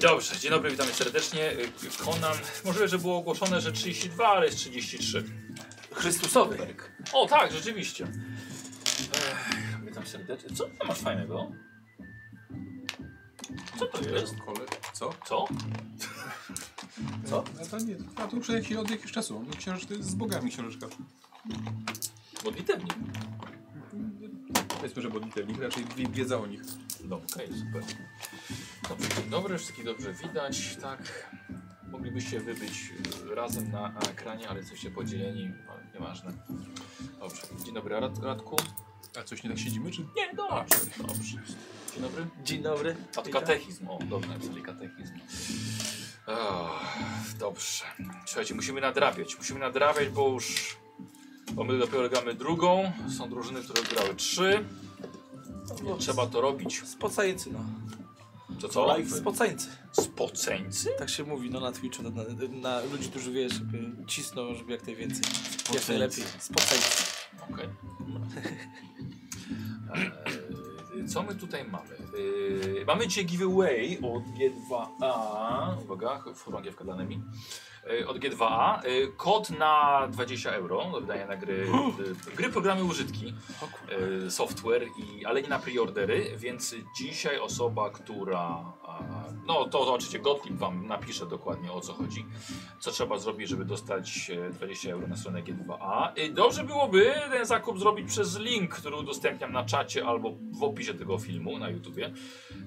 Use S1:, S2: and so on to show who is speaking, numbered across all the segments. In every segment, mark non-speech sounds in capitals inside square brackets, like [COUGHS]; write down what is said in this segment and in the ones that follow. S1: Dobrze, dzień dobry, witamy serdecznie. Y, Konam, możliwe, że było ogłoszone, że 32, ale jest 33.
S2: Chrystusowy. Berg.
S1: O tak, rzeczywiście. Ech, witam serdecznie. Co ty masz fajnego? Co to jest?
S3: Kole... Co?
S1: Co? Co?
S3: A No to nie, a to już jakiś, od jakiegoś czasu. No, książ... to jest z bogami książeczka.
S1: Modlitewnik.
S3: Powiedzmy, że modlitewnik, raczej wi- wiedza o nich.
S1: No, okej, super. Dobrze, dzień dobry, wszystkich dobrze widać, tak. Moglibyście wy być e, razem na ekranie, ale jesteście podzieleni, ale nieważne. Dobrze, dzień dobry Rad Radku.
S3: A coś nie tak siedzimy, czy?
S1: Nie, dobrze, dobrze. Dzień dobry.
S2: Dzień dobry.
S1: A to katechizm, o, dobrze napisali katechizm. Ach, dobrze. Słuchajcie, musimy nadrabiać, musimy nadrabiać, bo już... Bo my dopiero gramy drugą, są drużyny, które grały trzy.
S2: No,
S1: Nie trzeba to robić.
S2: Spocańcy, no.
S1: To co?
S2: Spocańcy.
S1: Spoceńcy?
S2: Tak się mówi, no na Twitchu, na, na, na ludzi, którzy wiesz, żeby cisną, żeby jak najwięcej. Jak
S1: Spoceńcy.
S2: najlepiej. Spocańcy.
S1: [LAUGHS] Okej. Eee, Co my tutaj mamy? Eee, mamy dzisiaj giveaway od G2A. Uwaga, chorągiewka dla Nemi. Eee, Od G2A. Eee, Kod na 20 euro do wydania na gry, d- gry programy użytki, eee, software, i, ale nie na preordery, więc dzisiaj osoba, która... a, No to oczywiście Gottlieb wam napisze dokładnie o co chodzi co trzeba zrobić, żeby dostać e, 20 euro na stronę G2A. I Dobrze byłoby ten zakup zrobić przez link, który udostępniam na czacie albo w opisie tego filmu na YouTubie,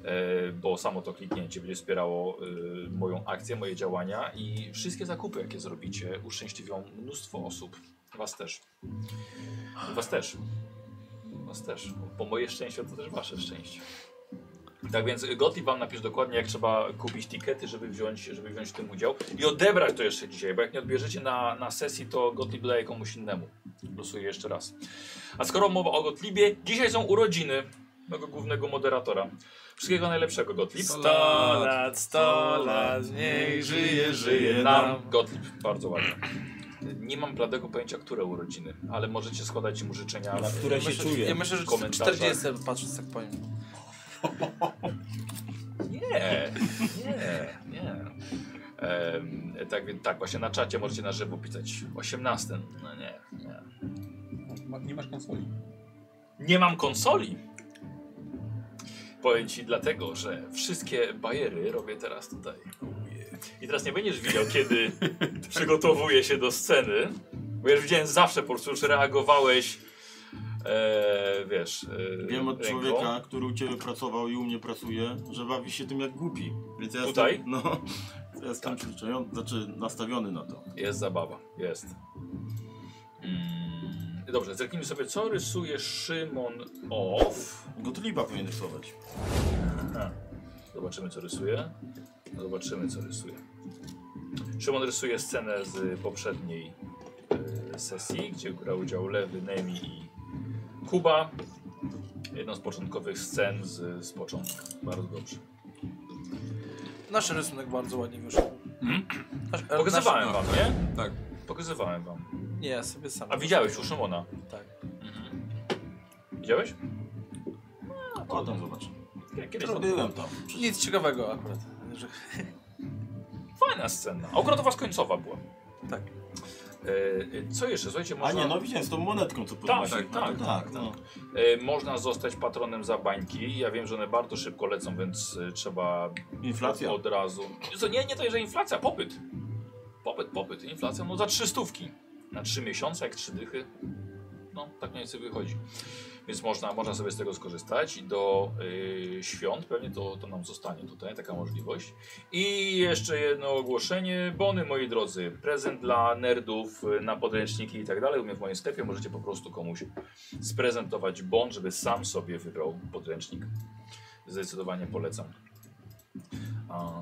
S1: e, bo samo to kliknięcie będzie wspierało e, moją akcję, moje działania i wszystkie zakupy, jakie zrobicie, uszczęśliwią mnóstwo osób. Was też. Was też. Was też. Po moje szczęście to też wasze szczęście. Tak więc Gottlieb wam napisze dokładnie, jak trzeba kupić tikety, żeby wziąć, żeby wziąć w tym udział. I odebrać to jeszcze dzisiaj, bo jak nie odbierzecie na, na sesji, to Gottlieb daje komuś innemu. Losuję jeszcze raz. A skoro mowa o Gottliebie, dzisiaj są urodziny mojego głównego moderatora. Wszystkiego najlepszego, Gottlieb.
S3: Sto
S2: Sto lat, sto lat, niech żyje, żyje nam.
S1: Nam Gottlieb, bardzo ładnie. Nie mam bladego pojęcia, które urodziny, ale możecie składać mu życzenia.
S4: które się
S2: Ja
S4: czuje.
S2: myślę, że
S1: W komentarzach.
S2: 40 patrząc tak po nim.
S1: Nie, nie, nie. Em, tak więc tak, właśnie na czacie możecie na żywo pisać 18. No nie, nie.
S3: Ma, nie masz konsoli.
S1: Nie mam konsoli. Powiem ci dlatego, że wszystkie bajery robię teraz tutaj. I teraz nie będziesz widział,
S5: [LAUGHS]
S1: kiedy przygotowuję się do sceny. Bo ja już widziałem zawsze, po prostu już reagowałeś. E, wiesz. E,
S5: Wiem od
S1: ręką.
S5: człowieka, który u ciebie pracował i u mnie pracuje, że bawi się tym jak głupi. Więc ja
S1: Tutaj?
S5: Jestem, no, ja jestem przyzwyczajony, znaczy nastawiony na to.
S1: Jest zabawa, jest. Mm, dobrze, zerknijmy sobie, co rysuje Szymon Off.
S5: Gotliba powinien rysować.
S1: Zobaczymy, co rysuje. Zobaczymy, co rysuje. Szymon rysuje scenę z poprzedniej e, sesji, gdzie brał udział Lewy, Nemi i Kuba. Jedną z początkowych scen z, z początku. Bardzo dobrze.
S2: Nasz rysunek bardzo ładnie wyszedł. E, Nasz,
S1: Pokazywałem wam, nie?
S3: Tak.
S1: Pokazywałem wam.
S2: nasz- Nie, ja sobie sam.
S1: A widziałeś u Szymona?
S2: Tak.
S1: Widziałeś?
S5: Potem zobacz.
S1: Kiedyś
S5: No,
S1: tam
S5: byłem tam.
S2: Nic ciekawego akurat. Że...
S1: Fajna scena. Akurat u was końcowa była.
S2: Tak.
S1: E, e, co jeszcze? Słuchajcie,
S5: A
S1: można,
S5: nie, no widziałem z tą monetką, co podnosił.
S1: tak,
S5: No to
S1: tak,
S5: tak, no.
S1: e, można zostać patronem za bańki. Ja wiem, że one bardzo szybko lecą, więc e, trzeba
S5: Inflacja.
S1: od razu. Co, nie, nie to, że inflacja, popyt. Popyt, popyt, inflacja, no za trzy stówki. Na trzy miesiące, jak trzy dychy. No, tak mniej więcej wychodzi. Więc można, można sobie z tego skorzystać i do y, świąt pewnie to, to nam zostanie tutaj, taka możliwość. I jeszcze jedno ogłoszenie. Bony, moi drodzy, prezent dla nerdów y, na podręczniki i tak dalej. U mnie w moim sklepie możecie po prostu komuś sprezentować bon, żeby sam sobie wybrał podręcznik. Zdecydowanie polecam. A,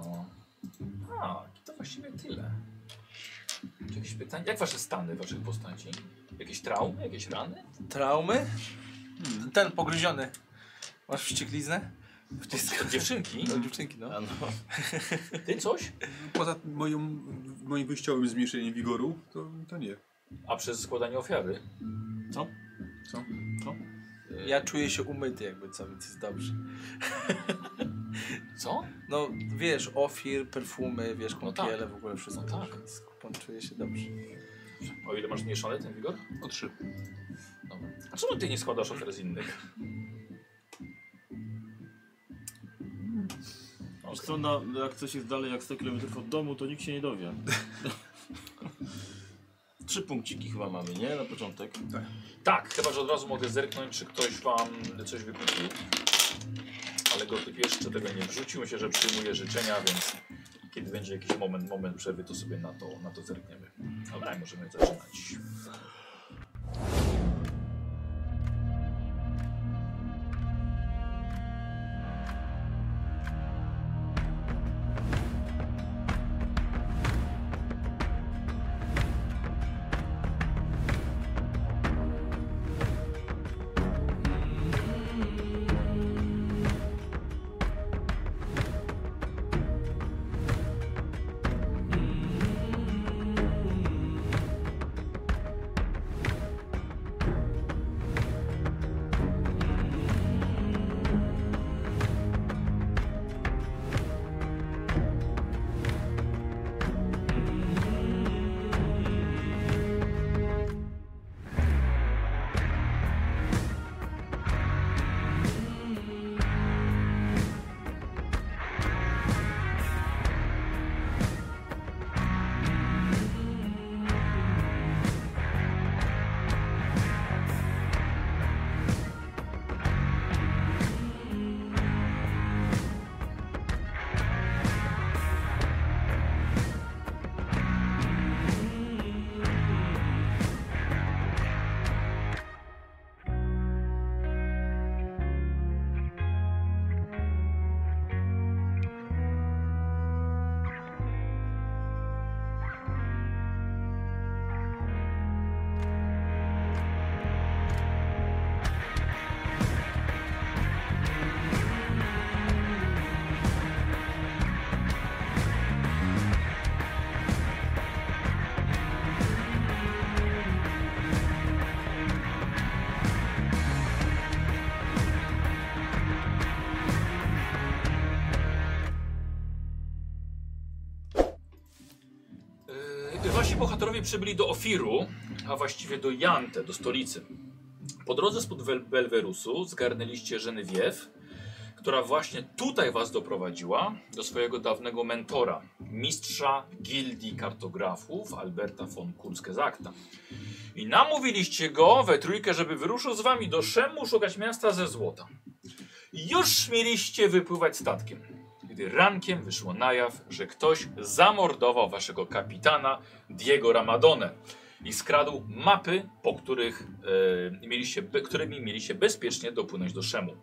S1: a to właściwie tyle. Czy Jakieś pytania? Jak wasze stany waszych postaci? Jakieś traumy, jakieś rany?
S2: Traumy? Ten pogryziony. Masz wściekliznę? Wcisk.
S1: Dziewczynki?
S2: Do dziewczynki, no.
S5: A no.
S1: Ty coś?
S3: Poza moją, moim wyjściowym zmniejszeniem wigoru, to, to nie.
S1: A przez składanie ofiary?
S5: Co?
S3: Co?
S1: Yy,
S2: Ja czuję się umyty jakby co, więc jest dobrze.
S1: Co?
S2: No wiesz, ofir, perfumy, wiesz,
S1: No
S2: kąpiele, w ogóle wszystko.
S1: No tak.
S2: Więc kupon czuje się dobrze.
S1: O ile masz zmniejszony ten wigor?
S3: O trzy.
S1: Dobra. A czemu ty nie składasz ofiar z innych?
S5: Wiesz co, na, jak coś jest dalej jak 100 km od domu, to nikt się nie
S1: [LAUGHS]
S5: dowie. Trzy punkciki chyba mamy, nie? Na początek.
S1: Tak, chyba że od razu mogę zerknąć, czy ktoś wam coś wykupił. Ale Gotyk jeszcze tego nie wrzucił. Myślę, że przyjmuje życzenia, więc kiedy będzie jakiś moment, moment przerwy, to sobie na to, na to zerkniemy. Dobra, możemy zaczynać. Yy, Wasi bohaterowie przybyli do Ofiru, a właściwie do Jante, do stolicy. Po drodze spod Wel- Belwerusu zgarnęliście Genewiew, która właśnie tutaj was doprowadziła do swojego dawnego mentora, mistrza gildii kartografów Alberta von Kunskezakta. I namówiliście go we trójkę, żeby wyruszył z wami do Szemu szukać miasta ze złota. Już mieliście wypływać statkiem, gdy rankiem wyszło na jaw, że ktoś zamordował waszego kapitana Diego Ramadone i skradł mapy, po których, e, mieliście, be, którymi mieliście bezpiecznie dopłynąć do Szemu.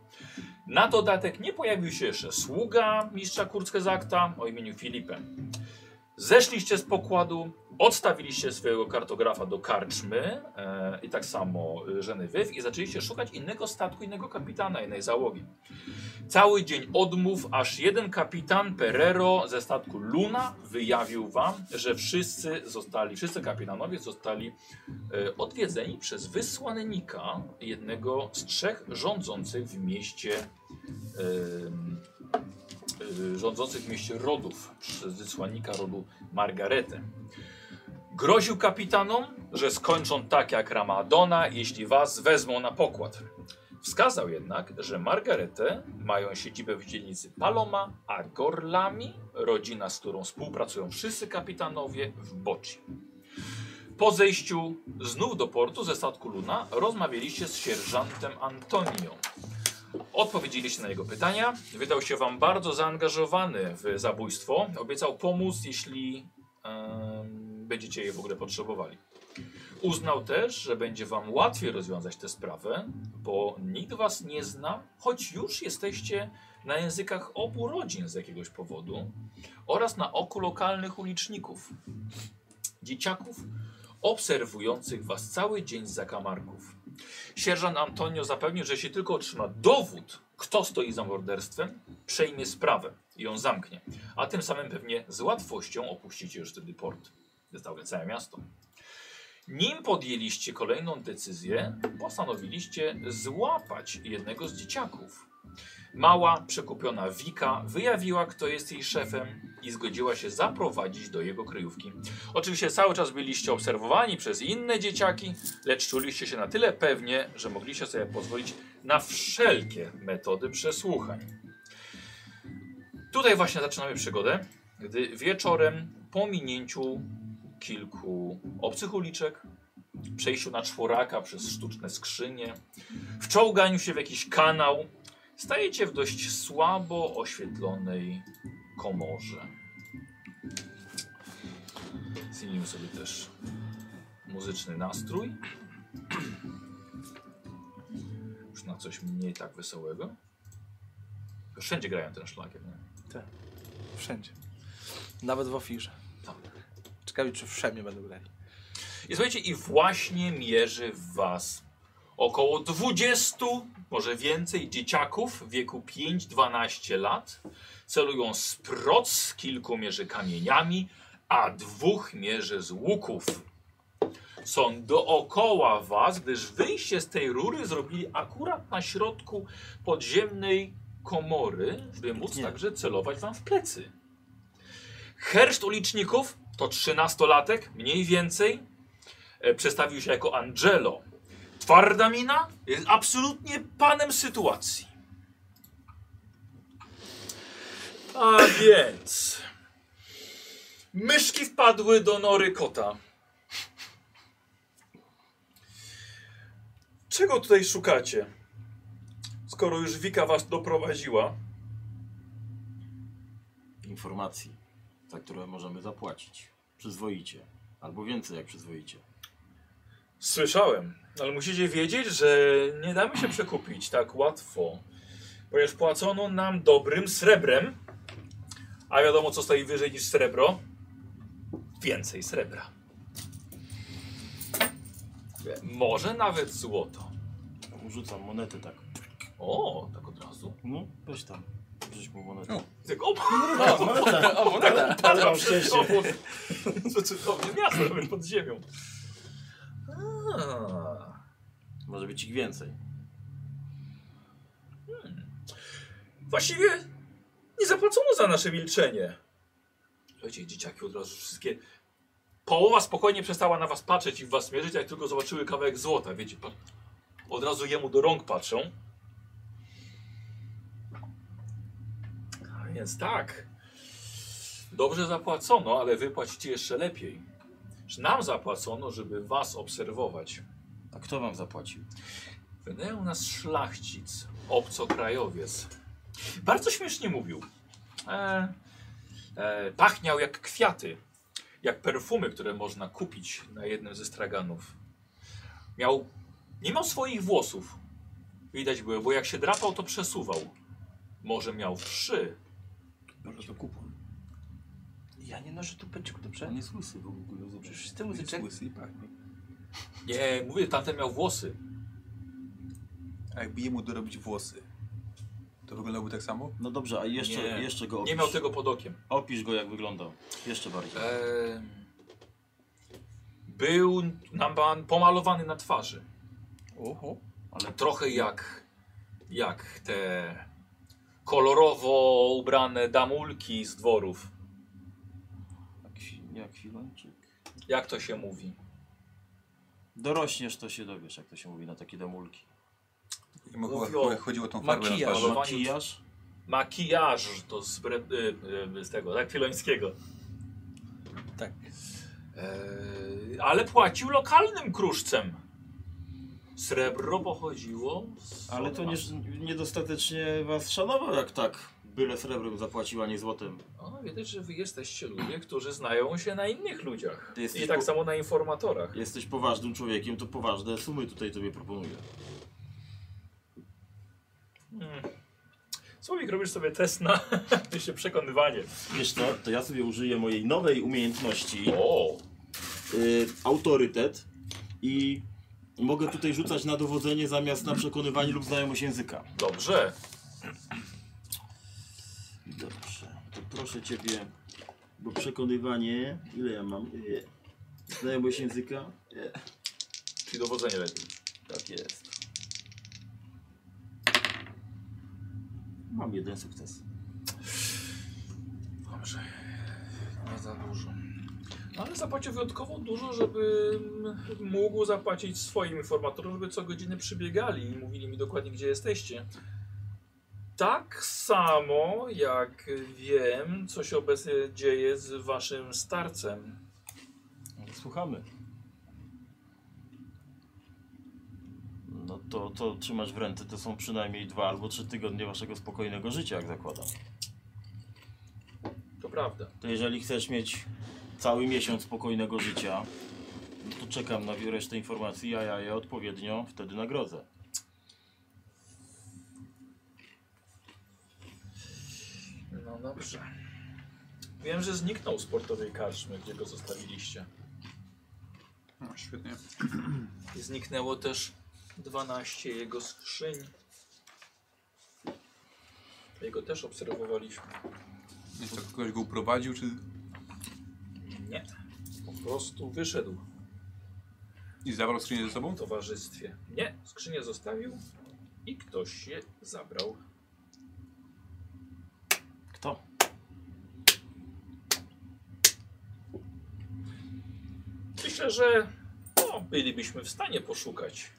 S1: Na dodatek nie pojawił się jeszcze sługa mistrza Kurskezakta o imieniu Filipe. Zeszliście z pokładu, odstawiliście swojego kartografa do karczmy e, i tak samo e, Żenywyw i zaczęliście szukać innego statku, innego kapitana, innej załogi. Cały dzień odmów, aż jeden kapitan Perero ze statku Luna wyjawił wam, że wszyscy zostali, wszyscy kapitanowie zostali e, odwiedzeni przez wysłannika jednego z trzech rządzących w mieście e, em, y, rządzących w mieście rodów przez wysłannika rodu Margaretę. Groził kapitanom, że skończą tak jak Ramadona, jeśli was wezmą na pokład. Wskazał jednak, że Margaretę mają siedzibę w dzielnicy Paloma, a Gorlami, rodzina, z którą współpracują wszyscy kapitanowie, w Boci. Po zejściu znów do portu ze statku Luna rozmawialiście z sierżantem Antonią. Odpowiedzieliście na jego pytania. Wydał się wam bardzo zaangażowany w zabójstwo. Obiecał pomóc, jeśli em, będziecie je w ogóle potrzebowali. Uznał też, że będzie wam łatwiej rozwiązać tę sprawę, bo nikt was nie zna, choć już jesteście na językach obu rodzin z jakiegoś powodu oraz na oku lokalnych uliczników, dzieciaków obserwujących was cały dzień z zakamarków. Sierżant Antonio zapewnił, że jeśli tylko otrzyma dowód, kto stoi za morderstwem, przejmie sprawę i ją zamknie. A tym samym pewnie z łatwością opuścicie już wtedy port. Zostawię całe miasto. Nim podjęliście kolejną decyzję, postanowiliście złapać jednego z dzieciaków. Mała, przekupiona Wika wyjawiła, kto jest jej szefem i zgodziła się zaprowadzić do jego kryjówki. Oczywiście cały czas byliście obserwowani przez inne dzieciaki, lecz czuliście się na tyle pewnie, że mogliście sobie pozwolić na wszelkie metody przesłuchań. Tutaj właśnie zaczynamy przygodę, gdy wieczorem po minięciu kilku obcych uliczek, przejściu na czworaka przez sztuczne skrzynie, wczołganiu się w jakiś kanał, stajecie w dość słabo oświetlonej komorze. Zmienimy sobie też muzyczny nastrój. Już na coś mniej tak wesołego. Wszędzie grają ten szlagier, nie?
S2: Wszędzie. Nawet w ofirze.
S1: Tak.
S2: Ciekawi, czy wszędzie będą grali.
S1: I słuchajcie, i właśnie mierzy w was około 20, może więcej, dzieciaków w wieku 5-12 lat. Celują z proc, kilku mierzy kamieniami, a dwóch mierzy z łuków. Są dookoła was, gdyż wyjście z tej rury zrobili akurat na środku podziemnej komory, by móc
S5: Nie.
S1: także celować wam w plecy. Herszt uliczników to 13-latek, mniej więcej, e, przedstawił się jako Angelo. Twarda mina jest absolutnie panem sytuacji. A więc. Myszki wpadły do nory kota. Czego tutaj szukacie? Skoro już Wika was doprowadziła.
S5: Informacji, za które możemy zapłacić. Przyzwoicie. Albo więcej jak przyzwoicie.
S1: Słyszałem, ale musicie wiedzieć, że nie damy się przekupić tak łatwo, ponieważ płacono nam dobrym srebrem, a wiadomo co stoi wyżej niż srebro? Więcej srebra. Może nawet złoto.
S5: Rzucam monety tak.
S1: O, tak od razu.
S5: No, weź tam. Rzuć mu monetę.
S2: No.
S1: I Tak, o,
S5: O,
S1: [LAUGHS]
S5: moneta!
S2: O, moneta!
S5: Ale mam szczęście.
S1: co tak. [LAUGHS] cudownie miasto, nawet pod ziemią. A.
S5: Może być ich więcej.
S1: Właściwie nie zapłacono za nasze milczenie. Słuchajcie, dzieciaki od razu wszystkie. Połowa spokojnie przestała na was patrzeć i w was mierzyć, jak tylko zobaczyły kawałek złota, wiecie. pa- Od razu jemu do rąk patrzą. A więc tak. Dobrze zapłacono, ale wy płacicie jeszcze lepiej. Że Nam zapłacono, żeby was obserwować.
S5: A kto wam zapłacił?
S1: Wynajął nas szlachcic, obcokrajowiec. Bardzo śmiesznie mówił. E, e, pachniał jak kwiaty, jak perfumy, które można kupić na jednym ze straganów. Miał, nie miał swoich włosów. Widać było, bo jak się drapał, to przesuwał. Może miał trzy.
S5: Może to kupon.
S2: Ja nie noszę tu pęciku, dobrze?
S5: On jest łysy w ogóle, zobacz.
S2: Przecież ty muzyczek...
S3: Jest łysy i pachnie.
S1: Nie, mówię, tamten miał włosy.
S3: A jakby jemu dorobić włosy, to wyglądałoby tak samo?
S5: No dobrze, a jeszcze,
S1: Nie.
S5: jeszcze go opisz.
S1: Nie miał tego pod okiem. E,
S5: Opisz go jak wyglądał. Jeszcze bardziej.
S1: Em, Był nam pan pomalowany na twarzy.
S2: Oho.
S5: Ale
S1: trochę jak, jak te kolorowo ubrane damulki z dworów.
S5: jak- jak Filończyk.
S1: Jak to się mówi?
S5: Dorośniesz to się dowiesz, jak to się mówi na takie demulki.
S3: Jemu chyba-
S1: Mówią.
S3: chyba chodziło o tą farbę na
S2: Makijaż.
S3: twarzy.
S1: Malowanie-
S5: Makijaż?
S1: Makijaż to z, bre, y, y, z tego, tak? Filońskiego.
S2: Tak.
S1: Eee, ale płacił lokalnym kruszcem. Srebro pochodziło z...
S5: Ale to nie, niedostatecznie was szanował, jak tak byle srebrem zapłaciła, nie złotem.
S1: O, widać, że wy jesteście ludzie, którzy znają się na innych ludziach.
S5: Ty jesteś
S1: I tak
S5: po-
S1: samo na informatorach.
S5: Jesteś poważnym człowiekiem, to poważne sumy tutaj tobie proponuję.
S1: Hmm. Słowik, robisz sobie test na [LAUGHS] się przekonywanie.
S5: Wiesz co, to ja sobie użyję mojej nowej umiejętności,
S1: O!
S5: y, autorytet i mogę tutaj rzucać na dowodzenie zamiast na przekonywanie lub znajomość języka.
S1: Dobrze.
S5: Dobrze, to proszę ciebie, bo przekonywanie, ile ja mam? Y, Znajomość języka? Y,
S1: Czyli dowodzenie lepiej.
S5: Tak jest. Mam jeden sukces.
S1: Dobrze. Nie za dużo. No, Ale zapłacił wyjątkowo dużo, żeby mógł zapłacić swoim informatorom, żeby co godziny przybiegali i mówili mi dokładnie, gdzie jesteście. Tak samo jak wiem, co się obecnie dzieje z waszym starcem.
S5: Słuchamy. No to, to trzymasz w ręce, to są przynajmniej dwa albo trzy tygodnie waszego spokojnego życia, jak zakładam.
S1: To prawda.
S5: To jeżeli chcesz mieć cały miesiąc spokojnego życia, no to czekam na resztę informacji, a ja je odpowiednio wtedy nagrodzę.
S1: No dobrze. Wiem, że zniknął z portowej karczmy, gdzie go zostawiliście.
S3: No, świetnie.
S1: Zniknęło też 12 jego skrzyń. Jego też obserwowaliśmy.
S3: Nie, to ktoś go uprowadził, czy...
S1: Nie. Po prostu wyszedł
S3: I zabrał skrzynię ze sobą?
S1: w towarzystwie. Nie, skrzynię zostawił i ktoś je zabrał.
S5: Kto?
S1: Myślę, że no, bylibyśmy w stanie poszukać,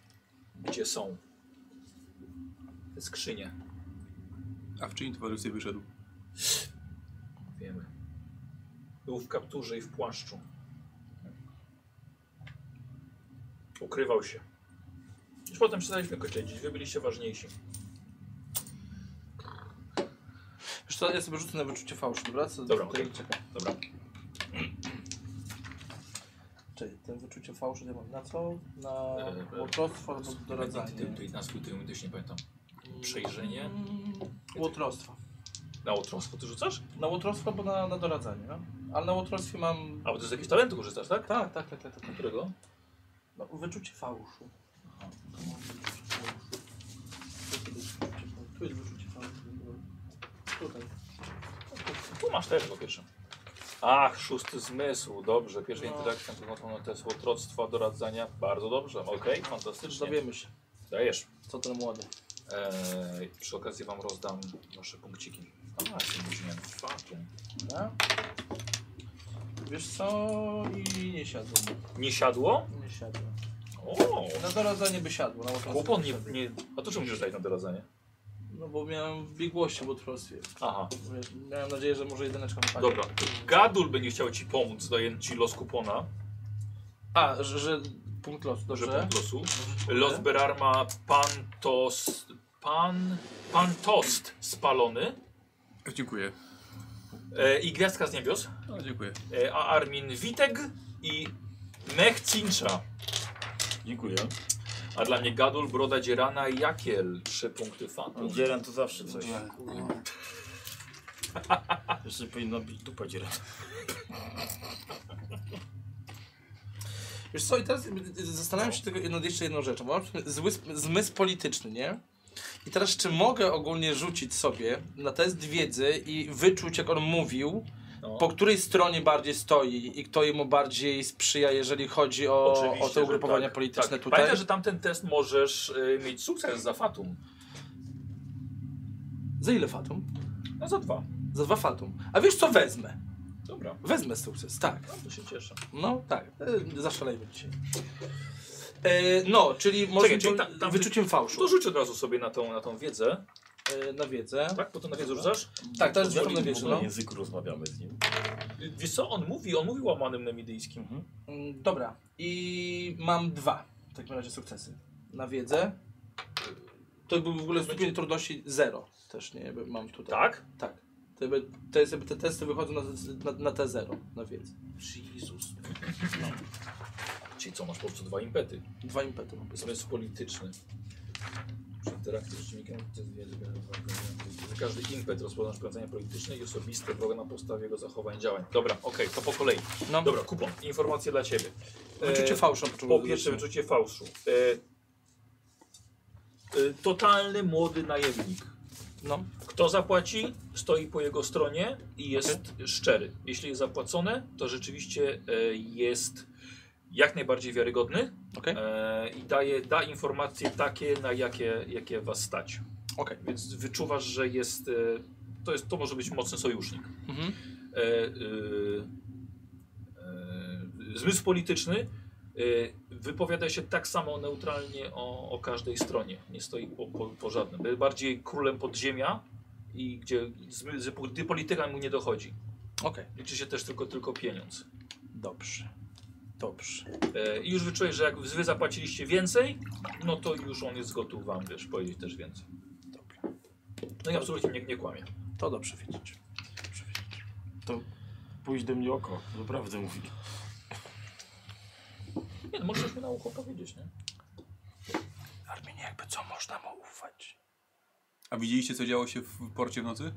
S1: gdzie są te skrzynie.
S3: A w czyim towarzystwie wyszedł?
S1: Wiemy. Był w kapturze i w płaszczu. Ukrywał się. Już potem przestaliśmy go śledzić. Wy byliście ważniejsi.
S2: Zresztą ja sobie rzucę na wyczucie fałszu, dobra? Co
S1: Dobra,
S2: tutaj
S1: okej.
S2: czekam.
S1: Dobra.
S2: Czyli ten wyczucie fałszu to ja mam na co? Na
S1: E, e,
S2: łotrostwo albo
S1: Ty, ty,
S2: doradzanie.
S1: ty, na swój tył też nie pamiętam. Przejrzenie.
S2: Mm, Łotrostwa.
S1: Na otrąstwo ty rzucasz?
S2: Na łotrostwo albo na, na doradzanie, no. Ale na łotrostwie mam...
S1: A bo ty z jakiegoś talentu korzystasz, tak?
S2: Tak, tak, tak, tak. tak.
S1: Którego?
S2: No, wyczucie fałszu. Tu jest wyczucie fałszu. Tutaj.
S1: Tu masz też po pierwsze. Ach, szósty zmysł, dobrze. Pierwsza
S2: No.
S1: interakcja to te słotroctwa, doradzania. Bardzo dobrze, okej, fantastycznie.
S2: Dowiemy się,
S1: Dajesz.
S2: co ten młody.
S1: Eee, przy okazji wam rozdam wasze punkciki. A, jestem godzinem czwartym.
S2: Dobra. Wiesz co? I nie siadło.
S1: Nie siadło?
S2: Nie siadło.
S1: O,
S2: Na doradzanie by siadło. Na łotrostwie
S1: kłopot nie,
S2: by siadło.
S1: nie... A to czemu musisz dać na doradzanie?
S2: No bo miałem biegłości w łotrostwie.
S1: Aha,
S2: Wiesz, Miałem nadzieję, że może jedyneczka mi padnie.
S1: dobra. Gadul będzie chciał ci pomóc, dając ci los kupona,
S2: A, że, że punkt losu,
S1: że
S2: dobrze?
S1: punkt losu.
S2: Dobrze,
S1: Los
S2: dziękuję.
S1: Berar ma pantos... Pan... Pantost spalony.
S3: Dziękuję.
S1: E, I gwiazdka z niebios.
S3: No, dziękuję.
S1: E, a Armin Witek i Mech Cincha.
S5: Dziękuję.
S1: A dla mnie Gadul, Broda Dzierana i Jakiel. Trzy punkty fanu.
S5: Dzieran to zawsze coś. [LAUGHS] Jeszcze powinna być dupa dzieran.
S2: Wiesz co, i teraz y, y, zastanawiam się tylko nad jeszcze jedną rzeczą, bo mam zły, zmysł polityczny, nie? I teraz czy mogę ogólnie rzucić sobie na test wiedzy i wyczuć, jak on mówił,
S1: No.
S2: po której stronie bardziej stoi i kto jemu bardziej sprzyja, jeżeli chodzi o,
S1: Oczywiście,
S2: o te
S1: że
S2: ugrupowania
S1: tak,
S2: polityczne
S1: tak.
S2: tutaj?
S1: Pamiętaj, że tamten test możesz y, mieć sukces za fatum.
S2: Za ile fatum?
S1: No za dwa.
S2: Za dwa fatum. A wiesz co, wezmę.
S1: Dobra.
S2: Wezmę sukces, tak.
S1: No to się cieszę.
S2: No tak, e, zaszalejmy dzisiaj. E, no, czyli może
S1: Czekaj, czyli
S2: po-
S1: tam- tam-
S2: wyczuciem fałszu
S1: To rzuć od razu sobie na tą, na tą wiedzę.
S2: e, na wiedzę.
S1: Tak? Bo to na wiedzę rzucasz?
S2: Tak, teraz
S5: W
S2: rzucam na
S5: ogóle
S2: wiedzę, no.
S5: języku rozmawiamy z nim.
S1: Y, Wiesz co, on mówi, on mówi łamanym nemidyjskim.
S2: Mm, Dobra, i mam dwa w takim razie sukcesy. Na wiedzę. To był w ogóle stopień trudności zero też, nie? Jakby Mam tutaj.
S1: Tak?
S2: Tak. To, jakby, to jest jakby te testy wychodzą na, na, na te zero, na wiedzę.
S1: Jezus. No. Czyli co, masz po prostu dwa impety.
S2: Dwa impety mam.
S1: Zmysł polityczny. Przy interakcji z czynnikiem to jest wiele, wiele wartości. Za każdy impet rozpoznasz prowadzenie polityczne i osobiste wroga na podstawie jego zachowań i działań. Dobra, okej, to po kolei.
S2: No,
S1: Dobra, kupon. Informacje dla ciebie.
S2: wyczucie
S1: E,
S2: fałszu.
S1: Po pierwsze wyczucie fałszu. E, e, totalny młody najemnik.
S2: No,
S1: Kto zapłaci, stoi po jego stronie i jest szczery. Jeśli jest zapłacone, to rzeczywiście e, jest jak najbardziej wiarygodny
S2: Okej.
S1: e, i daje, da informacje takie, na jakie, jakie was stać.
S2: Okej.
S1: Więc wyczuwasz, że jest, e, to jest, to może być mocny sojusznik.
S2: Mhm.
S1: E, e, e, zmysł polityczny e, wypowiada się tak samo neutralnie o, o każdej stronie. Nie stoi po, po, po żadnym. Był bardziej królem podziemia i gdzie, zmy- z- gdy polityka mu nie dochodzi.
S2: Okej,
S1: Liczy się też tylko, tylko pieniądz.
S2: dobrze. Dobrze.
S1: E, I już wyczułeś, że jak wy zapłaciliście więcej, no to już on jest gotów wam wiesz, powiedzieć też więcej.
S2: Dobra.
S1: No i absolutnie nie, nie kłamie.
S2: To dobrze wiedzieć. Dobrze wiedzieć.
S5: Pójdź do mnie oko, naprawdę mówi.
S1: Nie, no możesz mu na ucho powiedzieć, nie?
S2: Arminie, jakby co można mu ufać?
S3: A widzieliście, co działo się w porcie w nocy?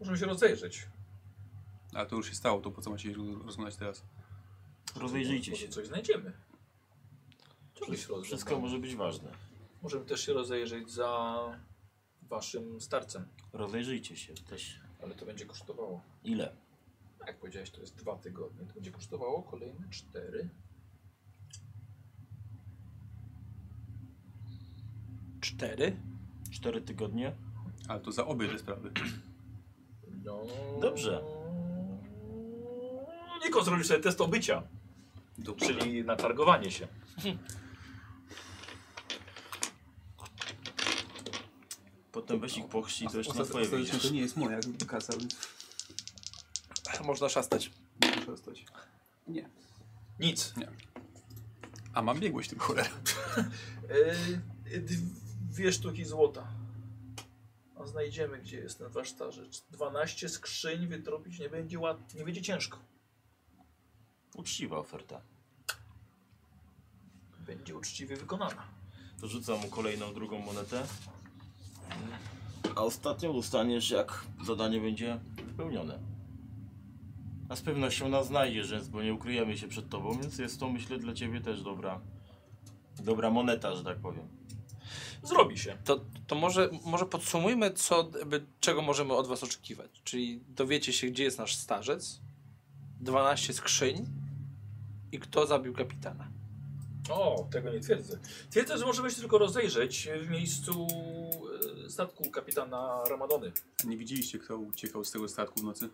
S1: Możemy się rozejrzeć.
S3: A to już się stało, to po co macie się rozglądać teraz?
S5: Rozejrzyjcie
S1: Może
S5: się.
S1: coś znajdziemy. Czego się rozglądamy?
S5: Wszystko może być ważne.
S1: Możemy też się rozejrzeć za waszym starcem,
S5: Rozejrzyjcie się też.
S1: ale to będzie kosztowało.
S5: Ile?
S1: No, Jak powiedziałeś, to jest dwa tygodnie. To będzie kosztowało kolejne cztery.
S2: Cztery?
S5: Cztery tygodnie?
S3: Ale to za obie te sprawy.
S1: No.
S5: Dobrze.
S1: Niko zrobił sobie test obycia,
S3: Dobrze.
S1: czyli na targowanie się.
S5: Potem weź ich pochrzci i to jeszcze na twoje
S3: Ostatecznie to
S5: wyjdziesz.
S3: nie jest moja kasa, więc
S2: Można szastać.
S3: muszę zostać. Nie.
S1: Nic.
S3: A mam biegłość tym cholera.
S1: Yy, dwie sztuki złota. A znajdziemy, gdzie jest ten wasz starzec. 12 skrzyń wytropić nie będzie łat, nie będzie ciężko.
S5: Uczciwa oferta.
S1: Będzie uczciwie wykonana.
S5: To rzucam mu kolejną, drugą monetę. A ostatnią dostaniesz, jak zadanie będzie wypełnione. A z pewnością nas znajdziesz, więc bo nie ukryjemy się przed tobą, więc jest to myślę dla ciebie też dobra. Dobra moneta, że tak powiem.
S1: Zrobi się.
S2: To, to może, może podsumujmy, co, jakby, czego możemy od was oczekiwać. Czyli dowiecie się, gdzie jest nasz starzec, 12 skrzyń i kto zabił kapitana.
S1: O, tego nie twierdzę. Twierdzę, że możemy się tylko rozejrzeć w miejscu e, statku kapitana Ramadony.
S3: Nie widzieliście, kto uciekał z tego statku w nocy?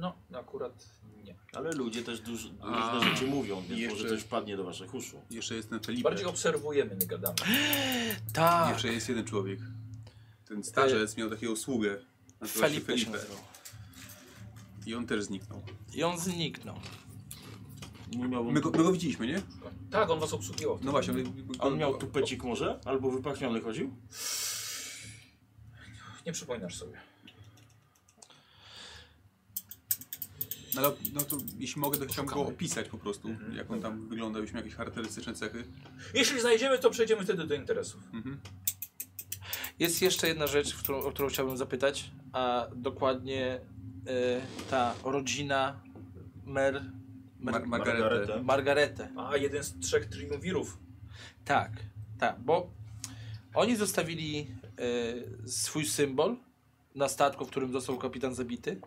S1: No, akurat nie.
S5: Ale ludzie też duż,
S3: A,
S5: różne rzeczy mówią, więc
S3: jeszcze-
S5: może coś wpadnie do waszych uszu.
S3: Jeszcze jest ten Felipe.
S1: Bardziej obserwujemy, nie gadamy.
S2: Tak,
S3: Jeszcze jest jeden człowiek. Ten starzec miał takiego sługę. nazywał się
S2: Felipe się nazywał.
S3: I on też zniknął.
S2: I on zniknął.
S5: Nie miałbym...
S3: My go, my go widzieliśmy, nie?
S1: Tak, on was obsługiwał.
S3: No właśnie. My,
S5: A On miał tupecik może? Albo wypachniony chodził?
S1: Nie przypominasz sobie.
S3: No, ale- no to jeśli mogę, to chciałbym go
S1: Poszukamy.
S3: opisać po prostu. Jak on tam wyglądał, byśmy jakieś charakterystyczne cechy.
S1: Jeśli znajdziemy, to przejdziemy wtedy do interesów.
S3: Mhm.
S2: Jest jeszcze jedna rzecz, w którą, o którą chciałbym zapytać, a dokładnie y, ta rodzina Mer...
S3: Mar
S2: Mer
S3: Margaretę.
S5: Margaretę.
S2: Margaretę.
S1: A jeden z trzech triumvirów.
S2: Tak, tak, bo oni zostawili y, swój symbol na statku, w którym został kapitan zabity.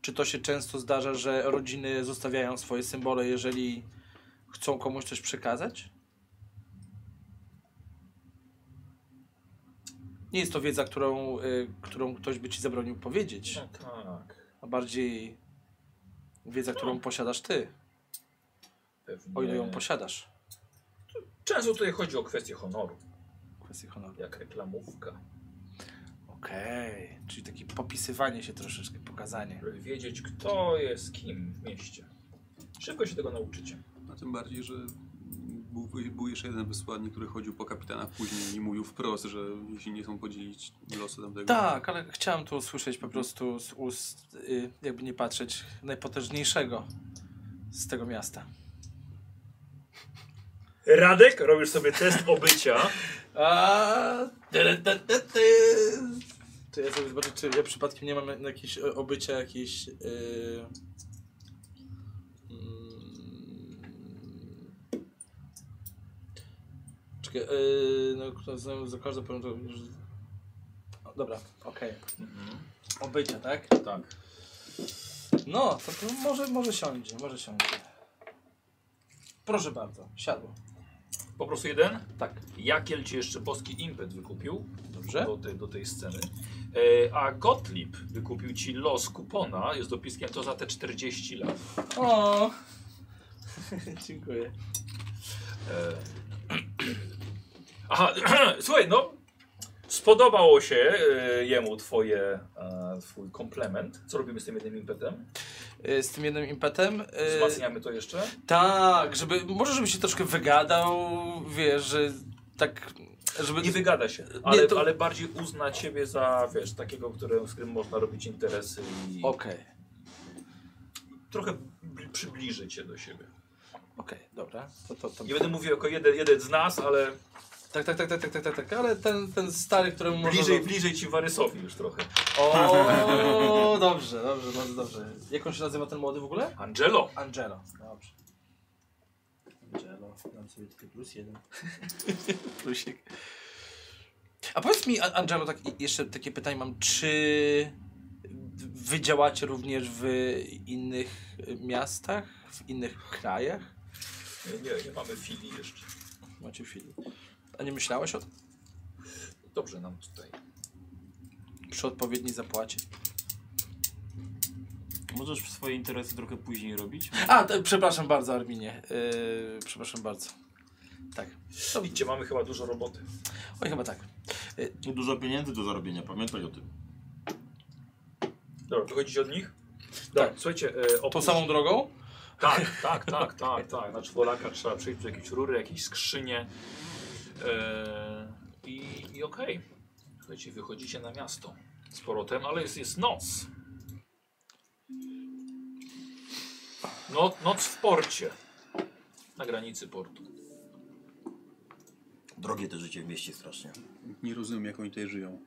S2: Czy to się często zdarza, że rodziny zostawiają swoje symbole, jeżeli chcą komuś coś przekazać? Nie jest to wiedza, którą, y, którą ktoś by ci zabronił powiedzieć,
S1: No tak.
S2: a bardziej wiedza, którą posiadasz ty,
S1: Pewnie.
S2: o ile ją posiadasz.
S1: Często tutaj chodzi o kwestię honoru,
S2: Kwestia honoru.
S1: jak reklamówka.
S2: Okej, czyli takie popisywanie się troszeczkę, pokazanie.
S1: Żeby wiedzieć, kto jest kim w mieście. Szybko się tego nauczycie.
S3: No tym bardziej, że był, był jeszcze jeden wysłannik, który chodził po kapitanach później i mówił wprost, że jeśli nie chcą podzielić losu tamtego.
S2: Tak, ale chciałem to usłyszeć po prostu z ust, y, jakby nie patrzeć, najpotężniejszego z tego miasta.
S1: Radek, robisz sobie test obycia.
S2: A, tyry, ty, ty, ty. To ja sobie zobaczę, czy ja przypadkiem nie mam jakiejś e, obycia, jakiejś... y, mm. Czekaj, y, no kto za- za każdym powiem to... już- O, Dobra, okej. Obycia, Mhm. tak?
S1: Tak.
S2: No, to, to może, może siądzie, może siądzie. Proszę bardzo, siadło.
S1: Po prostu jeden?
S2: Tak,
S1: Jakiel ci jeszcze boski impet wykupił
S2: Dobrze.
S1: Do, tej, do tej sceny. E, a Gottlieb wykupił ci los kupona, jest dopiskiem to za te 40 lat.
S2: O! [LAUGHS] Dziękuję.
S1: E, [CLEARS THROAT] aha, [CLEARS THROAT] słuchaj, no spodobało się e, jemu twoje, e, twój komplement. Co robimy z tym jednym impetem?
S2: Y, Z tym jednym impetem.
S1: E,
S2: y,
S1: Wzmacniamy to jeszcze?
S2: tak, żeby. Może żeby się troszkę wygadał, wiesz, że tak. Żeby.
S1: No Nie wygada się, ale,
S2: to-
S1: ale bardziej uzna ciebie za, wiesz, takiego, który, z którym można robić interesy i
S2: Okej,
S1: trochę bli- przybliży cię do siebie.
S2: okej, dobra. To, to, to.
S1: Nie będę mówił jako jeden, jeden z nas, ale
S2: Tak, tak, tak, tak, tak, tak, tak, tak, ale ten, ten stary, któremu może.
S1: bliżej, bliżej ci Warysowi już trochę.
S2: [LAUGHS] O, dobrze, dobrze, bardzo dobrze. Jak on się nazywa ten młody w ogóle?
S1: Angelo,
S2: Angelo. Dobrze. Angelo, dam sobie tylko plus jeden. [LAUGHS] Plusik. A powiedz mi, A- Angelo, tak i- jeszcze takie pytanie mam. Czy wy działacie również w innych y, miastach, w innych krajach?
S1: nie, nie, nie mamy filii jeszcze.
S2: Macie chwilę. A nie myślałeś o tym?
S1: Dobrze nam tutaj.
S2: Przy odpowiedniej zapłacie.
S5: Możesz swoje interesy trochę później robić?
S2: A, t- przepraszam bardzo, Arminie. Yy, przepraszam bardzo. Tak.
S1: No widzicie, mamy chyba dużo roboty.
S2: Oj, chyba tak.
S5: Dużo pieniędzy do zarobienia, pamiętaj o tym.
S1: Dobra, wychodzić od nich? Dobra,
S2: Tak.
S1: słuchajcie, e,
S2: Tą
S1: oprócz...
S2: samą drogą?
S1: Tak, tak, tak, tak, tak. Na czworaka trzeba przejść przez jakieś rury, jakieś skrzynie. E, I i okej. Słuchajcie, wychodzicie na miasto z powrotem, ale jest, jest noc. No, noc w porcie. Na granicy portu.
S5: Drogie to życie w mieście strasznie.
S3: Nie rozumiem, jak oni tutaj żyją.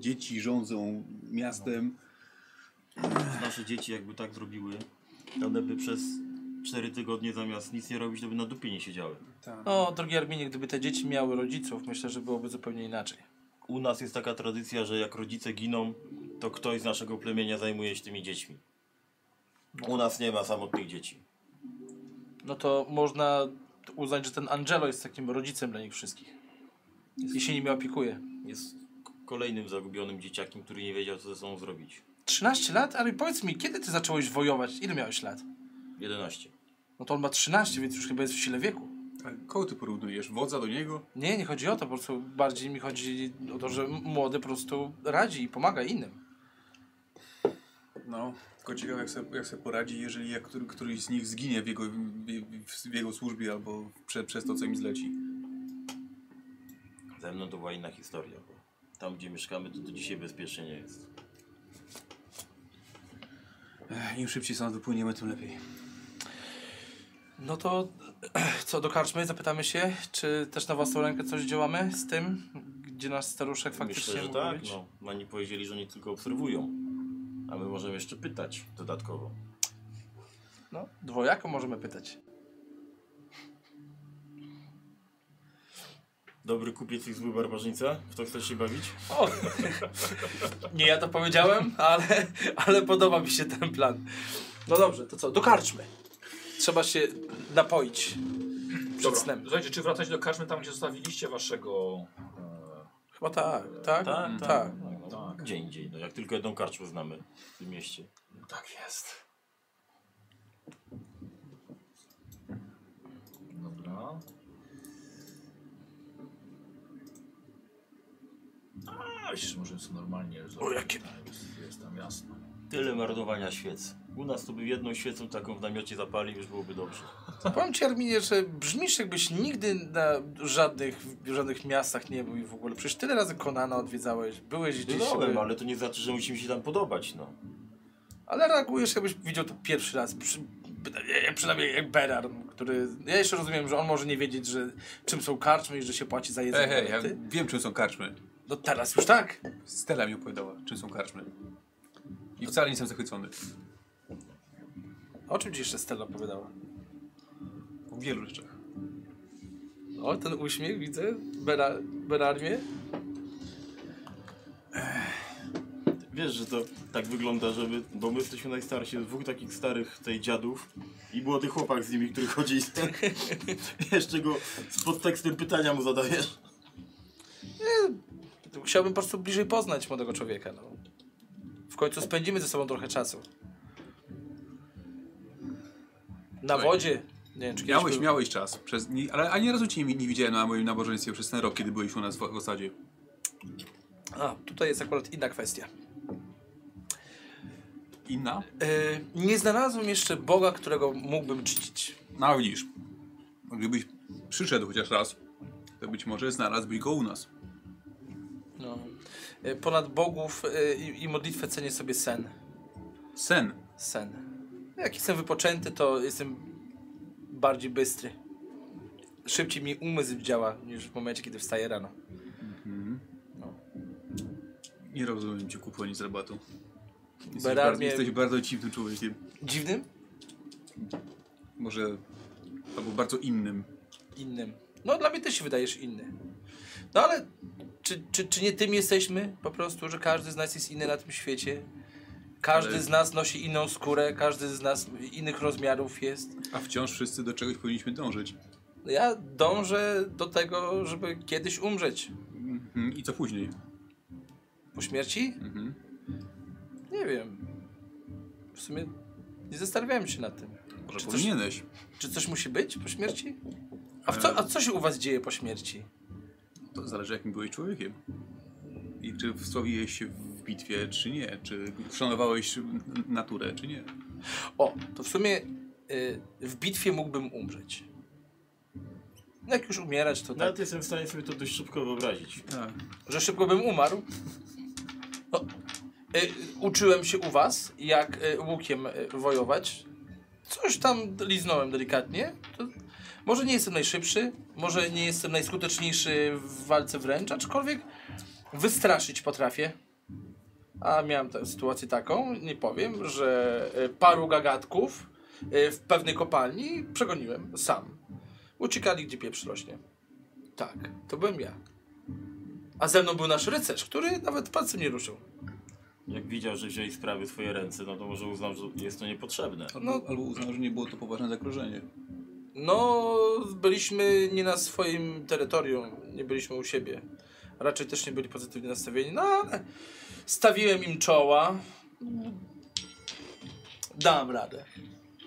S3: Dzieci rządzą miastem.
S5: Nasze dzieci jakby tak zrobiły, to one by przez 4 tygodnie zamiast nic nie robić, to by na dupie nie siedziały.
S3: tak.
S2: No, drogi Arminie, gdyby te dzieci miały rodziców, myślę, że byłoby zupełnie inaczej.
S5: U nas jest taka tradycja, że jak rodzice giną, to ktoś z naszego plemienia zajmuje się tymi dziećmi. U nas nie ma samotnych dzieci.
S2: No to można uznać, że ten Angelo jest takim rodzicem dla nich wszystkich. I się nimi opiekuje.
S5: Jest k- kolejnym zagubionym dzieciakiem, który nie wiedział, co ze sobą zrobić.
S2: 13 lat? Ale powiedz mi, kiedy ty zacząłeś wojować? Ile miałeś lat?
S5: 11.
S2: No to on ma 13, więc już chyba jest w sile wieku.
S3: Ale kogo ty porównujesz? Wodza do niego?
S2: Nie, nie chodzi o to, po prostu bardziej mi chodzi o to, że m- młody po prostu radzi i pomaga innym.
S3: No, tylko ciekawe jak sobie, jak sobie poradzi, jeżeli jak który, któryś z nich zginie w jego, w, w jego służbie albo prze, przez to, co im zleci.
S5: Ze mną to była inna historia, bo tam, gdzie mieszkamy, to do dzisiaj bezpiecznie nie jest.
S3: Ech, Im szybciej stąd wypłyniemy, tym lepiej.
S2: No to [CLEARS THROAT] co do karczmy, zapytamy się, czy też na własną rękę coś działamy z tym, gdzie nasz staruszek faktycznie
S5: Myślę, że
S2: mógł
S5: tak.
S2: być?
S5: No, oni powiedzieli, że oni tylko obserwują. A my możemy jeszcze pytać dodatkowo.
S2: No, dwojako możemy pytać.
S5: Dobry kupiec i zły barbarzyńca? W to chcesz się bawić?
S2: O! [LAUGHS] Nie ja to powiedziałem, ale, ale podoba mi się ten plan. No dobrze, to co? Do karczmy. Trzeba się napoić przed
S1: Dobra,
S2: snem.
S1: słuchajcie, czy wracać do karczmy tam, gdzie zostawiliście waszego...
S2: Chyba tak, tak? tak.
S5: no, Gdzie indziej, no, jak tylko jedną karczmę znamy w tym mieście.
S1: E, tak jest. Dobra. A, jeszcze możemy sobie normalnie zrobić.
S2: jakie-
S1: Jest, jest tam jasno.
S5: Tyle marnowania świec. U nas to by jedną świecą taką w namiocie zapalił, już byłoby dobrze.
S2: Powiem ci, Arminie, że brzmisz jakbyś nigdy na żadnych, w żadnych miastach nie był i w ogóle. Przecież tyle razy Konana odwiedzałeś, byłeś gdzieś...
S5: Byłem,
S2: e,
S5: ale to nie znaczy, że musi mi się tam podobać, no.
S2: Ale reagujesz jakbyś widział to pierwszy raz. Przy, ja- przynajmniej jak Berarm, który... Ja jeszcze rozumiem, że on może nie wiedzieć, że czym są karczmy i że się płaci za jedzenie.
S3: Ej, hej, ja
S2: ale ty-
S3: wiem, czym są karczmy.
S2: No teraz już tak.
S3: Stella mi opowiadała, czym są karczmy. I wcale nie jestem zachwycony.
S2: O czym ci jeszcze Stella opowiadała?
S3: O wielu rzeczach.
S2: O, ten uśmiech widzę. Bera, Berarmie.
S5: Wiesz, że to tak wygląda, żeby, bo my jesteśmy najstarsi, dwóch takich starych tej dziadów i było tych chłopak z nimi, który chodzi [LAUGHS] i ten, jeszcze go z podtekstem pytania mu zadajesz.
S2: Chciałbym po prostu bliżej poznać młodego człowieka. No. W końcu spędzimy ze sobą trochę czasu. Na
S3: Oj.
S2: wodzie. Nie wiem, czy kiedyś
S3: Miałeś,
S2: był-
S3: miałeś czas, przez, nie, ale ani razu cię nie, nie widziałem na moim nabożeństwie przez ten rok, kiedy byłeś u nas w, w osadzie.
S2: A, tutaj jest akurat inna kwestia.
S3: Inna?
S2: Yy, nie znalazłem jeszcze Boga, którego mógłbym czcić.
S3: No a widzisz, gdybyś przyszedł chociaż raz, to być może znalazłbyś go u nas.
S2: No. Yy, ponad bogów yy, i, i modlitwę cenię sobie sen.
S3: Sen.
S2: Sen. Jak jestem wypoczęty, to jestem bardziej bystry. Szybciej mi umysł działa niż w momencie, kiedy wstaję rano.
S3: Nie rozumiem cię kuponie z rabatu. Jesteś,
S2: Berarmie-
S3: bardzo, jesteś bardzo dziwnym człowiekiem.
S2: Dziwnym?
S3: Może... Albo bardzo innym.
S2: Innym. No dla mnie też się wydajesz inny. No ale czy, czy, czy nie tym jesteśmy po prostu, że każdy z nas jest inny na tym świecie? Każdy
S3: Ale-
S2: z nas nosi inną skórę, każdy z nas innych rozmiarów jest.
S3: A wciąż wszyscy do czegoś powinniśmy dążyć.
S2: Ja dążę do tego, żeby kiedyś umrzeć.
S3: Mhm. I co później?
S2: Po śmierci?
S3: Mhm.
S2: Nie wiem. W sumie nie zastanawiałem się nad tym.
S3: Może
S2: Czy coś-
S3: powinieneś.
S2: Czy coś musi być po śmierci? A, w co, a co się u was dzieje po śmierci?
S3: To zależy jakim byłeś człowiekiem. I czy wsławiłeś się w bitwie, czy nie. Czy szanowałeś n- naturę, czy nie.
S2: O, to w sumie y, w bitwie mógłbym umrzeć. No Jak już umierać, to tak,
S5: Nawet jestem w stanie sobie to dość szybko wyobrazić.
S3: Tak.
S2: że szybko bym umarł. No, y, uczyłem się u was, jak y, łukiem y, wojować. Coś tam liznąłem delikatnie. To, może nie jestem najszybszy, może nie jestem najskuteczniejszy w walce wręcz, aczkolwiek wystraszyć potrafię. A miałem tę sytuację taką, nie powiem, że y, paru gagatków y, w pewnej kopalni przegoniłem sam. Uciekali, gdzie pieprz rośnie. Tak, to byłem ja. A ze mną był nasz rycerz, który nawet palcem nie ruszył.
S5: Jak widział, że wzięli sprawy w swoje ręce, no to może uznał, że jest to niepotrzebne.
S3: Albo,
S2: No-
S3: albo uznał, że nie było to poważne zagrożenie.
S2: No, byliśmy nie na swoim terytorium, nie byliśmy u siebie. Raczej też nie byli pozytywnie nastawieni, no ale stawiłem im czoła. Dałem radę.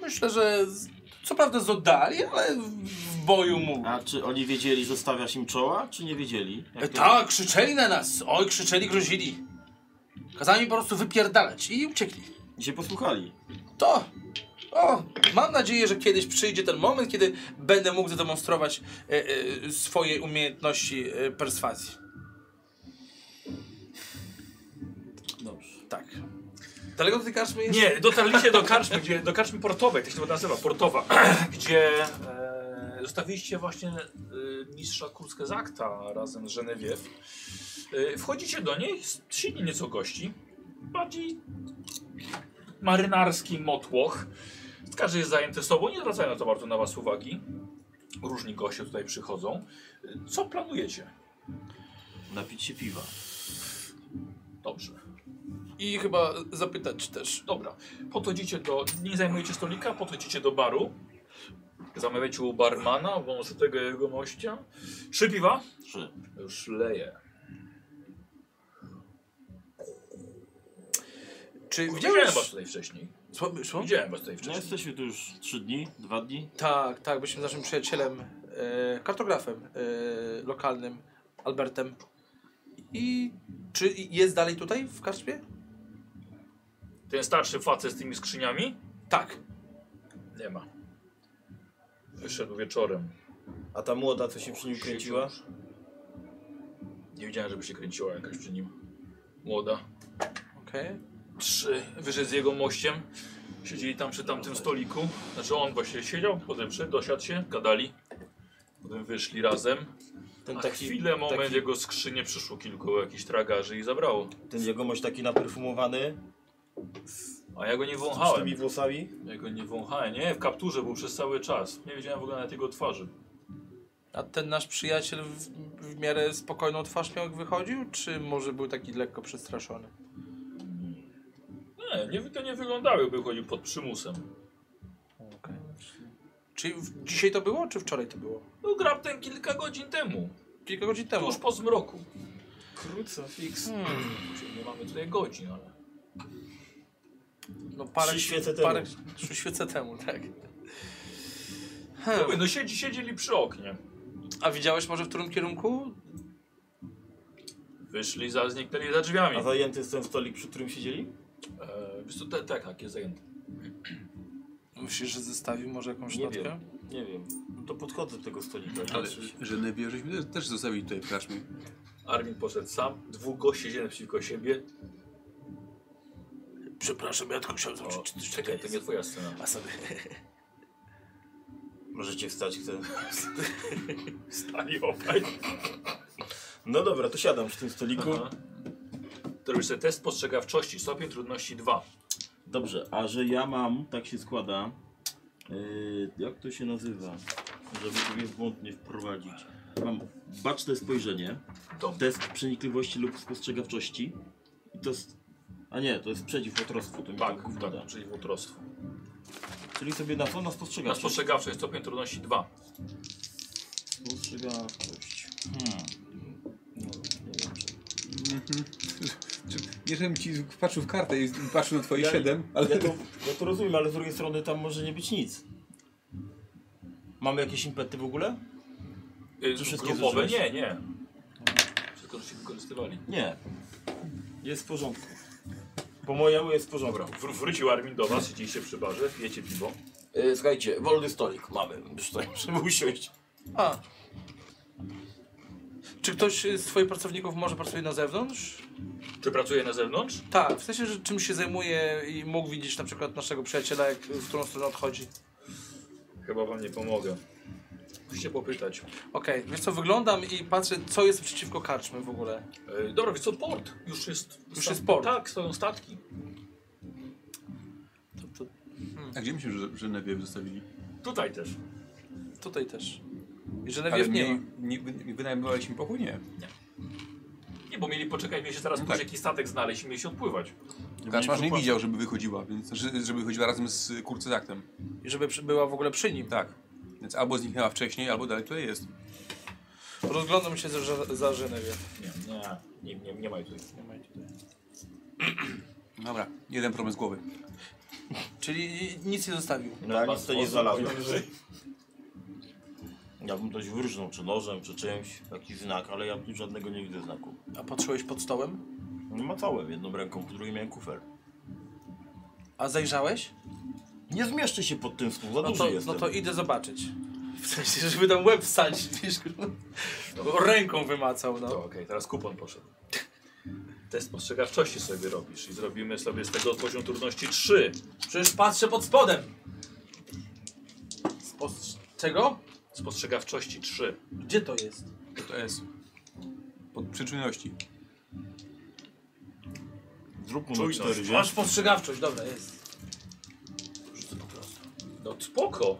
S2: Myślę, że z, co prawda z oddali, ale w- w boju mógł.
S5: A czy oni wiedzieli, że stawiasz im czoła, czy nie wiedzieli? Jak
S2: E,
S5: to-
S2: tak, krzyczeli na nas. Oj, krzyczeli, grozili. Kazali mi po prostu wypierdalać i uciekli.
S5: I się posłuchali.
S2: To! O! Mam nadzieję, że kiedyś przyjdzie ten moment, kiedy będę mógł zademonstrować e, e, swoje umiejętności e, perswazji.
S5: Dobrze.
S2: Tak. Daleko do tej karczmy jest?
S1: Nie, dotarliście do karczmy, gdzie, do karczmy portowej, tak się to nazywa, portowa, [CLEARS THROAT] gdzie e, zostawiliście właśnie e, mistrza Kurskę Zakta razem z Genevieve. E, wchodzicie do niej, siedzi nieco gości, bardziej marynarski motłoch. Każdy jest zajęty sobą, nie zwracają na to bardzo na was uwagi. Różni goście tutaj przychodzą. E, Co planujecie?
S5: Napić się piwa.
S1: Dobrze.
S2: I chyba zapytać też.
S1: Dobra, podchodzicie do. Nie zajmujecie stolika, podchodzicie do baru. Zamawiacie u barmana, wąsatego jego mościa. Trzy piwa.
S5: Trzy.
S1: Już leje.
S2: Czy
S1: Widziałem
S2: widziałeś...
S1: was tutaj wcześniej.
S2: Sło- szło?
S1: Widziałem was tutaj
S5: No
S1: wcześniej.
S5: jesteśmy tu już trzy dni, dwa dni.
S2: Tak, tak, byliśmy z naszym przyjacielem, e, kartografem e, lokalnym, Albertem. I czy jest dalej tutaj w karczmie?
S1: Ten starszy facet z tymi skrzyniami?
S2: Tak.
S1: Nie ma. Wyszedł wieczorem.
S5: A ta młoda, co się przy nim kręciła?
S1: Nie widziałem, żeby się kręciła jakaś przy nim. Młoda.
S2: Okej.
S1: Trzy. Wyszedł z jego mościem. Siedzieli tam przy tamtym stoliku. Znaczy on właśnie siedział, potem przyszedł, dosiadł się, gadali. Potem wyszli razem.
S5: Ten
S1: Na
S5: taki,
S1: chwilę, moment,
S5: taki,
S1: jego skrzynie przyszło kilku jakichś tragarzy i zabrało.
S5: ten jegomość taki naperfumowany,
S1: A ja go nie
S5: z
S1: wąchałem.
S5: tymi włosami.
S1: Ja go nie wąchałem. Nie, w kapturze był przez cały czas. Nie widziałem w ogóle nawet jego twarzy.
S2: A ten nasz przyjaciel w, w miarę spokojną twarz miał jak wychodził, czy może był taki lekko przestraszony?
S1: Nie, nie, to nie wyglądały, by chodził pod przymusem.
S2: Czyli w, dzisiaj to było, czy wczoraj to było?
S1: No raptem kilka godzin temu,
S2: Kilka godzin temu.
S1: tuż po zmroku.
S3: Krótko, fix.
S2: Hmm,
S1: Czyli nie mamy tutaj godzin, ale...
S2: no parę,
S5: Trzy świece
S2: parę,
S5: temu.
S2: Trzy świece temu, tak.
S1: Mówię, no siedzi, siedzieli przy oknie.
S2: A widziałeś może w którym kierunku?
S1: Wyszli, za, zniknęli za drzwiami.
S5: A zajęty jest ten stolik, przy którym siedzieli?
S1: E, wiesz co, te- tak, tak, jest zajęty.
S2: Myślisz, że zestawił może jakąś
S5: Nie
S2: notkę?
S5: wiem. Nie wiem. No to podchodzę do tego stolika.
S3: Ale Genewia żeśmy też- też zostawili tutaj w karczmie.
S1: Armin poszedł sam, dwóch gości siedzieli naprzeciwko siebie.
S2: Przepraszam, ja tylko chciałem
S1: O, czekaj, to nie twoja scena.
S2: A sobie.
S5: [LAUGHS] Możecie wstać, chcę.
S1: Stali obaj.
S5: No dobra, to siadam przy tym stoliku.
S1: Aha. To robisz sobie test postrzegawczości, stopień trudności 2.
S5: Dobrze, a że ja mam, tak się składa, yy, jak to się nazywa, żeby sobie w błąd nie wprowadzić. Mam baczne spojrzenie,
S1: Dom.
S5: test przenikliwości lub spostrzegawczości i to jest, a nie, to jest przeciwłotrostwo, to mi
S1: Tak,
S5: to gówno
S1: tak,
S5: da.
S1: czyli wątrostwo.
S5: Czyli sobie na co? Na
S1: Na
S5: spostrzegawczość.
S1: spostrzegawczość, stopień trudności 2.
S5: Spostrzegawczość. Hmm. No, nie wiem, czy...
S3: Czy, nie, żebym ci patrzył w kartę i patrzył na twoje
S5: Ja-
S3: siedem, ale...
S5: Ja to, ja to rozumiem, ale z drugiej strony tam może nie być nic. Mamy jakieś impety w ogóle?
S1: Y,
S5: Czy wszystkie
S1: Grupowe?
S5: zużyłeś?
S1: Nie, nie. Wszystko, że się wykorzystywali.
S5: Nie. Jest w porządku. Po mojemu jest w porządku.
S1: Wr- wrócił Armin do was, siedzieliście przy barze, pijecie piwo.
S5: E, słuchajcie, wolny stolik mamy. Już tutaj [LAUGHS] muszę usiąść.
S2: A. Czy ktoś z twoich pracowników może pracuje na zewnątrz?
S1: Czy pracuje na zewnątrz?
S2: Tak, w sensie, że czym się zajmuje i mógł widzieć na przykład naszego przyjaciela, jak, w którą stronę odchodzi.
S1: Chyba wam nie pomogę. Musicie popytać.
S2: Okej, wiesz co, wyglądam i patrzę, co jest przeciwko karczmy w ogóle.
S1: E, dobra, wiesz co, port. Już jest...
S2: Już jest port.
S1: Tak, stoją statki.
S2: To, to,
S3: A gdzie myśmy Ż- Genewia zostawili?
S1: Tutaj też.
S2: tutaj też. I że najpierw nie.
S3: nie,
S2: ma.
S3: nie, nie wynajmowaliśmy pokój? Nie.
S1: Nie, bo mieli poczekać, mieli się zaraz
S3: No
S1: pójść,
S3: tak.
S1: jaki statek znaleźć i mieli się odpływać.
S3: Kaczmarz nie widział, żeby wychodziła, więc że- żeby wychodziła razem z kurcezaktem.
S2: I żeby przy, była w ogóle przy nim.
S3: Tak. Więc albo zniknęła wcześniej, albo dalej tutaj jest.
S2: Rozglądam się za, za Żenewie.
S1: Nie, nie, nie, nie, nie ma jej tutaj.
S2: Nie ma jej tutaj.
S3: Dobra, jeden problem z głowy.
S2: Czyli nic nie zostawił.
S5: No, ja nic
S1: bardzo
S5: to nie
S1: osób
S5: znalazłem. Ja bym coś wyrżnął, czy nożem, czy czymś. Jakiś znak, ale ja tu żadnego nie widzę znaku.
S2: A patrzyłeś pod stołem?
S5: No macałem jedną ręką, po drugiej miałem kufer.
S2: A zajrzałeś?
S5: Nie zmieszczę się pod tym stół, za
S2: No
S5: duży
S2: to, no
S5: jestem.
S2: to idę zobaczyć. [LAUGHS] W sensie, żeby tam łeb wsadzić, [LAUGHS] wiesz, kurwa. Bo ręką wymacał,
S1: To
S2: no.
S1: okej, teraz kupon poszedł. [LAUGHS] Test spostrzegawczości sobie robisz i zrobimy sobie z tego poziom trudności 3.
S2: Przecież patrzę pod spodem. Spos... Czego?
S1: Spostrzegawczości 3.
S2: Gdzie to jest?
S3: To, to jest. Pod przyczynności.
S5: Zrób mu na
S1: Czujność.
S5: cztery,
S2: Masz
S5: wiesz?
S2: spostrzegawczość, dobra, jest.
S1: Rzucę po prostu. No spoko.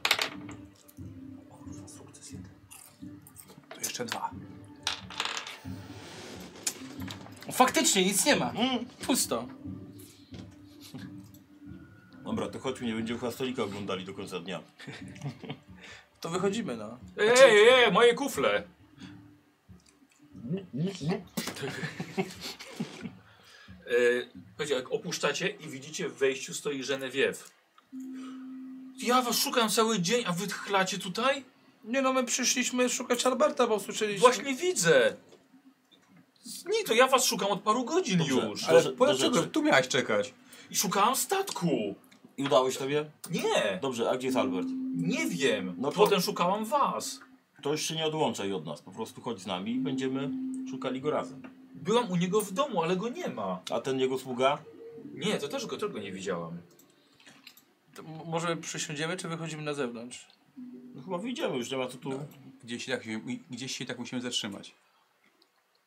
S2: Kurwa, sukces jeden.
S3: To jeszcze dwa.
S2: O, Faktycznie, nic nie ma. Pusto.
S5: Dobra, to chodźmy, nie będziemy chyba stolika oglądali do końca dnia.
S2: To wychodzimy, no.
S1: Ej, ej, ej, moje kufle. E, Słuchajcie, jak opuszczacie i widzicie w wejściu stoi Genevieve. Ja was szukam cały dzień, a wy chlacie tutaj?
S2: Nie no, my przyszliśmy szukać Alberta, bo usłyszeliśmy...
S1: Właśnie widzę. Nie, to ja was szukam od paru godzin już.
S5: ale-
S3: Ale
S5: Do- do
S3: dlaczego
S5: rzeczy.
S3: tu miałeś czekać?
S1: I szukałam statku.
S5: I udałeś tobie?
S1: Nie,
S5: Dobrze, a gdzie jest Albert?
S1: nie wiem.
S5: No to-
S1: Potem szukałam was.
S5: To jeszcze nie odłączaj od nas, po prostu chodź z nami i będziemy szukali go razem.
S1: Byłam u niego w domu, ale go nie ma.
S5: A ten jego sługa?
S1: Nie, to też go, też go nie widziałam.
S2: To m- Może przysiądziemy, czy wychodzimy na zewnątrz?
S5: No chyba wyjdziemy, już nie ma co tu...
S3: Gdzieś się tak, gdzieś się tak musimy zatrzymać.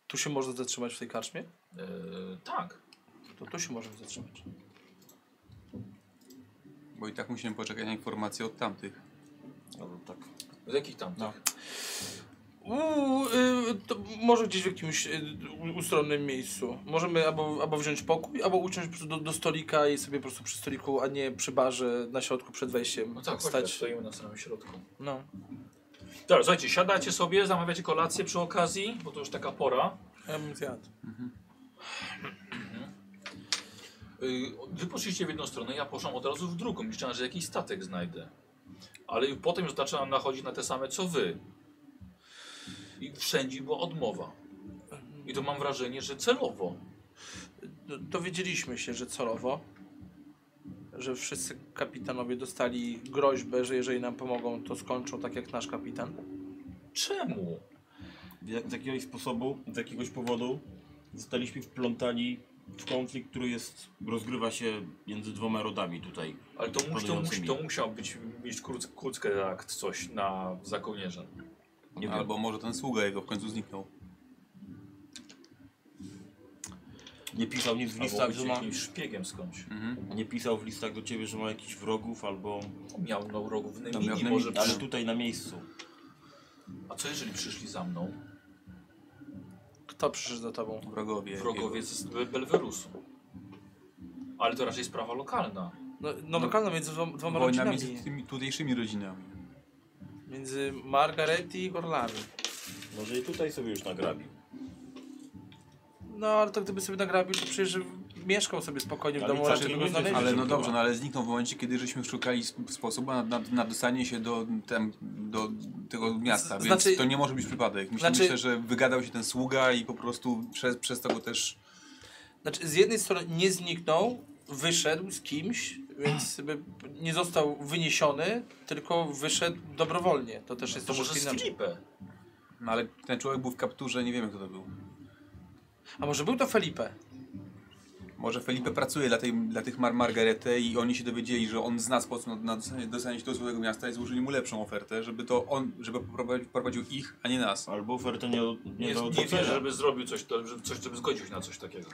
S2: Tu się można zatrzymać w tej karczmie?
S1: E, tak.
S2: To tu się możemy zatrzymać.
S3: Bo i tak musimy poczekać na informacje od tamtych.
S5: No, to tak.
S1: Z jakich tam?
S3: No.
S2: Uuu, y, to może gdzieś w jakimś y, u- ustronnym miejscu. Możemy albo, albo wziąć pokój, albo usiąść po prostu do, do stolika i sobie po prostu przy stoliku, a nie przy barze na środku przed wejściem
S1: No tak, stać.
S2: stać.
S1: stoimy na samym środku.
S2: No.
S1: Dobra, słuchajcie, siadacie sobie, zamawiacie kolację przy okazji, bo to już taka pora.
S2: Ja bym zjadł.
S1: Yy, Wy poszliście w jedną stronę, ja poszłam od razu w drugą, liczyłam, że jakiś statek znajdę. Ale i potem już zaczęłam nachodzić na te same, co wy. I wszędzie była odmowa. I to mam wrażenie, że celowo.
S2: Do- No, Dowiedzieliśmy się, że celowo, że wszyscy kapitanowie dostali groźbę, że jeżeli nam pomogą, to skończą tak jak nasz kapitan.
S1: Czemu?
S5: Jak z jakiegoś sposobu, z jakiegoś powodu zostaliśmy wplątani w konflikt, który jest, rozgrywa się między dwoma rodami tutaj.
S1: Ale to, musi, to, musi,
S5: Panującymi.
S1: to musiał być, mieć kurc, kurckę akt coś na, za kołnierza.
S5: Nie wiem.
S3: Albo może ten sługa jego w końcu zniknął.
S5: Nie pisał nic w
S1: Albo
S5: listach,
S1: być
S5: tak, że ma,
S1: jakimś szpiegiem skądś.
S5: nie pisał w listach do ciebie, że ma jakichś wrogów albo...
S1: Miał no rogów w
S3: miał
S1: Nemini,
S3: Nemini,
S1: może
S5: Ale
S1: przy...
S5: tutaj na miejscu.
S1: A co jeżeli przyszli za mną
S2: Kto przyszedł za tobą?
S3: Wrogowie.
S1: wrogowie z Belwerusu? Ale to raczej sprawa lokalna.
S2: No, no lokalno między dwoma,
S3: jego.
S2: dwoma
S3: Wojna
S2: rodzinami.
S3: między tymi tutejszymi rodzinami.
S2: Między Margaret i Orlami.
S5: Może i tutaj sobie już nagrabił.
S2: No ale to gdyby sobie nagrabił, to przecież mieszkał sobie spokojnie w
S5: Ale
S2: domu,
S5: co,
S2: raczej
S5: czy
S2: by
S5: nie
S2: go znaleźli.
S5: wiedzieć?
S3: Ale no dobrze, no ale zniknął w momencie, kiedy żeśmy szukali sp- sposobu na, na, na dostanie się do, tem, do tego miasta,
S2: Z-
S3: więc
S2: znaczy-
S3: to nie może być przypadek. Myślę,
S2: znaczy-
S3: myślę, że wygadał się ten sługa i po prostu przez, przez to go też...
S2: Znaczy, z jednej strony nie zniknął, wyszedł z kimś, więc by nie został wyniesiony, tylko wyszedł dobrowolnie. To też jest
S1: To może
S2: troszeczkę
S1: z
S2: inaczej.
S1: Filipę?
S3: No ale ten człowiek był w kapturze, nie wiemy kto to był.
S2: A może był to Felipe?
S3: Może Felipe pracuje dla, tej, dla tych Mar Margarety i oni się dowiedzieli, że on zna sposób na, na dostanie, dostanie się do złego miasta i złożyli mu lepszą ofertę, żeby to on, żeby poprowadził, prowadził ich, a nie nas.
S5: Albo ofertę nie, nie,
S1: Nie,
S5: dał
S1: nie wierzę,
S5: docenia.
S1: żeby zrobił coś, to- żeby, coś, żeby zgodził się na coś takiego.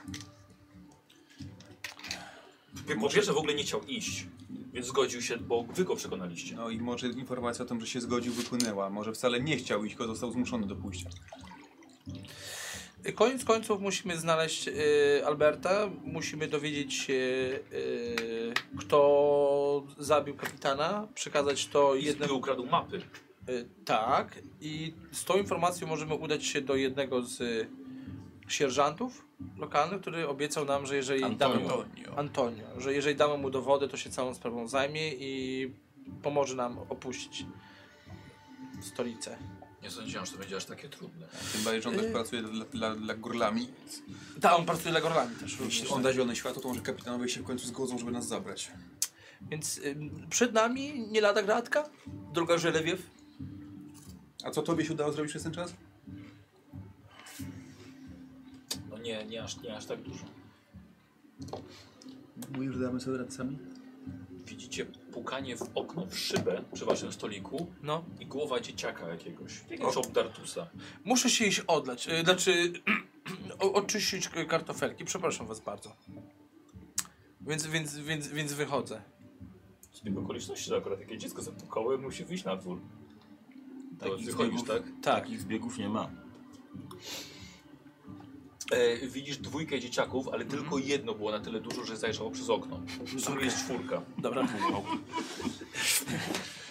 S1: Po pierwsze w ogóle nie chciał iść, więc zgodził się, bo wy go przekonaliście.
S3: No i może informacja o tym, że się zgodził, wypłynęła. Może wcale nie chciał iść, tylko został zmuszony do pójścia.
S2: Koniec końców musimy znaleźć y, Alberta, musimy dowiedzieć się, y, kto zabił kapitana, przekazać to
S1: I
S2: jednemu.
S1: jednego ukradł mapy.
S2: Y, tak, i z tą informacją możemy udać się do jednego z y, sierżantów lokalnych, który obiecał nam, że jeżeli damy mu,
S5: Antonio.
S2: Antonio, że jeżeli damy mu dowody, to się całą sprawą zajmie i pomoże nam opuścić stolicę.
S1: Nie sądziłem, że to będzie aż takie trudne.
S3: Tym bardziej, że on też pracuje dla, dla, dla górlami.
S2: Tak, on pracuje dla Gorlami też.
S3: Jeśli
S2: również,
S3: on
S2: tak.
S3: da zielone światło, to może kapitanowie się w końcu zgodzą, żeby nas zabrać.
S2: Więc ym, przed nami nie lada gratka, droga Żelewiew.
S3: A co tobie się udało zrobić przez ten czas?
S1: No nie, nie aż, nie aż tak dużo.
S3: Mówisz, że damy sobie radę sami?
S1: Widzicie pukanie w okno, w szybę przy waszym stoliku
S2: No.
S1: i głowa dzieciaka jakiegoś. Jakiegoś obdartusa.
S2: Muszę się iść odlać, y, znaczy [CLEARS THROAT] o- oczyścić k- kartofelki, przepraszam was bardzo. Więc, więc, więc, więc wychodzę.
S1: Z tych okoliczności, że akurat takie dziecko zapukało, musi wyjść na dwór. To
S5: Takich
S1: wychodzisz,
S5: zbiegów-
S1: tak?
S2: Tak.
S5: Takich zbiegów nie ma.
S1: E, widzisz dwójkę dzieciaków, ale tylko jedno było na tyle dużo, że zajrzało przez okno. W sumie jest czwórka.
S2: Dobra.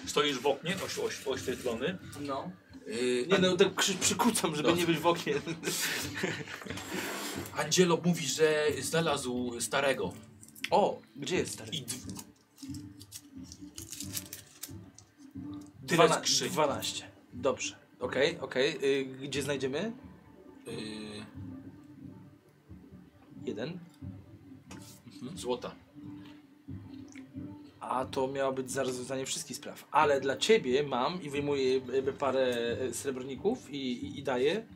S1: Stoisz w oknie, oś, oś, oświetlony.
S2: No.
S1: Yy,
S2: Nie no, tak przy, przykucam, żeby
S1: Dobrze.
S2: nie być w oknie.
S1: Angelo mówi, że znalazł starego.
S2: O, gdzie jest stary?
S1: I d- tyle
S2: Dwana-
S1: skrzyń.
S2: 12. Dobrze. Okej, okej. Y, Gdzie znajdziemy?
S1: yy,
S2: Y, Jeden.
S1: złota.
S2: A to miało być za rozwiązanie wszystkich spraw. Ale dla ciebie mam i wyjmuję y, parę y, srebrników i, i, i daję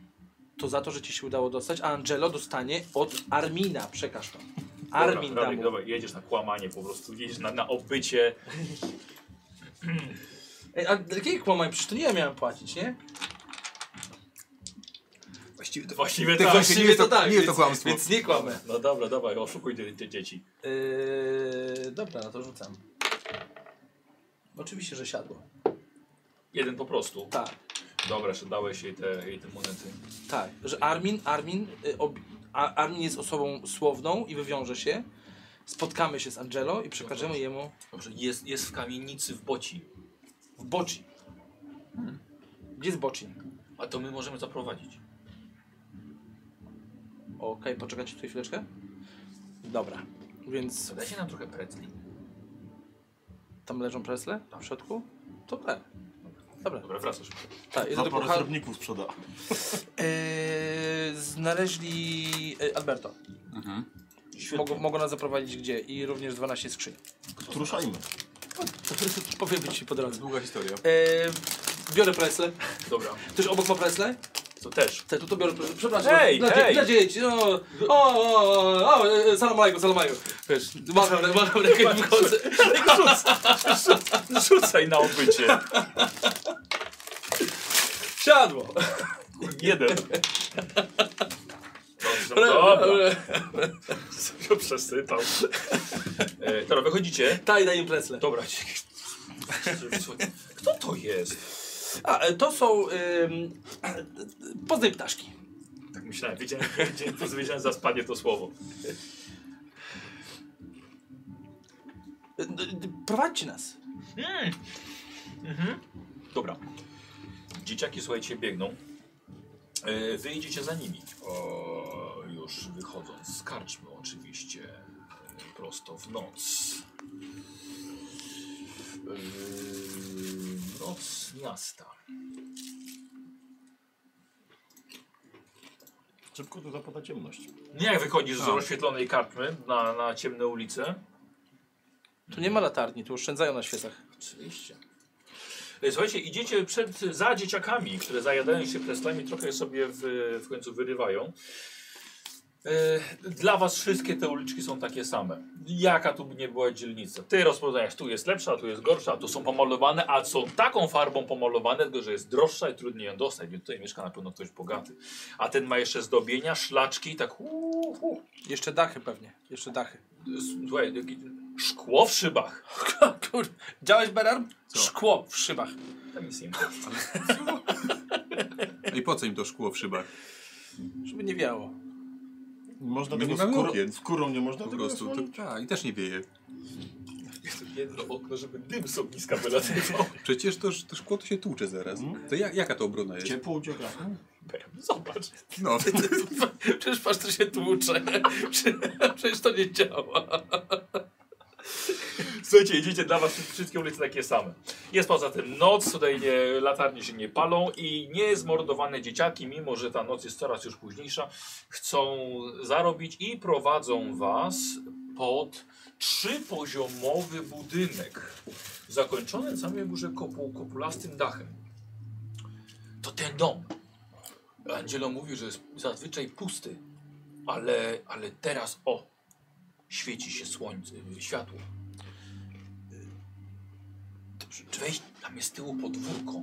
S2: to za to, że ci się udało dostać. A Angelo dostanie od Armina. Przekaż to. Armin
S1: dobra,
S2: da
S1: Radek,
S2: mu.
S1: dobra, jedziesz na kłamanie po prostu, jedziesz na, na obycie.
S2: Ej, a jakiej kłamaj? Przecież to nie ja miałem płacić, nie?
S3: Właściwie to...
S1: Właściwie
S3: Tak,
S1: tak.
S3: właśnie. nie jest to- nie jest to
S2: więc,
S3: kłamstwo.
S2: Więc nie kłamę.
S1: No dobra, dawaj, oszukuj te, te dzieci.
S2: Yy, dobra, no to rzucam. Oczywiście, że siadło.
S1: Jeden po prostu.
S2: Tak.
S1: Dobra, że dałeś jej te, jej te monety.
S2: Tak, że Armin, Armin, y, ob, a, Armin jest osobą słowną i wywiąże się. Spotkamy się z Angelo i przekażemy jemu
S1: Dobrze, jest, jest w kamienicy w Boci.
S2: w Boci. Gdzie jest Boci?
S1: A to my możemy zaprowadzić.
S2: Okej, poczekajcie tutaj chwileczkę. Dobra, więc
S1: Dajcie nam trochę pretzli.
S2: tam leżą presle w środku? To tak. Dobra,
S1: Dobra, wracasz.
S2: tak,
S5: Za
S2: jedę do
S5: parę
S2: kucharza.
S5: srebrników sprzeda.
S2: Eee, znaleźli e, Alberto. Mogą, mogą nas zaprowadzić gdzie i również 12 skrzyni.
S5: Ruszajmy.
S2: Powiem ci po drodze.
S3: Długa historia.
S2: Eee, biorę presle.
S1: Dobra,
S2: Ktoś obok ma presle?
S1: to też. [LAUGHS]
S2: Te, tu to biorę, pre- przepraszam.
S1: Hej,
S2: dla,
S1: hej!
S2: Dzie- dla dzieci, no. O, o, o, o, e, salam alaikum, salam alaikum. Wiesz, macham, rę- macham rękę i wychodzę.
S1: Rzucaj na obycie.
S2: Siadło.
S1: Jeden. Dobrze, dobra. Się przesypał. E, dobra, wychodzicie.
S2: Taj, daj im presle.
S1: Dobra. Kto to jest?
S2: A, e, to są... Ym, poznaj ptaszki.
S1: Tak myślałem, wiedziałem, wiedziałem, wiedziałem za spadnie to słowo.
S2: E, d- Prowadźcie nas.
S1: Dobra. Dzieciaki, słuchajcie, biegną. E, Wy idziecie za nimi. O, już wychodząc z karczmy oczywiście. E, Prosto w noc. E, Noc miasta.
S5: Szybko tu zapada ciemność.
S1: Nie jak wychodzisz z
S3: A.
S1: rozświetlonej karczmy na, na ciemne ulice.
S2: Tu nie ma latarni, tu oszczędzają na świecach.
S1: Oczywiście. E, Słuchajcie, idziecie przed, za dzieciakami, które zajadają się preslami, trochę je sobie w, w końcu wyrywają. E, Dla was wszystkie te uliczki są takie same. Jaka tu by nie była dzielnica. Ty rozpoznajesz, tu jest lepsza, tu jest gorsza, tu są pomalowane, a są taką farbą pomalowane, tylko że jest droższa i trudniej ją dostać, więc tutaj mieszka na pewno ktoś bogaty. A ten ma jeszcze zdobienia, szlaczki i tak uuu, uuu.
S2: Jeszcze dachy pewnie, jeszcze dachy.
S1: Słuchaj, taki- szkło w szybach.
S2: Kur... Działałeś Berarm? Szkło w szybach.
S1: Tam jest nie ma.
S3: I po co im to szkło w szybach?
S2: Żeby nie wiało.
S5: Można
S3: My
S5: tego
S3: nie mamy
S5: skórą,
S3: okien.
S5: skórą nie można
S3: Po
S5: tego
S3: prostu.
S5: osłonić?
S3: To, tak, i też nie wieje.
S1: jedno okno, żeby dym z ogniska wylatywał.
S3: Przecież to, to szkło to się tłucze zaraz. To ja, jaka to obrona jest?
S5: Ciepło ucieka.
S1: [LAUGHS] Zobacz.
S3: No,
S2: [LAUGHS] Przecież patrz, to się tłucze. [LAUGHS] Przecież to nie działa.
S1: Słuchajcie, idziecie dla was wszystkie ulice takie same. Jest poza tym noc, tutaj nie, latarnie się nie palą i niezmordowane dzieciaki, mimo że ta noc jest coraz już późniejsza, chcą zarobić i prowadzą was pod trzypoziomowy budynek, zakończony na samej górze kopuł, kopulastym dachem. To ten dom. Angelo mówił, że jest zazwyczaj pusty, ale, ale teraz o, świeci się słońce, światło. Dobrze, czy wejść tam jest z tyłu podwórko.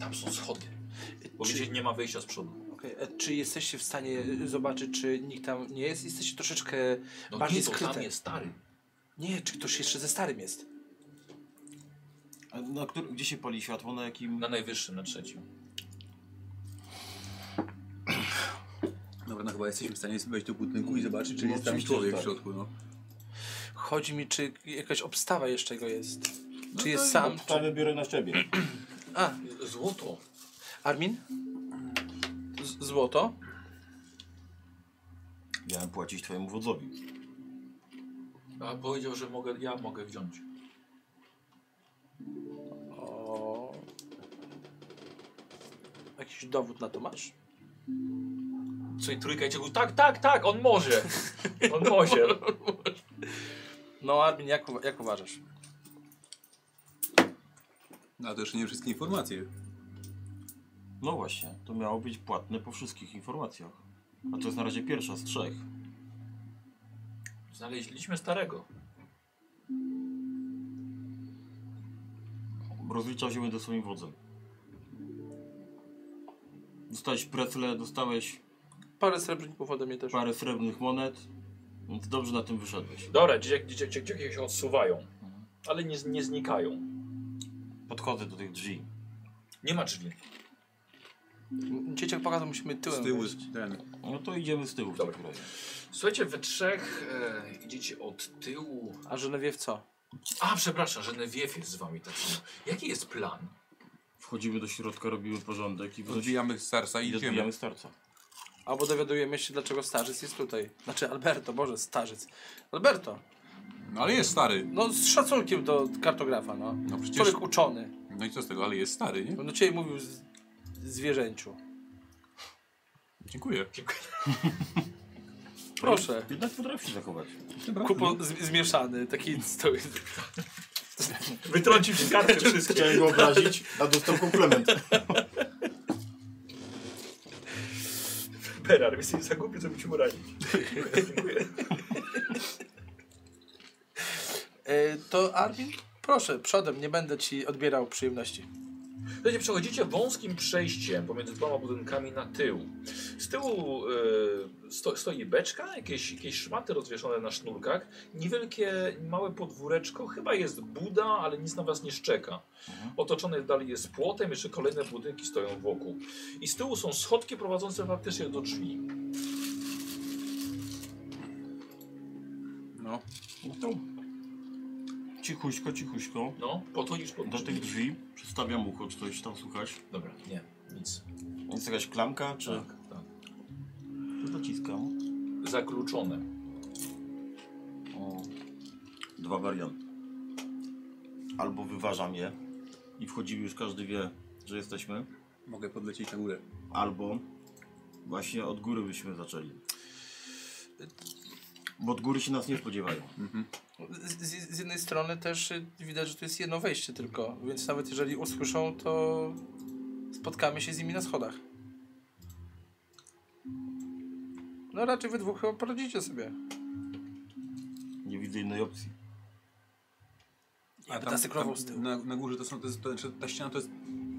S1: Tam są schody. Bo
S2: Czy-
S1: wiecie, nie ma wyjścia z przodu.
S2: Okej, e, Czy jesteście w stanie y, zobaczyć, czy nikt tam nie jest? Jesteście troszeczkę
S1: No
S2: bardziej
S1: nie, to
S2: skryte.
S1: tam jest stary.
S2: Nie, czy ktoś jeszcze ze starym jest?
S5: A na który, gdzie się pali światło? Na jakim?
S3: No,
S1: Na najwyższym, na trzecim.
S3: [LAUGHS] Dobra, no chyba jesteśmy w stanie wejść do budynku i zobaczyć, czy
S5: No,
S3: jest tam
S5: oczywiście,
S3: człowiek
S5: że
S3: w
S5: tak.
S3: środku. No.
S2: Chodzi mi, czy jakaś obstawa jeszcze go jest?
S3: No
S2: czy jest
S5: A
S2: sam? Czy...
S5: Prawie No biorę na siebie.
S2: A,
S1: Z- Złoto.
S2: Armin? Z złoto?
S5: Miałem płacić twojemu wodzowi.
S1: A powiedział, że mogę, ja mogę wziąć.
S2: O... Jakiś dowód na to masz?
S1: Co i trójka idzie, mówi, tak, tak, tak, on
S2: [LAUGHS]
S1: może. On może.
S2: No Armin, jak, uwa- jak uważasz?
S3: No, a to jeszcze nie wszystkie informacje.
S5: No właśnie, to miało być płatne po wszystkich informacjach. A to jest na razie pierwsza z trzech.
S1: Znaleźliśmy starego.
S5: Rozliczał się będę swoim wodzem. Dostałeś precle, dostałeś
S2: Parę srebrników ode mnie też.
S5: parę srebrnych monet, więc dobrze na tym wyszedłeś.
S1: Dobra, dzieciaki, dzieciaki, dzieciaki się odsuwają. Ale nie, z- nie znikają.
S5: Podchodzę do tych drzwi.
S1: Nie ma drzwi.
S2: Dzieciak pokazał, musimy tyłem
S3: Z tyłu
S2: wejść.
S3: ten.
S5: No to idziemy z tyłu w
S1: Dobra.
S5: takim razie.
S1: Słuchajcie, we trzech e, idziecie od tyłu.
S2: A Genevieve co?
S1: A, przepraszam, że Neview jest z wami tak samo. Jaki jest plan?
S5: Wchodzimy do środka, robimy porządek i wrócimy.
S3: Odbijamy starca i
S5: I
S3: idziemy.
S5: odbijamy starca.
S2: Albo dowiadujemy się, dlaczego starzec jest tutaj. Znaczy Alberto, Boże, starzec. Alberto,
S3: No ale jest stary.
S2: no z szacunkiem do kartografa, no.
S3: No przecież.
S2: Człowiek uczony.
S3: No i co z tego, ale jest stary, nie?
S2: On do ciebie mówił z... zwierzęciu.
S3: Dziękuję.
S2: Proszę.
S5: Jednak potrafi się zachować.
S2: Kupon z... zmieszany, taki stoi.
S1: Wytrącił się kartę wszystkie.
S5: Chciałem go obrazić, a dostał komplement.
S1: Perar, jesteś za głupi, żeby ci urazić. Dziękuję.
S2: E, to Armin, proszę, przodem, nie będę ci odbierał przyjemności.
S1: Słuchajcie, przechodzicie wąskim przejściem pomiędzy dwoma budynkami na tył. Z tyłu e, sto, stoi beczka, jakieś, jakieś szmaty rozwieszone na sznurkach, niewielkie, małe podwóreczko, chyba jest buda, ale nic na was nie szczeka.
S5: Mhm.
S1: Otoczone dalej jest płotem, jeszcze kolejne budynki stoją wokół. I z tyłu są schodki prowadzące faktycznie do drzwi.
S3: No.
S5: No to cichuśko, cichuśko.
S1: No, podchodzisz pod
S5: Do tych
S1: drzwi.
S5: drzwi przystawiam ucho, czy coś tam słuchać.
S1: Dobra, nie, nic.
S5: Jest jakaś klamka, czy...
S1: Tak, tak.
S5: To dociskam.
S1: Zakluczone.
S5: O. Dwa warianty. Albo wyważam je i wchodzimy już każdy wie, że jesteśmy.
S3: Mogę podlecieć na górę.
S5: Albo właśnie od góry byśmy zaczęli. Bo od góry się nas nie spodziewają.
S2: Z, z, z jednej strony też y, widać, że to jest jedno wejście tylko, więc nawet jeżeli usłyszą, to spotkamy się z nimi na schodach. No raczej wy dwóch chyba poradzicie sobie.
S5: Nie widzę innej opcji.
S2: Jakby ta sykrową z tyłu.
S3: na, na górze to są, to jest, to, czy ta ściana to jest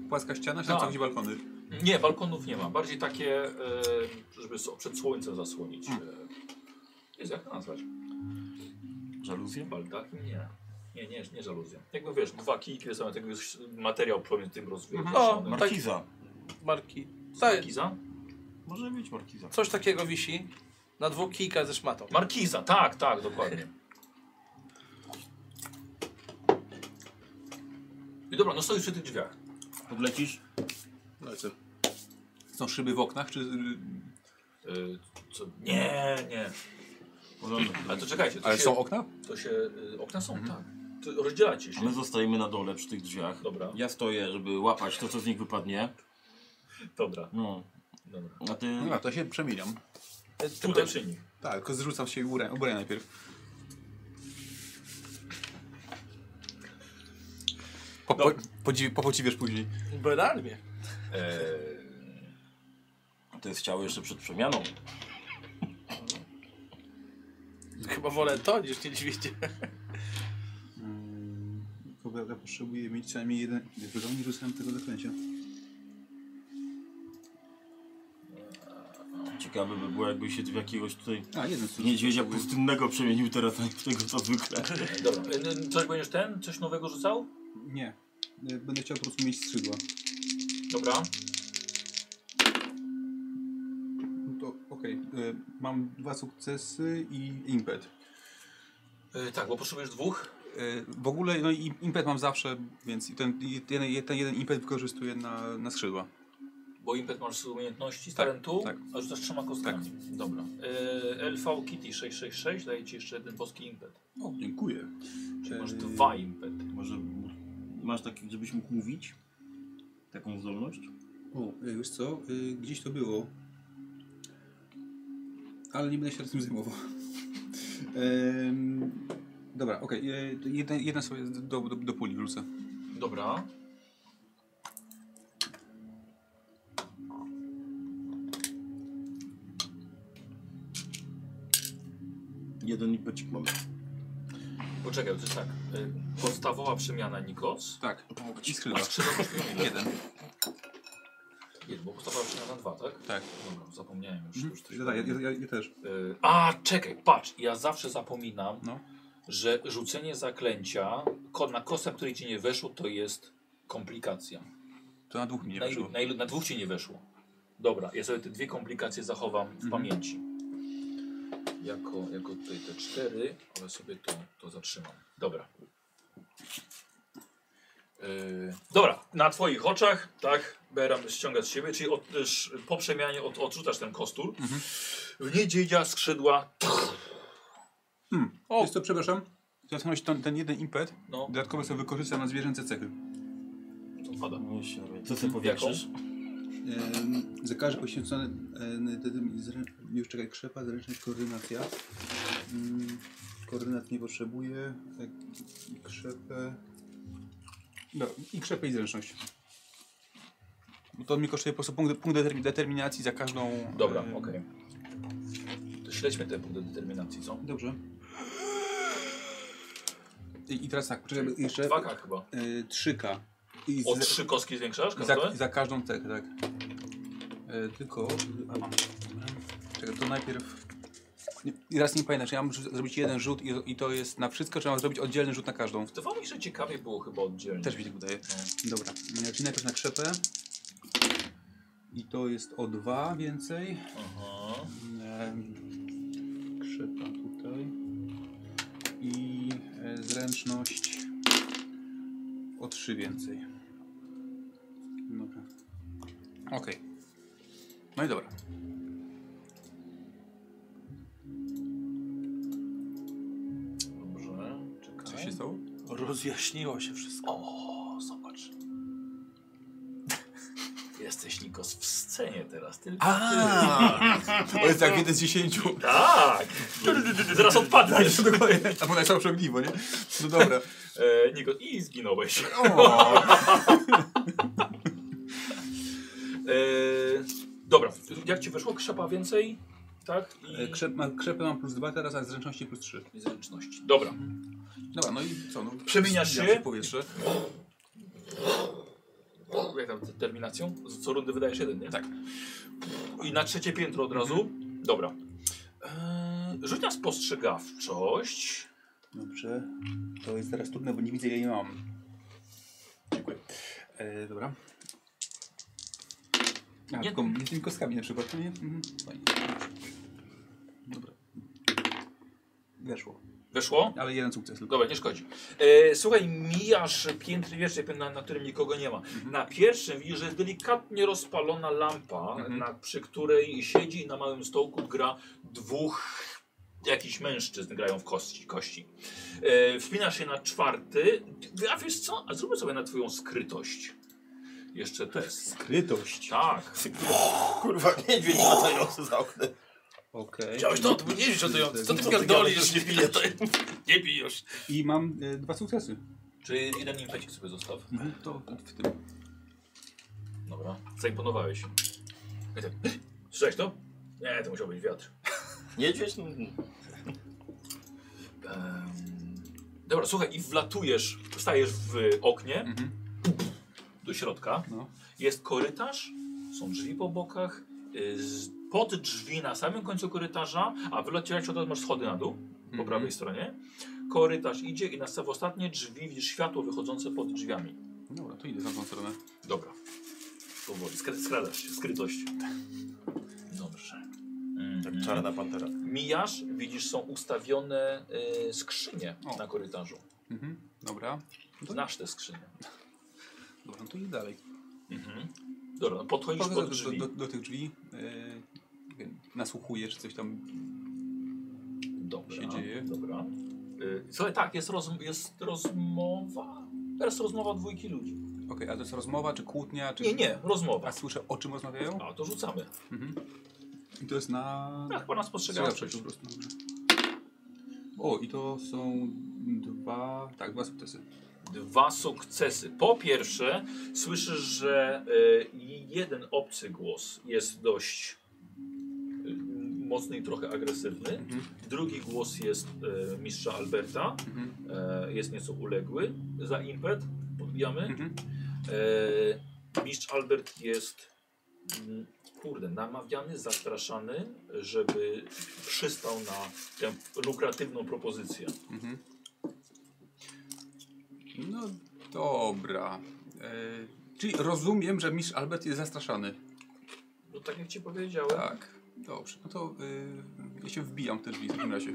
S3: płaska ściana, czy tam
S1: Tak.
S3: są jakieś balkony?
S1: Nie, balkonów nie ma. Bardziej takie, e, żeby so- przed słońcem zasłonić. E, jest jak to nazwać?
S5: Żaluzje?
S1: Baldakin? Nie. Nie, nie, nie żaluzja. Jakby wiesz, dwa kijki, same tego już materiał promień tym
S2: O,
S1: rozwiązany.
S2: tak.
S5: Markiza.
S2: Marki. Tak,
S1: Markiza?
S5: Może być markiza.
S2: coś takiego wisi na dwóch kijkach ze szmatą.
S1: Markiza, tak, tak, dokładnie. I dobra, no stoisz przy tych drzwiach.
S5: Podlecisz?
S3: Lecę. Są szyby w oknach, czy...
S1: E, co? Nie, nie.
S5: Porządek.
S1: Ale to czekajcie, to
S3: Ale
S1: się,
S3: są okna?
S1: to się e, okna są, tak. To rozdzielacie się.
S5: My zostajemy na dole przy tych drzwiach.
S1: Dobra,
S5: Ja stoję, żeby łapać to, co z nich wypadnie.
S1: dobra,
S5: No,
S1: dobra.
S5: a ty...
S3: No, to się przemieniam.
S2: E, tylko-
S1: Tutaj czyni.
S3: Tak, tylko zrzucam się ubrania, ubrania najpierw. Po, po, podzi- popodziwiasz później.
S2: Beralmie.
S3: Eee,
S1: E,
S5: To jest ciało jeszcze przed przemianą.
S2: Chyba wolę to niż niedźwiedzie.
S3: Kobieta potrzebuje mieć co najmniej jeden... Dlaczego nie rzucałem tego zaklęcia?
S5: Ciekawe by było, jakby się w jakiegoś tutaj
S3: A, jeden z
S5: niedźwiedzia pustynnego przemienił teraz na tego, co zwykle.
S1: [LAUGHS] Dobra, y, y, coś będziesz ten? Coś nowego rzucał?
S3: Nie. Y, Będę chciał po prostu mieć skrzydła.
S1: Dobra.
S3: No to okej. Y, Mam dwa sukcesy i impet.
S1: Y, tak, bo potrzebujesz dwóch.
S3: Y, W ogóle no i impet mam zawsze, więc i ten, i ten, i ten jeden impet wykorzystuję na, na skrzydła.
S1: Bo impet masz z umiejętności, z
S3: Tak,
S1: talentu,
S3: tak.
S1: a rzucasz trzema kostkami. Dobra. Y, LV Kitty 666 daje ci jeszcze jeden boski impet.
S3: O, dziękuję.
S1: Czyli masz
S3: Eee.
S1: dwa impety.
S5: Może masz taki, żebyś mógł mówić? Taką zdolność?
S3: O, wiesz co, y, gdzieś to było. Ale nie będę się tym zajmował. [LAUGHS] Em, Dobra, okej. y, Jeden, jeden sobie do, do, do puli wrzucę.
S1: Dobra.
S5: Jeden impecik mamy.
S1: Poczekaj, to jest tak. Y, podstawowa przemiana Nikos.
S3: Tak. I skrzydła. [LAUGHS] Jeden.
S1: Jeden, bo podstawowa przemiana dwa, tak?
S3: Tak.
S1: Dobra, zapomniałem już. już coś
S3: Dobra, Mhm. ja, ja, ja, ja też.
S1: Y, A, czekaj, patrz, ja zawsze zapominam,
S3: No.
S1: że rzucenie zaklęcia ko- na kostę, której ci nie weszło, to jest komplikacja.
S3: To na dwóch mi nie
S1: na,
S3: weszło.
S1: ilu, na, ilu, na dwóch ci nie weszło. Dobra, ja sobie te dwie komplikacje zachowam w pamięci. Mhm. Jako, jako tutaj te cztery, ale sobie to, to zatrzymam. Dobra. Yy, dobra, na twoich oczach, tak, Beram ściąga z siebie, czyli od, też po przemianie od, odrzucasz ten kostur. W niedźwiedzia skrzydła,
S3: O. Jest to, Hmm. przepraszam, zatknąłeś ten, ten jeden impet,
S1: no,
S3: dodatkowo sobie wykorzysta na zwierzęce cechy.
S1: pada.
S5: No Co ty powiekasz?
S4: Em, Za każdy poświęcony em, tym zrę- już czekaj, krzepa, zręczność, koordynacja. Mm, Koordynat nie potrzebuję. E, Krzepę.
S3: Tak, No, I krzepę i zręczność. Bo to mi kosztuje po prostu punkt, punkt determin- determinacji za każdą...
S1: Dobra,
S3: e,
S1: okej. To śledźmy te punkty determinacji, co?
S4: Dobrze.
S3: I, I teraz tak,
S4: Czekaj,
S3: poczekaj.
S4: jeszcze
S1: Dwa K chyba.
S4: e, 3K. I
S1: O
S4: z-
S1: trzy kostki zwiększasz
S3: I Za,
S1: każdą?
S3: i za każdą cechę, tak. E, tylko... A mam. Dobra. Czekaj, to najpierw... Nie, i raz nie pamiętam, czy ja mam rzu- zrobić jeden rzut i, i to jest na wszystko, czy mam zrobić oddzielny rzut na każdą.
S1: To wam jeszcze ciekawie było chyba oddzielnie.
S3: Też mi się wydaje.
S4: Dobra, E, czyli najpierw na krzepę. I to jest o 2 więcej.
S1: Aha.
S4: Em, Krzepa tutaj. I e, zręczność o 3 więcej. Dobra.
S3: Okej. No i dobra.
S1: Dobrze, czekaj.
S4: No.
S3: Co się stało?
S2: Rozjaśniło się wszystko.
S1: O, zobacz. [LAUGHS] Jesteś Nikos w scenie teraz, tylko.
S3: A, [LAUGHS] To jest jak jeden z dziesięciu.
S1: Tak! Zaraz odpadniesz.
S3: Albo najsłabsze ogniwo, nie? No dobra.
S1: E, Nikos, i zginąłeś.
S3: O,
S1: E, dobra, jak ci wyszło? Krzepa więcej? Tak?
S4: E,
S1: I
S4: Krzep, ma, krzepę mam plus 2 teraz, a zręczności plus 3.
S1: i zręczności. Dobra.
S3: Dobra, no i co? No,
S1: Przemieniasz
S3: ja
S1: się?
S3: w powietrze.
S1: Jak tam determinacją? Z- Co rundy wydajesz jeden, nie? Tak. I na trzecie piętro od razu? Dobra. E, rzuć na spostrzegawczość.
S4: Dobrze. To jest teraz trudne, bo nie widzę ile nie mam. Dziękuję. E, dobra.
S3: A,
S4: Nie.
S3: tylko nie tymi kostkami na przykład, to nie? Mhm. Fajnie. Dobra.
S4: Weszło.
S1: Weszło?
S3: Ale jeden sukces tylko.
S1: Dobra, nie szkodzi. E, słuchaj, mijasz piętry wieżyczej, na, na którym nikogo nie ma. Na pierwszym widzisz, że jest delikatnie rozpalona lampa, na, przy której siedzi na małym stołku gra dwóch jakichś mężczyzn, grają w kości. kości. E, wspinasz się na czwarty. A wiesz co? A zróbmy sobie na twoją skrytość. Jeszcze test.
S4: Krytość.
S1: Tak.
S5: Kurwa, [LAUGHS] niedźwiedź latający za oknem.
S4: Okej.
S5: Chciałeś to, to był niedźwiedź latający. Co ty pierdolisz, nie piję to. Nie pij już.
S4: I mam e, dwa sukcesy. Mhm.
S1: Czyli jeden impecik sobie zostaw.
S3: To w tym.
S1: Dobra. Zaimponowałeś. I tak, Słyszałeś to? Nie, to musiał być wiatr.
S5: Niedźwiedź? No,
S1: Em, Dobra, słuchaj, i wlatujesz, stajesz w oknie do środka.
S4: No.
S1: Jest korytarz, są drzwi po bokach, y, z- pod drzwi na samym końcu korytarza, a wyleciałeś od razu masz schody na dół po prawej stronie. Korytarz idzie i na w ostatnie drzwi widzisz światło wychodzące pod drzwiami.
S3: Dobra, to idę za tą stronę.
S1: Dobra. Powoli, skra- skradasz się, skrytość. Dobrze.
S5: Jak
S3: Mhm.
S5: czarna pantera.
S1: Tak, Mijasz, widzisz, są ustawione y, skrzynie
S3: O.
S1: na korytarzu.
S3: Mhm. Dobra.
S1: Znasz te skrzynie.
S3: Dobra, no to idę dalej.
S1: Mhm. Dobra, no podchodzisz
S3: Podchodzę
S1: pod
S3: do,
S1: drzwi.
S3: do, do, do tych drzwi. Yy, nie wiem, nasłuchuję, czy coś tam.
S1: Dobra,
S3: się dzieje.
S1: Dobra. Y, Słuchaj, tak, jest, roz, jest rozmowa. Teraz rozmowa dwójki ludzi.
S3: Okej, a to jest rozmowa, czy kłótnia, czy...
S1: Nie, nie, rozmowa.
S3: A słyszę, o czym rozmawiają?
S1: A, to rzucamy.
S3: I to jest na...
S1: Tak, pana spostrzegawczość.
S3: po prostu. Dobrze. O, i to są dwa... Tak, dwa sukcesy.
S1: Dwa sukcesy. Po pierwsze, słyszysz, że y, jeden obcy głos jest dość y, mocny i trochę agresywny. Drugi głos jest y, mistrza Alberta.
S3: Mhm.
S1: E, jest nieco uległy za impet, podbijamy.
S3: Mhm.
S1: E, mistrz Albert jest mm, kurde, namawiany, zastraszany, żeby przystał na tę lukratywną propozycję.
S3: Mhm. No dobra. E, czyli rozumiem, że mistrz Albert jest zastraszany.
S1: No, tak jak ci powiedziałem.
S3: Tak. Dobrze, no to y, ja się wbijam w te drzwi w takim razie.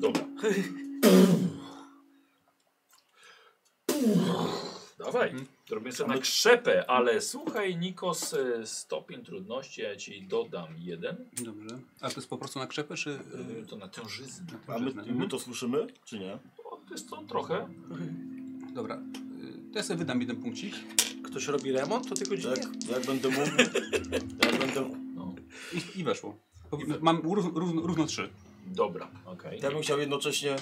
S1: Dobra. Dawaj, robimy sobie na krzepę, ale słuchaj Nikos, y, stopień trudności, ja ci dodam jeden,
S4: Dobrze.
S3: A to jest po prostu na krzepę, czy... y,
S1: Y, to na tężyznę.
S5: A my, my to słyszymy, czy nie?
S1: O, to jest to trochę.
S3: Dobra, y, to ja sobie wydam jeden punkcik.
S2: Ktoś robi remont, to tylko
S5: Tak,
S2: godzinie?
S5: jak będę mógł, jak będę...
S1: No.
S3: I, i weszło. Po- Mam równo, równo, równo trzy.
S1: Dobra, okej.
S5: Ja bym chciał jednocześnie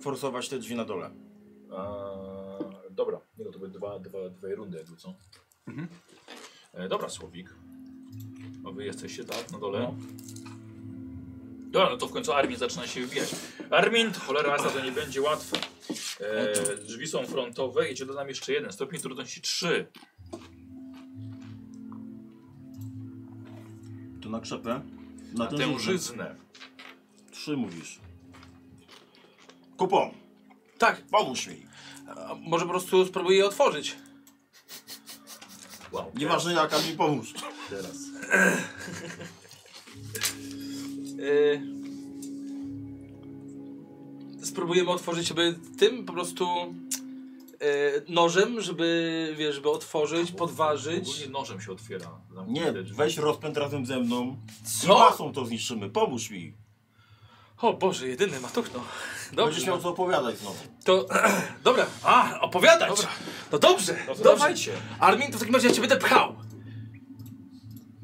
S5: forsować te drzwi na dole.
S1: Eee, dobra, nie no, to były dwa, dwa, dwie rundy jakby co.
S3: Mhm.
S1: E, dobra, Słowik. A wy jesteście tak na dole.
S5: No.
S1: Dobra, no to w końcu Armin zaczyna się wybijać. Armin, cholera jasna, to nie będzie łatwe.
S5: No
S1: E, drzwi są frontowe i ci dodam jeszcze jeden. Stopień trudności 3.
S5: Tu na krzepę.
S1: Na tę żyznę.
S5: Trzy mówisz. Kupo!
S2: Tak.
S5: Pomóż mi!
S2: A może po prostu spróbuję je otworzyć.
S1: Wow.
S5: Nieważne jaka mi pomóż.
S1: Teraz.
S2: Yy... Spróbujemy otworzyć, żeby tym po prostu yy, nożem, żeby, wiesz, żeby otworzyć, podważyć.
S1: Ogólnie
S5: no.
S1: nożem się otwiera.
S5: Nie, weź rozpęd razem ze mną. I
S2: Co?
S5: masą to zniszczymy, pomóż mi.
S2: O Boże, jedyny matuchno.
S5: Będziesz
S2: Dobrze,
S5: miał co opowiadać znowu.
S2: to... [CLEARS THROAT] Dobra, a, opowiadać! No dobrze,
S1: No to
S2: dobrze.
S1: dawajcie.
S2: Armin, to w takim razie ja cię będę pchał.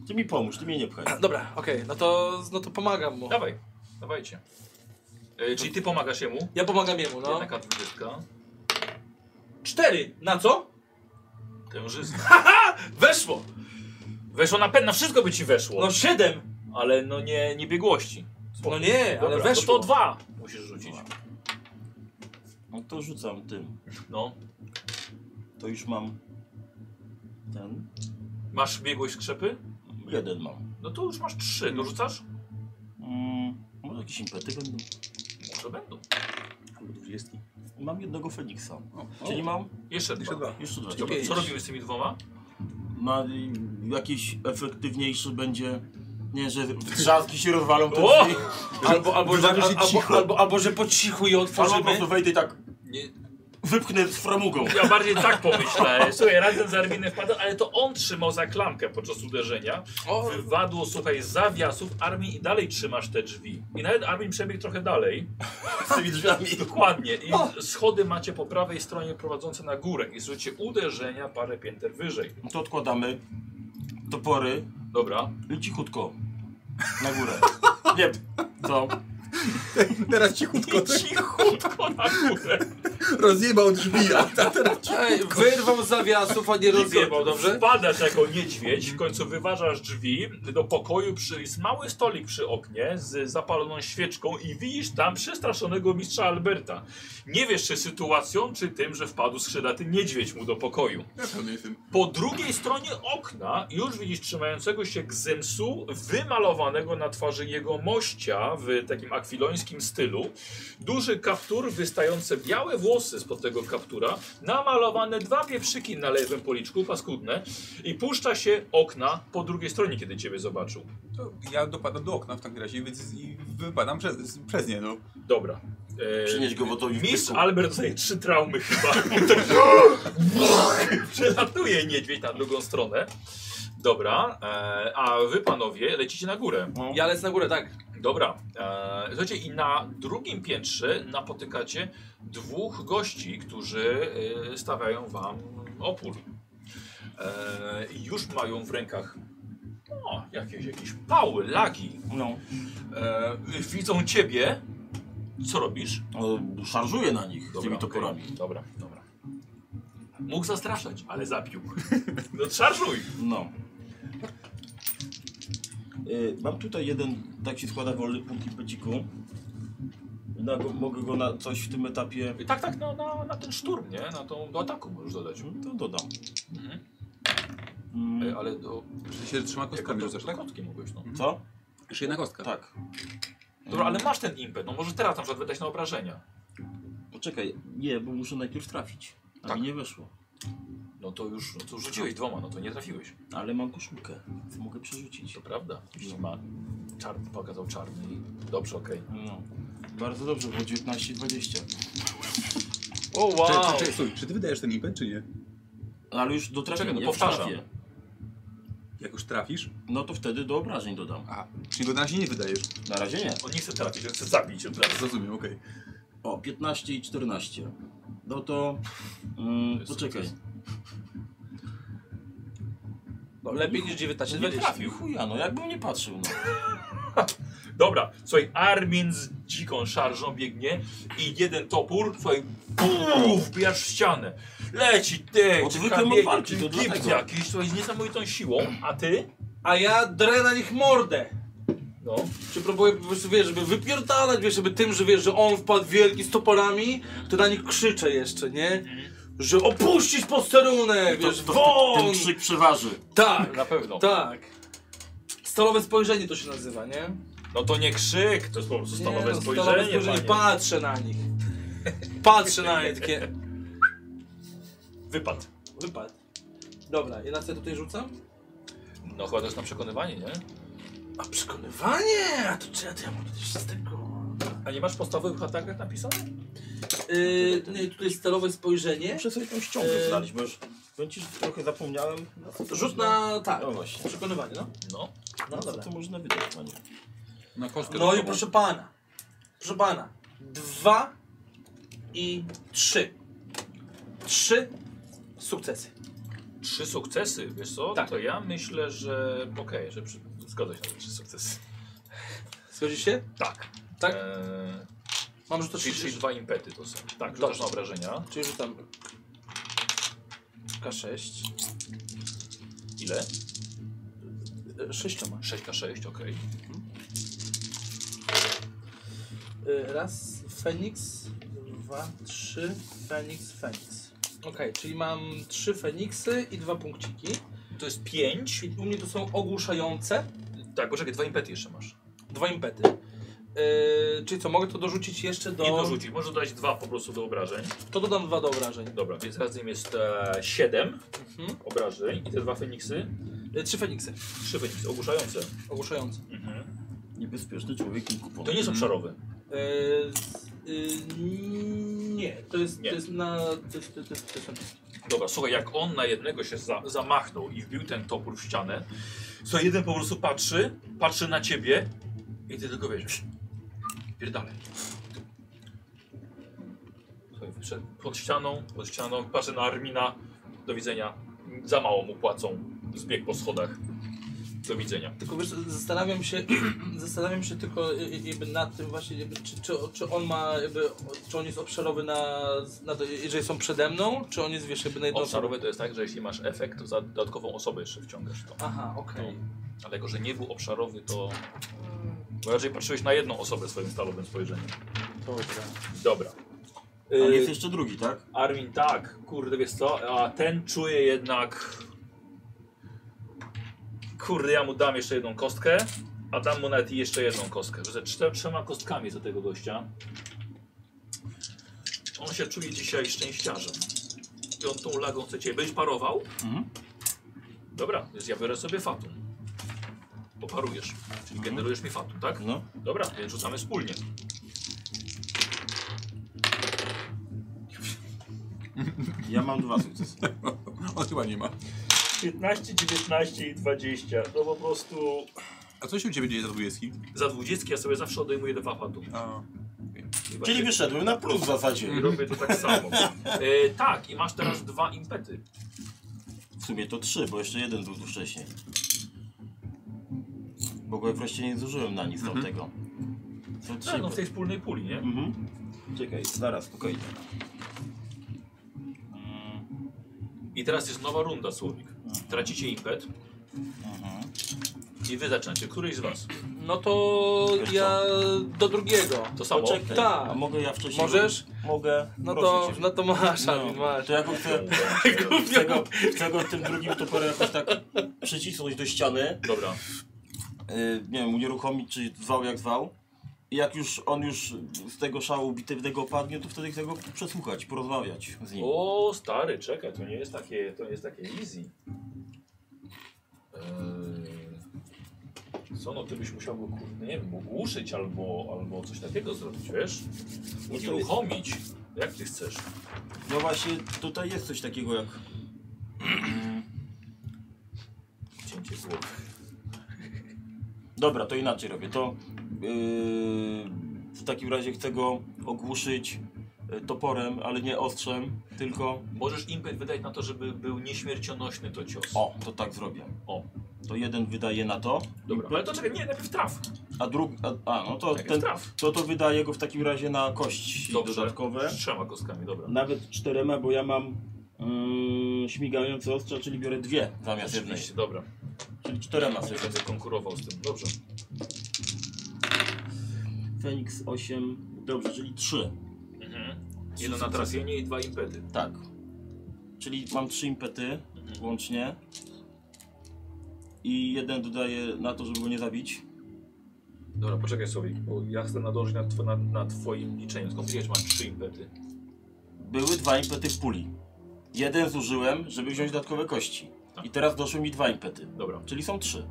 S5: Ty mi pomóż, ty mnie nie pchaj.
S2: Dobra, okej, no to no to pomagam mu.
S1: Dawaj, dawajcie. E, czyli ty pomagasz jemu?
S2: Ja pomagam jemu, no.
S1: Jedna K20.
S2: Cztery! Na co?
S1: [LAUGHS] Tężyzna.
S2: Weszło!
S1: Weszło na pewno, wszystko by ci weszło.
S2: No siedem!
S1: Ale no nie, nie biegłości.
S2: No nie, ale
S1: Dobra, ale
S2: weszło.
S1: to dwa musisz rzucić.
S5: No to rzucam tym.
S1: No.
S5: To już mam ten.
S1: Masz biegłość skrzepy?
S5: Jeden mam.
S1: No to już masz trzy. Dorzucasz?
S5: Mm, może jakieś impety będą?
S1: Może będą.
S5: Albo dwudziestki. Mam jednego Feniksa.
S3: O,
S5: Czyli mam
S1: Jeszcze dwa.
S3: dwa.
S5: jeszcze dwa.
S1: Dobra,
S2: pięć.
S1: co robimy z tymi dwoma?
S5: Ma y, jakiś efektywniejszy będzie. Nie, [LAUGHS] że wrzaski się rozwalą te
S1: O!
S5: drzwi.
S2: Albo,
S5: [LAUGHS]
S2: albo, że,
S5: Wywalę się
S2: albo,
S5: cicho.
S2: albo, albo że po cichu je
S5: Albo po
S2: otworzymy.
S5: prostu wejdę i tak
S1: Nie,
S5: wypchnę z framugą.
S1: ja bardziej tak [LAUGHS] pomyślałem. Słuchaj, razem z Arminem wpadł, ale to on trzymał za klamkę podczas uderzenia.
S2: O,
S1: Wywadło, słuchaj, z zawiasów Armin i dalej trzymasz te drzwi. I nawet Armin przebiegł trochę dalej.
S5: z tymi [LAUGHS] drzwiami.
S1: Dokładnie. I schody macie po prawej stronie prowadzące na górę. I słyszycie uderzenia parę pięter wyżej.
S5: No To odkładamy topory
S1: Dobra.
S5: i No cichutko na
S1: [LAUGHS]
S5: górę. Nie, co?
S3: Teraz cichutko tak
S1: Cichutko na [LAUGHS] górę.
S3: rozjebał drzwi, a ta teraz...
S2: ej, wyrwał z zawiasów, a nie rozjebał, dobrze?
S1: Wpadasz jako niedźwiedź, w końcu wyważasz drzwi do pokoju, przy, jest mały stolik przy oknie z zapaloną świeczką i widzisz tam przestraszonego mistrza Alberta. Nie wiesz czy sytuacją, czy tym, że wpadł skrzydaty niedźwiedź mu do pokoju.
S3: Ja pewnie jestem.
S1: Po drugiej stronie okna już widzisz trzymającego się gzymsu wymalowanego na twarzy jego mościa w takim akwilońskim stylu. Duży kaptur, wystające białe włosy spod tego kaptura, namalowane dwa pieprzyki na lewym policzku, paskudne i puszcza się okna po drugiej stronie, kiedy ciebie zobaczył.
S3: To ja dopadam do okna w takim razie więc i wypadam przez, przez nie, no.
S1: Dobra. E,
S5: Przynieś go, bo to już
S1: Mistrz
S5: pieku.
S1: Albert dostaje trzy traumy chyba. Przelatuje niedźwiedź na drugą stronę. Dobra, e, a wy panowie lecicie na górę.
S5: No.
S2: Ja lecę na górę, tak.
S1: Dobra, e, słuchajcie i na drugim piętrze napotykacie dwóch gości, którzy e, stawiają wam opór. E, i już mają w rękach o, jakieś, jakieś pały, lagi.
S5: No.
S1: E, widzą ciebie. Co robisz?
S5: O, No, Szarżuję na nich tymi
S1: okej.
S5: toporami.
S1: Dobra, dobra. Mógł zastraszać, ale
S5: [LAUGHS]
S1: zapił. No szarżuj!
S5: No. Y, mam tutaj jeden, tak się składa, wolny punkt impeciku. Na go, mogę go na coś w tym etapie...
S1: I Tak, tak, no, na, na ten szturm, nie? Na tą, do ataku możesz dodać.
S5: No To dodam.
S1: Mhm.
S5: Mm,
S1: E, Ale do...
S3: Że się trzyma kostkami rzucasz, tak?
S1: kostki mogłeś, no.
S5: co?
S3: Jeszcze jedna kostka.
S5: Tak.
S1: Dobra, ale masz ten impet, no może teraz na przykład wydać na obrażenia.
S5: Poczekaj, nie, bo muszę najpierw trafić. A
S1: Tak.
S5: mi nie weszło.
S1: No to już no to rzuciłeś dwoma, no to nie trafiłeś.
S5: Ale mam koszulkę, więc mogę przerzucić.
S1: To prawda. Jeśli ma czarny, pokazał czarny i dobrze, okej.
S5: No. Bardzo dobrze, było 19-20.
S1: O wow!
S3: Czekaj, czekaj, stój, czy ty wydajesz ten impet, czy nie?
S5: Ale już do trafienia,
S1: Czekaj, no
S5: jak
S1: powtarzam.
S5: trafię,
S3: Jak już trafisz?
S5: No to wtedy do obrażeń dodam.
S3: A, czyli go na razie nie wydajesz.
S5: Na razie nie.
S1: On nie chce trafić, on chce zabić od razu.
S3: Rozumiem, okej.
S5: O, 15 i 14. No to... Mm,
S1: jest
S5: poczekaj.
S1: sukces.
S2: No, lepiej niż 19, 20.
S5: Nie Znaczy, trafił, chuja, no jakbym nie patrzył, no.
S1: Dobra, słuchaj, Armin z dziką szarżą biegnie i jeden topór, słuchaj, puf, wbijasz w ścianę. Leci, ty,
S5: Bo
S1: czy
S5: zwykle
S1: kamienie,
S5: mam walki,
S1: czy
S5: to
S1: gips
S5: dlatego.
S1: jakiś, słuchaj, z niesamowitą siłą, a ty?
S2: A ja drę na nich mordę.
S1: No,
S2: Czy próbuję po prostu, wiesz, żeby wypierdalać, wiesz, żeby tym, że wiesz, że on wpadł wielki z toporami, to na nich krzyczę jeszcze, nie? Że opuścić posterunek, wiesz,
S5: to,
S2: won!
S5: ten krzyk przeważy.
S2: Tak,
S1: na pewno.
S2: tak. Stalowe spojrzenie to się nazywa, nie?
S1: No to nie krzyk, to jest po prostu
S2: Nie,
S1: stanowe
S2: no,
S1: spojrzenie, panie.
S2: patrzę na nich. Patrzę na nie, takie...
S1: Wypad.
S2: Wypadł. Dobra, i na co ja tutaj rzucam?
S1: No chyba to jest na przekonywanie, nie?
S2: A przekonywanie! A to czy ja, to ja mam jeszcze z tego...
S1: A nie masz podstawowych atakach napisane?
S2: Yy, nie, tutaj jest stalowe spojrzenie.
S5: Muszę sobie tą ściągę
S2: Eee.
S5: znaleźć, bo już... powiem ci, że trochę zapomniałem. na co No, to
S2: Rzut
S5: można-
S2: na... tak.
S5: No właśnie.
S2: Przekonywanie, no.
S1: No.
S5: Na co to można wydać, panie?
S3: Na kostkę.
S2: No i
S3: dodatkową.
S2: proszę pana. Proszę pana. Dwa i trzy. Trzy sukcesy.
S1: Trzy sukcesy, wiesz co?
S2: Tak.
S1: To ja myślę, że okej, że przy... zgodzę się na te trzy sukcesy.
S2: Zgodzisz się?
S1: Tak.
S2: Tak?
S1: Eee,
S2: Mam rzucać
S1: czyli, czyli
S2: trzy.
S1: dwa impety to są. Tak,
S2: Dobrze.
S1: rzucasz na obrażenia.
S2: Czyli rzucam. K6.
S1: Ile?
S2: E, Sześcioma.
S1: 6k6, okej.
S2: E, Raz, Feniks. Dwa, trzy, Feniks, Feniks. Okej, czyli mam trzy Feniksy i dwa punkciki.
S1: To jest 5.
S2: I u mnie to są ogłuszające.
S1: Tak, poczekaj, dwa impety jeszcze masz.
S2: Dwa impety. E, czyli co, mogę to dorzucić jeszcze do...
S1: Nie dorzucić, możesz dodać dwa po prostu do obrażeń.
S2: To dodam dwa do obrażeń.
S1: Dobra, więc razem jest e, 7
S2: Mhm.
S1: obrażeń i te dwa feniksy,
S2: E, Trzy Feniksy.
S1: trzy feniksy ogłuszające.
S2: Ogłuszające.
S1: Mhm.
S5: Niebezpieczny człowiek i kupon.
S1: To nie są szarowe.
S2: E, e, nie, to jest,
S1: Nie.
S2: to jest na... To jest, to jest, to jest, to jest.
S1: Dobra, słuchaj, jak on na jednego się za, zamachnął i wbił ten topór w ścianę, to jeden po prostu patrzy, patrzy na ciebie i ty tylko wiesz. Pierdalej. Słuchaj, wyszedł pod ścianą, pod ścianą, patrzy na Armina. Do widzenia. Za mało mu płacą. Zbieg po schodach. Do widzenia.
S2: Tylko wiesz, zastanawiam się, [CLEARS THROAT] zastanawiam się tylko y- y- jakby nad tym właśnie, jakby, czy, czy, czy on ma, jakby, czy on jest obszarowy na, na to, jeżeli są przede mną, czy on jest, wiesz, jakby na jedną
S1: Obszarowe to jest tak, że jeśli masz efekt, to za dodatkową osobę jeszcze wciągasz w to.
S2: Aha, okej.
S1: Ale jako, że nie był obszarowy, to... Bo raczej patrzyłeś na jedną osobę swoim stalowym spojrzeniem.
S2: No, Dobra.
S1: Dobra. Y,
S5: A jest jeszcze drugi, tak?
S1: Armin, tak, kurde, wiesz co, a ten czuje jednak... Kurde, ja mu dam jeszcze jedną kostkę, a dam mu nawet i jeszcze jedną kostkę. Rzucę czter, trzema kostkami do tego gościa. On się czuje dzisiaj szczęściarzem. I on tą lagą chce cię... Będziesz parował?
S5: Mhm.
S1: Dobra, więc ja biorę sobie fatum. Poparujesz, czyli generujesz mi fatum, tak?
S5: Mhm. No.
S1: Dobra, więc rzucamy wspólnie.
S5: Ja mam dwa sukcesy.
S3: On chyba nie ma.
S1: 15, 19 i 20. No po prostu...
S3: A co się u ciebie dzieje za dwudziestki?
S1: Za dwudziestki ja sobie zawsze odejmuję dwa patu.
S3: A,
S5: Czyli wyszedłem na plus w zasadzie.
S1: [LAUGHS] Robię to tak samo. E, tak, i masz teraz dwa impety.
S5: W sumie to trzy, bo jeszcze jeden był tu wcześniej. Bo go wreszcie nie zużyłem na
S2: Mhm.
S5: nic tamtego. Są trzy.
S1: No, no w tej wspólnej puli, nie?
S5: Mhm. Czekaj, zaraz, spokojnie.
S1: I teraz jest nowa runda, Słowik. Tracicie impet
S5: Mhm.
S1: i wy zaczynacie. Któryś z was.
S2: No to
S5: Wiesz co?
S2: ja do drugiego.
S1: To samo.
S5: Poczekaj,
S2: Tak.
S5: a mogę ja wcześniej...
S2: Możesz?
S5: Mogę,
S2: No
S5: proszę
S2: to,
S5: cię.
S2: no to masz, Armin, masz.
S5: To jako
S2: [LAUGHS]
S5: chcę, chcę, go, chcę go tym drugim toporem jakoś tak przycisnąć do ściany, Y,
S1: Dobra.
S5: yy, nie wiem, unieruchomić, czy zwał jak zwał. jak już on już z tego szału bitewnego padnie, to wtedy chcę go przesłuchać, porozmawiać z nim.
S1: O, stary, czekaj, to nie jest takie, to nie jest takie easy. Eee, co no, ty byś musiał go, kurde, nie wiem, ogłuszyć albo, albo coś takiego zrobić, wiesz? Unieruchomić, jak ty chcesz.
S5: No właśnie, tutaj jest coś takiego jak...
S1: Cięcie głowy.
S5: Dobra, to inaczej robię. To yy, w takim razie chcę go ogłuszyć y, toporem, ale nie ostrzem, tylko...
S1: Możesz impet wydać na to, żeby był nieśmiercionośny to cios.
S5: O, to tak zrobię. O, to jeden wydaje na to,
S1: Dobra, ale to czekaj, nie, najpierw traf.
S5: a drugi... A, a, no to
S1: Najpierw
S5: ten...
S1: traf.
S5: To to wydaje go w takim razie na kości
S1: Dobrze.
S5: dodatkowe.
S1: Z trzema kostkami, dobra.
S5: Nawet czterema, bo ja mam yy, śmigające ostrza, czyli biorę dwie zamiast jednej.
S1: Oczywiście, dobra.
S5: Czyli czterema
S1: Ja
S5: sobie.
S1: będę konkurował z tym, dobrze.
S5: Feniks 8, dobrze, czyli trzy.
S1: Mhm. Jedno na trafienie i dwa impety.
S5: Tak. Czyli mam trzy impety łącznie. I jeden dodaję na to, żeby go nie zabić.
S1: Dobra, poczekaj sobie, bo ja chcę nadążyć na, two, na, na twoim liczeniu. Skąd wiesz, masz trzy impety?
S5: Były dwa impety w puli. Jeden zużyłem, żeby wziąć dodatkowe kości.
S1: Tak.
S5: I teraz doszły mi dwa impety.
S1: Dobra,
S5: Czyli są trzy.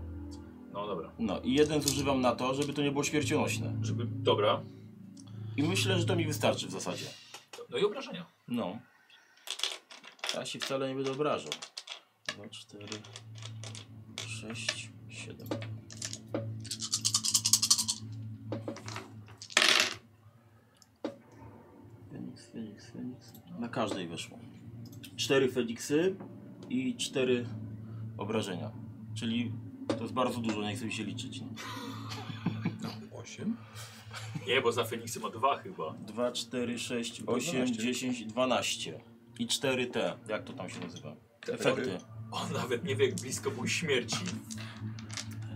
S1: no dobra.
S5: No i jeden zużywam na to, żeby to nie było śmiercionośne.
S1: Żeby, dobra.
S5: I myślę, że to mi wystarczy w zasadzie.
S1: No i obrażenia.
S5: No. Ja się wcale nie będę obrażał. 2, 4, 6, 7. Feniks, Feniks, Feniks. No. Na każdej weszło. Cztery Feniksy i cztery obrażenia. Czyli to jest bardzo dużo, nie chcę mi się liczyć. No.
S3: 8?
S1: Nie, bo za Feniksy ma dwa chyba.
S5: 2, 4, 6, 8, 10, 12. I 4 te, jak to tam się nazywa? Efekty.
S1: On nawet nie wie, jak blisko był śmierci.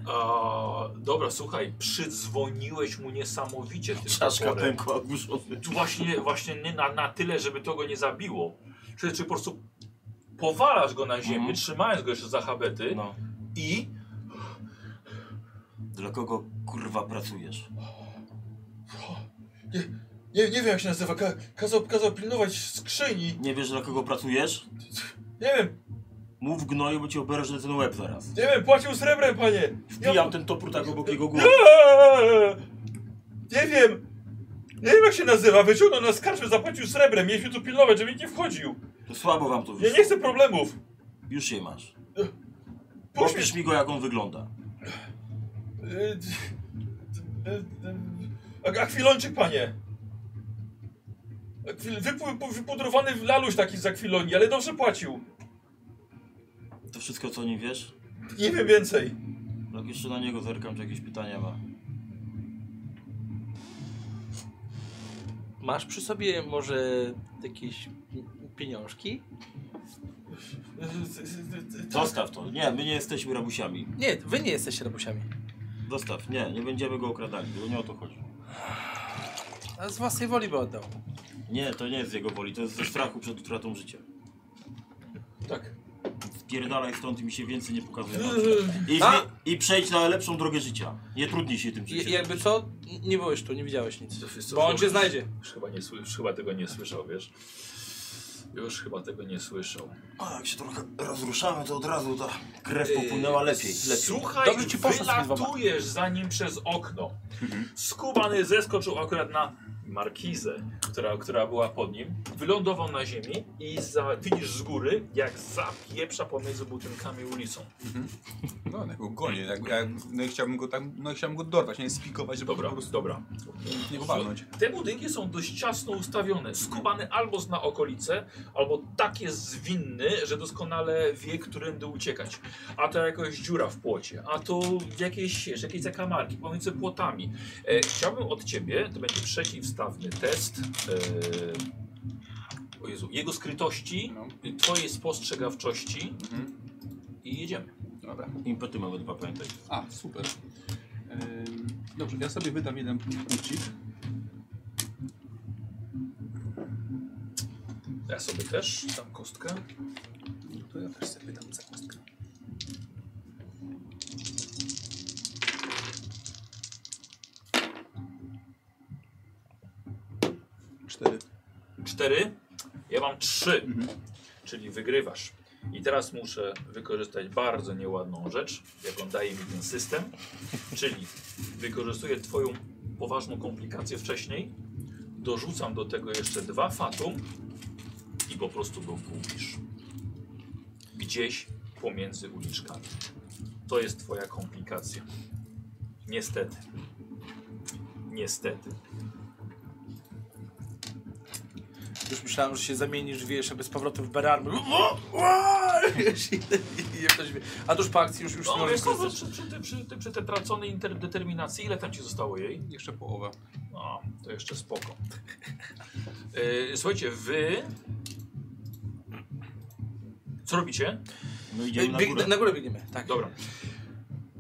S1: A, dobra, słuchaj, przydzwoniłeś mu niesamowicie tym
S5: Czaszka
S1: toporem.
S5: pękła od brzuszowym.
S1: Tu Właśnie, właśnie nie na, na tyle, żeby to go nie zabiło. Czy, czy po prostu powalasz go na ziemię,
S5: Mhm.
S1: trzymając go jeszcze za habety
S5: No.
S1: i
S5: Dla kogo kurwa pracujesz?
S6: Nie, nie wiem jak się nazywa. Ka kazał, kazał pilnować skrzyni.
S5: Nie wiesz dla kogo pracujesz?
S6: Nie wiem,
S5: Mów gnoju, bo ci oberżę ten łeb zaraz.
S6: nie wiem, płacił srebrem, panie.
S5: Wbijam ten topór tak obok jego głowy.
S6: Eee, Nie wiem. Nie wiem jak się nazywa. Wyciągnął nas z karczmy, zapłacił srebrem. Mieliśmy tu pilnować, żeby nikt nie wchodził.
S5: To słabo wam to
S6: Ja
S5: wyszło.
S6: nie chcę problemów.
S5: Już je masz.
S6: Puść
S5: Popisz mi go jak on wygląda.
S6: Eee, eee, A, a chwilończyk, panie. A chwil- wypu- pu- Wypudrowany w laluś taki za chwiloni, ale dobrze płacił.
S5: To wszystko co nie wiesz?
S6: Nie wiem więcej.
S5: Jak jeszcze na niego zerkam, czy jakieś pytania ma.
S2: Masz przy sobie może jakieś pieniążki?
S6: Eee, eee, eee,
S5: Zostaw to. Nie, my nie jesteśmy rabusiami.
S2: Nie, wy nie jesteście rabusiami.
S5: Zostaw. Nie, nie będziemy go okradali, bo nie o to chodzi.
S2: A z własnej woli by oddał.
S5: Nie, to nie jest z jego woli, to jest ze strachu przed utratą życia.
S6: Tak.
S5: Spierdalaj stąd i mi się więcej nie pokazuje.
S1: Yy.
S6: Eee,
S5: I,
S2: A!
S5: I przejdź na lepszą drogę życia. Nie trudnij się tym
S2: I,
S5: życiem.
S2: jakby co? Nie byłeś tu, nie widziałeś nic.
S1: To jest co,
S2: Bo on
S1: już-
S2: cię znajdzie.
S1: Już chyba, nie, sły- już chyba tego nie słyszał, wiesz? Już chyba tego nie słyszał.
S5: A, jak się trochę rozruszamy, to od razu ta krew popłynęła
S1: Yy,
S5: lepiej. lepiej.
S1: Słuchaj,
S2: Dobrze ci poszło z tymi dwoma.
S1: wylatujesz za nim przez okno. Skubany zeskoczył akurat na markizę, która, która była pod nim. Wylądował na ziemi i za, widzisz z góry, jak zapieprza pomiędzy budynkami ulicą.
S3: No, ja go gonię. Jak, jak, no i chciałbym go tak, no i chciałbym go dorwać, nie spikować, żeby
S1: Dobra,
S3: po prostu
S1: dobra.
S3: nie go walnąć.
S1: Te budynki są dość ciasno ustawione. Skubany albo zna okolice, albo tak jest zwinny, że doskonale wie, którędy uciekać. A to jakaś dziura w płocie, a to jakieś, wiesz, jakieś zakamarki pomiędzy płotami. E, chciałbym od ciebie, to będzie przeciwstawny test. E, o Jezu, jego skrytości,
S3: No,
S1: twojej spostrzegawczości
S3: mhm.
S1: i jedziemy.
S3: Dobra.
S5: Impety mamy dwa, pamiętaj.
S3: A, super. Ym, Dobrze, ja sobie wydam jeden punkcik.
S1: Ja sobie też dam kostkę.
S3: No To ja też sobie wydam za kostkę.
S1: 4. Ja mam 3.
S4: Mhm.
S1: Czyli wygrywasz. I teraz muszę wykorzystać bardzo nieładną rzecz, jaką daje mi ten system. Czyli wykorzystuję Twoją poważną komplikację wcześniej, dorzucam do tego jeszcze dwa fatum i po prostu go gubisz. Gdzieś pomiędzy uliczkami. To jest Twoja komplikacja. Niestety. Niestety.
S2: Już myślałem, że się zamienisz, wiesz, aby z powrotem w Berarmy. [LAUGHS] Wiesz, i- i- i ktoś wie. A tuż po akcji już, już
S1: No,
S2: nie
S1: wiesz,
S2: możesz
S1: co,
S2: korzystać.
S1: przy, przy, przy, przy, przy, przy tej traconej inter- determinacji, ile tam ci zostało jej?
S3: Jeszcze połowa.
S1: No, to jeszcze spoko. E, słuchajcie, wy. Co robicie?
S5: No idziemy na
S2: Bieg,
S5: górę.
S2: na górę biegniemy, tak.
S1: Dobra.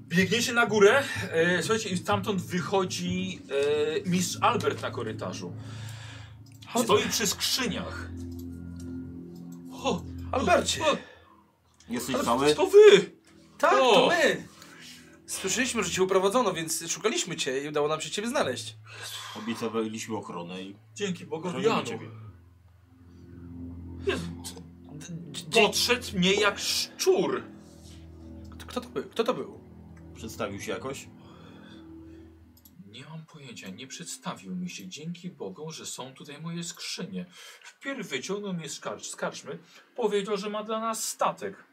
S1: Biegniecie na górę. E, słuchajcie, i stamtąd wychodzi e, mistrz Albert na korytarzu. Stoi przy skrzyniach. O,
S2: Albercie!
S1: o,
S5: Jesteś
S1: ale
S5: cały?
S1: to wy!
S2: Tak,
S1: O!
S2: to my! Słyszeliśmy, że cię uprowadzono, więc szukaliśmy cię i udało nam się ciebie znaleźć.
S5: Obiecowaliśmy ochronę i
S1: Dzięki Bogowi
S5: chronimy
S1: Janu.
S5: ciebie.
S1: Podszedł mnie jak szczur.
S2: Kto, kto to był? Kto to był?
S5: Przedstawił się jakoś?
S1: Nie mam pojęcia, nie przedstawił mi się. Dzięki Bogu, że są tutaj moje skrzynie. Wpierw wyciągnął mnie z, karcz, z karczmy, powiedział, że ma dla nas statek.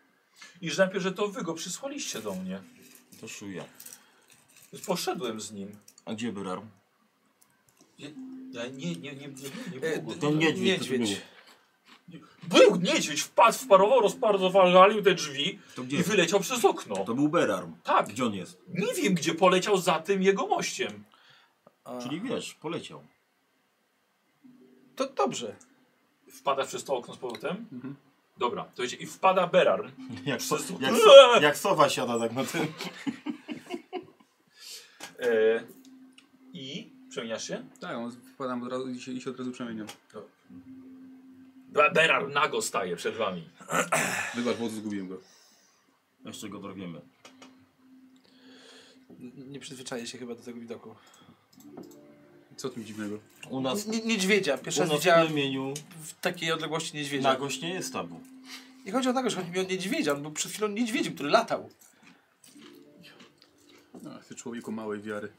S1: I że najpierw, że to wy go przysłaliście do mnie.
S5: To szuja.
S1: Poszedłem z nim.
S5: A gdzie Byrar?
S1: Ja No, nie, nie, nie, nie, nie,
S2: E,
S1: nie było.
S2: d-
S5: To niedźwiedź.
S2: Niedźwiedź.
S5: To,
S1: Był niedźwiedź, wpadł, wparował, rozparowalił te drzwi
S5: był- to
S1: i
S5: gdzie?
S1: wyleciał przez okno.
S5: To był Berar.
S1: Tak,
S5: Gdzie on jest?
S1: nie wiem, gdzie poleciał za tym jego mościem.
S2: A,
S5: Czyli wiesz, poleciał. [LAUGHS]
S2: To dobrze.
S1: Wpada przez to okno z powrotem.
S2: Mhm.
S1: Dobra, to idzie i wpada Berarm.
S5: Jak, so,
S1: Przez-
S5: jak,
S1: [LAUGHS]
S5: so, jak sowa siada tak na tym.
S1: E, I przemieniasz się?
S3: Tak, on wpadam od razu i się, i się od razu przemieniam.
S1: Be- Berar nago staje przed wami.
S3: Wybacz, bo zgubiłem go.
S5: Jeszcze go dorwiemy.
S2: N- Nie przyzwyczaję się chyba do tego widoku.
S3: Co w tym dziwnego?
S5: U nas,
S2: N- niedźwiedzia. Pierwszy
S5: u
S2: raz
S5: nas
S2: widziałem
S5: w plemieniu
S2: w takiej odległości niedźwiedzia.
S5: nagość nie jest tabu.
S2: Nie chodzi o nagość, chodzi mi o niedźwiedzia. On był przed chwilą niedźwiedziem, który latał.
S3: Ach, ty No, człowieku małej wiary.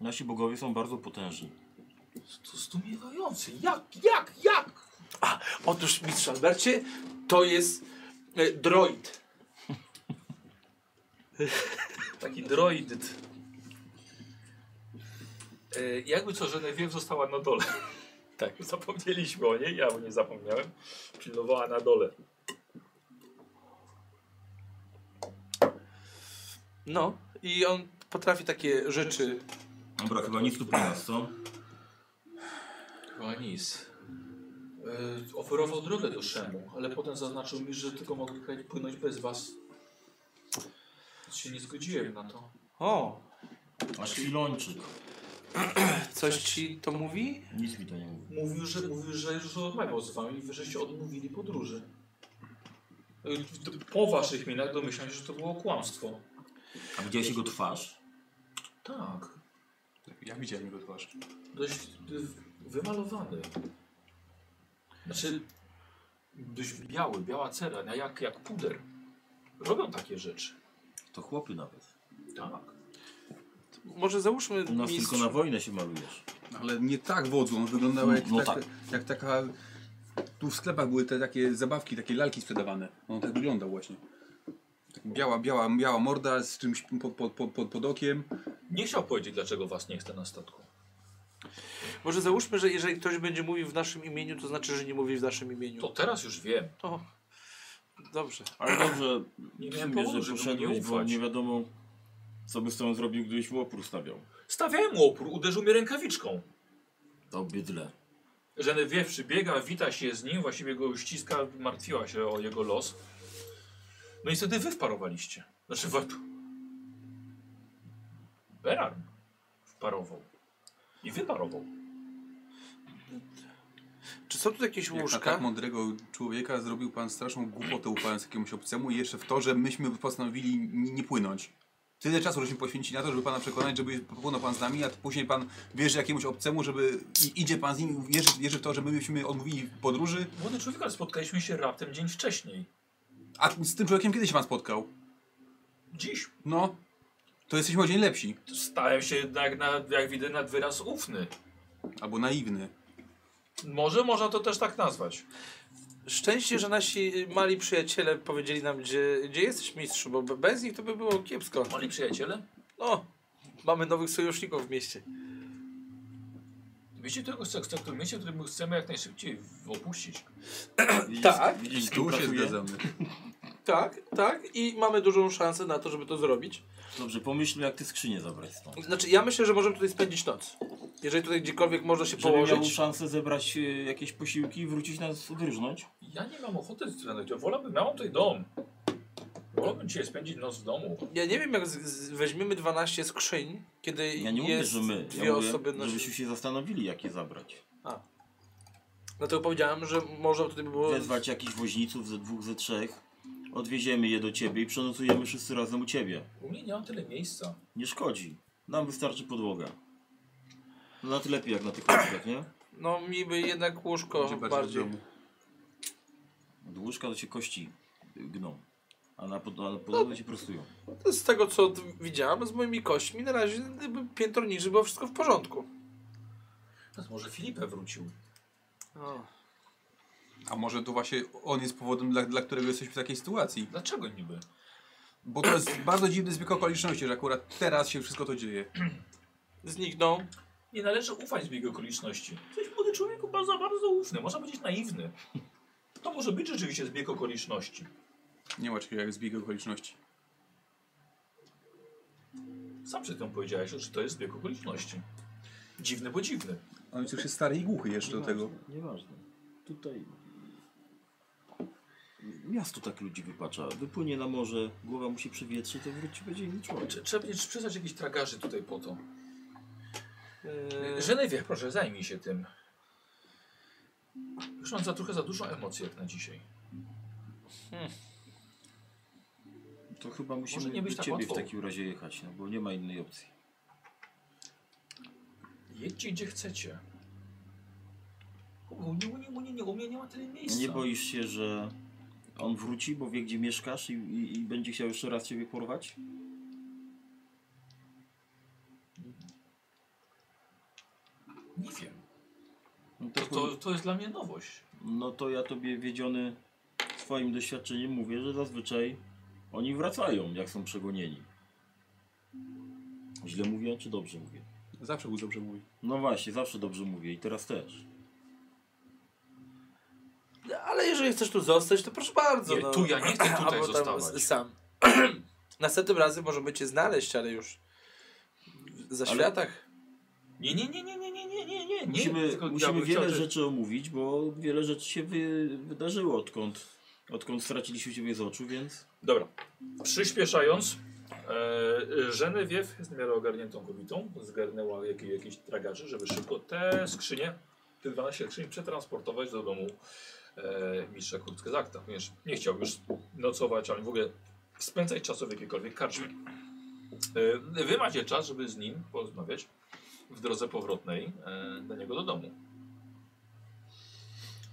S5: Nasi bogowie są bardzo potężni.
S1: To zdumiewające. Jak, jak, jak?
S2: Otóż, mistrz Albercie, to jest e, droid.
S1: Taki droidyt. E, jakby co, Genevieve została na dole. Tak, [LAUGHS] zapomnieliśmy o niej, ja o niej zapomniałem. Pilnowała na dole.
S2: No, i on potrafi takie rzeczy.
S5: Dobra, chyba nic tu po nas, co?
S1: Chyba nic. E, oferował drogę do Szemu, ale potem zaznaczył mi, że tylko mogę płynąć bez was. Więc się nie zgodziłem na to.
S2: O,
S5: A Filończyk.
S2: coś ci to mówi?
S5: Nic mi to nie mówi.
S1: Mówił, że, mówił, że już rozmawiał z wami, wy żeście odmówili podróży. E, Po waszych minach domyślam się, że to było kłamstwo.
S5: A widziałeś jego twarz?
S1: Tak,
S3: Ja widziałem jego twarz.
S1: dość y, wymalowany. Znaczy, dość biały, biała cera, no jak, jak puder. Robią takie rzeczy.
S5: To chłopy nawet.
S1: Tak.
S2: Może załóżmy
S5: U nas
S2: mistrz...
S5: tylko na wojnę się malujesz.
S3: Ale nie tak wodzu, on wyglądał jak,
S5: No
S3: tak, jak taka... Tu w sklepach były te takie zabawki, takie lalki sprzedawane. On tak wyglądał właśnie. Tak biała, biała, biała morda z czymś pod, pod, pod, pod, pod okiem.
S1: Nie chciał powiedzieć, dlaczego was nie chce na statku.
S2: Może załóżmy, że jeżeli ktoś będzie mówił w naszym imieniu, to znaczy, że nie mówi w naszym imieniu.
S1: To teraz już wiem.
S2: To... Dobrze.
S5: Ale dobrze,
S1: Nie
S5: nie
S1: miałem
S5: wiem,
S1: powodu,
S5: że
S1: żeby mu nie
S5: poszedłeś, bo
S1: ufać.
S5: nie wiadomo, co by z tobą zrobił, gdybyś mu opór stawiał.
S1: Stawiałem mu opór, uderzył mnie rękawiczką.
S5: To bydle.
S1: Genevieve przybiega, wita się z nim, właściwie go ściska, martwiła się o jego los. No i wtedy wy wparowaliście. Znaczy, wa- Berarm wparował. I wyparował.
S2: Czy są tu jakieś
S3: Jak na
S2: łóżka?
S3: tak mądrego człowieka zrobił pan straszną głupotę ufając jakiemuś obcemu i jeszcze w to, że myśmy postanowili n- nie płynąć. Tyle czasu żeśmy poświęcili na to, żeby pana przekonać, żeby popłynął pan z nami, a później pan wierzy jakiemuś obcemu, żeby i idzie pan z nim, i wierzy, wierzy w to, że my byśmy odmówili podróży.
S1: Młody człowiek, ale spotkaliśmy się raptem dzień wcześniej.
S3: A z tym człowiekiem kiedy się pan spotkał?
S1: Dziś
S3: No, to jesteśmy o dzień lepsi.
S1: stałem się jednak, na, jak widzę, nad wyraz ufny.
S3: Albo naiwny.
S1: Może można to też tak nazwać.
S2: Szczęście, że nasi mali przyjaciele powiedzieli nam, gdzie, gdzie jesteś mistrzu, bo be- bez nich to by było kiepsko.
S1: Moi przyjaciele,
S2: No, mamy nowych sojuszników w mieście.
S1: wiecie, którego sektormiecie, którym chcemy jak najszybciej w- opuścić.
S2: Tak,
S3: I tu się
S5: Współpracuje.
S3: zgadzamy.
S2: tak, tak i mamy dużą szansę na to, żeby to zrobić.
S5: Dobrze, pomyślmy jak ty skrzynię zabrać stąd.
S2: Znaczy, ja myślę, że możemy tutaj spędzić noc. Jeżeli tutaj gdziekolwiek można się
S5: Żeby miał
S2: położyć.
S5: szansę zebrać e, jakieś posiłki i wrócić nas odryżnąć.
S1: Ja nie mam ochoty na to. Wolałbym, ja mam tutaj dom. Wolałbym dzisiaj spędzić noc w domu.
S2: Ja nie wiem, jak z, z, weźmiemy 12 skrzyń, kiedy
S5: Ja nie mówię,
S2: jest
S5: że my.
S2: dwie
S5: Ja mówię,
S2: osoby na
S5: żebyśmy się zastanowili, jak je zabrać.
S2: Dlatego No powiedziałem, że może tutaj by było.
S5: Wezwać jakichś woźniców ze dwóch, ze trzech. Odwieziemy je do ciebie i przenocujemy wszyscy razem u ciebie.
S1: U mnie nie mam tyle miejsca.
S5: Nie szkodzi. Nam wystarczy podłoga. No na tyle lepiej jak na tych łóżkach, nie?
S2: No, mi by jednak łóżko
S3: Będzie
S2: bardziej.
S3: bardziej w domu.
S5: Od łóżka to się kości gną. A na, pod, a na podłodze się prostują.
S2: To Z tego co t- widziałem, z moimi kośćmi na razie gdyby piętro niżej było wszystko w porządku.
S1: Teraz może Filipę wrócił.
S3: A może to właśnie on jest powodem, dla, dla którego jesteśmy w takiej sytuacji?
S1: Dlaczego niby?
S3: Bo to jest bardzo dziwny zbieg okoliczności, że akurat teraz się wszystko to dzieje.
S2: Zniknął.
S1: Nie należy ufać zbiegu okoliczności. Jesteś młody człowieku bardzo, bardzo ufny, można powiedzieć naiwny. To może być rzeczywiście zbieg okoliczności.
S3: Nie ma czegoś jak zbieg okoliczności.
S1: Sam przed tym powiedziałeś, że to jest zbieg okoliczności. Dziwny, bo dziwny.
S3: On jest jeszcze stary i głuchy jeszcze do tego.
S5: Nieważne. Tutaj... Miasto tak ludzi wypacza. Wypłynie na morze, głowa mu się przewietrzy, to wróci będzie inny człowiek.
S1: Trze- Trzeba będzie przysłać jakichś tragarzy tutaj po to.
S2: Eee,
S1: Genevieve, proszę, zajmij się tym. Już mam za trochę za dużo emocji jak na dzisiaj.
S5: To chyba musimy
S1: Może nie być
S5: do
S1: tak
S5: ciebie
S1: łatwo.
S5: w takim razie jechać, no bo nie ma innej opcji.
S1: Jedźcie gdzie chcecie. U mnie, u mnie, u mnie, nie, u mnie nie ma tyle
S5: A
S1: miejsca.
S5: Nie boisz się, że on wróci, bo wie gdzie mieszkasz i, i, i będzie chciał jeszcze raz ciebie porwać?
S1: Nie wiem.
S5: No
S1: To, to, to jest dla mnie nowość.
S5: No to ja tobie wiedziony swoim doświadczeniem mówię, że zazwyczaj oni wracają, jak są przegonieni. Źle mówię, czy dobrze mówię?
S3: Zawsze był dobrze mówi.
S5: No właśnie, zawsze dobrze mówię i teraz też.
S2: ale jeżeli chcesz tu zostać, to proszę bardzo.
S1: Nie,
S2: no.
S1: tu ja nie chcę tutaj
S2: Albo tam
S1: zostawać.
S2: s- sam. [CLEARS THROAT] Następnym razem możemy cię znaleźć, ale już za
S5: Ale-
S2: światach.
S1: Nie, nie, nie, nie, nie, nie, nie, nie, nie.
S5: Musimy,
S1: Tylko ja
S5: musimy
S1: bym
S5: wiele
S1: chciał, że-
S5: rzeczy omówić, bo wiele rzeczy się wy, wydarzyło odkąd, odkąd straciliśmy ciebie z oczu, więc...
S1: Dobra. Przyspieszając, e, Żenewiew jest w miarę ogarniętą kobietą. Zgarnęła jak, jakieś tragarzy, żeby szybko te skrzynie, te 12 skrzyń przetransportować do domu e, mistrza Kurtzkezakta. Ponieważ nie chciał już nocować, ani w ogóle spędzać czasu w jakiejkolwiek karczmie. E, wy macie czas, żeby z nim porozmawiać w drodze powrotnej e, do niego do domu.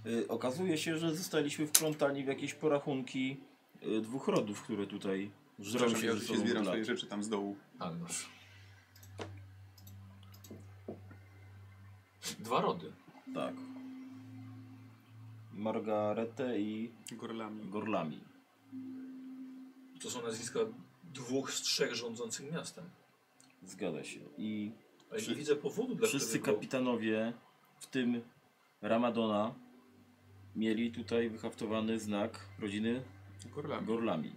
S5: Y, Okazuje się, że zostaliśmy wplątani w jakieś porachunki y, dwóch rodów, które tutaj żrą
S3: Przepraszam,
S5: się
S3: ja
S5: ze
S3: się
S5: sobą
S3: zbieram
S5: od lat.
S3: swoje rzeczy tam z dołu.
S1: Alnoż. Dwa rody.
S5: Tak. Margaretę i
S3: Gorlami.
S5: Gorlami.
S1: To są nazwiska dwóch z trzech rządzących miastem.
S5: Zgadza się. I
S1: Ale
S5: Wszy-
S1: nie widzę powodu, dla
S5: wszyscy
S1: którego...
S5: kapitanowie, w tym Ramadona, mieli tutaj wyhaftowany znak rodziny
S3: Gorlami.
S5: Gorlami.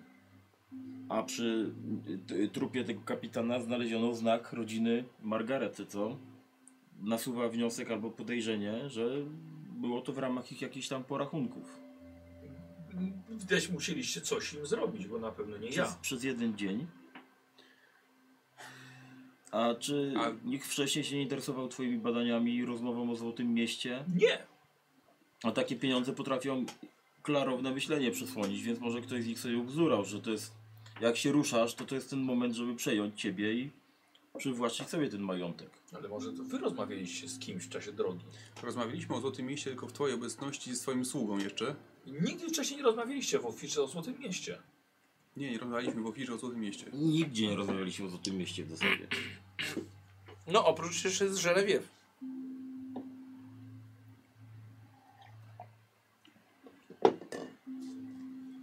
S5: A przy y, t- trupie tego kapitana znaleziono znak rodziny Margarety, co nasuwa wniosek albo podejrzenie, że było to w ramach ich jakichś tam porachunków.
S1: Widać musieliście coś im zrobić, bo na pewno nie
S5: Przez,
S1: ja.
S5: przez jeden dzień. A czy
S3: A-
S5: nikt wcześniej się nie interesował twoimi badaniami i rozmową o Złotym Mieście?
S1: Nie!
S5: A takie pieniądze potrafią klarowne myślenie przesłonić, więc może ktoś z nich sobie ubzurał, że to jest Jak się ruszasz, to to jest ten moment, żeby przejąć ciebie i przywłaszczyć sobie ten majątek.
S1: Ale może to wy rozmawialiście z kimś w czasie drogi.
S3: Rozmawialiśmy o Złotym Mieście tylko w twojej obecności i z twoim sługą jeszcze.
S1: Nigdy wcześniej nie rozmawialiście w ofirze o Złotym Mieście.
S3: Nie, nie rozmawialiśmy w ofirze o Złotym Mieście.
S5: Nigdzie nie rozmawialiśmy o Złotym Mieście w zasadzie.
S2: No, oprócz jeszcze z Żelewiew.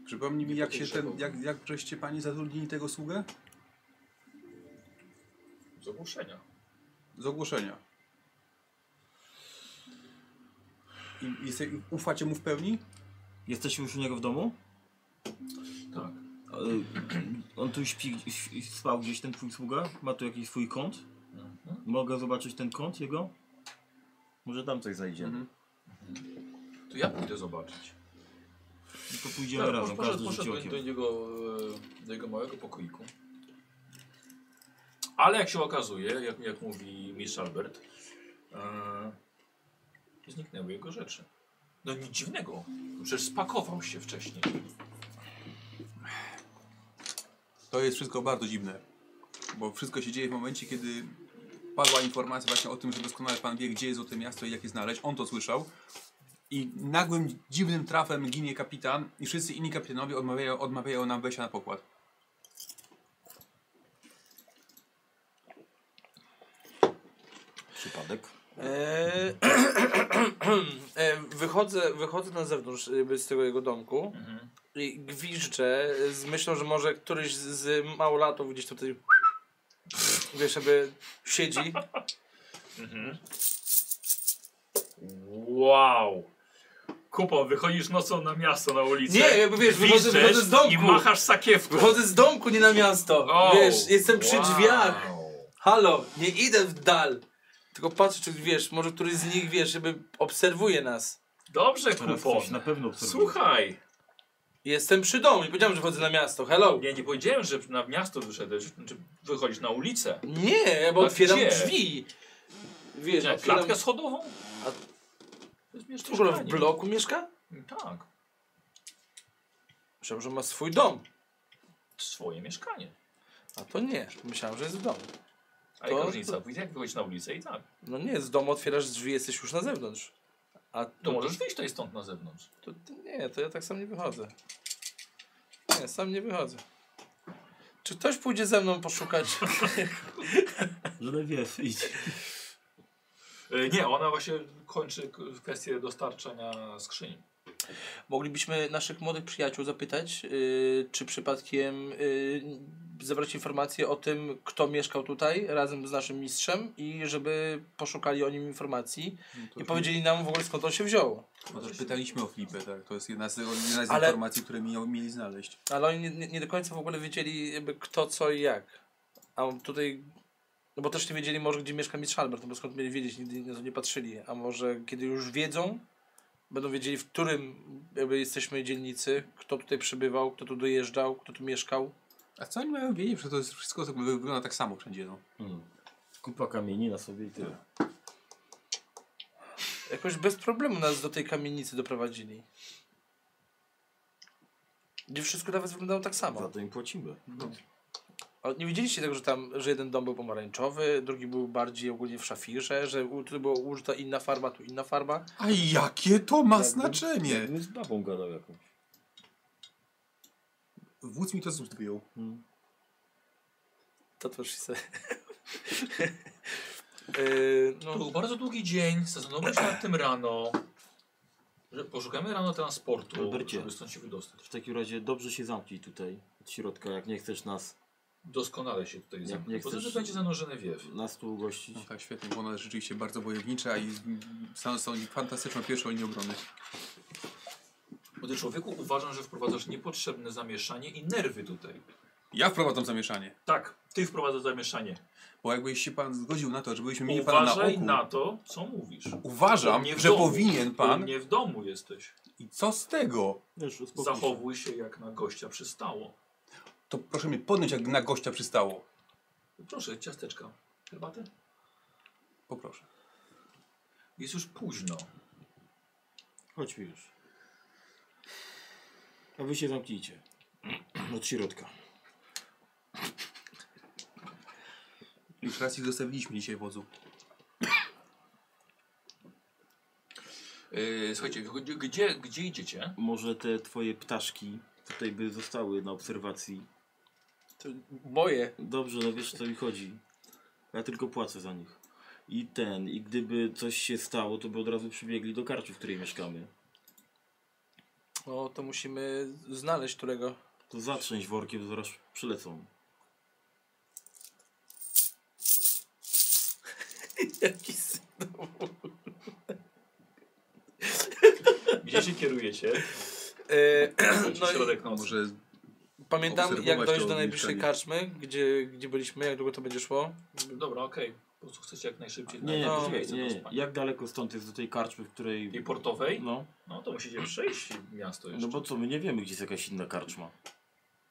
S3: Przypomnij mi, jak się ten,
S1: podejrzewał.
S3: jak, jak żeście pani zatrudnili tego sługę?
S1: Z ogłoszenia.
S3: Z ogłoszenia. I, i se, i ufacie mu w pełni?
S5: Jesteśmy już u niego w domu?
S1: Tak.
S5: E, On tu śpi, śpi- spał gdzieś ten twój sługa? Ma tu jakiś swój kąt?
S1: Mhm.
S5: Mogę zobaczyć ten kąt jego? Może tam coś znajdziemy.
S3: Mhm.
S1: To ja pójdę zobaczyć.
S5: No To pójdziemy razem,
S1: poszedł,
S5: każdy rzuci
S1: poszedł do,
S5: okiem.
S1: do, jego, e, do jego małego pokoiku. Ale jak się okazuje, jak, jak mówi mistrz Albert, e, zniknęły jego rzeczy. No nic dziwnego, przecież spakował się wcześniej.
S3: To jest wszystko bardzo dziwne. Bo wszystko się dzieje w momencie, kiedy padła informacja właśnie o tym, że doskonale pan wie, gdzie jest złote miasto i jak je znaleźć. On to słyszał. I nagłym, dziwnym trafem ginie kapitan i wszyscy inni kapitanowie odmawiają, odmawiają nam wejścia na pokład.
S5: Przypadek.
S2: Eee, [CLEARS THROAT] e, wychodzę, wychodzę na zewnątrz jakby z tego jego domku
S1: Mhm.
S2: i gwiżdżę z myślą, że może któryś z, z małolatów gdzieś tutaj wiesz, żeby siedzi.
S1: Wow! Kupo, wychodzisz nocą na miasto, na ulicę.
S2: Nie, jakby wiesz, wychodzę,
S1: Wiszczesz
S2: wychodzę z domku.
S1: I machasz sakiewką.
S2: Wychodzę z domku, nie na miasto.
S1: O,
S2: wiesz, jestem przy
S1: wow.
S2: drzwiach. Halo, nie idę w dal. Tylko patrzę, czy wiesz, może któryś z nich, wiesz, żeby obserwuje nas.
S1: Dobrze,
S5: Teraz
S1: Kupo.
S5: coś na pewno obserwuję.
S1: Słuchaj.
S2: Jestem przy domu, nie powiedziałem, że wchodzę na miasto. Hello.
S1: Ja nie powiedziałem, że na miasto wyszedłeś, czy wychodzisz na ulicę.
S2: Nie, bo
S1: A
S2: otwieram
S1: gdzie?
S2: drzwi. Wiesz,
S1: Nie,
S2: otwieram...
S1: klatkę schodową?
S2: A-
S1: To jest
S2: W ogóle w
S1: mieszkanie.
S2: bloku mieszka?
S1: Tak,
S2: Myślałem, że ma swój dom.
S1: swoje mieszkanie.
S2: A to nie, myślałem, że jest w domu.
S1: A jaka
S2: To-
S1: różnica? Wyjdzie jak wychodzisz na ulicę i tak.
S2: No nie, z domu otwierasz drzwi, jesteś już na zewnątrz. A
S1: To
S2: tu,
S1: możesz wyjść tutaj stąd na zewnątrz.
S2: to, to nie, to ja tak sam nie wychodzę. Nie, sam nie wychodzę. Czy ktoś pójdzie ze mną poszukać?
S5: Żaden wiesz, idź.
S1: E, Nie, ona właśnie kończy k- kwestię dostarczania skrzyni.
S2: Moglibyśmy naszych młodych przyjaciół zapytać, yy, czy przypadkiem yy, zebrać informacje o tym, kto mieszkał tutaj razem z naszym mistrzem i żeby poszukali o nim informacji i powiedzieli nam w ogóle skąd on się wziął.
S3: No to pytaliśmy o Flipę, tak. To jest jedna z, jedna z
S2: Ale-
S3: informacji, które mi, mieli znaleźć.
S2: Ale oni nie, nie, nie do końca w ogóle wiedzieli jakby kto, co i jak. A on tutaj... No bo też nie wiedzieli może gdzie mieszka mistrz Albert, no bo skąd mieli wiedzieć, nigdy na to nie patrzyli. A może kiedy już wiedzą, będą wiedzieli w którym jakby jesteśmy dzielnicy, kto tutaj przybywał, kto tu dojeżdżał, kto tu mieszkał.
S3: A co oni mają wiedzieć? Że to jest wszystko tak- wygląda tak samo wszędzie. No.
S5: Hmm. Kupa kamieni na sobie i tyle.
S2: Jakoś bez problemu nas do tej kamienicy doprowadzili. Gdzie wszystko nawet wyglądało tak
S5: Za
S2: samo.
S5: to im płacimy.
S2: A nie widzieliście tego, że tam, że jeden dom był pomarańczowy, drugi był bardziej ogólnie w szafirze, że u- tu była użyta inna farba, tu inna farba.
S3: A jakie to ma
S5: Jakbym-
S3: znaczenie?
S5: Jakbym z babą gadał jakąś.
S3: Wódz mi to z ust wyjął.
S5: Hmm.
S2: To też się... yy,
S1: Y, To był
S2: no,
S1: bardzo długi dzień, zastanówmy się nad tym rano. Że Poszukamy rano transportu,
S5: Albercie.
S1: żeby stąd się wydostać.
S5: W takim razie dobrze się zamknij tutaj od środka, jak nie chcesz nas,
S1: Doskonale się tutaj
S5: Jak
S1: zamknął.
S5: nie
S1: Poza
S5: chcesz-
S1: tym będzie zanurzony wiew.
S5: nas tu ugościć.
S3: No tak, świetnie, bo ona jest rzeczywiście bardzo wojownicza i są, są fantastyczną pierwszą linią obrony.
S1: Młody człowieku, uważam, że wprowadzasz niepotrzebne zamieszanie i nerwy tutaj.
S3: Ja wprowadzam zamieszanie,
S1: Tak, ty wprowadzasz zamieszanie.
S3: bo jakbyś się pan zgodził na to, żebyśmy mieli pana na
S1: Uważaj
S3: oku,
S1: na to, co mówisz.
S3: uważam,
S1: Nie w
S3: że
S1: domu.
S3: powinien pan
S1: Nie w domu jesteś.
S3: i co z tego?
S5: Wiesz, No uspokój się.
S1: Zachowuj się jak na gościa przystało.
S3: To proszę mnie podnieść, jak na gościa przystało.
S1: Proszę, ciasteczka. Herbatę?
S3: Poproszę.
S1: Jest już późno.
S5: Chodźmy już. [CLEARS THROAT] A wy się zamknijcie. Od środka.
S3: Już raz ich zostawiliśmy dzisiaj w wodzu.
S1: Yy, słuchajcie, gdzie- gdzie, gdzie idziecie?
S5: Może te twoje ptaszki tutaj by zostały na obserwacji.
S2: To Moje.
S5: Dobrze, no wiesz o co mi chodzi. Ja tylko płacę za nich. I ten, i gdyby coś się stało, to by od razu przybiegli do karczy, w której mieszkamy.
S2: No to musimy znaleźć którego.
S5: To zatrzęść workiem, zaraz przylecą.
S2: Jaki syn.
S1: Gdzie się kierujecie?
S2: E,
S1: Wchodzicie
S2: no
S1: w
S2: i-
S1: środek nocy.
S4: Może
S2: Pamiętam jak
S4: obserwować
S2: dojść
S4: to
S2: do najbliższej
S4: mieszkanie.
S2: karczmy, gdzie, gdzie byliśmy, jak długo to będzie szło.
S1: Dobra, okej. Po prostu chcecie jak najszybciej
S5: Nie, nie,
S2: No,
S5: poczekaj,
S1: miejsce do
S5: nie, nie.
S1: spania.
S5: Jak daleko stąd jest do tej karczmy, w której...
S1: I portowej?
S5: No,
S1: No to musicie przejść miasto jeszcze.
S5: no bo co, my nie wiemy, gdzie jest jakaś inna karczma.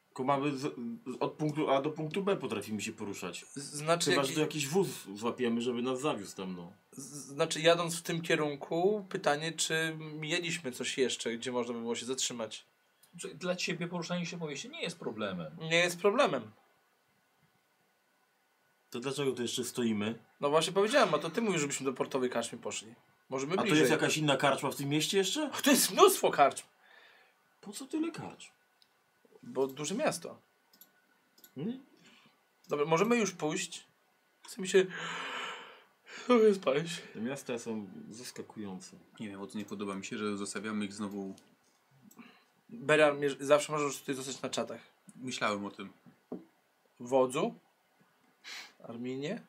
S5: Tylko mamy z, z- od punktu A do punktu B potrafimy się poruszać.
S2: Z- Znaczy,
S5: Chyba,
S2: jak,
S5: że tu jakiś wóz złapiemy, żeby nas zawiózł tam, no.
S2: z- znaczy jadąc w tym kierunku, pytanie, czy mieliśmy coś jeszcze, gdzie można by było się zatrzymać.
S1: Czy Dla ciebie poruszanie się po mieście nie jest problemem.
S2: Nie jest problemem.
S5: To dlaczego tu jeszcze stoimy?
S2: No właśnie powiedziałem, a to ty mówisz, żebyśmy do portowej karczmy poszli. Możemy
S5: A to
S2: bliżej.
S5: jest jakaś inna karczma w tym mieście jeszcze?
S2: To jest mnóstwo karczm,
S5: Po co tyle karcz?
S2: bo duże miasto.
S5: Hmm?
S2: Dobra, możemy już pójść. Chce mi się... Trochę spać.
S5: Te miasta są zaskakujące.
S3: Nie wiem, o co nie podoba mi się, że zostawiamy ich znowu.
S2: Berian, mierz- zawsze możesz tutaj zostać na czatach.
S3: Myślałem o tym.
S2: Wodzu? Arminie?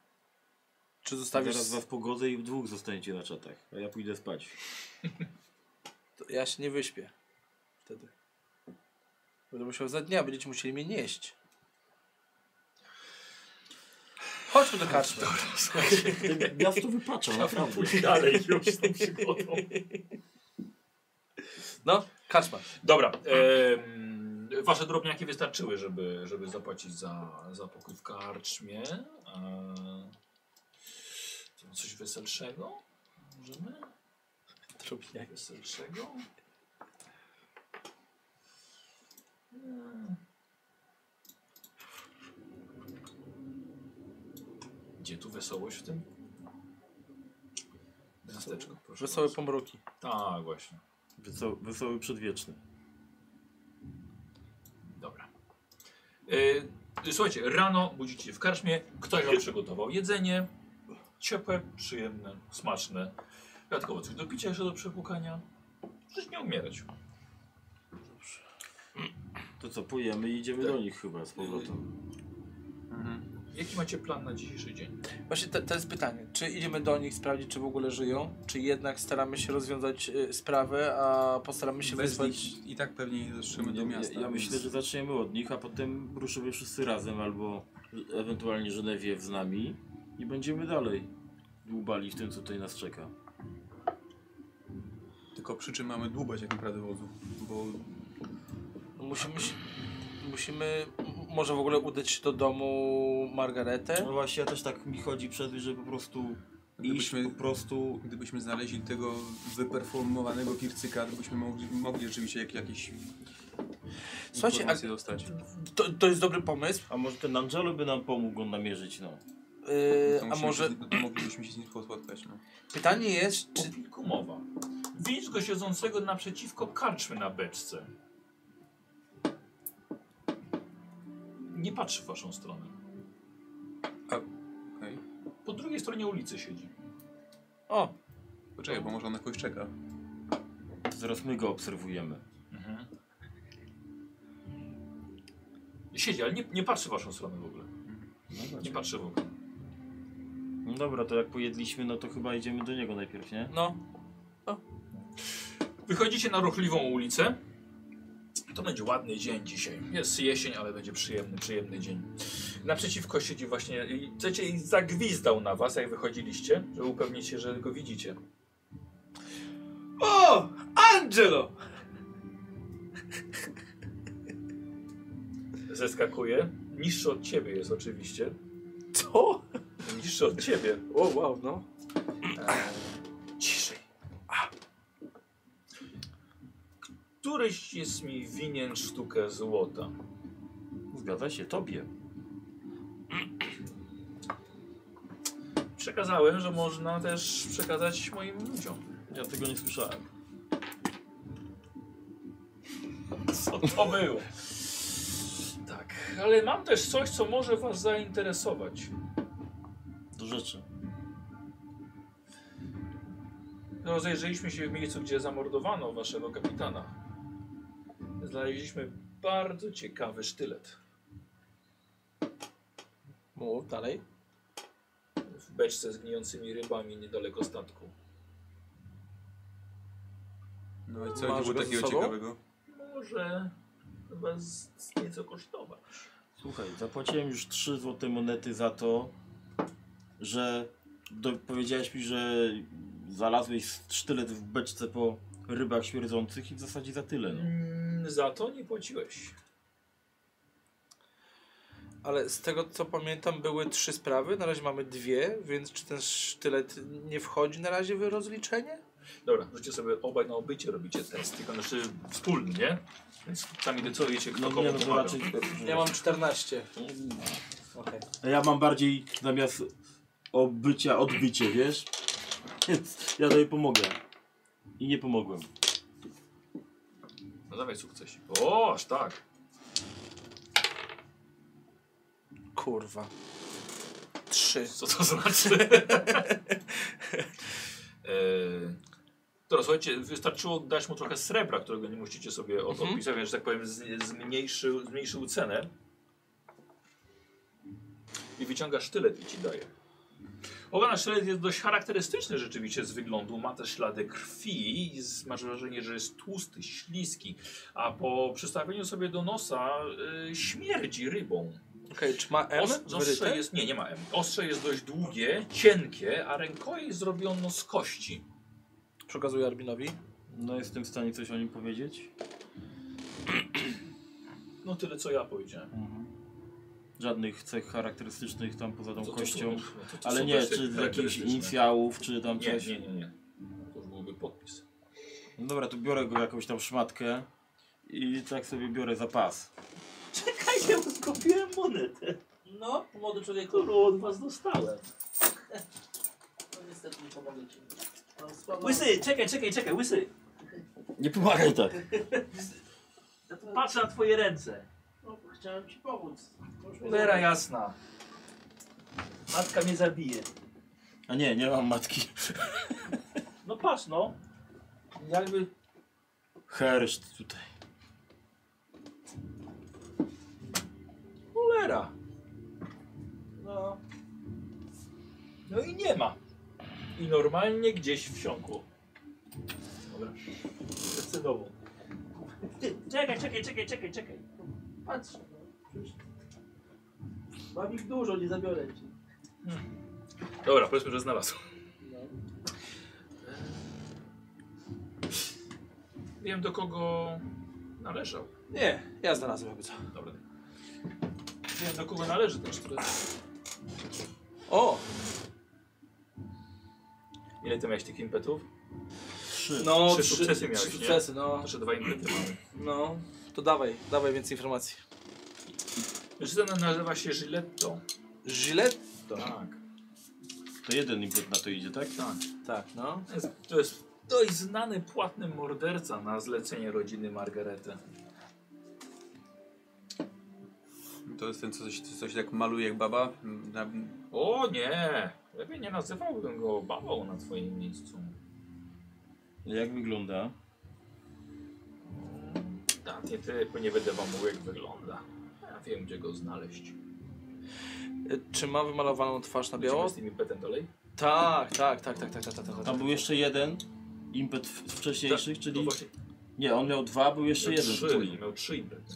S2: Czy zostawisz...
S5: Zaraz was pogodzę i w dwóch zostaniecie na czatach. A ja pójdę spać.
S2: To Ja się nie wyśpię. Wtedy. Będę musiał za dnia, będziecie musieli mnie nieść. Chodźmy do karczmy.
S5: Te miasto wypacza, naprawdę.
S6: Dalej już z tą przygodą.
S2: No, karczma.
S1: Dobra. em, wasze drobniaki wystarczyły, żeby, żeby zapłacić za, za pokój w karczmie. Eee, coś weselszego? Możemy?
S2: Trupniak.
S1: Weselszego? Mm. Gdzie tu wesołość w tym? Miasteczko, proszę.
S2: Wesołe
S1: bardzo.
S2: pomruki.
S1: Tak, właśnie.
S5: Wesoły, wesoły przedwieczny.
S1: Dobra. Y, słuchajcie, rano budzicie się w karczmie, ktoś wam przygotował jedzenie, ciepłe, przyjemne, smaczne. Dodatkowo coś do picia jeszcze do przepłukania. Przecież nie umierać.
S5: To co, pojemy i idziemy
S1: Tak.
S5: do nich chyba z powrotem.
S1: Jaki macie plan na dzisiejszy dzień?
S2: Właśnie to, to jest pytanie. Czy idziemy do nich sprawdzić, czy w ogóle żyją? Czy jednak staramy się rozwiązać y, sprawę, a postaramy się
S3: Bez
S2: wysłać...
S3: nich i tak pewnie nie dotrzemy do
S5: Ja-
S3: miasta.
S5: ja, ja myślę,
S3: więc-
S5: że zaczniemy od nich, a potem ruszymy wszyscy razem, albo ewentualnie Genevieve z nami i będziemy dalej dłubali w tym, co tutaj nas czeka.
S3: Tylko przy czym mamy dłubać jak naprawdę wodzu. Bo
S2: Musimy się... Musimy... m- Może w ogóle udać się do domu
S5: No
S2: Margaretę?
S5: właśnie, ja też tak mi chodzi przed, że po prostu
S3: Gdybyśmy-
S5: iść po prostu...
S3: gdybyśmy znaleźli tego wyperformowanego pircyka, to byśmy mogli, mogli rzeczywiście jak, jakieś
S2: Słuchajcie,
S3: informacje dostać.
S2: To, to jest dobry pomysł.
S5: A może ten Angelo by nam pomógł on namierzyć, no.
S2: Y,
S3: To
S2: a
S3: musimy
S2: może...
S3: się z- to moglibyśmy się z nim spotkać. No.
S2: Pytanie jest, czy...
S1: Popilku mowa. Widzisz go siedzącego naprzeciwko karczmy na beczce. Nie patrzy w waszą stronę.
S3: Okej.
S1: Po drugiej stronie ulicy siedzi.
S2: O,
S3: Poczekaj, bo może on na kogoś czeka.
S5: Zaraz my go obserwujemy.
S1: Mhm. Siedzi, ale nie, nie patrzy w waszą stronę w ogóle. Nie patrzy w ogóle.
S5: No dobra, to jak pojedliśmy, no to chyba idziemy do niego najpierw, nie?
S2: no.
S1: Wychodzicie na ruchliwą ulicę. To będzie ładny dzień dzisiaj. Jest jesień, ale będzie przyjemny, przyjemny dzień. Naprzeciwko siedzi właśnie, i- chcecie, i zagwizdał na was, jak wychodziliście, żeby upewnić się, że go widzicie.
S2: O! Angelo!
S1: Zeskakuje. Niższy od ciebie jest oczywiście.
S2: Co?
S1: Niższy od ciebie.
S2: O, wow, no.
S1: Ciszej. A. Któryś jest mi winien sztukę złota.
S5: Zgadza się, tobie.
S1: przekazałem, że można też przekazać moim ludziom.
S5: Ja tego nie słyszałem.
S1: Co to było? Tak, ale mam też coś, co może was zainteresować.
S5: Do rzeczy.
S1: No, Rozejrzeliśmy się w miejscu, gdzie zamordowano waszego kapitana. Znaleźliśmy bardzo ciekawy sztylet.
S2: Mów dalej.
S1: w beczce z gnijącymi rybami niedaleko statku.
S3: No i co
S2: Masz
S3: nie było
S2: go ze
S3: takiego
S2: sobą?
S3: ciekawego?
S1: Może was nieco kosztować.
S5: Słuchaj, zapłaciłem już 3 złote monety za to, że do, powiedziałeś mi, że znalazłeś sztylet w beczce po rybach śmierdzących i w zasadzie za tyle. No.
S1: Mm, Za to nie płaciłeś.
S2: Ale z tego co pamiętam były trzy sprawy, na razie mamy dwie, więc czy ten sztylet nie wchodzi na razie w rozliczenie?
S1: Dobra, rzućcie sobie obaj na obycie, robicie test. Tylko znaczy wspólny, nie? Więc sami decydujecie, kto
S5: No
S1: komu
S5: nie, no to
S1: pomaga.
S5: raczej...
S2: Ja mam 14. Mm. Okej.
S5: Ja mam bardziej zamiast obycia, odbicie, wiesz? [LAUGHS] Więc ja tobie pomogę. I nie pomogłem.
S1: No dawaj sukces. O, aż tak.
S2: Kurwa. Trzy.
S1: Co to znaczy? Eee, Dobra, słuchajcie, wystarczyło dać mu trochę srebra, którego nie musicie sobie od-
S2: Mhm.
S1: odpisać, więc że tak powiem z- zmniejszył, zmniejszył cenę. I wyciąga sztylet i ci daje. Ogana sztylet jest dość charakterystyczny rzeczywiście z wyglądu. Ma też ślady krwi i z- masz wrażenie, że jest tłusty, śliski, a po przystawieniu sobie do nosa y, śmierdzi rybą.
S2: Okej, czy ma M?
S1: Os-
S2: wyryte?
S1: Ostrze jest, nie, nie ma M. Ostrze jest dość długie, cienkie, a rękojeść zrobiono z kości.
S2: Przekazuję Arbinowi.
S5: No jestem w stanie coś o nim powiedzieć.
S1: No tyle, co ja powiedziałem.
S5: Żadnych cech charakterystycznych tam poza tą
S1: Co to
S5: kością.
S1: są- co to
S5: Ale
S1: są
S5: nie,
S1: testy
S5: czy z jakichś
S1: charakterystyczne?
S5: inicjałów, czy tam
S1: Nie,
S5: coś.
S1: nie, nie, nie. To już byłby podpis.
S5: No dobra, to biorę go jakąś tam szmatkę i tak sobie biorę za pas.
S7: Czekaj, ja zgubiłem monetę.
S8: No, młody człowieku,
S7: Którą od was dostałem.
S8: no niestety nie pomogę ci. No, słabo-
S7: Łysy, czekaj, czekaj, czekaj, łysy.
S5: Nie pomagaj tak.
S8: Ja to-
S7: Patrz na twoje ręce.
S8: No, chciałem ci pomóc. To już mnie
S7: Cholera jasna. Matka mnie zabije.
S5: A nie, nie mam matki.
S7: No patrz no. Jakby...
S5: Herszt tutaj.
S1: Cholera.
S7: No.
S1: No i nie ma. I normalnie gdzieś wsiąkło. Dobra.
S7: Zdecydował. Ty, Czekaj, czekaj, czekaj, czekaj, czekaj.
S8: Patrz. no, przecież- Mam ich dużo, nie zabiorę ci.
S1: Dobra, powiedzmy, że znalazł.
S8: No.
S1: Wiem, do kogo należał.
S2: Nie, ja znalazłem chyba co.
S1: Dobra. Wiem, do kogo należy ten sztylet.
S2: O!
S1: Ile ty miałeś tych impetów?
S5: Trzy.
S2: No,
S1: Trzy sukcesy miałeś,
S2: trzy
S1: nie?
S2: sukcesy, no.
S1: Znaczy dwa impety mamy.
S2: No, to dawaj, dawaj więcej informacji.
S1: Mężczyzna nazywa się Giletto.
S2: Żilet?
S1: Tak,
S5: To jeden impet na to idzie, tak?
S1: tak.
S2: Tak, no.
S1: To jest- To jest dość znany płatny morderca na zlecenie rodziny Margarety.
S3: To jest ten, co coś, coś tak maluje jak baba. Na,
S1: O nie! Lepiej nie nazywałbym go babą na twoim miejscu.
S5: Jak wygląda?
S1: Tak, nie ty, bo nie będę wam mówił jak wygląda. Ja wiem gdzie go znaleźć.
S2: E, Czy ma wymalowaną twarz na biało?
S1: Biało? Z tym impetem dalej?
S2: Tak, tak, tak, tak, tak, tak, tak, tak.
S5: Tam
S2: tak.
S5: był jeszcze jeden impet w- wcześniejszych,
S1: No
S5: czyli...
S1: właśnie,
S5: Nie, on miał dwa, był jeszcze
S1: miał
S5: jeden.
S1: trzy,
S5: Trzy.
S1: miał trzy impety.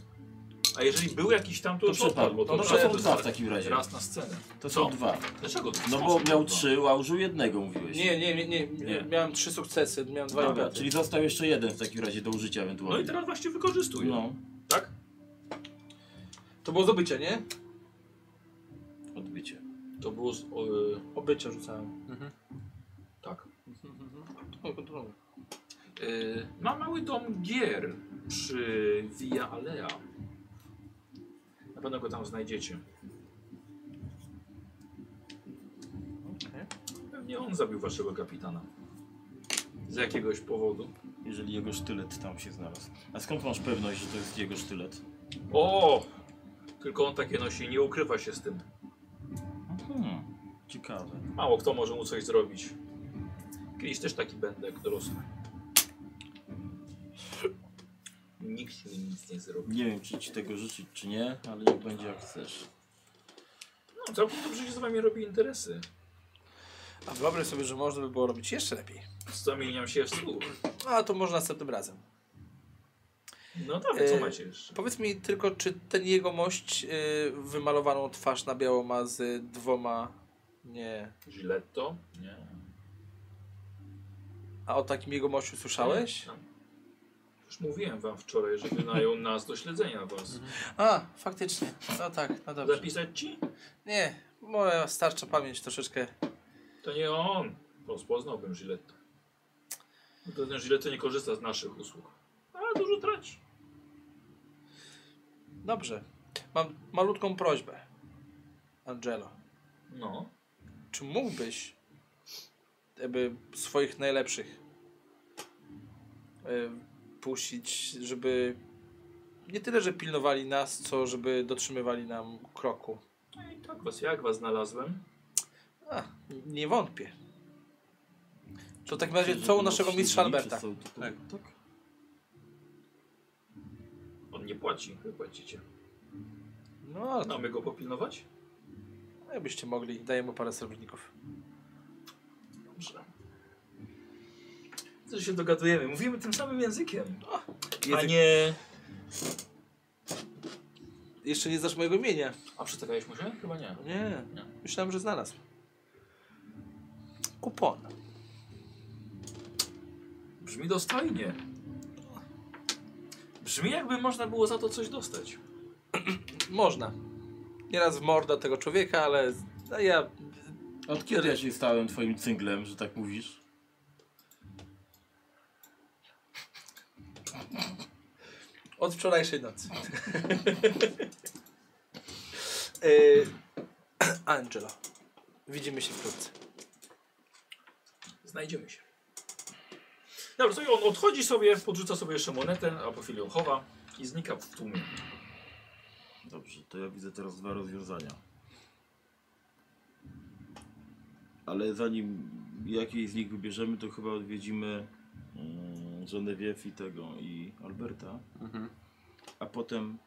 S1: A jeżeli był jakiś tam, to,
S5: To
S1: już odpadł,
S5: przepadł.
S1: bo
S5: No
S1: to,
S5: to
S1: trzeba
S5: są
S1: to
S5: dwa w
S1: znaleźć.
S5: takim razie.
S1: Raz na scenę.
S5: To są
S1: Co?
S5: dwa.
S1: Dlaczego? to
S5: No
S1: są
S5: bo
S1: dwa?
S5: miał trzy, a użył jednego mówiłeś.
S2: Nie, nie, nie, nie,
S5: Nie.
S2: Miałem trzy sukcesy, miałem dwa
S5: Dobra,
S2: impety.
S5: czyli został jeszcze jeden w takim razie do użycia
S1: No i
S5: ewentualnie.
S1: teraz właśnie wykorzystuje.
S5: No,
S1: Tak?
S2: To było zdobycie, nie?
S5: odbicie.
S1: To było z... O, y,
S2: Obycie rzucałem.
S1: tak. Y, ma mały dom gier przy Via Alea. Na pewno go tam znajdziecie. Pewnie on zabił waszego kapitana. Z jakiegoś powodu.
S5: Jeżeli jego sztylet tam się znalazł. A skąd masz pewność, że to jest jego sztylet?
S1: O! Tylko on takie nosi, nie ukrywa się z tym.
S5: Hmm, ciekawe.
S1: Mało kto może mu coś zrobić. Kiedyś też taki będę jak dorosły. Nikt mi nic nie zrobi.
S5: Nie wiem, czy ci tego życzyć, czy nie, ale niech będzie jak chcesz.
S1: No, całkiem dobrze się z wami robi interesy.
S2: A wyobraź sobie, że można by było robić jeszcze lepiej.
S1: Zamieniam się w słuch.
S2: A to może następnym razem.
S1: No dawaj, co
S2: E,
S1: macie jeszcze?
S2: Powiedz mi tylko, czy ten jegomość y, wymalowaną twarz na biało ma z dwoma... Nie.
S1: Giletto? Nie.
S2: A o takim jegomościu słyszałeś?
S1: No. Już mówiłem wam wczoraj, że [LAUGHS] wynają nas do śledzenia was.
S2: A, faktycznie. No tak, no dobrze.
S1: Zapisać ci?
S2: Nie, moja starcza pamięć troszeczkę.
S1: To nie on. Rozpoznałbym Giletto. Bo to ten Giletto nie korzysta z naszych usług. A dużo traci.
S2: Dobrze. Mam malutką prośbę. Angelo,
S1: No.
S2: czy mógłbyś jakby swoich najlepszych y, puścić, żeby nie tyle, że pilnowali nas, co żeby dotrzymywali nam kroku?
S1: No i tak was, jak was znalazłem?
S2: A, nie wątpię. To w takim razie co u naszego mistrza Alberta?
S5: Tak.
S1: On nie płaci, wy płacicie.
S2: No, ale to,
S1: Mamy go popilnować?
S2: jakbyście mogli, daję mu parę srebrników.
S1: Dobrze. Co się dogadujemy? Mówimy tym samym językiem. A nie...
S2: Jeszcze nie znasz mojego imienia.
S1: A przedstawiałeś mu się? Chyba nie.
S2: Nie,
S1: Nie.
S2: myślałem, że znalazł. Kupon.
S1: Brzmi dostojnie. Brzmi jakby można było za to coś dostać.
S2: Można. Nieraz w morda tego człowieka, ale z- a ja
S5: Od kiedy ja się stałem twoim cynglem, że tak mówisz?
S2: od wczorajszej nocy. [LAUGHS] Y, [CLEARS THROAT] Angelo, widzimy się wkrótce.
S1: Znajdziemy się. Dobra, to i on odchodzi sobie, podrzuca sobie jeszcze monetę, a po chwili ją chowa i znika w tłumie.
S5: Dobrze, to ja widzę teraz dwa rozwiązania. Ale zanim jakiej z nich wybierzemy, to chyba odwiedzimy mm, Genevieve i tego, i Alberta. A potem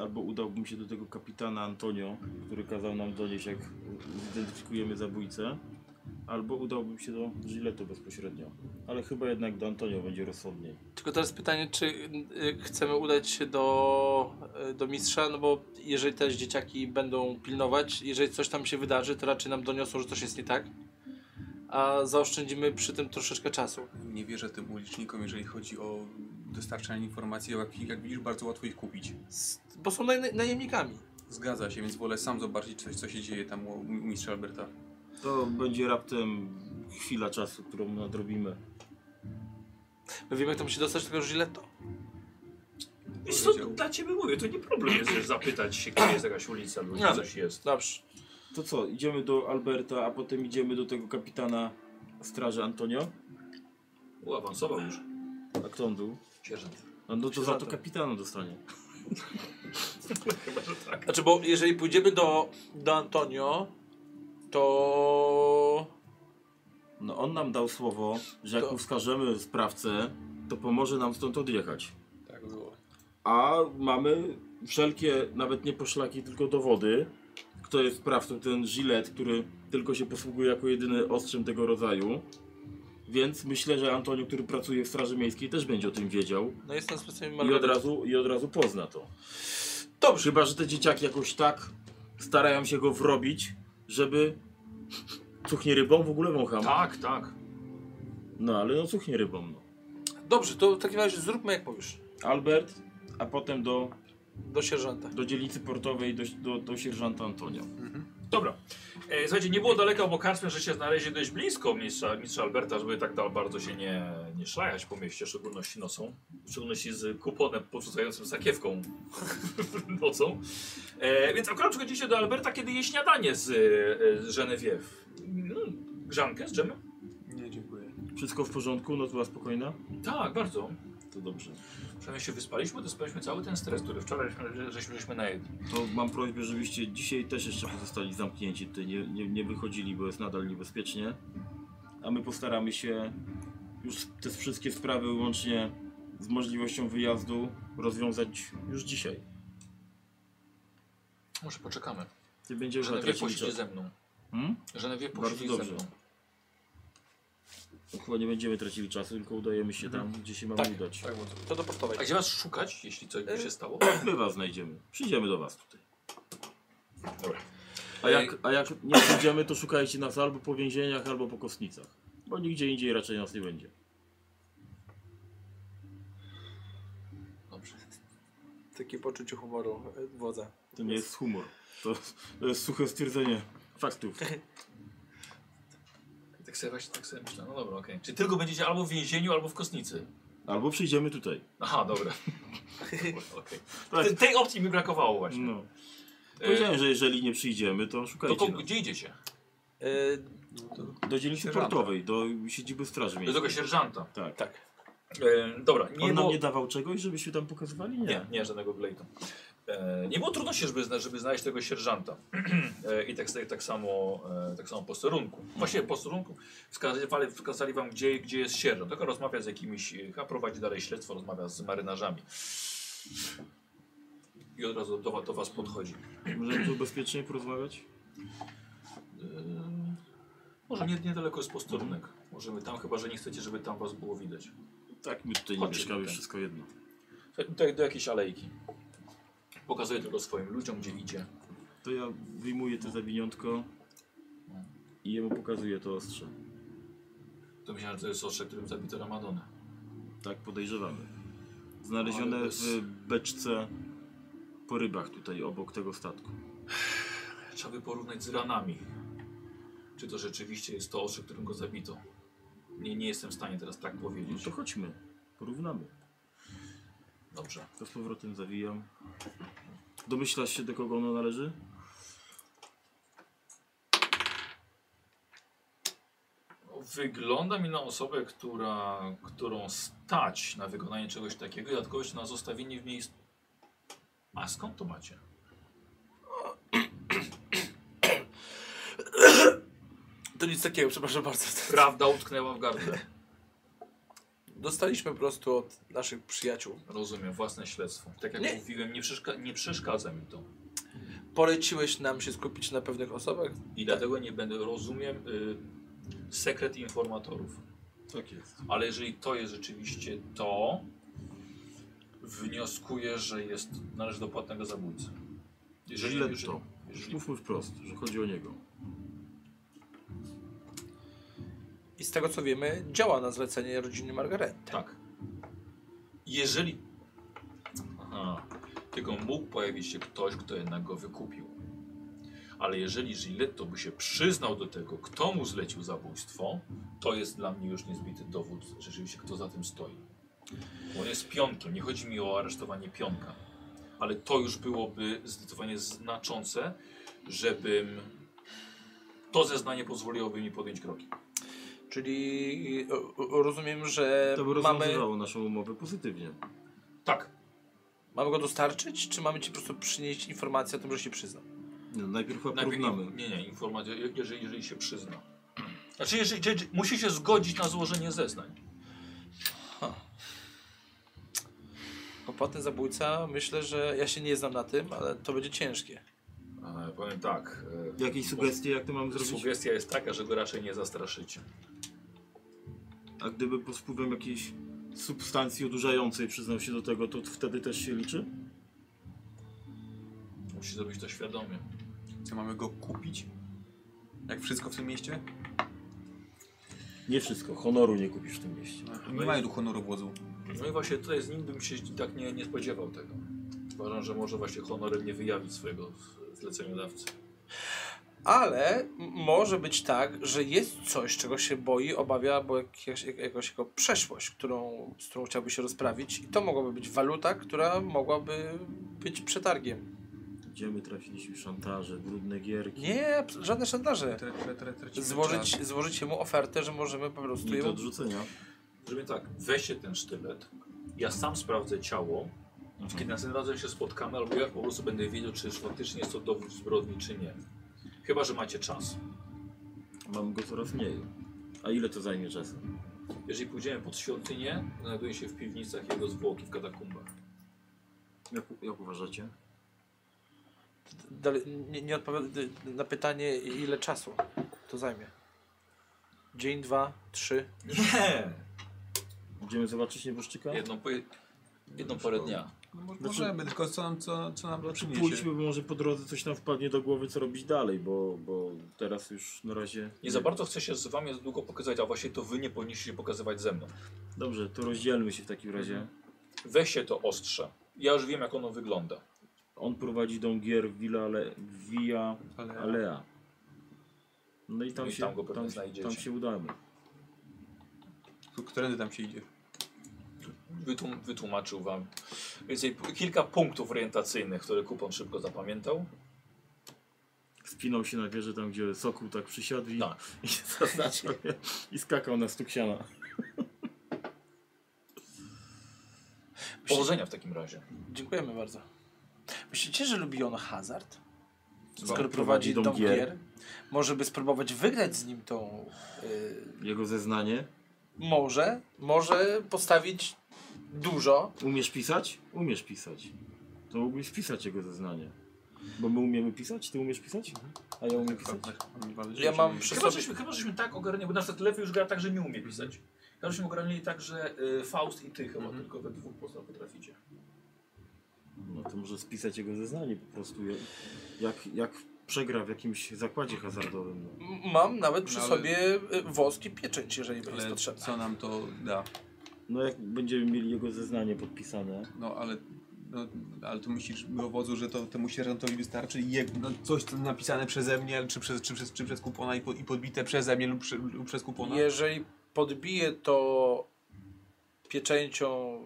S5: albo udałbym się do tego kapitana Antonio, który kazał nam donieść, jak zidentyfikujemy zabójcę, albo udałbym się do Giletu bezpośrednio. Ale chyba jednak do Antonio będzie rozsądniej.
S2: Tylko teraz pytanie, czy y, chcemy udać się do, y, do mistrza, no bo jeżeli też dzieciaki będą pilnować, jeżeli coś tam się wydarzy, to raczej nam doniosą, że coś jest nie tak. A zaoszczędzimy przy tym troszeczkę czasu.
S3: Nie wierzę tym ulicznikom, jeżeli chodzi o dostarczanie informacji, jak, jak widzisz, bardzo łatwo ich kupić.
S2: S- Bo są naj, najemnikami.
S3: Zgadza się, więc wolę sam zobaczyć coś, co się dzieje tam u, u mistrza Alberta.
S5: To będzie raptem chwila czasu, którą nadrobimy.
S2: My wiemy, kto musi dostać tego żileto.
S1: Wiesz co, dla ciebie mówię, to nie problem jest wiesz, zapytać się, gdzie jest jakaś ulica lub gdzie
S2: No.
S1: coś jest.
S2: Dobrze.
S5: To co, idziemy do Alberta, a potem idziemy do tego kapitana straży Antonio?
S1: U, awansował już.
S5: A kto on był?
S1: Sierżant.
S5: No, no to za to kapitana dostanie.
S1: [LAUGHS] Chyba, że tak.
S2: Znaczy, bo jeżeli pójdziemy do, do Antonio, to...
S5: No on nam dał słowo, że jak
S2: To-
S5: to... wskażemy sprawcę, to pomoże nam stąd odjechać.
S3: Tak było.
S5: A mamy wszelkie, nawet nie poszlaki, tylko dowody, kto jest sprawcą, ten gilet, który tylko się posługuje jako jedyny ostrzem tego rodzaju. Więc myślę, że Antonio, który pracuje w Straży Miejskiej, też będzie o tym wiedział
S2: No jest nas specjalnie
S5: i od razu, i od razu pozna to.
S2: Dobrze.
S5: Chyba, że te dzieciaki jakoś tak starają się go wrobić, żeby cuchnie rybą w ogóle wącham.
S1: Tak, tak.
S5: No ale no cuchnie rybą. No.
S2: Dobrze, to w takim razie zróbmy jak mówisz.
S5: Albert, a potem do,
S2: Do sierżanta.
S5: do dzielnicy portowej, do, do, do sierżanta Antonia.
S1: Dobra. E, słuchajcie, nie było daleko, bo karczmy, że się znaleźli dość blisko mistrza, mistrza Alberta, żeby tak dal bardzo się nie, nie szlajać po mieście, w szczególności nocą. W szczególności z kuponem porzucającym sakiewką [LAUGHS] nocą. E, więc akurat przychodzicie do Alberta, kiedy je śniadanie z, e, z Genevieve. Mm, Grzankę z dżemem?
S3: Nie, dziękuję.
S5: Wszystko w porządku, noc była spokojna.
S1: Tak, bardzo.
S5: To dobrze.
S1: Przynajmniej się wyspaliśmy, dospaliśmy cały ten stres, który wczoraj żeśmy- żeśmy żeśmy najedli.
S5: To mam prośbę, żebyście dzisiaj też jeszcze pozostali zamknięci tutaj, nie, nie, nie wychodzili, bo jest nadal niebezpiecznie. A my postaramy się już te wszystkie sprawy łącznie z możliwością wyjazdu rozwiązać już dzisiaj.
S1: Może poczekamy.
S5: Nie będziemy
S1: Żenewie
S5: tracić
S1: posiedzi
S5: czasu.
S1: ze mną.
S5: Hmm?
S1: Żenewie posiedzi ze
S5: dobrze.
S1: mną.
S5: To chyba nie będziemy tracili czasu, tylko udajemy się
S1: Mhm.
S5: tam, gdzie się mamy
S2: Tak.
S5: udać.
S2: Tak, bo to- to do pocztowej.
S1: A gdzie was szukać, jeśli coś by się stało?
S5: My was znajdziemy. Przyjdziemy do was tutaj.
S1: Dobra.
S5: A jak, a jak nie przyjdziemy, to szukajcie nas albo po więzieniach, albo po kostnicach. Bo nigdzie indziej raczej nas nie będzie.
S1: Dobrze.
S2: Takie poczucie humoru e, wodza.
S5: To nie jest humor. To, to jest suche stwierdzenie faktów.
S1: Tak sobie właśnie tak sobie myślę. No dobra, okej. Czyli tylko będziecie albo w więzieniu, albo w kostnicy.
S5: Albo przyjdziemy tutaj.
S1: Aha, [LAUGHS] dobra. Okej.
S5: Tak.
S1: Te- Tej opcji mi brakowało właśnie.
S5: No.
S1: E,
S5: Powiedziałem, że jeżeli nie przyjdziemy, to
S1: no
S5: szukajcie
S1: to
S5: nas.
S1: gdzie idziecie?
S2: E,
S5: Do dzielnicy
S4: Sierżanta.
S5: portowej, do siedziby straży
S1: Do tego
S5: miejskiej.
S1: sierżanta.
S5: Tak.
S1: E, dobra, nie
S5: On nam
S1: było...
S5: nie dawał czegoś, żebyśmy tam pokazywali?
S1: Nie, nie, żadnego Blade'a. E, nie było trudności, żeby, zna- żeby znaleźć tego sierżanta. [CLEARS THROAT] e, I tak, tak, tak samo e, tak samo posterunku. Właściwie posterunku wskazali, wskazali wam, gdzie, gdzie jest sierżant. Tylko rozmawia z jakimiś, e, a prowadzi dalej śledztwo, rozmawia z marynarzami. I od razu do, do was podchodzi.
S5: Możemy tu bezpiecznie porozmawiać?
S1: E, może nie, niedaleko jest posterunek. Możemy tam, chyba że nie chcecie, żeby tam was było widać.
S5: Tak, my tutaj nie
S1: Chodźcie
S5: mieszkamy,
S1: tutaj.
S5: wszystko jedno.
S1: Tutaj Tak, do jakiejś alejki. Pokazuje tylko swoim ludziom, gdzie idzie.
S5: To ja wyjmuję to zawiniątko i jemu pokazuję to ostrze.
S1: To myślałem, że to jest ostrze, którym zabito Ramadonę.
S5: Tak podejrzewamy. Znalezione
S1: Ale bez-
S5: w beczce po rybach tutaj obok tego statku.
S1: Trzeba by porównać z ranami. Czy to rzeczywiście jest to ostrze, którym go zabito? Nie, nie jestem w stanie teraz tak
S5: No
S1: powiedzieć.
S5: to chodźmy, porównamy.
S1: Dobrze.
S5: To z powrotem zawijam. Domyślasz się, do kogo ono należy?
S1: Wygląda mi na osobę, która, którą stać na wykonanie czegoś takiego i dodatkowo jeszcze na zostawienie w miejscu. A skąd to macie?
S2: to nic takiego, przepraszam bardzo.
S1: Prawda utknęła w gardle.
S2: Dostaliśmy po prostu od naszych przyjaciół.
S1: Rozumiem, własne śledztwo. Tak jak
S2: Nie.
S1: mówiłem, nie, przeszka nie przeszkadza mi to.
S2: Poleciłeś nam się skupić na pewnych osobach.
S1: I dlatego nie będę rozumiem y, sekret informatorów.
S5: Tak jest.
S1: Ale jeżeli to jest rzeczywiście to, wnioskuję, że jest, należy do płatnego zabójcy. Jeżeli,
S5: Źle
S1: jeżeli,
S5: to.
S1: jeżeli
S5: Mówmy wprost, że chodzi o niego.
S2: I z tego co wiemy, działa na zlecenie rodziny Margaret.
S1: tak. Jeżeli. Aha. Tylko mógł pojawić się ktoś, kto jednak go wykupił. Ale jeżeli Giletto by się przyznał do tego, kto mu zlecił zabójstwo, to jest dla mnie już niezbity dowód rzeczywiście, kto za tym stoi. Bo On jest pionkiem, nie chodzi mi o aresztowanie pionka. Ale to już byłoby zdecydowanie znaczące, żebym to zeznanie pozwoliłoby mi podjąć kroki.
S2: Czyli o- o- rozumiem, że
S5: To by
S2: E, mamy,
S5: rozwiązywało naszą umowę pozytywnie.
S1: Tak,
S2: mamy go dostarczyć, czy mamy ci po prostu przynieść informację o tym, że się przyznał?
S5: No, najpierw chyba
S1: Najpierw
S5: porównamy.
S1: Nie, nie, informacja, je- jeżeli, jeżeli się przyzna. [CLEARS THROAT] Znaczy, jeżeli, jeżeli, musi się zgodzić na złożenie zeznań.
S2: Opłatny zabójca, myślę, że ja się nie znam na tym, ale to będzie ciężkie.
S1: E, powiem tak. E,
S5: Jakieś sugestie, jak to mam zrobić?
S1: Sugestia jest taka, że go raczej nie zastraszycie.
S5: A gdyby pod wpływem jakiejś substancji odurzającej przyznał się do tego, to wtedy też się liczy?
S1: Musi zrobić to świadomie.
S3: Co, mamy go kupić? Jak wszystko w tym mieście?
S5: Nie wszystko. Honoru nie kupisz w tym mieście.
S3: Nie mają tu honoru wodzu.
S1: No i właśnie tutaj z nim bym się tak nie, nie spodziewał tego. Uważam, że może właśnie honorem nie wyjawić swojego z- zleceniodawcy.
S2: Ale m- może być tak, że jest coś, czego się boi, obawia, bo jakaś, jak- jakaś jego przeszłość, którą, z którą chciałby się rozprawić i to mogłaby być waluta, która mogłaby być przetargiem.
S5: Gdzie my trafiliśmy szantaże, brudne gierki?
S2: Nie, abs- żadne szantaże.
S3: Tre, tre, tre, tracimy czas.
S2: Złożyć, złożyć mu ofertę, że możemy po prostu
S5: Nie do
S2: ją...
S5: odrzucenia.
S1: Zrobię tak, weźcie ten sztylet, ja sam sprawdzę ciało, kiedy następnym razem się spotkamy, albo ja po prostu będę wiedział, czy faktycznie jest to dowód zbrodni, czy nie. Chyba, że macie czas.
S5: Mam go coraz mniej. A ile to zajmie czasu?
S1: Jeżeli pójdziemy pod świątynię, znajduje się w piwnicach jego zwłoki w katakumbach.
S5: Jak, jak uważacie?
S2: Dalej, nie, nie odpowiada na pytanie, ile czasu to zajmie. Dzień, dwa, trzy.
S1: Nie!
S5: Będziemy zobaczyć nieboszczyka?
S1: Jedną, po, jedną porę dnia.
S3: No, mo- możemy, tylko co nam, co, co nam
S5: Znaczy
S3: przyniesie.
S5: pójdźmy, bo może po drodze coś nam wpadnie do głowy, co robić dalej, bo, bo teraz już na razie...
S1: Nie za bardzo chcę się z wami długo pokazywać, a właśnie to wy nie powinniście się pokazywać ze mną.
S5: Dobrze, to rozdzielmy się w takim razie.
S1: Mhm. Weźcie to ostrze. Ja już wiem, jak ono wygląda.
S5: On prowadzi dom gier Villa Ale, Via
S3: Ale, ale...
S5: Alea. No i tam
S1: No i
S5: się,
S1: tam go pewnie
S5: tam,
S1: znajdziecie.
S5: tam się udamy.
S3: Którędy tam się idzie?
S1: Wytum, wytłumaczył wam więcej, kilka punktów orientacyjnych, które kupon szybko zapamiętał.
S5: Spinał się na wieżę tam, gdzie Sokół tak przysiadł i,
S1: Tak.
S5: i [LAUGHS] zaznaczył je i skakał na stuksiana.
S1: Powodzenia w takim razie.
S2: Dziękujemy bardzo. Myślicie, że lubi on hazard?
S5: Skoro
S2: Skoro
S5: prowadzi
S2: prowadzi
S5: dom
S2: dom
S5: gier.
S2: gier, może by spróbować wygrać z nim tą... y,
S5: Jego zeznanie.
S2: może, może postawić dużo.
S5: Umiesz pisać? Umiesz pisać. To mógłbyś pisać jego zeznanie. Mhm. Bo my umiemy pisać? Ty umiesz pisać? A ja umiem pisać?
S3: tak,
S2: Ja mam przy
S1: Chyba
S2: sobie...
S1: żeśmy, chyba żeśmy tak ogarnęli, bo na przykład Lewy już gra tak, że nie umie pisać. Chyba żeśmy ogarnęli tak, że y, Faust i ty chyba tylko we dwóch poza potraficie.
S5: No to może spisać jego zeznanie po prostu. jak- Jak, jak przegra w jakimś zakładzie hazardowym. No.
S2: M- Mam nawet przy
S3: No, ale-
S2: sobie y, wosk i pieczęć, jeżeli będzie
S3: Ale
S2: potrzebne.
S3: co nam to da?
S5: no jak będziemy mieli jego zeznanie podpisane.
S3: No ale, no, ale tu myślisz, dowodzu, że to temu sierżantowi wystarczy i jak, no, coś co napisane przeze mnie, czy przez, czy przez, czy przez kupona i, po, i podbite przeze mnie lub, przy, lub przez kupona?
S2: Jeżeli podbije to pieczęcią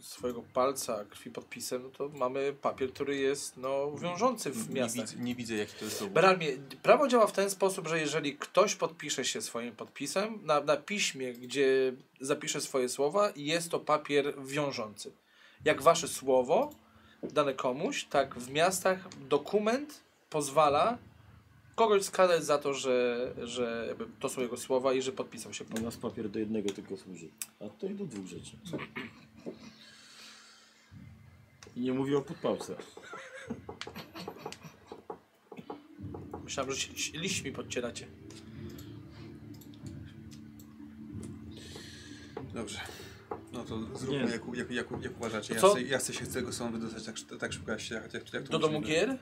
S2: swojego palca, krwi podpisem, no to mamy papier, który jest no, wiążący w
S3: nie,
S2: miastach.
S3: widzę, nie widzę jaki to jest dowód.
S2: Beralmie, prawo działa w ten sposób, że jeżeli ktoś podpisze się swoim podpisem na, na piśmie, gdzie zapisze swoje słowa, jest to papier wiążący. Jak wasze słowo dane komuś, tak w miastach dokument pozwala kogoś skazać za to, że, że jakby to są jego słowa i że podpisał się pod.
S5: U nas papier do jednego tylko służy. A tutaj do dwóch rzeczy. I nie mówię o podpałce.
S2: Myślałem, że się liś- liśćmi podcieracie.
S3: Dobrze. No to zróbmy
S5: Nie.
S3: jak, jak, jak, jak uważacie. Ja
S2: Co?
S3: chcę, ja chcę się z tego sądu wydostać tak, tak szybko jak się jak, jak, jak to
S2: Do domu
S3: możliwe.
S2: gier?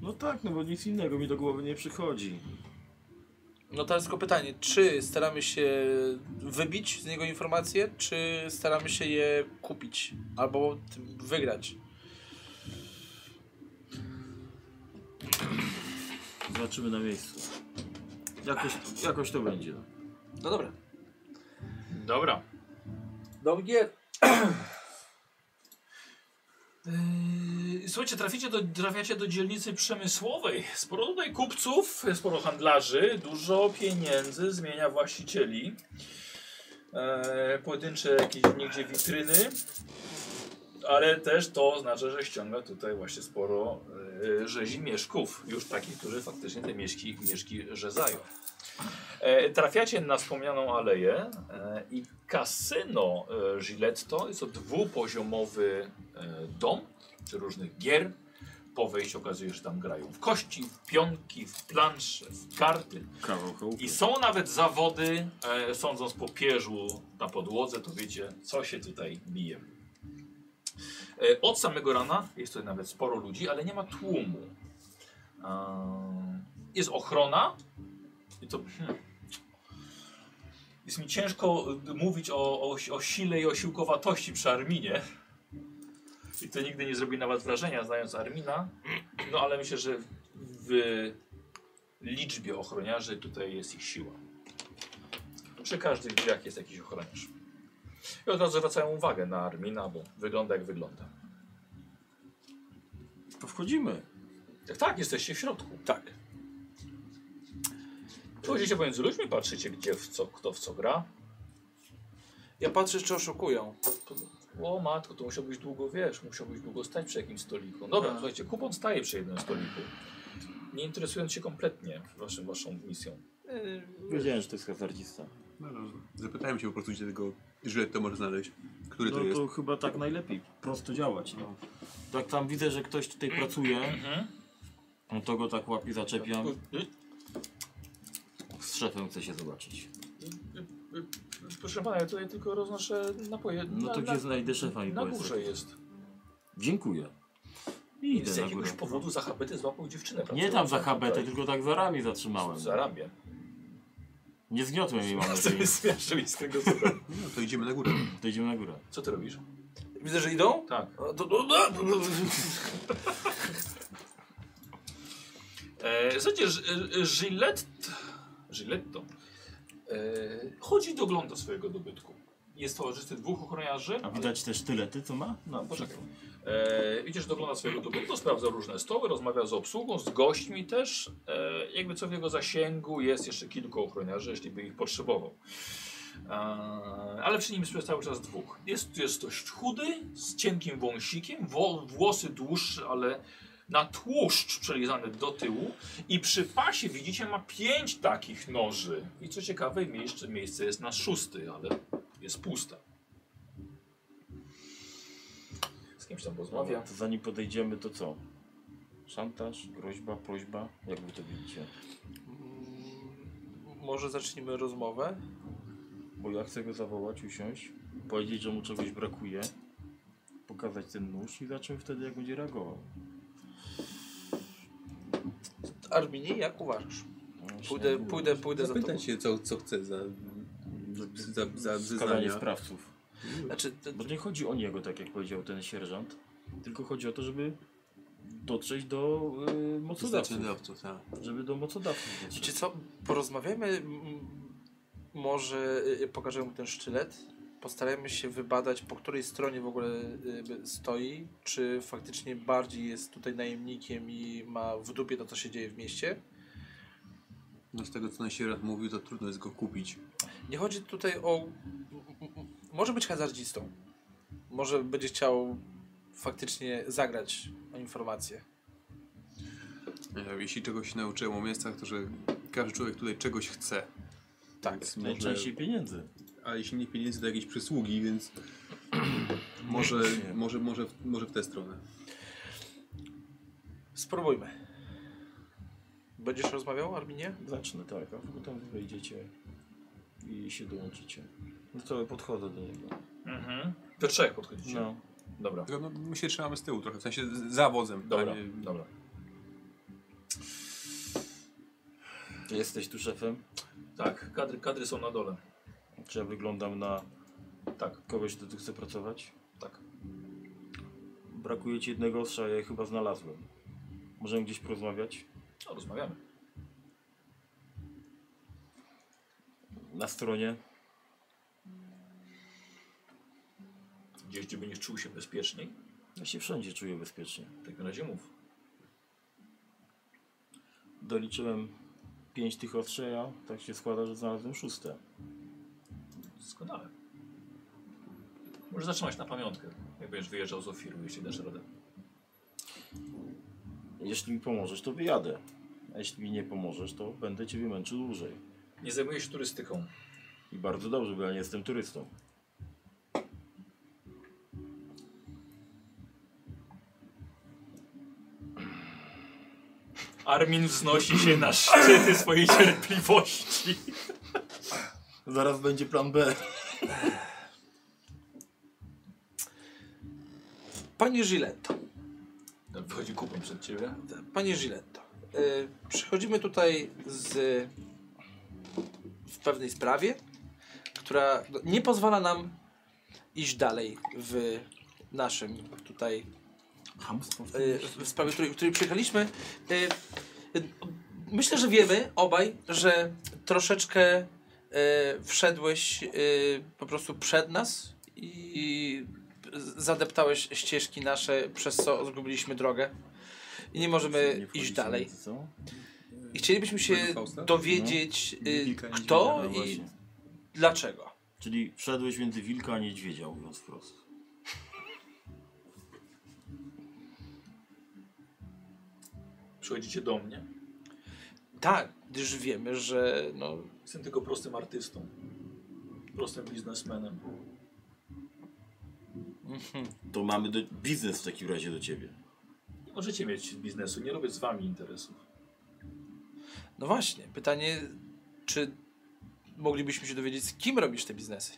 S5: No tak, no bo nic innego mi do głowy nie przychodzi.
S2: No teraz tylko pytanie, czy staramy się wybić z niego informacje, czy staramy się je kupić albo tym wygrać?
S5: Zobaczymy na miejscu. Jakoś, jakoś to będzie.
S2: No dobra.
S1: Dobra.
S2: Dom gier.
S1: Yy, Słuchajcie, traficie do, trafiacie do dzielnicy przemysłowej. Sporo tutaj kupców, sporo handlarzy, dużo pieniędzy, zmienia właścicieli. E, pojedyncze jakieś niegdzie witryny. Ale też to oznacza, że ściąga tutaj właśnie sporo e, rzezimieszków. Już takich, którzy faktycznie te mieszki, mieszki rzezają. E, trafiacie na wspomnianą aleję e, i kasyno e, Giletto jest to dwupoziomowy e, dom z różnych gier. Po wejściu okazuje się, że tam grają w kości, w pionki, w plansze, w karty.
S5: Kawał chałupy.
S1: I są nawet zawody, e, sądząc po pierzu na podłodze, to wiecie, co się tutaj bije. E, od samego rana jest tutaj nawet sporo ludzi, ale nie ma tłumu. Ehm, jest ochrona. I to. Hmm, jest mi ciężko y, mówić o, o, o sile i o siłkowatości przy Arminie. I to nigdy nie zrobi na was wrażenia, znając Armina. No ale myślę, że w, w liczbie ochroniarzy tutaj jest ich siła. Przy każdych drzwiach jest jakiś ochroniarz. I od razu zwracają uwagę na Armina, bo wygląda jak wygląda.
S5: To wchodzimy.
S1: Tak, tak, jesteście w środku.
S2: Tak.
S1: Chodzicie pomiędzy ludźmi, patrzycie gdzie, w co, kto w co gra.
S2: Ja patrzę, czy oszukują.
S1: O matko, to musiałbyś długo, wiesz, musiałbyś długo stać przy jakimś stoliku. Dobra,
S2: A.
S1: słuchajcie, kupon staje przy jednym stoliku. Nie interesując się kompletnie waszym, waszą misją.
S5: Wiedziałem, że to jest hazardzista.
S3: No, no, zapytałem się po prostu, gdzie tego żylet to może znaleźć. Który
S5: No
S3: to jest?
S5: to chyba tak najlepiej. Prosto działać. No. Jak tam widzę, że ktoś tutaj pracuje, no to go tak łapie, zaczepiam. Z szefem chcę się zobaczyć.
S1: Proszę pana, ja tutaj tylko roznoszę napoje.
S5: No to gdzie znajdę szefa i
S1: Na
S5: powiedz.
S1: górze jest.
S5: Dziękuję. I
S1: I z
S5: idę na górę.
S1: jakiegoś powodu za habety złapał dziewczynę.
S5: Nie tam za
S1: pracującą
S5: habetę,
S1: tutaj.
S5: tylko tak za ramię zatrzymałem.
S1: Za ramię.
S5: Nie zgniotłem jej, mam
S1: Co mnie
S5: nadzieję.
S1: zmiażdżyli z tego super.
S3: No, to idziemy na górę.
S5: To idziemy na górę.
S1: Co ty robisz?
S2: Widzę, że idą?
S1: Tak.
S2: No to- no, no, no, no.
S1: E, Słuchajcie, Ż- e, Gillette, Giletto e, chodzi i dogląda swojego dobytku. Jest towarzysty dwóch ochroniarzy.
S5: A widać te sztylety, co ma? No,
S1: Poczekaj. E, idziesz, dogląda swojego dobytku, sprawdza różne stoły, rozmawia z obsługą, z gośćmi też. E, jakby co w jego zasięgu jest jeszcze kilku ochroniarzy, jeśli by ich potrzebował. E, ale przy nim jest przez cały czas dwóch. Jest, jest dość chudy, z cienkim wąsikiem, wo, włosy dłuższe, ale na tłuszcz przelizane do tyłu i przy pasie widzicie ma pięć takich noży. I co ciekawe miejsce, miejsce jest na szósty, ale jest puste. Z kimś tam rozmawia.
S5: Dobra, to zanim podejdziemy, to co? Szantaż, groźba, prośba? Jak wy to widzicie?
S2: Mm, Może zacznijmy rozmowę?
S5: Bo ja chcę go zawołać, usiąść, powiedzieć, że mu czegoś brakuje, pokazać ten nóż i zacząć wtedy, jak będzie reagował.
S2: Arminie, jak uważasz?
S5: No,
S2: Pójdę,
S5: śniadło.
S2: pójdę, pójdę za tobą.
S4: Zapytaj się, co, co chce za, za, za
S5: Skazanie
S4: zeznania.
S5: sprawców.
S2: Znaczy, ty-
S5: Bo nie chodzi o niego, tak jak powiedział ten sierżant, tylko chodzi o to, żeby dotrzeć do yy,
S3: To
S5: mocodawców.
S3: znaczy, dawco, tak.
S5: Żeby do mocodawców dotrzeć.
S2: Wiecie co, porozmawiamy, m, może y, pokażę mu ten sztylet, postarajmy się wybadać po której stronie w ogóle y, by- stoi, czy faktycznie bardziej jest tutaj najemnikiem i ma w dupie to co się dzieje w mieście.
S3: No z tego, co nam sierad mówił, to trudno jest go kupić.
S2: Nie chodzi tutaj o... m- m- może być hazardzistą, może będzie chciał faktycznie zagrać o informację.
S3: E, Jeśli czegoś się nauczyłem o miastach, to że każdy człowiek tutaj czegoś chce.
S2: Tak.
S3: Więc może,
S5: Najczęściej pieniędzy.
S3: a jeśli nie pieniędzy, to jakieś przysługi, [CLEARS THROAT] więc może, może, może, w- może w tę stronę.
S2: Spróbujmy. Będziesz rozmawiał, Arminie?
S5: Zacznę, tak, a wy tam wejdziecie i się dołączycie. No to podchodzę do niego.
S1: Mhm. We trzech podchodzicie.
S5: No.
S1: Dobra.
S3: Tylko no, my się trzymamy z tyłu trochę, w sensie z- za wodzem.
S1: Dobra,
S3: a nie-
S1: dobra.
S5: Ty jesteś tu szefem?
S1: Tak, kadry, kadry są na dole.
S5: Czy ja wyglądam na
S1: Tak.
S5: kogoś, kto tu chce pracować?
S1: Tak.
S5: Brakuje ci jednego ostrza, ja je chyba znalazłem. Możemy gdzieś porozmawiać?
S1: No, rozmawiamy.
S5: Na stronie?
S1: Gdzieś, gdzie będziesz czuł się bezpieczniej,
S5: Ja się wszędzie czuję bezpiecznie.
S1: w takim razie mów.
S5: Doliczyłem pięć tych ostrzy, a ja tak się składa, że znalazłem szóste.
S1: Doskonale. Możesz zatrzymać na pamiątkę, jak będziesz wyjeżdżał z Ofiru, jeśli dasz radę.
S5: Jeśli mi pomożesz, to wyjadę. A jeśli mi nie pomożesz, to będę ciebie męczył dłużej.
S1: Nie zajmuję się turystyką.
S5: I bardzo dobrze, bo ja nie jestem turystą.
S1: Armin wznosi się na szczyty swojej cierpliwości.
S5: Zaraz będzie plan B.
S2: Panie Giletto.
S1: Wychodzi kupon przed ciebie.
S2: Panie Giletto, y, przychodzimy tutaj z, w pewnej sprawie, która no, nie pozwala nam iść dalej w naszym tutaj,
S5: Hamstwo.
S2: y, w sprawie, w której, w której przyjechaliśmy. Y, y, Myślę, że wiemy obaj, że troszeczkę y, wszedłeś y, po prostu przed nas i zadeptałeś ścieżki nasze, przez co zgubiliśmy drogę. i nie możemy
S5: Nie wchodzi
S2: iść
S5: sobie,
S2: dalej. No
S5: Co?
S2: I chcielibyśmy się
S3: Według Fausta?
S2: dowiedzieć y,
S3: Wilka i
S2: kto
S5: No
S2: i
S5: właśnie.
S2: dlaczego.
S5: Czyli wszedłeś między wilka a niedźwiedzia, mówiąc wprost.
S1: Przychodzicie do mnie.
S2: Tak, gdyż wiemy, że no,
S1: Jestem tylko prostym artystą. Prostym biznesmenem.
S5: To mamy do... biznes w takim razie do ciebie.
S1: Nie możecie mieć biznesu, nie robię z wami interesów.
S2: no właśnie, pytanie, czy moglibyśmy się dowiedzieć, z kim robisz te biznesy?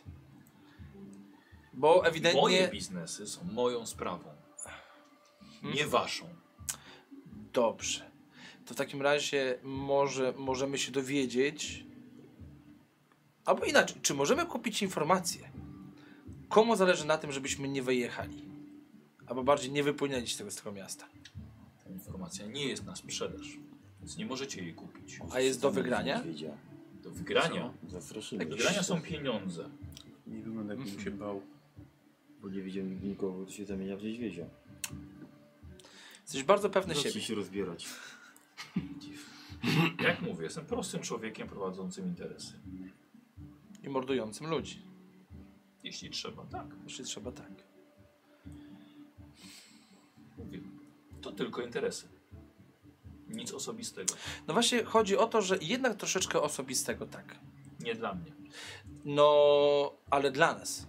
S2: Bo ewidentnie...
S1: Moje biznesy są moją sprawą. Nie waszą.
S2: Dobrze. To w takim razie może możemy się dowiedzieć. Albo inaczej, czy możemy kupić informację? Komu zależy na tym, żebyśmy nie wyjechali? Albo bardziej nie wypłynęli z tego, z tego miasta.
S1: Ta informacja nie jest na sprzedaż, więc nie możecie jej kupić.
S2: A jest do
S5: Tam
S2: wygrania?
S5: niedźwiedzia.
S1: Do wygrania.
S5: Zastraszyłeś.
S1: Do wygrania są pieniądze.
S4: Nie wygląda jakbym się bał.
S5: Bo nie widziałem nikogo, kto się zamienia w niedźwiedzia.
S2: Jesteś bardzo pewny
S5: Zacznij
S2: siebie.
S5: się rozbierać.
S1: Jak mówię, jestem prostym człowiekiem prowadzącym interesy.
S2: I mordującym ludzi.
S1: Jeśli trzeba, tak.
S2: Jeśli trzeba tak.
S1: Mówię. To tylko interesy. Nic osobistego.
S2: No właśnie chodzi o to, że jednak troszeczkę osobistego tak.
S1: Nie dla mnie.
S2: No, ale dla nas.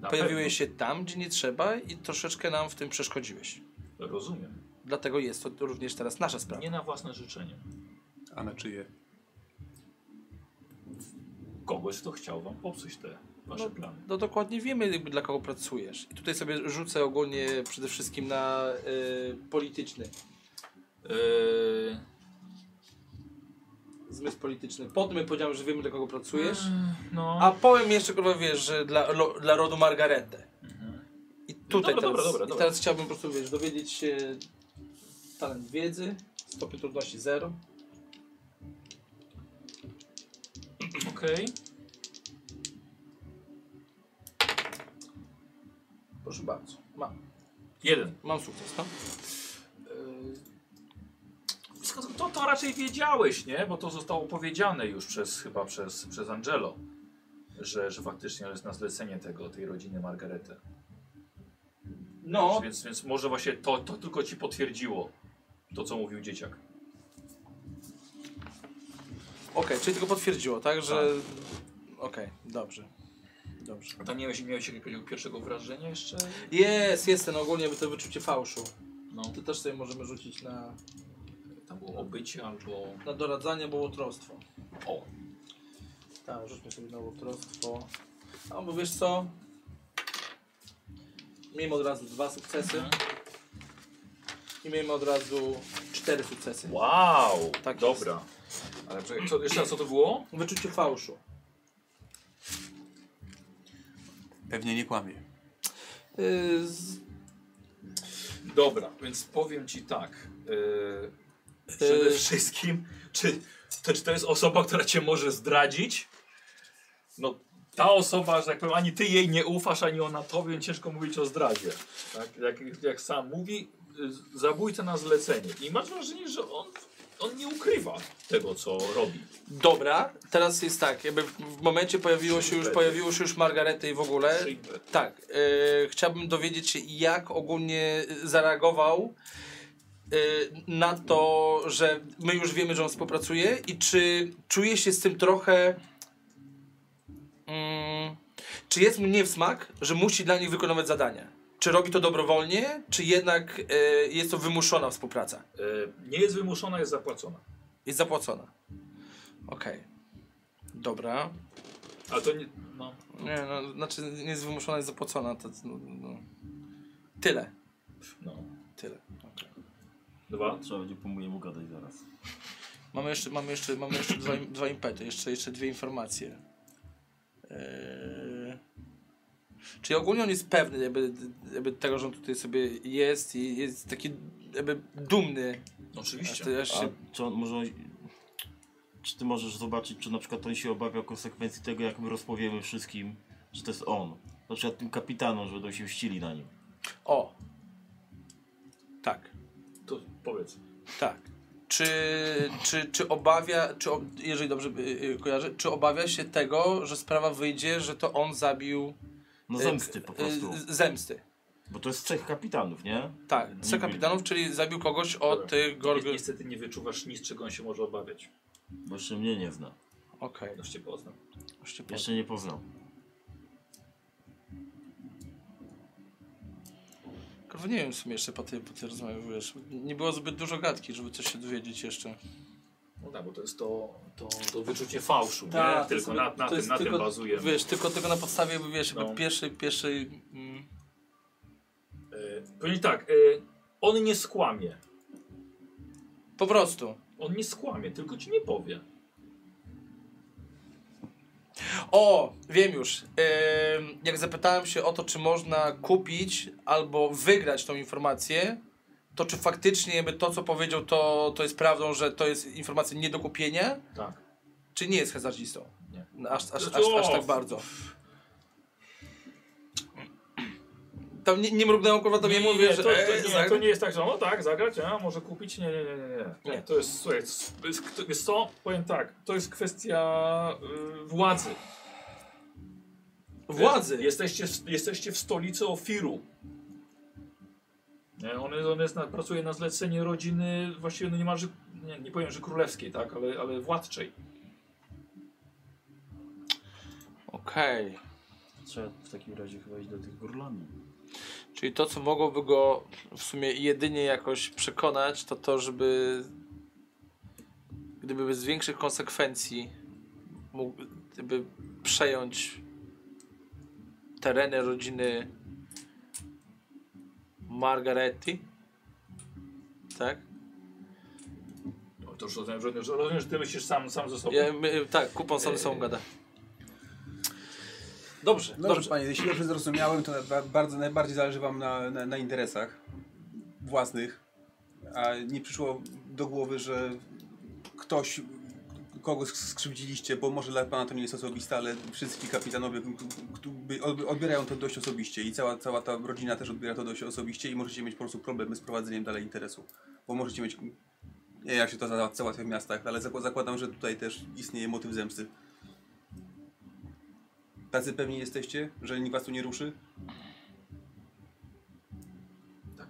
S1: Na
S2: Pojawiłeś się tam, gdzie nie trzeba i troszeczkę nam w tym przeszkodziłeś.
S1: pewno. Rozumiem.
S2: Dlatego jest to również teraz nasza sprawa.
S1: Nie na własne życzenie.
S3: A na czyje?
S1: Kogoś, kto chciał wam popsuć te wasze plany.
S2: No dokładnie wiemy, jakby dla kogo pracujesz. I tutaj sobie rzucę ogólnie przede wszystkim na y, polityczny,
S1: Yy,
S2: zmysł polityczny. Potem my powiedziałem, że wiemy, dla kogo pracujesz.
S1: no.
S2: A powiem jeszcze, kurwa, wiesz, że dla, lo, dla rodu Margaretę. I tutaj
S1: Mhm. Dobra,
S2: teraz,
S1: dobra, dobra,
S2: i
S1: dobra.
S2: teraz chciałbym po prostu, wiesz, dowiedzieć się talent wiedzy, stopień trudności 0.
S1: Okej.
S2: Proszę bardzo. Mam,
S1: Jeden.
S2: mam sukces, no. Yy,
S1: Skąd- To, to raczej wiedziałeś, nie? Bo to zostało powiedziane już przez, chyba przez, przez Angelo, że, że faktycznie jest na zlecenie tego, tej rodziny Margarety.
S2: No,
S1: Więc, więc może właśnie to, to tylko ci potwierdziło to, co mówił dzieciak.
S2: okej, czyli tylko potwierdziło, tak, że... Okej, dobrze. Dobrze.
S1: A tam miałeś, miałeś jakiegoś pierwszego wrażenia jeszcze?
S2: Jest, jest ten ogólnie to wyczucie fałszu.
S1: No.
S2: To też sobie możemy rzucić na,
S1: Tam było obycie albo...
S2: na doradzanie, bo łotrostwo.
S1: O,
S2: Tak, rzućmy sobie na łotrostwo. A bo wiesz co? Miejmy od razu dwa sukcesy. I miejmy od razu cztery sukcesy.
S1: wow,
S2: Tak
S1: dobra. Ale czekaj, co, jeszcze raz, co to było?
S2: Wyczucie fałszu.
S3: Pewnie nie kłamie.
S2: Yy, z,
S1: Dobra, więc powiem ci tak. Yy, przede
S2: yy,
S1: wszystkim, czy, to, czy to jest osoba, która cię może zdradzić? No, ta osoba, że tak powiem, ani ty jej nie ufasz, ani ona tobie, ciężko mówić o zdradzie. Tak? Jak, jak sam mówi, y, zabójca na zlecenie. I masz wrażenie, że on, on nie ukrywa tego, co robi.
S2: dobra, teraz jest tak, jakby w- w momencie pojawiło się już, pojawiło się już Margarety i w ogóle.
S1: Przyjdę.
S2: Tak, e, chciałbym dowiedzieć się, jak ogólnie zareagował e, na to, że my już wiemy, że on współpracuje i czy czuje się z tym trochę. Mm, czy jest mu nie w smak, że musi dla nich wykonywać zadania? Czy robi to dobrowolnie, czy jednak e, jest to wymuszona współpraca?
S1: Y, nie jest wymuszona, jest zapłacona.
S2: Jest zapłacona. Okej. Dobra.
S1: Ale to nie. No.
S2: Nie, no, znaczy nie jest wymuszona, jest zapłacona. To, no, no. Tyle.
S1: no.
S2: Tyle.
S1: Dwa.
S5: Trzeba będzie po mojemu gadać zaraz.
S2: Mamy jeszcze, mamy jeszcze, mamy jeszcze dwa, im- dwa impety, jeszcze, jeszcze dwie informacje. Eee... Czyli ogólnie on jest pewny jakby, jakby tego, że on tutaj sobie jest i jest taki jakby dumny. Aż
S1: No, Oczywiście.
S2: to aż się...
S5: A czy on może... Czy ty możesz zobaczyć, czy na przykład on się obawia konsekwencji tego, jak my rozpowiemy wszystkim, że to jest on? Na przykład tym kapitanom, że będą się ścili na nim.
S2: O! Tak.
S1: To powiedz.
S2: Tak. Czy, czy, czy obawia, czy, o- jeżeli dobrze y, y, kojarzę, czy obawia się tego, że sprawa wyjdzie, że to on zabił
S5: No
S2: y,
S5: zemsty po
S2: y,
S5: prostu.
S2: z- zemsty.
S5: Bo to jest trzech kapitanów, nie?
S2: Tak, trzech
S1: Mhm.
S2: kapitanów, czyli zabił kogoś od y,
S1: Gorgo.
S2: Gorgo.
S1: Niestety nie wyczuwasz nic, czego on się może obawiać.
S5: Bo jeszcze mnie nie zna.
S2: Okej.
S1: Już cię poznam.
S2: Jeszcze po-
S5: Jeszcze nie poznał.
S2: Kurwa, nie wiem w sumie jeszcze po tej, po tej rozmowie, wiesz, nie było zbyt dużo gadki, żeby coś się dowiedzieć jeszcze.
S1: No tak, bo to jest to, to, to wyczucie fałszu,
S2: Tak,
S1: nie?
S2: to jest-
S1: Tylko na, na,
S2: to
S1: tym,
S2: jest
S1: na
S2: tylko-
S1: tym bazujemy.
S2: Wiesz, tylko tego na podstawie, jakby, wiesz, jakby
S1: No.
S2: pierwszy, pierwszy... Mm,
S1: E, Powiem tak, e, on nie skłamie.
S2: po prostu.
S1: On nie skłamie, tylko ci nie powie.
S2: O, wiem już. Ym, jak zapytałem się o to, czy można kupić albo wygrać tą informację, to czy faktycznie jakby to, co powiedział, to, to jest prawdą, że to jest informacja nie do kupienia,
S1: Tak.
S2: czy nie jest hazardzistą?
S1: Nie.
S2: No, Aż, aż, aż,
S1: Znaczy, O!
S2: aż tak bardzo. Tam nie, nie mrubnęło kurwa, to nie,
S1: Nie,
S2: mówię,
S1: nie, No
S2: że...
S1: to,
S2: e,
S1: to, nie,
S2: zagra-
S1: to nie jest tak, że no tak, zagrać, a może kupić. Nie, nie, nie, nie. nie.
S2: Nie.
S1: To jest, słuchaj, to jest, to jest to, powiem tak, to jest kwestia y, władzy.
S2: Władzy.
S1: Jesteście, w- jesteście w stolicy Ofiru. Nie, On, jest, on jest na, pracuje na zlecenie rodziny, właściwie no niemalże, nie, nie powiem, że królewskiej, tak, ale, ale władczej.
S2: Okej.
S5: Trzeba w takim razie chyba iść do tych górlami.
S2: Czyli to, co mogłoby go w sumie jedynie jakoś przekonać, to to, żeby gdyby bez większych konsekwencji mógł gdyby przejąć tereny rodziny Margaretti, tak?
S1: No, to już rozumiem, że, że, rozumiem, że ty myślisz sam, sam ze sobą.
S2: Ja, my, tak, kupon sam sam gada. Dobrze,
S4: No dobrze,
S2: dobrze.
S4: panie, jeśli dobrze zrozumiałem, to ba- bardzo, najbardziej zależy wam na, na, na interesach własnych, a nie przyszło do głowy, że ktoś, kogo sk- skrzywdziliście, bo może dla pana to nie jest osobiste, ale wszyscy kapitanowie k- k- by- odb- odbierają to dość osobiście i cała, cała ta rodzina też odbiera to dość osobiście i możecie mieć po prostu problemy z prowadzeniem dalej interesu, bo możecie mieć, nie wiem, jak się to za- załatwia w miastach, ale zakła- zakładam, że tutaj też istnieje motyw zemsty. Tacy pewni jesteście, że nikt was tu nie ruszy?
S1: Tak.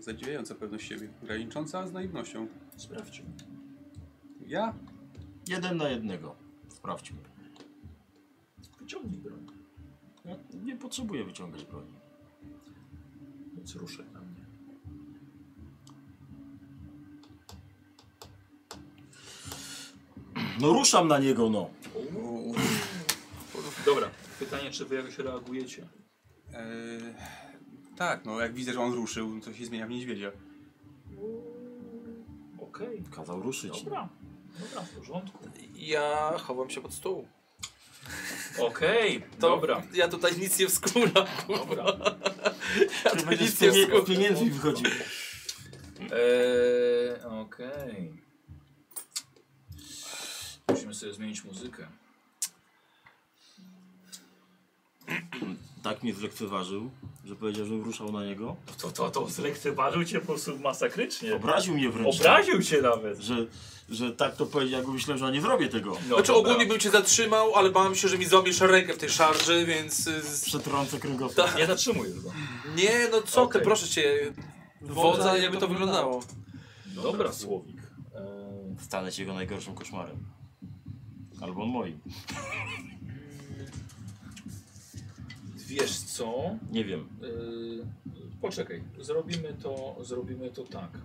S4: Zadziwiająca pewność siebie, granicząca z naiwnością.
S1: Sprawdźmy.
S4: Ja?
S5: Jeden na jednego. Sprawdźmy.
S1: Wyciągnij broń,
S5: Ja nie potrzebuję wyciągać broni.
S1: więc ruszaj na mnie.
S5: No ruszam na niego, no.
S1: Dobra, pytanie, czy wy jakoś reagujecie?
S4: Eee, tak, no jak widzę, że on ruszył, to się zmienia w niedźwiedzia.
S1: Okej,
S5: Kazał ruszyć.
S1: dobra. Dobra, w porządku.
S2: Ja chowam się pod stół.
S1: Okej,
S2: To
S1: dobra.
S2: Ja tutaj nic nie wskuram.
S1: Dobra.
S2: Ja
S5: Czy
S2: tu
S5: będziesz
S2: nic nie
S5: pie-
S2: wskuram.
S5: pieniędzmi wychodził?
S1: Eee, okej. Musimy sobie zmienić muzykę.
S5: Tak mnie zlekceważył, że powiedział, że ruszał na niego.
S6: To, to, to zlekceważył cię po prostu masakrycznie.
S5: Obraził mnie wręcz.
S6: Obraził cię nawet.
S5: Że, że tak to powiedział, jakby myślałem, że ja nie zrobię tego.
S1: No,
S2: Znaczy
S1: dobra.
S2: ogólnie bym cię zatrzymał, ale bałem się, że mi złamiesz rękę w tej szarży, więc... y, z-
S5: Przetrącę kręgosłup.
S1: Nie zatrzymuj go.
S2: Nie, no co ty,
S1: Okej.
S2: proszę cię. Wodza, jakby to wyglądało.
S1: Dobra, Dobra Słowik. Eee,
S5: Stanę się jego najgorszym koszmarem. Albo on moim.
S1: wiesz co?
S5: Nie wiem.
S1: Yy, poczekaj, zrobimy to, zrobimy to tak.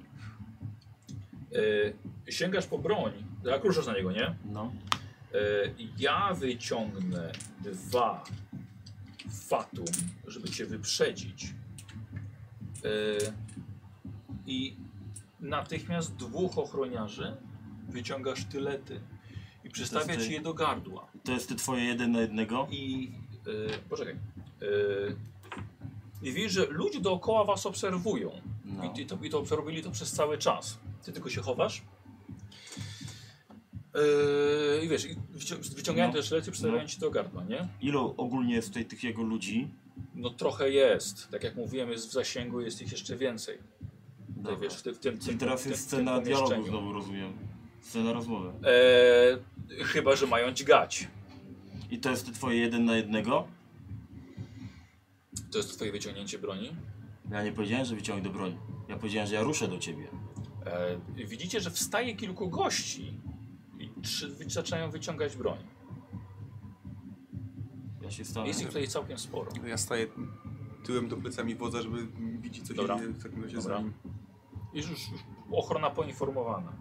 S1: Yy, sięgasz po broń, tak ruszasz na niego, nie?
S5: No.
S1: Yy, ja wyciągnę dwa fatum, żeby cię wyprzedzić. Yy, I natychmiast dwóch ochroniarzy wyciągasz tylety i przystawiasz
S5: ty.
S1: je do gardła.
S5: To jest ty twoje jeden na jednego?
S1: I yy, poczekaj. Yy, I widzisz, że ludzie dookoła was obserwują.
S5: No.
S1: I, i, to, I to obserwowali to przez cały czas. Ty tylko się chowasz. Yy, I wiesz, i wycią wyciągają
S5: No.
S1: te szlety, przystawiają
S5: No.
S1: ci do gardła, nie?
S5: Ilu ogólnie jest tutaj tych jego ludzi?
S1: No trochę jest. Tak jak mówiłem, jest w zasięgu, jest ich jeszcze więcej. Tutaj, wiesz, w, tym- w tym
S5: Czyli
S1: tym-
S5: teraz
S1: w tym-
S5: jest
S1: w tym
S5: scena dialogu,
S1: pomieszczeniu.
S5: znowu rozumiem. Scena rozmowy.
S1: E, chyba, że mają dźgać.
S5: I to jest twoje jeden na jednego?
S1: To jest twoje wyciągnięcie broni.
S5: Ja nie powiedziałem, że wyciągnę broń. Ja powiedziałem, że ja ruszę do ciebie.
S1: E, widzicie, że wstaje kilku gości i trzy, wy, zaczynają wyciągać broń.
S5: Ja się stanę.
S1: Jest ich tutaj całkiem sporo.
S3: Ja staję tyłem do plecami wodza, żeby widzieć co się
S1: Dobra.
S3: dzieje w takim razie
S1: Dobra.
S3: z nim.
S1: Jest już, już ochrona poinformowana.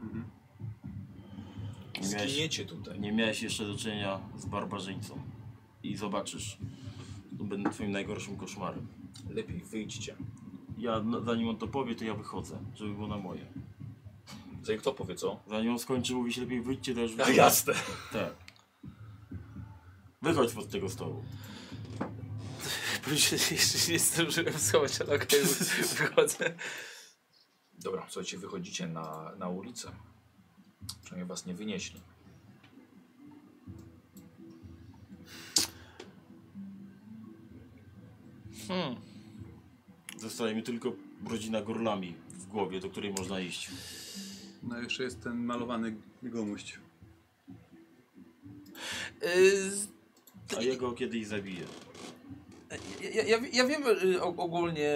S5: Nie miałeś,
S1: Zginiecie tutaj.
S5: nie miałeś jeszcze do czynienia z barbarzyńcą. I zobaczysz. To będą twoim najgorszym koszmarem.
S1: Lepiej wyjdźcie.
S5: Ja, no, zanim on to powie, to ja wychodzę, żeby było na moje.
S1: Zanim kto powie co? [LAUGHS]
S5: Zanim on skończy mówić, lepiej wyjdźcie, to już
S1: A,
S5: wychodzę.
S1: jasne.
S5: Tak. Wychodź pod tego stołu.
S2: Bo się jeszcze nie zdążyłem schować, ale [LAUGHS] okej, wychodzę.
S1: Dobra, słuchajcie, wychodzicie na, na ulicę. Przynajmniej was nie wynieśli.
S2: Hmm.
S5: Zostaje mi tylko rodzina górlami w głowie, do której można iść.
S3: No jeszcze jest ten malowany gomuść.
S2: Y, z-
S5: A jego kiedyś zabiję.
S2: Ja, ja, ja wiem y, o- ogólnie,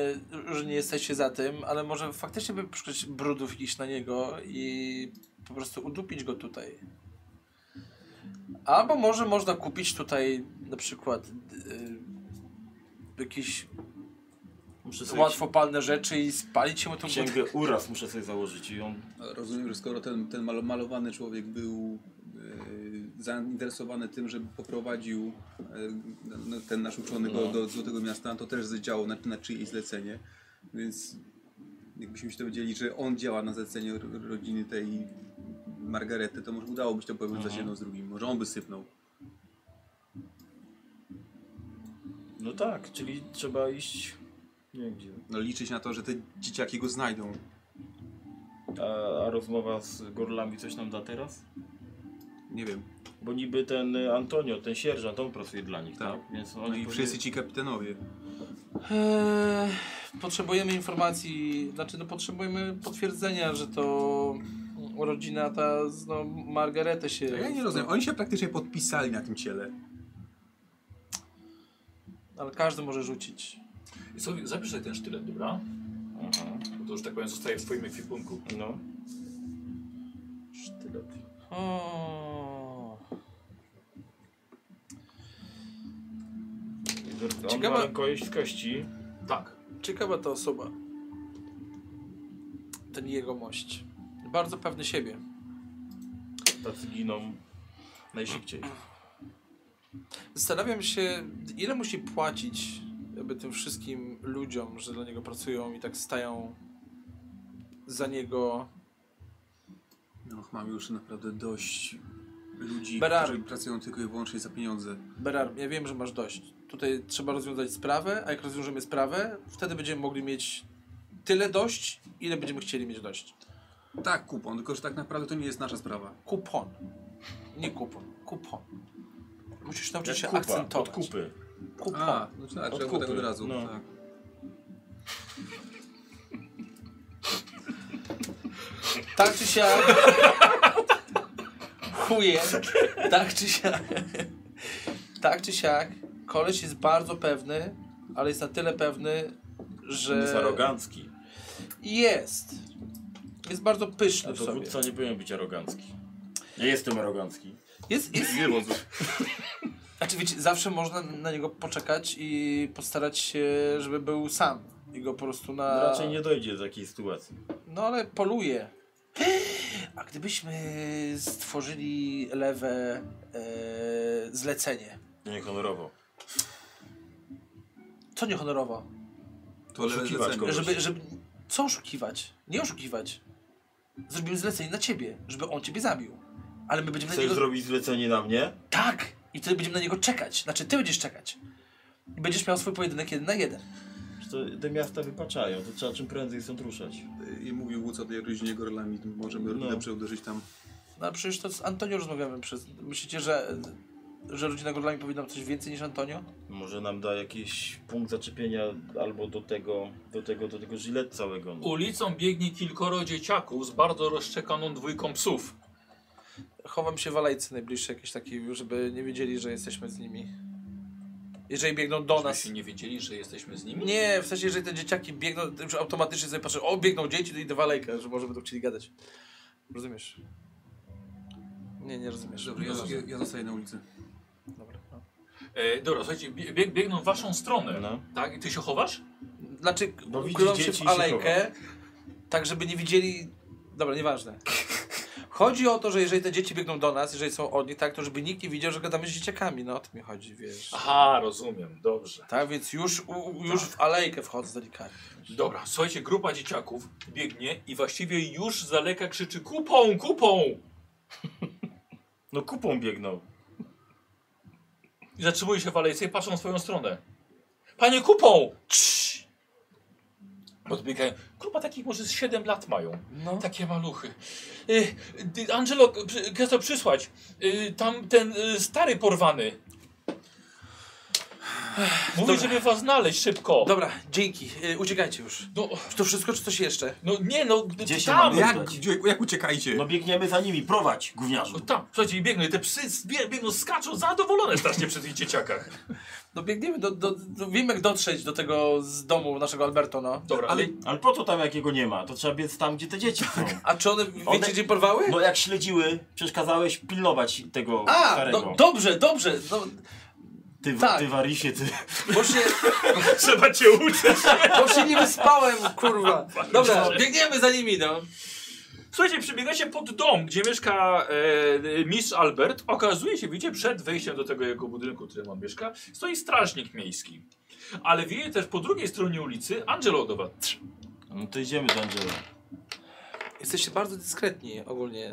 S2: że nie jesteście za tym, ale może faktycznie by przykryć brudów iść na niego i po prostu udupić go tutaj. Albo może można kupić tutaj na przykład y, jakieś
S5: Muszę sobie
S2: łatwopalne rzeczy i spalić mu tą budkę.
S5: księgę uraz muszę sobie założyć i on
S3: Ale Rozumiem, że skoro ten, ten malo- malowany człowiek był e, zainteresowany tym, żeby poprowadził e, no, ten nasz uczony go
S5: No.
S3: do Złotego Miasta, to też zadziało na, na czyjeś zlecenie. Więc jakbyśmy się dowiedzieli, że on działa na zlecenie ro- rodziny tej Margarety, to może udałoby się to powiązać
S5: Mhm.
S3: jedno z drugim. Może on by sypnął.
S5: No tak, czyli trzeba iść. Nie wiem gdzie.
S3: No liczyć na to, że te dzieciaki go znajdą.
S5: A, a rozmowa z gorlami coś nam da teraz?
S3: Nie wiem.
S5: Bo niby ten y, Antonio, ten sierżant, on pracuje dla nich, tak?
S3: Tak.
S5: Więc oni
S3: No i
S5: powinni-
S3: wszyscy ci kapitanowie.
S2: Eee, potrzebujemy informacji, znaczy no potrzebujemy potwierdzenia, że to rodzina ta z no, Margaretę się...
S3: Ja nie rozumiem. Oni się praktycznie podpisali na tym ciele.
S2: Ale każdy może rzucić.
S1: I sobie, zapisz sobie ten sztylet, dobra?
S5: Aha,
S1: Bo to już tak powiem zostaje w twoim ekwipunku.
S5: no.
S1: Sztylet.
S2: O.
S5: I On
S2: Ciekawe-
S5: ma rękojeść z kości.
S1: Tak.
S2: Ciekawa ta osoba. Ten jegomość. Bardzo pewny siebie.
S5: Tacy giną najszybciej.
S2: Zastanawiam się, ile musi płacić jakby tym wszystkim ludziom, że dla niego pracują i tak stają za niego.
S3: No, mam już naprawdę dość ludzi,
S2: Berardi.
S3: którzy pracują tylko i wyłącznie za pieniądze.
S2: Berar, ja wiem, że masz dość. Tutaj trzeba rozwiązać sprawę, a jak rozwiążemy sprawę, wtedy będziemy mogli mieć tyle dość, ile będziemy chcieli mieć dość.
S3: Tak, kupon, tylko że tak naprawdę to nie jest nasza sprawa.
S2: Kupon. Nie kupon, kupon. Musisz nauczyć się
S5: Jak kupa,
S2: akcentować.
S5: Od kupy.
S2: Kupon.
S3: A, no tak,
S5: Od
S3: trzeba było tak
S5: kupy,
S3: od razu.
S5: no.
S3: Tak.
S2: Tak czy siak. Chuje. Tak czy siak. Tak czy siak. Koleś jest bardzo pewny, ale jest na tyle pewny,
S5: On jest
S2: że.
S5: arogancki.
S2: Jest. Jest bardzo
S5: A
S2: pyszny w sobie.
S5: dowódca nie powinien być arogancki. Ja jestem arogancki.
S2: Jest, jest.
S5: Nie wozu.
S2: Znaczy, wiecie, zawsze można na niego poczekać i postarać się, żeby był sam. I go po prostu na.
S5: Raczej nie dojdzie do takiej sytuacji.
S2: No ale poluje. A gdybyśmy stworzyli lewe e, zlecenie,
S5: Niehonorowo.
S2: co niehonorowo,
S3: To lewe
S5: Oszukiwać
S3: zlecenie.
S5: kogoś.
S2: żeby, żeby. Co oszukiwać? Nie oszukiwać. Zrobimy zlecenie na ciebie, żeby on ciebie zabił. Ale my będziemy na
S5: Chcesz
S2: niego.
S5: zrobić zlecenie na mnie?
S2: Tak! I wtedy będziemy na niego czekać. Znaczy, ty będziesz czekać. I będziesz miał swój pojedynek jeden na jeden.
S5: Że to te miasta wypaczają, to trzeba czym prędzej stąd ruszać.
S3: I mówił Łódz o tej rodzinie gorlami, możemy
S5: No.
S3: dobrze uderzyć tam.
S2: No ale przecież to z Antonio rozmawiamy przez. Myślicie, że że rodzina Gorlami powinna być coś więcej niż Antonio?
S5: Może nam da jakiś punkt zaczepienia albo do tego, do tego, do tego gilet całego. No.
S1: Ulicą biegnie kilkoro dzieciaków z bardzo rozszczekaną dwójką psów.
S2: Chowam się w alejce najbliższej jakiejś takiej, żeby nie wiedzieli, że jesteśmy z nimi. Jeżeli biegną do nas.
S1: Żebyście nie wiedzieli, że jesteśmy z nimi?
S2: Nie, w sensie, jeżeli te dzieciaki biegną, to już automatycznie sobie patrzę, o biegną dzieci, no to idę w alejkę, że może będą chcieli gadać. Rozumiesz? Nie, nie rozumiesz.
S3: Dobrze, ja, ja, ja zostaję na ulicy.
S2: Dobra. no.
S1: E, dobra, słuchajcie, bie, bieg- biegną w waszą stronę.
S5: No.
S1: Tak? I ty się chowasz?
S2: Znaczy,
S5: Bo widzi
S2: ukrywam się
S5: No dzieci i
S2: w
S5: się
S2: alejkę, tak żeby nie widzieli... Dobra, nieważne. Chodzi o to, że jeżeli te dzieci biegną do nas, jeżeli są od nich, tak, to żeby nikt nie widział, że gadamy z dzieciakami, no o to mi chodzi, wiesz.
S1: Aha, rozumiem, dobrze.
S2: Tak, więc już, u, u- już w alejkę wchodzę delikatnie.
S1: Dobra, słuchajcie, grupa dzieciaków biegnie i właściwie już z daleka krzyczy kupą, kupą!
S5: no kupą biegnął.
S1: I zatrzymuje się w alejce i patrzą w swoją stronę. Panie kupą! Cii! Podbiegają. Grupa takich może z 7 lat mają.
S2: No.
S1: Takie maluchy. Y, y, Angelo, przy- kazał przysłać. Y, Tam ten y, stary porwany. Mówi, żeby was znaleźć szybko.
S2: Dobra, dzięki, y, uciekajcie już.
S1: No,
S2: Czy to wszystko, czy coś jeszcze?
S1: no nie, no
S5: Gdzie się
S1: tam.
S5: mamy?
S3: Jak, gdzie- jak uciekajcie?
S5: No biegniemy za nimi, prowadź, gówniarzu.
S1: No Tam, słuchajcie, i biegną, i te psy zbie- biegną, skaczą, zadowolone strasznie przy tych dzieciakach.
S2: No biegniemy, do, do, do, wiem jak dotrzeć do tego z domu naszego Alberto, no.
S1: Dobra, ale
S5: Ale, ale po co tam jakiego nie ma? To trzeba biec tam, gdzie te dzieci są.
S2: A czy one, wiecie
S5: One-
S2: gdzie porwały?
S5: No jak śledziły, przeszkadzałeś pilnować tego
S2: A,
S5: starego.
S2: no, dobrze, dobrze, no,
S5: ty, w-
S2: tak.
S5: ty warisie, ty.
S2: bo się,
S1: [LAUGHS] trzeba cię uczyć.
S2: bo się nie wyspałem, kurwa. Dobra, biegniemy za nimi, no.
S1: Słuchajcie, przybiegacie pod dom, gdzie mieszka e, mistrz Albert. Okazuje się, widzicie, przed wejściem do tego jego budynku, w którym on mieszka, stoi strażnik miejski. Ale wieje też po drugiej stronie ulicy Angelo do was.
S5: No to idziemy do Angela.
S2: Jesteście bardzo dyskretni ogólnie.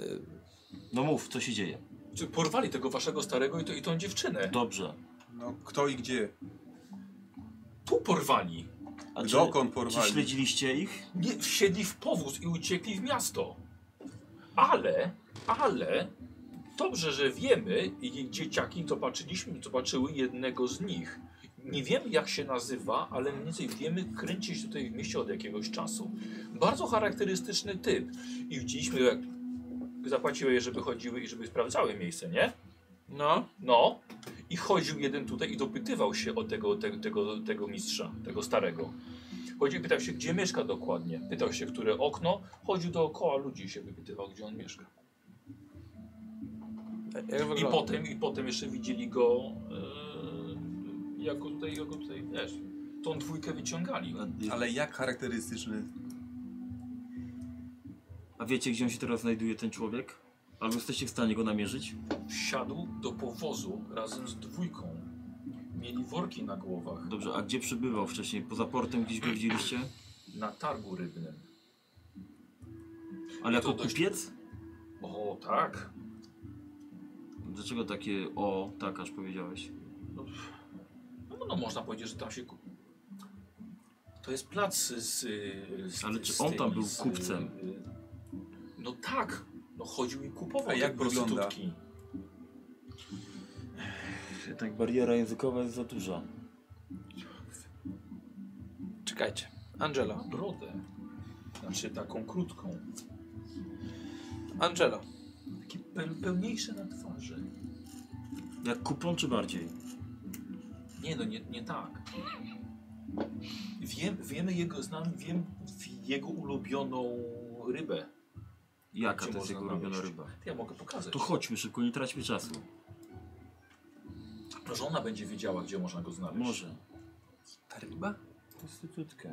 S2: Y,
S5: No mów, co się dzieje.
S1: Czy Porwali tego waszego starego i, to, i tą dziewczynę.
S5: Dobrze.
S3: No, kto i gdzie?
S1: Tu porwali.
S5: A czy,
S3: Dokąd
S5: czy
S3: porwali?
S5: śledziliście ich?
S1: Nie, wsiedli w powóz i uciekli w miasto. Ale, ale dobrze, że wiemy i dzieciaki zobaczyliśmy, zobaczyły jednego z nich. Nie wiemy jak się nazywa, ale mniej więcej wiemy, kręci się tutaj w mieście od jakiegoś czasu. Bardzo charakterystyczny typ. I widzieliśmy jak zapłaciły je, żeby chodziły i żeby sprawdzały miejsce, nie?
S2: No,
S1: No, i chodził jeden tutaj i dopytywał się o tego, tego, tego, tego mistrza, tego starego. Chodził i pytał się, gdzie mieszka dokładnie. Pytał się, które okno. Chodził dookoła ludzi i się wypytywał, gdzie on mieszka.
S2: jak
S1: I
S2: wygląda?
S1: potem, i potem jeszcze widzieli go e, jako tutaj, jako tutaj, wiesz, tą dwójkę wyciągali.
S3: Ale jak charakterystyczny?
S5: A wiecie, gdzie on się teraz znajduje, ten człowiek? Albo jesteście w stanie go namierzyć?
S1: Wsiadł do powozu razem z dwójką. Mieli worki na głowach
S5: Dobrze, a gdzie przebywał wcześniej? Poza portem gdzieś go widzieliście?
S1: na targu rybnym.
S5: Ale
S1: To
S5: jako
S1: dość-
S5: kupiec?
S1: O, tak.
S5: Dlaczego takie o, tak aż powiedziałeś?
S1: No, no można powiedzieć, że tam się kup... To jest plac z, z, z
S5: Ale czy
S1: z
S5: on
S1: tymi,
S5: tam był
S1: z- y,
S5: kupcem?
S1: No tak. No chodził i kupował
S3: A
S1: te
S3: jak wygląda?
S1: prostytutki.
S5: Tak, bariera językowa jest za duża.
S2: Czekajcie. Angelo.
S1: Brodę. Znaczy taką krótką.
S2: Angelo.
S1: Takie pe pełniejsze na twarzy.
S5: Jak kupon czy bardziej?
S1: Nie no, nie, nie tak. Wiem, wiemy jego, znam, wiem jego ulubioną rybę.
S5: Jaka
S1: Gdzie
S5: to jest
S1: można
S5: jego ulubiona
S1: znaleźć?
S5: ryba?
S1: Ja mogę pokazać.
S5: To chodźmy szybko, nie traćmy czasu.
S1: Może ona będzie wiedziała, gdzie można go znaleźć.
S5: Może.
S3: Ta ryba?
S5: Prostytutka.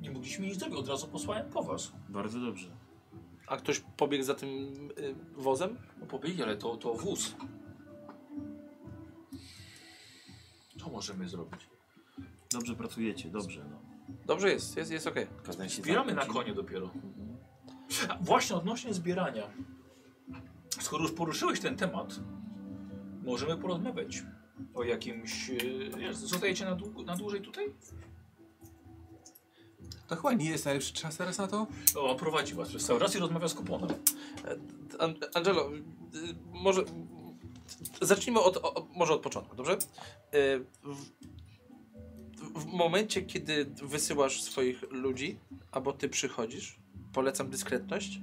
S1: Nie mogliśmy nic zrobić, od razu posłałem po was.
S5: Bardzo dobrze.
S2: A ktoś pobiegł za tym y, wozem?
S1: No pobiegli, ale to, to wóz. Co możemy zrobić?
S5: Dobrze pracujecie, dobrze. No.
S2: Dobrze jest, jest, jest okej.
S5: Kazałem się
S1: Zbieramy na
S5: zamknąć.
S1: konie dopiero. A właśnie odnośnie zbierania. Skoro już poruszyłeś ten temat, możemy porozmawiać o jakimś... e, Wiesz, zostajecie na, dłu- na dłużej tutaj?
S3: To chyba nie jest najlepszy czas teraz na to?
S1: O, prowadzi was przez cały czas i rozmawia z kuponem.
S2: An Angelo, y, może zacznijmy od, o, o- może od początku, dobrze? Y, W, w momencie, kiedy wysyłasz swoich ludzi, albo ty przychodzisz, polecam dyskretność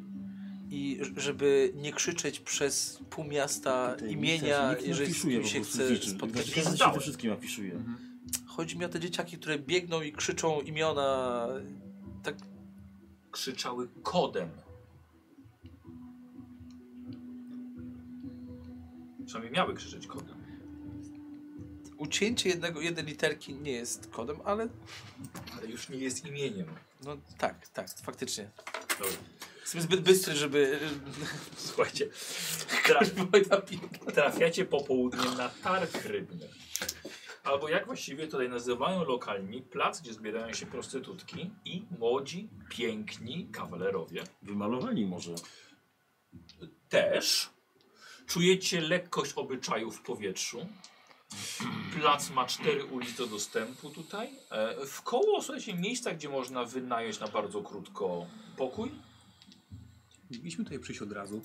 S2: i ż- żeby nie krzyczeć przez pół miasta
S5: Tutaj
S2: imienia,
S5: nikt nie
S2: jeżeli z
S5: afiszuje
S2: kim
S5: po
S2: się
S5: prostu
S2: chce
S5: dziczy.
S2: spotkać.
S5: Znaczy, Ja się
S7: Zdałem.
S5: wszystkim afiszuję.
S2: Chodzi mi o te dzieciaki, które biegną i krzyczą imiona. Tak,
S1: Krzyczały kodem. Przynajmniej miały krzyczeć kodem.
S2: ucięcie jednego, jednej literki nie jest kodem, ale
S1: Ale już nie jest imieniem. No,
S2: no tak, tak, faktycznie.
S1: Dobra.
S2: Jestem zbyt bystry, żeby. e,
S1: Słuchajcie,
S2: [LAUGHS]
S1: traf, trafiacie popołudniem na targ rybny. Albo jak właściwie tutaj nazywają lokalni, plac, gdzie zbierają się prostytutki i młodzi, piękni kawalerowie.
S5: Wymalowani może.
S1: Też czujecie lekkość obyczaju w powietrzu. Plac ma cztery ulice do dostępu tutaj. E, W koło słuchajcie miejsca, gdzie można wynająć na bardzo krótko pokój.
S3: Mieliśmy tutaj przyjść od razu.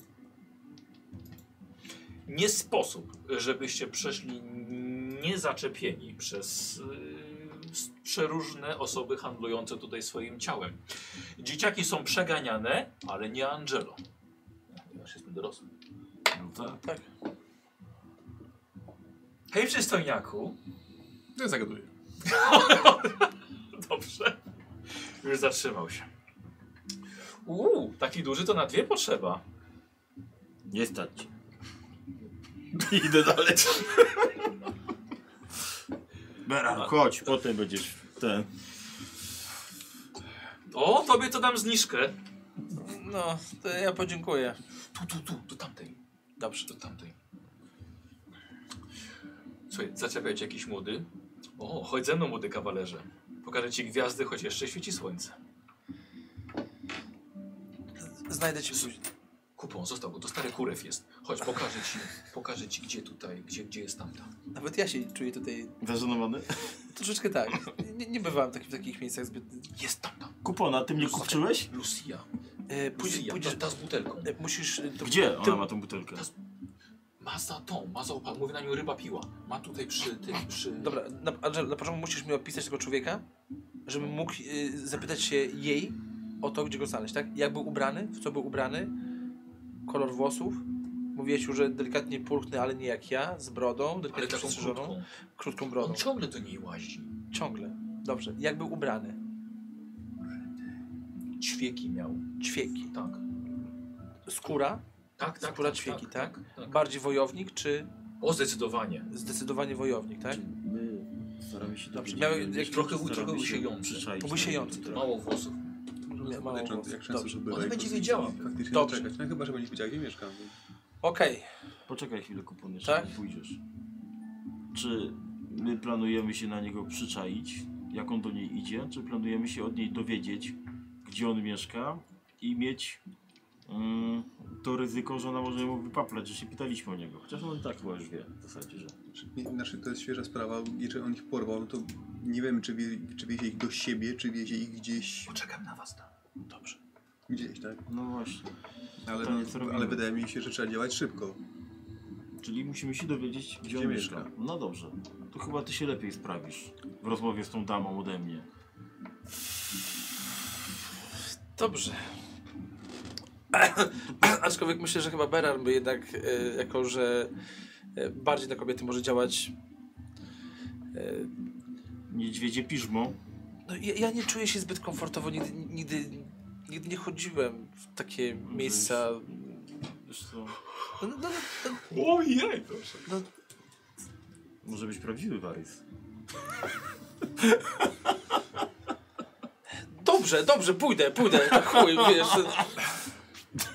S1: nie sposób, żebyście przeszli niezaczepieni przez yy, s- przeróżne osoby handlujące tutaj swoim ciałem. Dzieciaki są przeganiane, ale nie Angelo. Ponieważ jestem dorosły.
S5: No tak.
S2: Tak.
S1: Hej przystojniaku.
S3: Ja No, zagaduję.
S1: Dobrze. Już zatrzymał się. Uuu, taki duży to na dwie potrzeba.
S5: Nie stać cię. [LAUGHS] Idę dalej. Beran, chodź, potem będziesz ten.
S1: O, tobie to dam zniżkę.
S2: No, to ja podziękuję.
S1: Tu, tu, tu, do tamtej. Dobrze, do tamtej. Słuchaj, zaczepia cię jakiś młody. O, chodź ze mną, młody kawalerze. Pokażę ci gwiazdy, choć jeszcze świeci słońce.
S2: Znajdę cię później.
S1: Kupon, został, bo to stary kurew jest. Chodź, pokażę ci, pokażę ci gdzie tutaj, gdzie, gdzie jest tamta.
S2: Nawet ja się czuję tutaj
S5: Zażenowany?
S2: troszeczkę tak. Nie, nie bywałem tak, w takich miejscach zbyt.
S1: Jest tamta.
S5: Kupona, ty mnie kupczyłeś?
S1: Lucia.
S2: E,
S1: Lucia,
S2: później,
S1: pójdziesz
S2: pójdziesz,
S1: ta z butelką.
S2: e, musisz. e, To,
S5: Gdzie
S2: ty-
S5: ona ma tą butelkę?
S1: Ma za tą, ma za opał, mówię na nią ryba piła. Ma tutaj przy tym, przy...
S2: Dobra, na, Angel, na początku musisz mi opisać tego człowieka, żebym mógł e, zapytać się jej o to, gdzie go znaleźć, tak? Jak był ubrany, w co był ubrany, kolor włosów. Mówiłeś już, że delikatnie pulchny, ale nie jak ja, z brodą,
S1: Ale
S2: delikatnie
S1: taką
S2: przystrzyżoną,
S1: krótką.
S2: krótką
S1: On
S2: brodą.
S1: ciągle do niej łazi.
S2: Ciągle. Dobrze. Jak był ubrany?
S1: Ćwieki miał.
S2: Ćwieki.
S1: Tak.
S2: Skóra?
S1: Tak, tak.
S2: Skóra
S1: tak,
S2: ćwieki, tak?
S1: tak.
S2: Bardziej wojownik, czy
S1: O, zdecydowanie.
S2: zdecydowanie wojownik, tak?
S5: My staramy się
S2: Dobrze,
S5: dowiedzieć,
S2: miałem
S5: że
S2: jak-
S5: my
S1: trochę
S5: staramy
S1: trochę
S5: się
S1: usiejący.
S5: przyczaić
S2: Obusiejący
S5: na-
S2: trochę.
S1: Mało włosów.
S2: Nie, No, mało
S3: Jak
S2: włosów.
S3: często
S2: Dobrze.
S3: się bywa
S1: Ona
S3: i
S1: będzie
S3: faktycznie-
S1: wiedziała.
S3: Faktycznie
S2: Dobrze.
S3: Dobrze. No chyba, że będzie wiedziała, gdzie mieszkam.
S2: Okej.
S5: Poczekaj chwilę, kupon, jeszcze
S2: Tak?
S5: tak? pójdziesz. Czy my planujemy się na niego przyczaić, jak on do niej idzie, czy planujemy się od niej dowiedzieć, gdzie on mieszka i mieć mm, to ryzyko, że ona może mu wypaplać, że się pytaliśmy o niego. Chociaż on i tak chyba już wie w zasadzie, że...
S3: Znaczy, to jest świeża sprawa. Jeżeli on ich porwał, no to nie wiem, czy, wie, czy wiezie ich do siebie, czy wiezie ich gdzieś,
S1: Poczekam na was tam.
S2: Dobrze.
S3: gdzieś tak?
S5: No właśnie.
S3: Ale,
S5: No
S3: no,
S5: To nie, co
S3: ale
S5: robimy?
S3: wydaje mi się, że trzeba działać szybko.
S5: Czyli musimy się dowiedzieć, gdzie, on mieszka. No dobrze. To chyba ty się lepiej sprawisz w rozmowie z tą damą ode mnie.
S2: Dobrze. [COUGHS] Aczkolwiek myślę, że chyba Berar by jednak, e, jako że e, bardziej na kobiety może działać. e,
S5: Niedźwiedzie piżmo.
S2: No, ja, ja nie czuję się zbyt komfortowo, nigdy, nigdy, nigdy nie chodziłem w takie miejsca.
S5: Wiesz co?
S2: No, no, no, no,
S1: Ojej, proszę.
S5: Może być prawdziwy Warys.
S2: dobrze, dobrze, pójdę, pójdę. na Chuj, wiesz.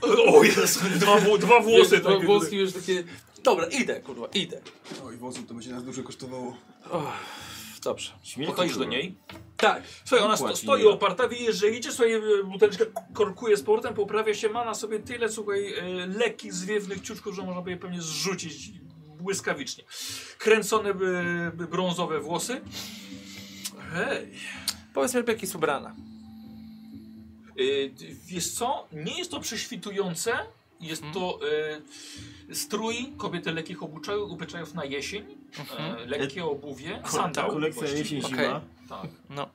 S1: O Jezu, dwa, wło- dwa włosy
S2: wiesz,
S1: takie.
S2: włoski już takie. Dobra, idę, kurwa, idę.
S3: Oj, wozów, to będzie nas dużo kosztowało.
S2: Och, dobrze.
S5: Śmierć
S1: Podchodzisz do niej.
S2: Tak.
S1: Słuchaj, ona sto,
S5: Dokładnie.
S1: stoi oparta, widzisz, że idzie, słuchaj, e, buteleczkę korkuje z portem, poprawia się, ma na sobie tyle, słuchaj, e, lekkich, zwiewnych ciuczków, że można by je pewnie zrzucić błyskawicznie. Kręcone by, by brązowe włosy. Hej,
S2: Powiedz mi, lepiej, jak jest ubrana.
S1: Y, Wiesz co? Nie jest to prześwitujące. Jest to y, strój kobiety lekkich obuczajów, obyczajów na jesień. E, lekkie obuwie.
S2: tak,
S5: Ta
S1: Sandał.
S5: kolekcja
S1: właściwie.
S5: jesień
S2: Okej.
S5: zima.
S1: Tak.
S2: No.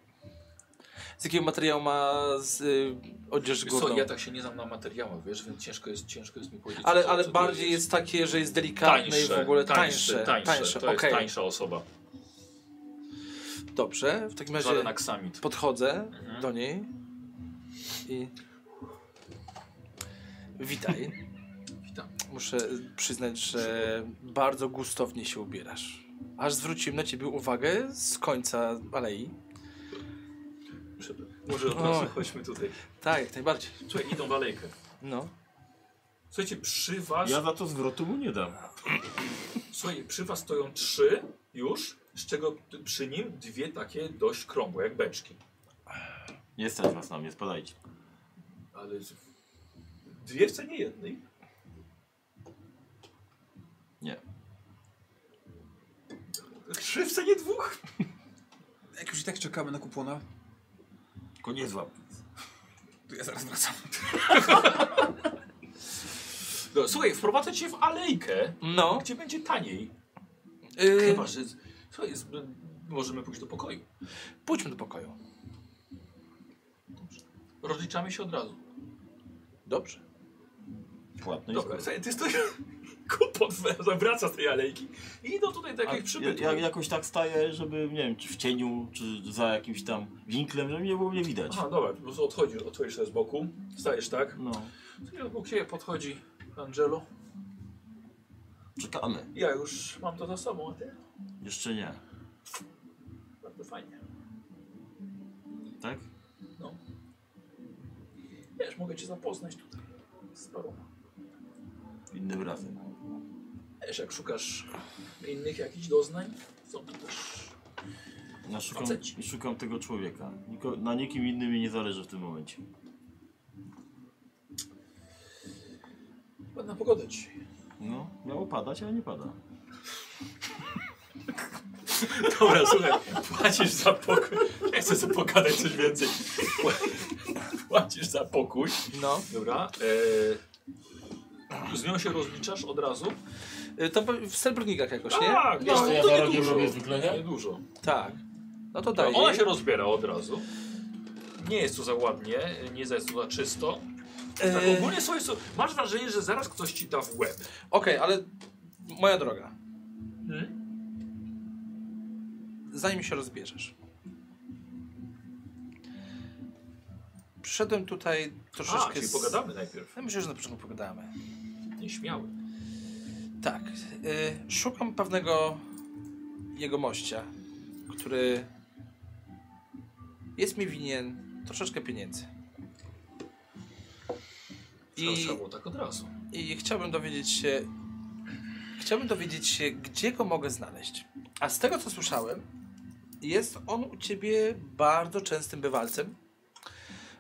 S2: Z jakiego materiału ma z, y, odzież
S1: Wiesz co,
S2: górną?
S1: ja tak się nie znam na materiałach, wiesz, więc ciężko jest, ciężko jest mi powiedzieć.
S2: Ale,
S1: co-
S2: ale
S1: co to
S2: bardziej jest takie, że jest delikatne i w ogóle tańsze.
S1: Tańsze,
S2: tańsze.
S1: to jest
S2: okej.
S1: tańsza osoba.
S2: Dobrze, w takim razie
S1: Żaden aksamit.
S2: podchodzę do niej i... Witaj.
S1: Witam.
S2: Muszę przyznać, że bardzo gustownie się ubierasz. Aż zwróciłem na ciebie uwagę z końca alei.
S1: Może od
S2: Oj.
S1: razu chodźmy tutaj.
S2: Tak, jak najbardziej.
S1: Słuchaj, idą dalejkę.
S2: No.
S1: Słuchajcie, przy was,
S5: Ja za to zwrotu mu nie dam.
S1: słuchaj, przy was stoją trzy już, z czego t- przy nim dwie takie dość krągłe, jak beczki.
S5: Nie stać was na mnie, spadajcie.
S1: Ale z- dwie w cenie jednej.
S5: Nie.
S1: Trzy w cenie dwóch?
S3: Jak już i tak czekamy na kupona,
S5: Tylko nie złap.
S3: to ja zaraz wracam.
S1: No, słuchaj, wprowadzę cię w alejkę,
S2: No.
S1: gdzie będzie taniej.
S2: Y,
S1: Chyba, że... z- Słuchaj, z- możemy pójść do pokoju.
S2: Pójdźmy do pokoju.
S1: Rozliczamy się od razu.
S2: Dobrze.
S5: Płatność.
S1: Dobra, słuchaj, ty stoisz... [LAUGHS] Kupon zawraca z tej alejki i idą tutaj do
S5: A
S1: jakiejś
S5: ja,
S1: przybytku.
S5: ja jakoś tak staję, żeby, nie wiem, czy w cieniu, czy za jakimś tam winklem, żeby nie było mnie widać.
S1: Aha, dobra, po prostu odchodzisz, odchodzisz sobie z boku. Stajesz, tak?
S5: No,
S1: Obok ciebie podchodzi Angelo.
S5: czekamy.
S1: Ja już mam to za sobą, a ty?
S5: Jeszcze nie,
S1: Bardzo fajnie. No.
S5: tak?
S1: Wiesz, mogę cię zapoznać tutaj z paroma.
S5: Innym razem.
S1: Wiesz, jak szukasz innych jakichś doznań, są tu też...
S5: Ja szukam,
S1: Faceci.
S5: szukam tego człowieka. Niko, na nikim innym mi nie zależy w tym momencie.
S1: Ładna pogoda dzisiaj.
S5: No, miało padać, ale nie pada.
S1: Dobra, słuchaj, płacisz za pokój. Ja chcę sobie pogadać coś więcej. Płacisz za pokój.
S2: No.
S1: Dobra. E... Z nią się rozliczasz od razu?
S2: Y, To w srebrnikach jakoś, nie?
S1: Tak, no,
S5: ja za
S1: to
S5: rogiem
S1: niedużo.
S5: robię zwykle, nie?
S1: Niedużo.
S2: Tak. No to daj.
S1: Ona
S2: jej.
S1: się rozbiera od razu. Nie jest tu za ładnie, nie jest tu za czysto. Tak
S2: Y,
S1: ogólnie sobie, so- masz wrażenie, że zaraz ktoś ci da w łeb.
S2: Okej, ale moja droga,
S1: Hmm?
S2: zanim się rozbierzesz. Przyszedłem tutaj troszeczkę.
S1: A, czyli
S2: z-
S1: pogadamy najpierw.
S2: Ja myślę, że na początku pogadamy.
S1: Nieśmiały.
S2: Tak. Y, szukam pewnego jegomościa, który jest mi winien troszeczkę pieniędzy.
S1: I... Trzeba było tak od razu.
S2: I chciałbym dowiedzieć się. Chciałbym dowiedzieć się, gdzie go mogę znaleźć. A z tego co słyszałem, jest on u ciebie bardzo częstym bywalcem.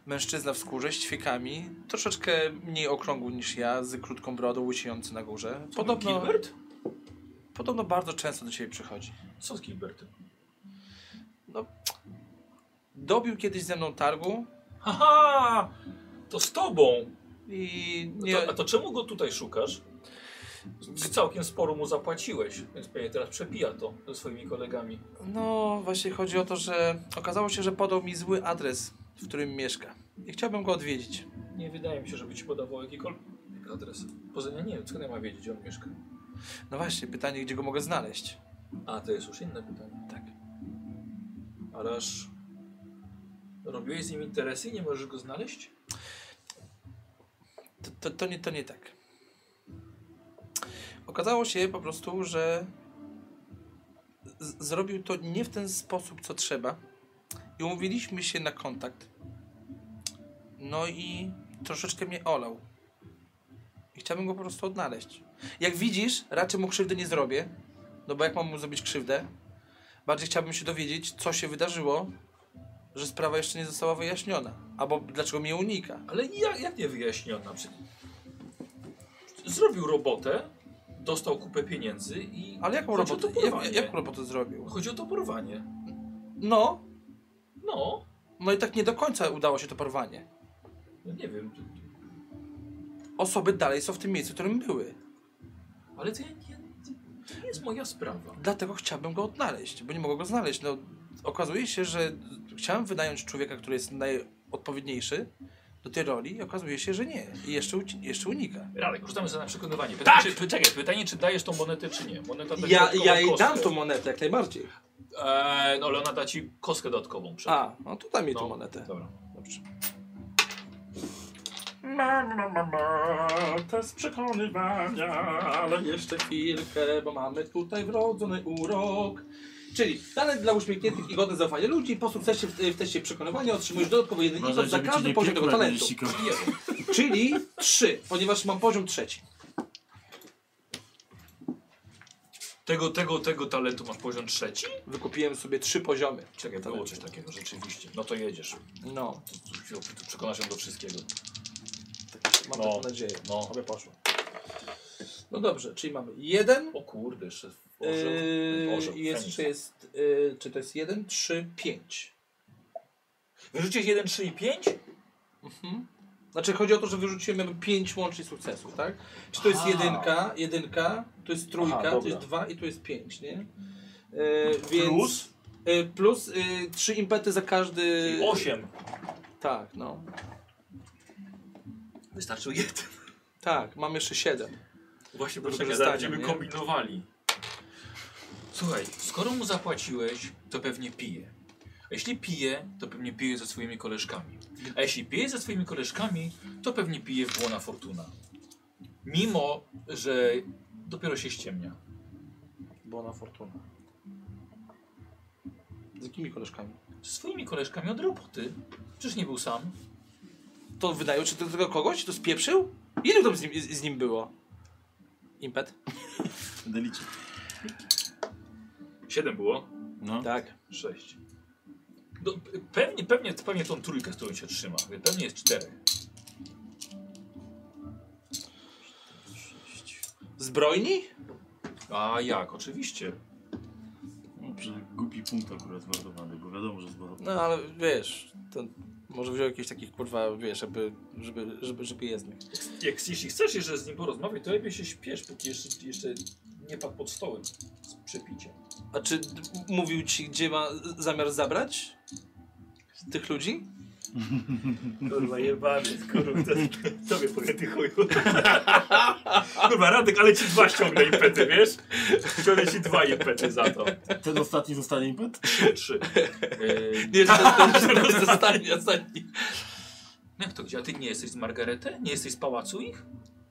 S2: Mężczyzna w skórze, z ćwiekami, troszeczkę mniej okrągły niż ja, z krótką brodą, łysiejący na górze. Podobno,
S1: Gilbert?
S2: podobno bardzo często do ciebie przychodzi.
S1: Co z Gilbertem?
S2: Dobił kiedyś ze mną targu
S1: Haha! To z tobą!
S2: i
S1: No
S2: nie.
S1: To, a to czemu go tutaj szukasz? Z- Całkiem sporo mu zapłaciłeś, więc pewnie teraz przepija to ze swoimi kolegami.
S2: No, właśnie chodzi o to, że okazało się, że podał mi zły adres, w którym mieszka. I chciałbym go odwiedzić.
S1: Nie wydaje mi się, żeby ci podawał jakikolwiek adres. Poza tym, nie wiem, skąd ja mam wiedzieć, gdzie on mieszka.
S2: No właśnie, pytanie, gdzie go mogę znaleźć.
S1: A, to jest już inne pytanie.
S2: Tak.
S1: Ale aż robiłeś z nim interesy i nie możesz go znaleźć?
S2: To, to, to, nie, to nie tak. Okazało się po prostu, że z- zrobił to nie w ten sposób, co trzeba. I umówiliśmy się na kontakt. No i troszeczkę mnie olał. I chciałbym go po prostu odnaleźć. Jak widzisz, raczej mu krzywdy nie zrobię. No bo jak mam mu zrobić krzywdę? Bardziej chciałbym się dowiedzieć, co się wydarzyło, że sprawa jeszcze nie została wyjaśniona. Albo dlaczego mnie unika.
S1: Ale jak, jak nie wyjaśniona? Przecież Zrobił robotę, dostał kupę pieniędzy i.
S2: Ale jaką
S1: Chodzi o
S2: robotę?
S1: to porwanie.
S2: Jak, jaką robotę zrobił?
S1: Chodzi o to porwanie.
S2: No,
S1: No,
S2: no i tak nie do końca udało się to porwanie.
S1: No nie wiem,
S2: Osoby dalej są w tym miejscu, w którym były.
S1: ale to, ja nie, to nie jest moja sprawa.
S2: Dlatego chciałbym go odnaleźć, bo nie mogę go znaleźć. No, okazuje się, że chciałem wynająć człowieka, który jest najodpowiedniejszy do tej roli i okazuje się, że nie. I jeszcze, uci- jeszcze unika.
S1: Radek, rzucamy za na przekonywanie. Pytanie, czy, czekaj, pytanie, czy dajesz tą monetę, czy nie. Moneta to
S2: Tak! Ja,
S1: dodatkowa
S2: ja jej
S1: kostka.
S2: dam tą monetę jak najbardziej.
S1: Eee, no ale ona da ci kostkę dodatkową. Przed.
S2: A, no to dam jej
S1: no,
S2: tą monetę.
S1: Dobra.
S2: Dobrze.
S7: Ma, ma, ma, ma, ma, to z przekonywania, ale nie.
S2: Jeszcze chwilkę, bo mamy tutaj wrodzony urok. Czyli talent dla uśmiechniętych i godne zaufania ludzi. Po sukcesie w, w teście przekonywania otrzymujesz dodatkowo jeden
S5: Uważaj,
S2: item za
S5: żeby ci
S2: każdy
S5: nie
S2: poziom tego
S5: piekło, jak
S2: talentu.
S5: będziesz sikał.
S2: Czyli trzy, ponieważ mam poziom trzeci.
S1: Tego, tego, tego talentu masz poziom trzeci?
S2: Wykupiłem sobie trzy poziomy.
S1: Czekaj, było coś takiego, rzeczywiście. No to jedziesz.
S2: No,
S1: Tu- tu- tu Przekonasz ją do wszystkiego.
S2: mam
S1: No.
S2: taką nadzieję.
S1: No.
S2: Aby poszło. No dobrze, czyli mamy jeden.
S1: O kurde, jeszcze orzeł.
S2: Yy,
S1: orzeł,
S2: i jest,
S1: feniks.
S2: czy, jest, yy, czy to jest jeden, trzy, pięć.
S1: Wyrzuciłeś 1, 3 i 5?
S2: Znaczy chodzi o to, że wyrzuciłem jakby pięć łącznie sukcesów, tak? Czy to jest
S1: Aha.
S2: jedynka, jedynka, tu jest trójka,
S1: Aha,
S2: tu
S1: dobra.
S2: jest dwa i tu jest pięć, nie? Yy, więc, plus? plus yy, trzy impety za każdy...
S1: 8.
S2: Tak, no.
S1: Wystarczył jeden.
S2: Tak, mam jeszcze siedem.
S1: Właśnie
S2: Dobrze,
S1: poczekaj,
S2: że
S1: zaraz
S2: zdanie,
S1: będziemy
S2: nie?
S1: kombinowali. Słuchaj, skoro mu zapłaciłeś, to pewnie pije. A jeśli pije, to pewnie pije ze swoimi koleżkami. A jeśli pije ze swoimi koleżkami, to pewnie pije w błona fortuna. Mimo, że dopiero się ściemnia.
S2: Bona Fortuna. Z jakimi koleżkami?
S1: Ze swoimi koleżkami od roboty. Przecież nie był sam.
S2: To wydają, czy to do tego kogoś? To spieprzył? Ile tam z nim, z, z nim było? Impet?
S5: Będę liczył.
S1: Siedem było.
S5: No.
S2: Tak.
S1: 6. No, pe- pewnie, pewnie, pewnie tą trójkę, z którą się trzyma. Pewnie jest czterech.
S2: Zbrojni?
S1: A jak? Oczywiście.
S5: No, przy głupi punkt akurat zmarnowany, bo wiadomo, że zmarnowany.
S2: No ale wiesz, to może wziął jakichś takich kurwa, wiesz, żeby, żeby, żeby, żeby jezdnych.
S1: Jak, jeśli chcesz jeszcze z nim porozmawiać, to lepiej się śpiesz, póki jeszcze, jeszcze nie padł pod stołem z przepiciem.
S2: A czy d- mówił ci, gdzie ma z- zamiar zabrać? Tych ludzi?
S7: Kurwa, jebany, kurwa, to, tobie powiem, ty chuju. Kurwa, Radek, ale ci dwa ściągnę impety, wiesz? Ściągnę ci dwa impety za to.
S5: [LAUGHS] Ten ostatni zostanie impet?
S1: Trzy. Yy,
S2: Nie, że to jest ostatni, ostatni.
S1: jak to gdzie? A ty nie jesteś z Margarety? Nie jesteś z pałacu ich?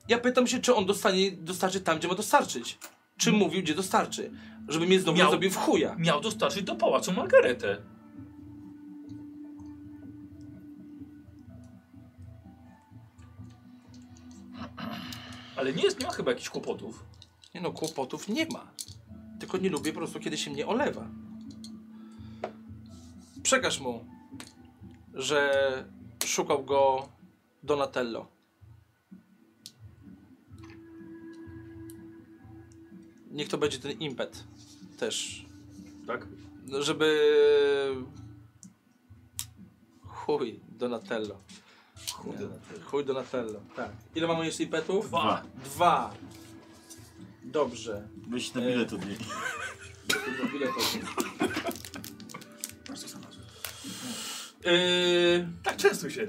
S2: Ja pytam się, czy on dostanie, dostarczy tam, gdzie ma dostarczyć. Czy mówił, gdzie dostarczy. Żeby mnie znowu
S1: Miał.
S2: nie zrobił w chuja.
S1: Miał dostarczyć do pałacu Margaretę. Ale nie jest, nie ma chyba jakichś kłopotów.
S2: Nie no, kłopotów nie ma. Tylko nie lubię po prostu, kiedy się mnie olewa. Przekaż mu, że szukał go Donatello. Niech to będzie ten impet też.
S1: Tak?
S2: No, Żeby... Chuj, Donatello. Chuj Donatello. Chuj Donatello, tak. Ile mamy jeszcze impetów?
S1: Dwa.
S2: Dwa. Dobrze.
S5: Weź ten bilet od niej.
S2: Yy,
S6: Tak często się.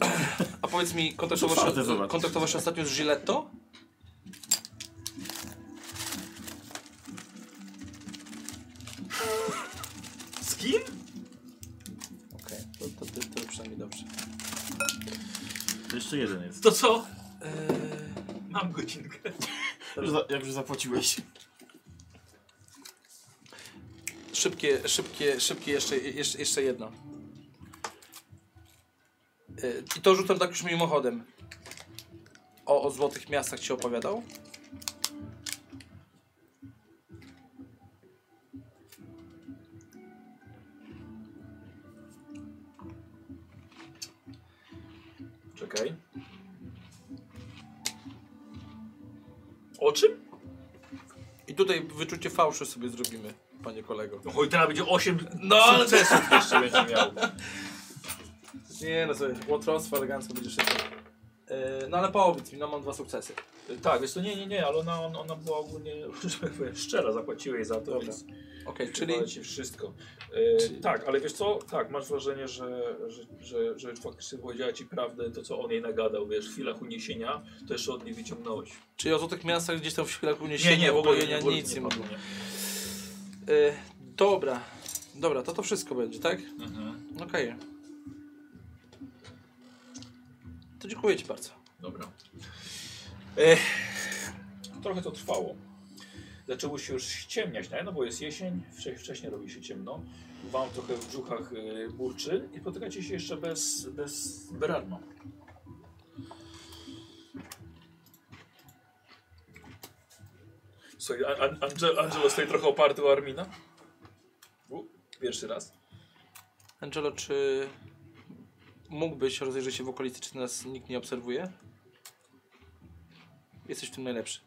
S2: a powiedz mi,
S5: Otwarte,
S2: kontaktowałaś,
S5: zobacz.
S2: kontaktowałaś się ostatnio z Giletto?
S6: Z kim?
S2: Okej, to, to, to, to przynajmniej dobrze.
S5: To jeszcze jeden jest.
S1: To co? Eee,
S2: Yy,
S1: Mam godzinkę.
S5: Już za, jak już zapłaciłeś.
S2: Szybkie, szybkie, szybkie jeszcze, jeszcze, jeszcze jedno. Yy, I to rzucam tak już mimochodem. O, o złotych miastach ci opowiadał?
S1: Czekaj. O czym?
S2: I tutaj wyczucie fałszu sobie zrobimy, panie kolego.
S1: No i teraz będzie 8
S2: No, ale-
S1: sukcesów jeszcze będzie miał.
S2: Nie no, sobie łotrostwo elegancko będzie szybko. E, no ale powiedz mi, no mam dwa sukcesy.
S1: Y, Tak, wiesz to nie, nie, nie, ale ona, on- ona była ogólnie, [LAUGHS] że tak powiem, szczera, zapłaciłeś za to,
S2: Dobra.
S1: więc
S2: Okej,
S1: czyli
S2: czyli
S1: ci wszystko. Y, tak, ale wiesz co, tak, masz wrażenie, że, że, że, że faktycznie powiedziała ci prawdę, to co on jej nagadał, wiesz, w chwilach uniesienia, to jeszcze od niej wyciągnąłeś.
S2: Czyli o złotych miastach gdzieś tam w chwilach uniesienia, nie, nie, w ogóle nie, nic nie ma.
S1: padło, nie.
S2: E, dobra, dobra, to to wszystko będzie, tak?
S1: Mhm.
S2: Okej. To dziękuję ci bardzo.
S1: Dobra. Ech, trochę to trwało. Zaczęło się już ściemniać, no bo jest jesień, wcze- wcześniej robi się ciemno. Wam trochę w brzuchach y, burczy i spotykacie się jeszcze bez, bez Berarma. Słuchaj, An- An- Angel Angelo stoi trochę oparty o Armina. U, pierwszy raz.
S2: Angelo, czy mógłbyś rozejrzeć się w okolicy, czy nas nikt nie obserwuje? Jesteś w tym najlepszy.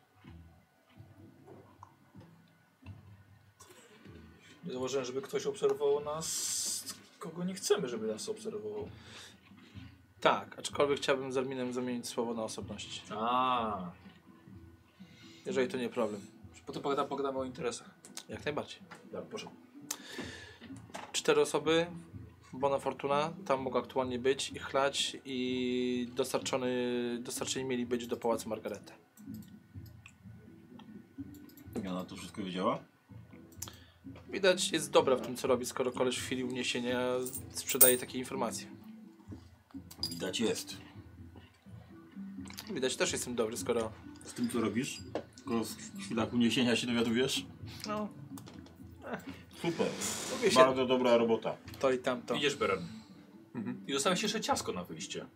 S1: Nie zauważyłem, żeby ktoś obserwował nas, kogo nie chcemy, żeby nas obserwował.
S2: Tak, aczkolwiek chciałbym z Arminem zamienić słowo na osobność.
S1: A,
S2: Jeżeli to nie problem.
S1: Potem pogadamy, pogadamy o interesach.
S2: Jak najbardziej.
S1: Dobra, proszę.
S2: Cztery osoby, Bona Fortuna, tam mógł aktualnie być i chlać i dostarczony, dostarczeni mieli być do Pałacu Margarety.
S5: I Ona to wszystko wiedziała?
S2: Widać, jest dobra w tym, co robi, skoro koleż w chwili uniesienia sprzedaje takie informacje.
S5: Widać jest.
S2: Widać, też jestem dobry, skoro...
S5: Z tym, co robisz? Tylko w chwilach uniesienia się dowiadujesz?
S2: No,
S5: Super.
S2: lubię się
S5: Bardzo dobra robota.
S2: to i tamto.
S9: Idziesz Beren.
S1: Mhm.
S9: I dostałeś jeszcze ciasko na wyjście.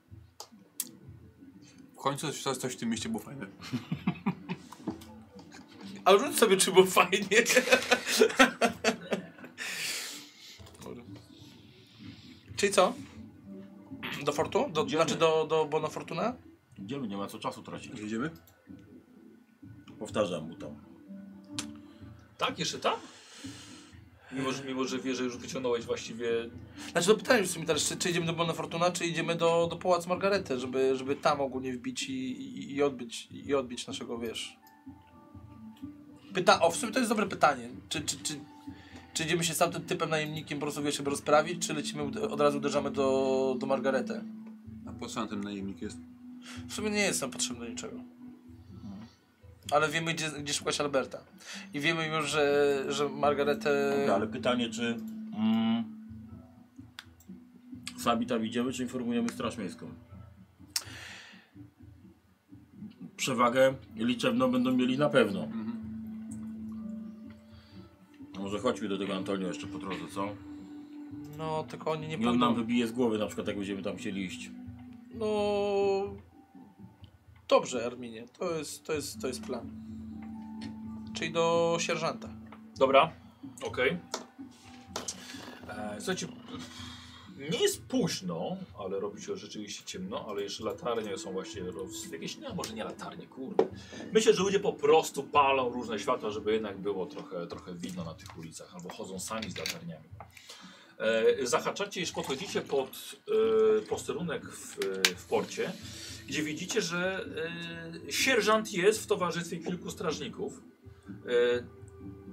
S3: W końcu coś, coś w tym mieście było fajne.
S2: A rzuć sobie, czy było fajnie. Czyli co? Do Fortu? Do,
S5: Idziemy.
S2: znaczy do, do Bona Fortuna?
S5: Idziemy, nie ma co czasu tracić.
S3: Jedziemy?
S5: Powtarzam mu tam.
S1: Tak, jeszcze tam? Mimo, że, mimo, że wie, że już wyciągnąłeś właściwie.
S2: Znaczy dopytałem już w sumie teraz, czy, czy idziemy do Bona Fortuna, czy idziemy do, do Pałacu Margarety, żeby, żeby tam ogólnie wbić i, i, i, odbić, i odbić naszego, wiesz... Pyta o, w sumie to jest dobre pytanie. Czy, czy, czy, czy idziemy się z tamtym typem najemnikiem po prostu, wiesz, żeby rozprawić, czy lecimy, ud- od razu uderzamy do, do Margarety?
S3: A po co nam ten najemnik jest?
S2: W sumie nie jest nam potrzebny do niczego. Ale wiemy, gdzie, gdzie szukać Alberta. I wiemy już, że, że e, Margaretę...
S5: Dobra, ale pytanie, czy... Mm, sami tam idziemy, czy informujemy Straż Miejską? Przewagę liczebną będą mieli na pewno. Może chodźmy do tego Antonio jeszcze po drodze, co?
S2: No, tylko oni nie
S5: I on nam
S2: pójdą...
S5: wybije z głowy na przykład, jak będziemy tam chcieli iść.
S2: No... Dobrze, Arminie. To jest, to jest, to jest plan. Czyli do sierżanta.
S1: Dobra, okej. E, Słuchajcie, nie jest późno, ale robi się rzeczywiście ciemno, ale jeszcze latarnie są właśnie roz... jakieś, no może nie latarnie, kurde. Myślę, że ludzie po prostu palą różne światła, żeby jednak było trochę, trochę widno na tych ulicach, albo chodzą sami z latarniami. E, zahaczacie, już podchodzicie pod e, posterunek w, w porcie, gdzie widzicie, że e, sierżant jest w towarzystwie kilku strażników. E,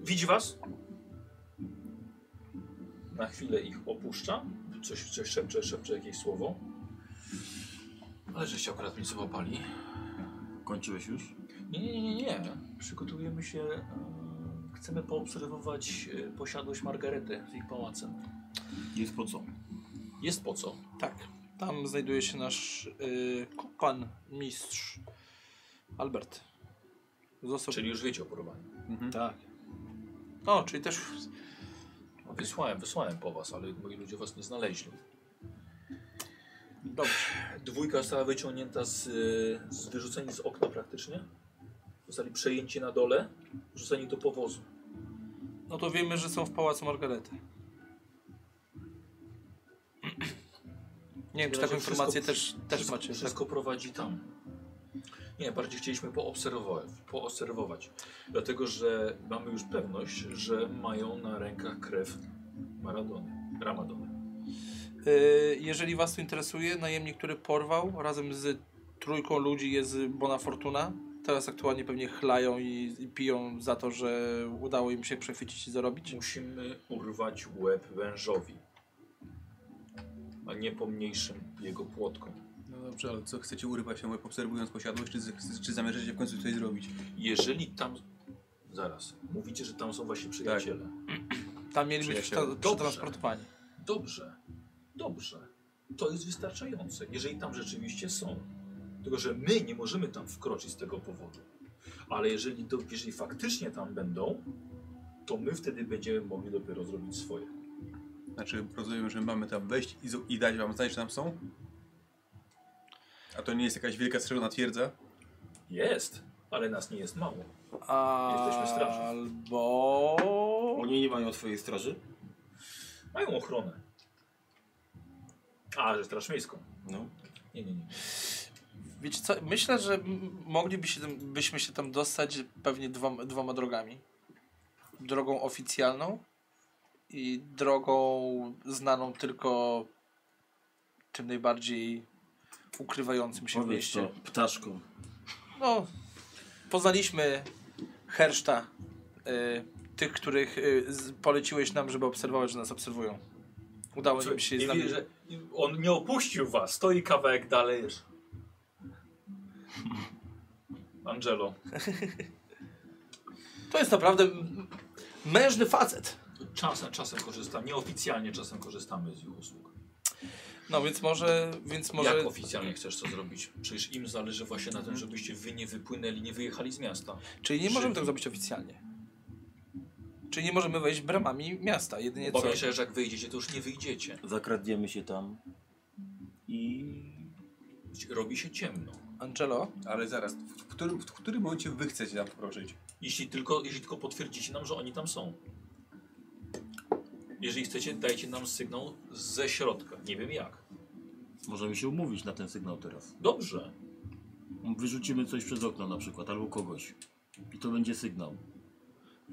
S1: Widzi was? Na chwilę ich opuszcza. Coś, coś szepcze, szepcze jakieś słowo.
S9: Ale żeście akurat mi sobą pali.
S5: Kończyłeś już?
S1: Nie, nie, nie, nie. Przygotujemy się. e, Chcemy poobserwować e, posiadłość Margarety z ich pałacem.
S5: Jest po co?
S1: Jest po co.
S2: Tak. Tam znajduje się nasz yy, kupan, mistrz Albert. Został...
S1: Czyli już wiecie o porwaniu.
S2: Tak. No, czyli też...
S1: Wysłałem, wysłałem po was, ale moi ludzie was nie znaleźli.
S2: Dobrze.
S1: Dwójka została wyciągnięta z, e, z wyrzuceni z okna praktycznie. Zostali przejęci na dole, rzuceni do powozu.
S2: No to wiemy, że są w Pałacu Margarety. Nie wiem, czy taką
S1: Wszystko-
S2: informację też, też
S1: wszystko,
S2: macie. Tak?
S1: Wszystko prowadzi tam. Nie, bardziej chcieliśmy poobserwować, poobserwować. Dlatego, że mamy już pewność, że mają na rękach krew Maradony, Ramadony.
S2: tak? Y, Jeżeli was to interesuje, najemnik, który porwał razem z trójką ludzi jest Bona Fortuna. Teraz aktualnie pewnie chlają i, i piją za to, że udało im się przechwycić i zarobić.
S1: Musimy urwać łeb wężowi. A nie pomniejszym jego płotkom.
S3: No dobrze, ale co, chcecie urywać się łeb obserwując posiadłość, czy, z- czy zamierzacie w końcu coś zrobić?
S1: Jeżeli tam. Zaraz. Mówicie, że tam są wasi przyjaciele.
S2: Tam mieli być
S3: Przyjaciele.
S2: przetra-
S1: Dobrze.
S2: przetransportowani.
S1: Dobrze. Dobrze. To jest wystarczające, jeżeli tam rzeczywiście są. Tylko, że my nie możemy tam wkroczyć z tego powodu. Ale jeżeli, do, jeżeli faktycznie tam będą, to my wtedy będziemy mogli dopiero zrobić swoje.
S3: Znaczy, rozumiem, że mamy tam wejść i, zo- i dać wam znać, że tam są? A to nie jest jakaś wielka strzelona twierdza?
S1: Jest, ale nas nie jest mało. Jesteśmy straszni.
S2: Albo...
S5: Oni nie mają twojej straży?
S1: Mają ochronę. A, że Straż Miejską.
S5: No.
S1: Nie, nie, nie.
S2: Wiecie co, myślę, że m- mogliby się tam, byśmy się tam dostać pewnie dwoma, dwoma drogami. Drogą oficjalną i drogą znaną tylko tym najbardziej ukrywającym się w
S5: Powiedz to
S2: mieście.
S5: ptaszkom.
S2: No, poznaliśmy herszta y, tych, których y, z- poleciłeś nam, żeby obserwować, że nas obserwują. Udało im się
S1: nie
S2: z nami...
S1: wierzę. On nie opuścił was, stoi kawałek dalej. Wiesz. Angelo.
S2: To jest naprawdę m- mężny facet.
S1: Czasem, czasem korzystam, nieoficjalnie czasem korzystamy z ich usług.
S2: No więc może, więc może... Mhm.
S1: Jak oficjalnie chcesz to zrobić? Przecież im zależy właśnie na tym, żebyście wy nie wypłynęli, nie wyjechali z miasta.
S2: Czyli nie
S1: Żywi.
S2: możemy tego zrobić oficjalnie. Czyli nie możemy wejść bramami miasta, jedynie co...
S1: Obawiam się, że jak wyjdziecie, to już nie wyjdziecie.
S5: Zakradniemy się tam i
S1: Robi się ciemno.
S2: Angelo,
S3: Ale zaraz, w, w, którym, w którym momencie wy chcecie tam wkroczyć?
S1: Jeśli tylko, jeśli tylko potwierdzicie nam, że oni tam są. Jeżeli chcecie, dajcie nam sygnał ze środka. Nie wiem jak.
S5: możemy się umówić na ten sygnał teraz.
S1: Dobrze.
S5: Wyrzucimy coś przez okno na przykład, albo kogoś. I to będzie sygnał.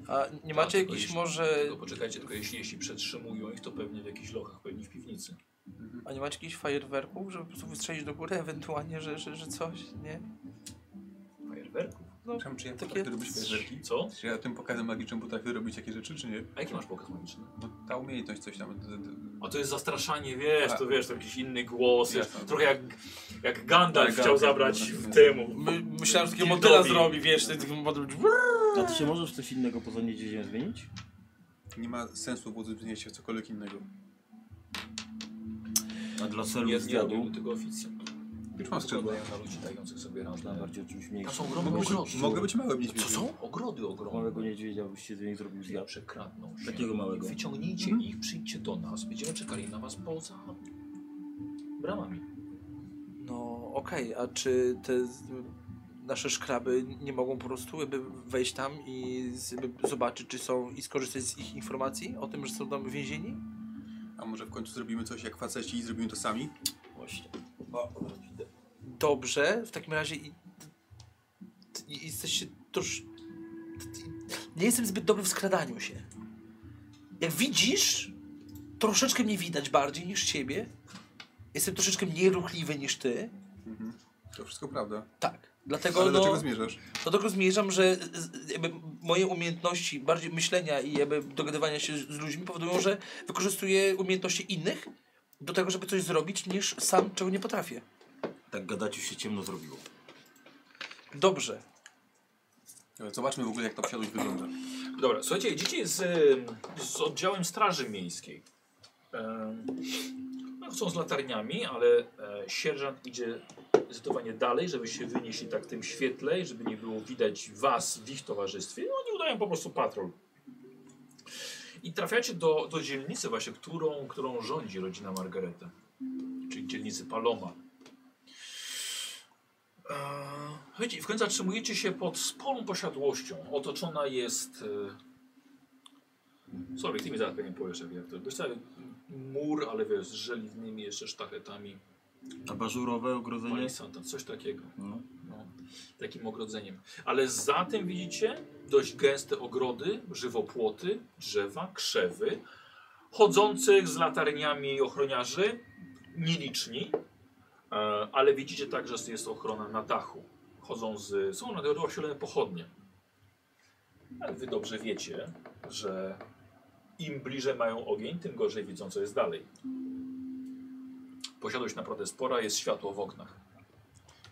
S2: a nie macie
S1: tylko
S2: jakichś
S1: jeśli-
S2: może...
S1: Tylko poczekajcie, tylko jeśli, jeśli przetrzymują ich, to pewnie w jakichś lochach, pewnie w piwnicy.
S2: A nie macie jakichś fajerwerków, żeby po prostu wystrzelić do góry, ewentualnie, że, że, że coś, nie?
S1: Fajerwerków.
S3: Tam, czy ja
S2: Takie-
S3: potrafię robić fajerwerki?
S1: Co?
S3: Czy ja tym pokazem magicznym potrafię robić takie rzeczy, czy nie?
S1: A jaki masz pokaz magiczny?
S3: Bo ta umiejętność coś tam... d- d-
S1: A to jest zastraszanie, wiesz,
S3: A.
S1: to wiesz, to jakiś inny głos, Tak. wiesz,
S3: Jasne.
S1: trochę jak, jak Gandalf
S3: Tak,
S1: chciał
S3: Gandalf,
S1: zabrać
S3: dobra.
S1: w temu.
S2: My, myślałem, że takiego
S1: Gildowi.
S2: motyla zrobi, wiesz, taki motyl...
S5: A ty się możesz coś innego poza niedźwiedziem zmienić?
S3: Nie ma sensu w się w cokolwiek innego.
S5: A dla
S1: Nie,
S5: celu
S1: nie robiłbym
S5: zwiadu?
S1: tego oficjalnie.
S3: Już mam skrzydła.
S1: Wyglądają na ludzi dających sobie
S5: Dla
S1: radę.
S5: bardziej o czymś
S1: Tam
S5: mniejszym.
S1: są ogromne
S3: Mogę
S1: ogrody.
S3: być, mogę być małym niedźwiedziem.
S1: Co są? Ogrody ogromne.
S5: Małego niedźwiedzia byś się z niej zrobił
S1: Ja
S5: zwiad.
S1: przekradną się.
S5: Takiego małego. Mhm.
S1: Wyciągnijcie ich, przyjdźcie do nas. Będziemy czekali na was poza bramami.
S2: No okej, a czy te z- nasze szkraby nie mogą po prostu jakby wejść tam i z, jakby zobaczyć, czy są i skorzystać z ich informacji o tym, że są tam więzieni?
S3: A może w końcu zrobimy coś jak faceci i zrobimy to sami?
S5: Właśnie.
S2: Dobrze, w takim razie i, i jesteście trosz... Nie jestem zbyt dobry w skradaniu się. Jak widzisz, troszeczkę mnie widać bardziej niż ciebie. Jestem troszeczkę mniej ruchliwy niż ty.
S3: To wszystko prawda.
S2: Tak. Dlatego
S3: Ale do
S2: no,
S3: czego zmierzasz?
S2: do tego zmierzam, że z- jakby moje umiejętności bardziej myślenia i jakby dogadywania się z z ludźmi powodują, że wykorzystuję umiejętności innych do tego, żeby coś zrobić, niż sam czego nie potrafię.
S5: Tak gadacie się ciemno zrobiło.
S2: Dobrze.
S3: E, Zobaczmy w ogóle jak ta posiadłość wygląda.
S1: Dobra, słuchajcie, idziecie z, em, z oddziałem Straży Miejskiej. Em, No, są z latarniami, ale e, sierżant idzie zdecydowanie dalej, żeby się wynieśli tak w tym świetle, i żeby nie było widać was w ich towarzystwie. No, oni udają po prostu patrol. I trafiacie do, do dzielnicy właśnie, którą, którą rządzi rodzina Margareta. Czyli dzielnicy Paloma. Eee, Słuchajcie, w końcu zatrzymujecie się pod sporą posiadłością. Otoczona jest... E... Sorry, ty mi zaraz pewnie powiesz, jak to... Wiesz co, mur, ale wiesz, z żeliwnymi jeszcze sztachetami.
S5: A bażurowe ogrodzenie?
S1: Palisada, coś takiego.
S5: No.
S1: No, takim ogrodzeniem. Ale za tym widzicie dość gęste ogrody, żywopłoty, drzewa, krzewy. Chodzących z latarniami ochroniarzy, nieliczni. E, ale widzicie także, że jest ochrona na dachu. Chodzą z, są na dole osilone pochodnie. Ale wy dobrze wiecie, że im bliżej mają ogień, tym gorzej widzą, co jest dalej. Posiadłość naprawdę spora, jest światło w oknach.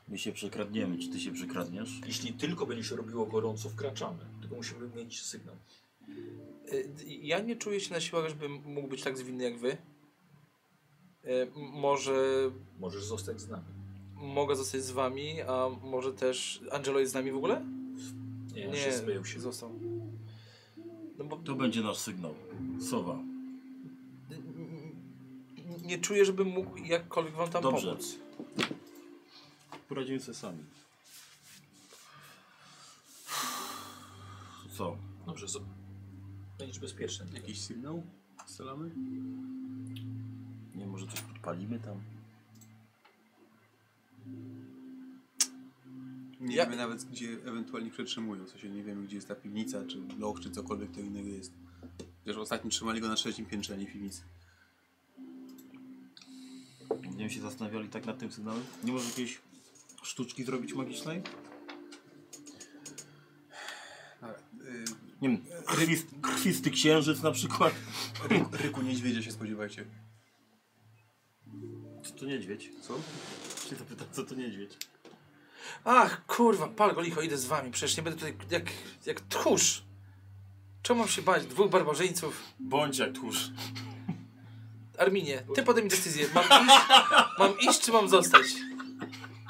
S5: My się przekradniemy. Czy ty się przekradniesz?
S1: Jeśli tylko będzie się robiło gorąco, wkraczamy. Tylko musimy mieć sygnał.
S2: Y, Ja nie czuję się na siłach, żebym mógł być tak zwinny jak wy. Y, m- Może
S1: Możesz zostać z nami.
S2: mogę zostać z wami, a może też... Angelo jest z nami w ogóle?
S1: Nie, nie. zmył się.
S2: został. Y, No bo
S5: To będzie nasz sygnał. Sowa.
S2: n- nie czuję, żebym mógł jakkolwiek wam tam
S5: Dobrze.
S2: pomóc.
S5: Poradzimy sobie sami. Co?
S1: Dobrze, zo- będziesz bezpieczny.
S3: Jakiś sygnał? Salamy?
S5: Nie może coś podpalimy tam?
S3: Nie
S2: Ja-
S3: wiemy nawet, gdzie ewentualnie przetrzymują. W sensie nie wiemy, gdzie jest ta piwnica, czy loch, czy cokolwiek to innego jest. Chociaż ostatnio trzymali go na trzecim piętrze, a nie w piwnicy.
S5: Będziemy się zastanawiali tak nad tym sygnałem? Nie może jakiejś sztuczki zrobić magicznej?
S3: Dobra,
S5: Nie wiem, krwist, krwisty księżyc na przykład.
S3: y, ry, ryku niedźwiedzia się spodziewajcie.
S5: Co to niedźwiedź?
S3: Co?
S5: Się zapytam, co to niedźwiedź?
S2: Ach, kurwa, pal go licho, idę z wami. Przecież nie będę tutaj jak, jak tchórz. Czemu mam się bać dwóch barbarzyńców?
S5: Bądź jak tłuszcz.
S2: Arminie, ty podejmij decyzję. Mam iść, mam iść czy mam zostać?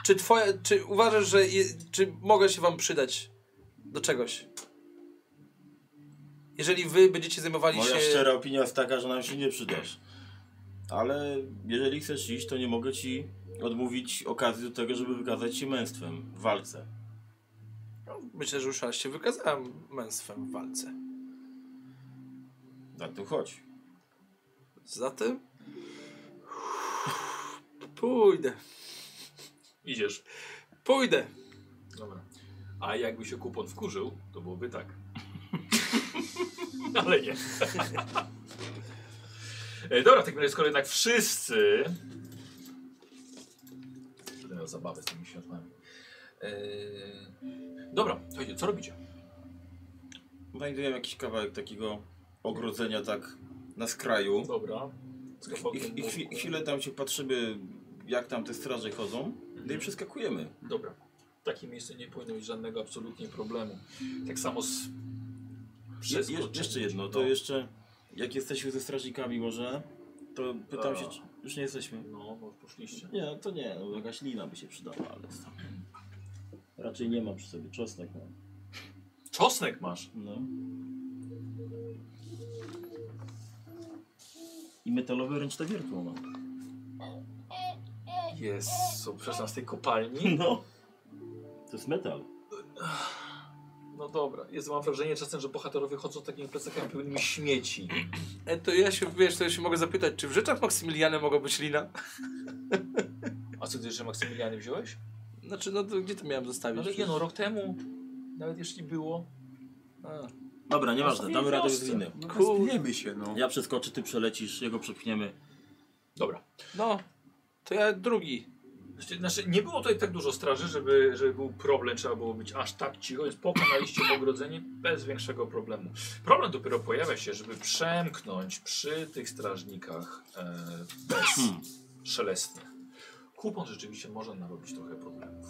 S2: Czy twoja, czy uważasz, że je, czy mogę się wam przydać do czegoś? Jeżeli wy będziecie zajmowali
S5: Moja
S2: się...
S5: szczera opinia jest taka, że nam się nie przydasz. Ale jeżeli chcesz iść, to nie mogę ci odmówić okazji do tego, żeby wykazać się męstwem w walce.
S2: Myślę, że już raz się wykazałem męstwem w walce.
S5: Na tym chodź.
S2: Zatem... Pójdę.
S1: Idziesz.
S2: Pójdę.
S1: Dobra. A jakby się kupon wkurzył, to byłoby tak. [LAUGHS] Ale nie. [LAUGHS] E, Dobra, w takim razie skoro jednak wszyscy... Będę miał zabawę z tymi światłami. E, Dobra, słuchajcie, co robicie?
S5: Znajduję jakiś kawałek takiego ogrodzenia tak na skraju.
S1: Dobra.
S5: I, i, i chwi- chwilę tam się patrzymy, jak tam te straże chodzą. No i przeskakujemy.
S1: Dobra. W takim miejscu nie powinno być żadnego absolutnie problemu. Tak samo z...
S5: Je,
S1: przeskoczeniem.
S5: je, jeszcze jedno, to
S1: No.
S5: jeszcze jak jesteśmy ze strażnikami może, to pytam się, czy już nie jesteśmy.
S1: No, bo poszliście.
S5: Nie, no to nie, no, jakaś lina by się przydała, ale co tam. Raczej nie mam przy sobie, czosnek mam.
S1: Czosnek masz.
S5: No. I metalowe ręczne wiertło [LAUGHS] mam.
S1: Jest, są przecież z tej kopalni.
S5: No. To jest metal.
S1: No dobra, jest, mam wrażenie czasem, że bohaterowie chodzą z takimi plecakami pełnymi śmieci.
S2: E, to ja się, wiesz, to ja się mogę zapytać, czy w rzeczach Maksymiliana mogła być lina?
S1: A co ty jeszcze Maksymiliany wziąłeś?
S2: Znaczy, no to gdzie to miałem zostawić?
S1: Ale nie no, rok temu, nawet jeśli było.
S2: A.
S5: Dobra, nieważne, damy radę z liny.
S3: No,
S2: Kur-
S3: Rozpniemy się, no.
S5: Ja przeskoczę, ty przelecisz, jego przepchniemy.
S1: Dobra.
S2: No, to ja drugi.
S1: Znaczy, Znaczy, nie było tutaj tak dużo straży, żeby, żeby był problem, trzeba było być aż tak cicho, więc pokonaliście ogrodzenie bez większego problemu. Problem dopiero pojawia się, żeby przemknąć przy tych strażnikach e, bez
S5: Hmm.
S1: szelestnych. Kupon rzeczywiście może narobić trochę problemów.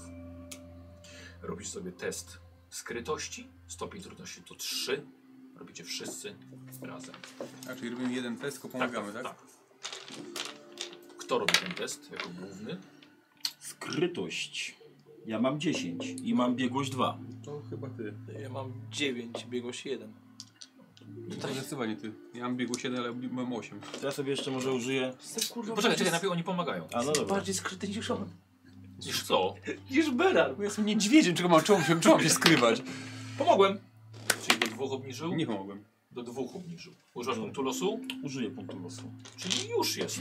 S1: Robisz sobie test skrytości, stopień trudności to 3. Robicie wszyscy razem.
S3: A, czyli robimy jeden test, tylko pomagamy, tak?
S1: Kto robi ten test jako główny?
S5: Skrytość. Ja mam 10 i mam biegłość 2.
S3: To chyba ty.
S2: Ja mam 9, biegłość 1.
S3: To zdecydowanie ty. Ja mam biegło 7, ale mam 8.
S5: To ja sobie jeszcze może użyję.
S2: Jestem kurwa
S1: Poczekaj, czekaj, najpierw oni pomagają.
S5: A no dobra.
S2: bardziej skryty niż on.
S1: Niż co?
S2: Niż Beran.
S4: Bo ja jestem niedźwiedziem, czego mam, czemu, się- czemu mam się skrywać?
S1: Pomogłem. Czyli do dwóch obniżył?
S3: Nie pomogłem.
S1: Do dwóch obniżył. Używasz punktu losu?
S5: Użyję punktu losu.
S1: Czyli już jest.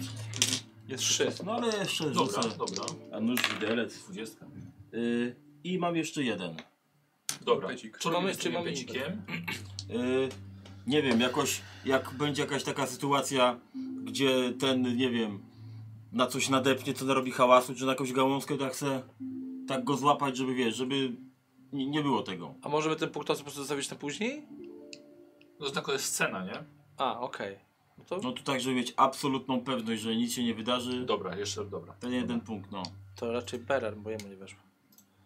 S2: Jest 3.
S5: No ale jeszcze
S1: Dobra,
S5: rzucę.
S1: dobra.
S5: A no nóż widelec.
S1: Dwudziestka.
S5: Y, I mam jeszcze jeden.
S1: Dobra.
S3: Pecik.
S1: Co
S2: Mamy-
S1: robimy z
S2: czy
S1: tym
S2: mamy
S1: pecikiem?
S5: Y, nie wiem, jakoś jak będzie jakaś taka sytuacja, gdzie ten, nie wiem, na coś nadepnie, co narobi hałasu, czy na jakąś gałązkę, to ja chcę tak go złapać, żeby wiesz, żeby nie, nie było tego.
S2: A możemy ten punkt czasu po prostu zostawić na później?
S1: No to jest scena, nie?
S2: A, okej. No to,
S5: No tu tak, żeby mieć absolutną pewność, że nic się nie wydarzy.
S1: Dobra, jeszcze dobra.
S5: Ten jeden punkt, no.
S2: to raczej Berar, bo jemu nie weszło.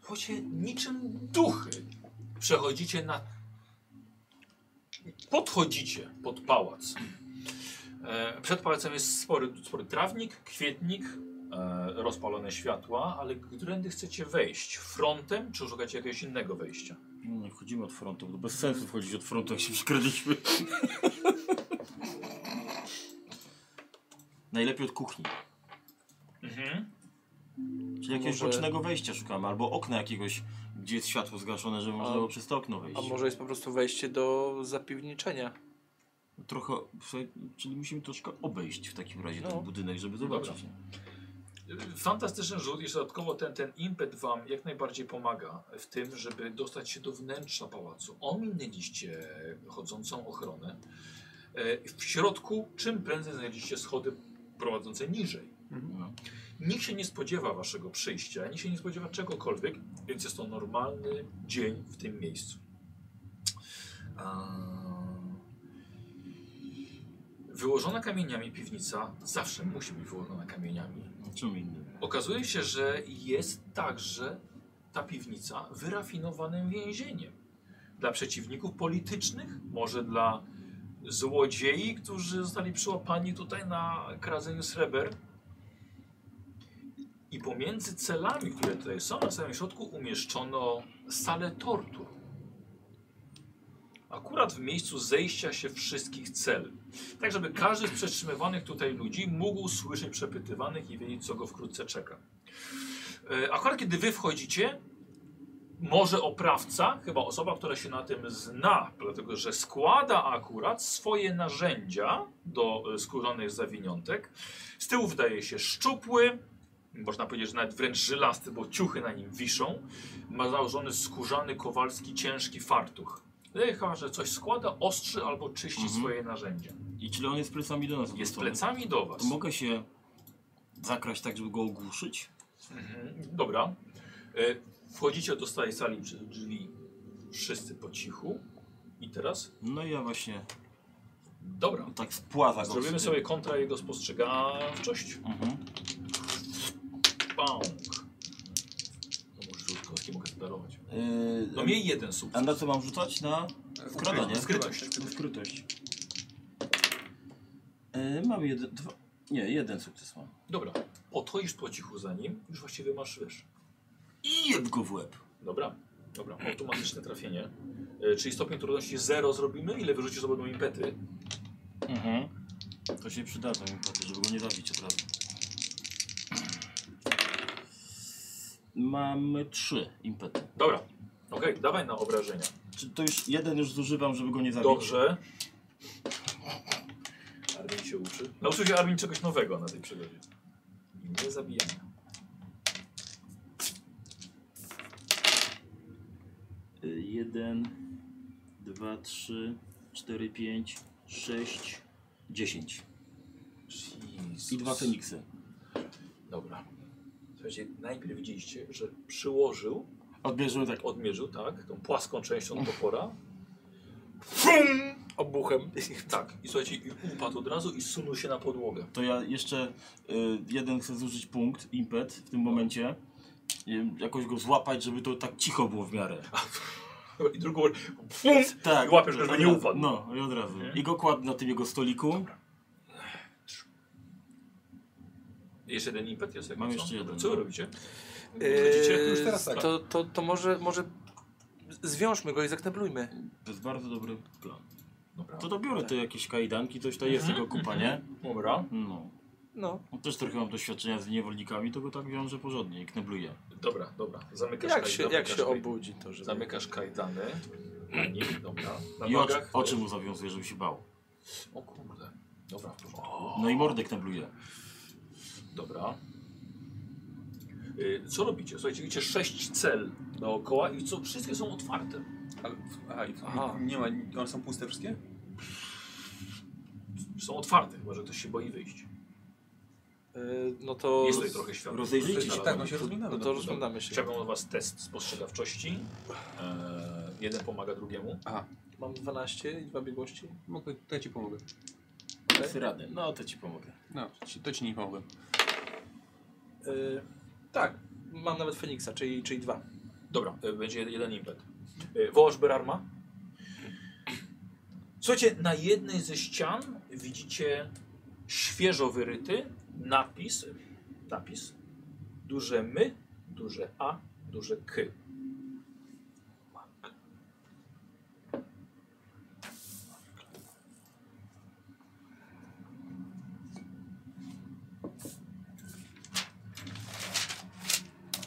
S1: Chodźcie niczym duchy. Przechodzicie na. Podchodzicie pod pałac. E, Przed pałacem jest spory, spory trawnik, kwietnik, e, rozpalone światła, ale którędy chcecie wejść? Frontem, czy szukacie jakiegoś innego wejścia?
S5: No, Nie wchodzimy od frontu, bo bez sensu wchodzić od frontu, jak się przykryliśmy. [LAUGHS] Najlepiej od kuchni. Czyli jakiegoś
S2: może-
S5: bocznego wejścia szukamy, albo okna jakiegoś, gdzie jest światło zgaszone, żeby można było przez to okno wejść.
S2: A może jest po prostu wejście do zapiwniczenia?
S5: Trochę, czyli musimy troszkę obejść w takim razie
S2: No.
S5: ten budynek, żeby zobaczyć.
S1: Fantastyczny rzut i dodatkowo ten, ten impet wam jak najbardziej pomaga w tym, żeby dostać się do wnętrza pałacu. Ominęliście chodzącą ochronę. E, W środku czym prędzej znajdziecie schody prowadzące niżej.
S5: No.
S1: Nikt się nie spodziewa waszego przyjścia, nikt się nie spodziewa czegokolwiek, więc jest to normalny dzień w tym miejscu. Eee, Wyłożona kamieniami piwnica zawsze musi być wyłożona kamieniami.
S5: Czym innym?
S1: Okazuje się, że jest także ta piwnica wyrafinowanym więzieniem. Dla przeciwników politycznych, może dla złodziei, którzy zostali przyłapani tutaj na kradzeniu sreber. I pomiędzy celami, które tutaj są, na samym środku umieszczono salę tortur. Akurat w miejscu zejścia się wszystkich cel. Tak, żeby każdy z przetrzymywanych tutaj ludzi mógł słyszeć przepytywanych i wiedzieć, co go wkrótce czeka. E, Akurat kiedy wy wchodzicie, może oprawca, chyba osoba, która się na tym zna, dlatego że składa akurat swoje narzędzia do e, skórzanych zawiniątek. Z tyłu wydaje się szczupły, można powiedzieć, że nawet wręcz żylasty, bo ciuchy na nim wiszą. Ma założony skórzany, kowalski, ciężki fartuch. Wydaje chyba, że coś składa, ostrzy albo czyści
S5: Mhm.
S1: swoje narzędzia.
S5: I czyli on jest plecami do nas.
S1: Jest
S5: odwrócony.
S1: plecami do was.
S5: To mogę się zakraść tak, żeby go ogłuszyć?
S1: Mhm, Dobra. E, Wchodzicie do starej sali przez drzwi wszyscy po cichu. I teraz?
S5: No i ja właśnie
S1: Dobra.
S5: tak spłaza go.
S1: Zrobimy
S5: z-
S1: sobie kontra jego spostrzegawczość.
S5: Mhm.
S1: Bang. No może rzut kostki mogę zdarować.
S5: Yy,
S1: No miej jeden
S5: A
S1: sukces.
S5: na co mam rzucać? Na wkradanie?
S1: Skrytość.
S5: Skrytość. Yy, mam jeden, dwa... Nie, jeden sukces mam.
S1: Dobra. Podchodzisz po cichu za nim. Już właściwie masz wiesz.
S5: I jeb go w łeb.
S1: Dobra. Dobra. Automatyczne trafienie. E, Czyli stopień trudności 0 zrobimy. Ile wyrzucisz z obydwu impety?
S5: Mhm. To się przydadzą mi paty, żeby go nie zabić od razu. Mamy trzy impety.
S1: Dobra. Okej, dawaj na obrażenia.
S5: Czy to już jeden już zużywam, żeby go nie zabić?
S1: Dobrze. Armin się uczy. Nauczył się Armin czegoś nowego na tej przygodzie. I nie zabijania.
S5: Y, Jeden, dwa, trzy, cztery, pięć, sześć, dziesięć. I dwa Feniksy.
S1: Dobra. Słuchajcie, najpierw widzieliście, że przyłożył,
S5: Odbierzmy tak.
S1: odmierzył, tak, tą płaską częścią topora.
S2: Obuchem.
S1: [LAUGHS] Tak. I słuchajcie, i upadł od razu i sunął się na podłogę.
S5: To ja jeszcze y, jeden chcę zużyć punkt, impet w tym momencie. Nie wiem, Jakoś go złapać, żeby to tak cicho było w
S1: [LAUGHS]
S5: miarę.
S1: I drugą... Fum!
S5: Tak.
S1: I łapiesz go, żeby
S5: Od
S1: nie
S5: razu.
S1: upadł.
S5: No, i od razu. I go kładł na tym jego stoliku.
S1: Jeszcze jeden impet jest. jak
S5: Mam
S1: co?
S5: jeszcze jeden. no.
S1: Co wy robicie?
S2: Eee,
S1: Chodzicie?
S4: już teraz tak.
S2: to, to, to może, może zwiążmy go i zakneblujmy.
S5: To jest bardzo dobry plan.
S1: Dobra.
S5: To dobiorę te jakieś kajdanki, coś to
S1: Mhm.
S5: jest tego kupa, nie?
S1: Dobra.
S5: No.
S2: No.
S5: Też trochę mam doświadczenia z niewolnikami, to go tak wiążę porządnie i knebluję.
S1: Dobra, dobra. Zamykasz
S2: Jak
S1: kaj-
S2: się, jak
S1: zamykasz
S2: się
S1: kaj-
S2: obudzi to, żeby...
S1: Zamykasz kajdany. Na nim, dobra. Na
S5: I oczy,
S1: nogach.
S5: oczy mu zawiązuję, żeby się bał.
S1: O kurde. Dobra, w porządku.
S5: No i mordę knebluję.
S1: Dobra. Y, Co robicie? Słuchajcie, widzicie sześć cel dookoła i co, wszystkie są otwarte.
S4: Ale, aha, i,
S2: Aha.
S4: nie ma, one są puste wszystkie?
S1: Są otwarte, chyba że ktoś się boi wyjść.
S2: y, no to...
S1: Jest tutaj trochę światła.
S5: Rozejrzyjcie
S1: Tutaj
S5: się,
S1: na
S3: tak, no się
S1: latarni.
S3: rozglądamy.
S2: No to rozglądamy się.
S1: Chciałbym od was test spostrzegawczości. E, jeden pomaga drugiemu.
S2: Mam 12 i dwa biegłości.
S3: Mogę, to ja ci pomogę.
S5: Dasz radę. No to ci pomogę.
S3: No, ci- to ci nie pomogłem.
S2: Y, tak, mam nawet Feniksa, czyli, czyli dwa.
S1: Dobra, e, będzie jed- jeden impet. E, Wołasz Berarma. Słuchajcie, na jednej ze ścian widzicie świeżo wyryty napis, napis, duże my, duże a, duże k.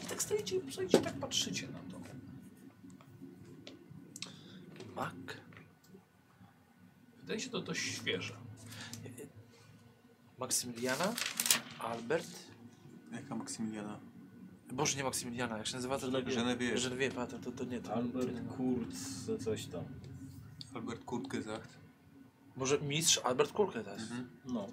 S1: I tak stoicie, stoicie, tak patrzycie na to.
S2: Mak.
S1: Wydaje się to dość świeże.
S2: Maksymiliana? Albert?
S3: Jaka Maksymiliana?
S2: Boże, nie Maksymiliana, jak się nazywa to?
S5: Genevieve.
S3: Genevieve.
S2: Genevieve, to, to, to nie to.
S5: Albert Kurz, coś tam.
S3: Albert Kurtgesacht.
S2: Może mistrz Albert Kurke teraz.
S5: No,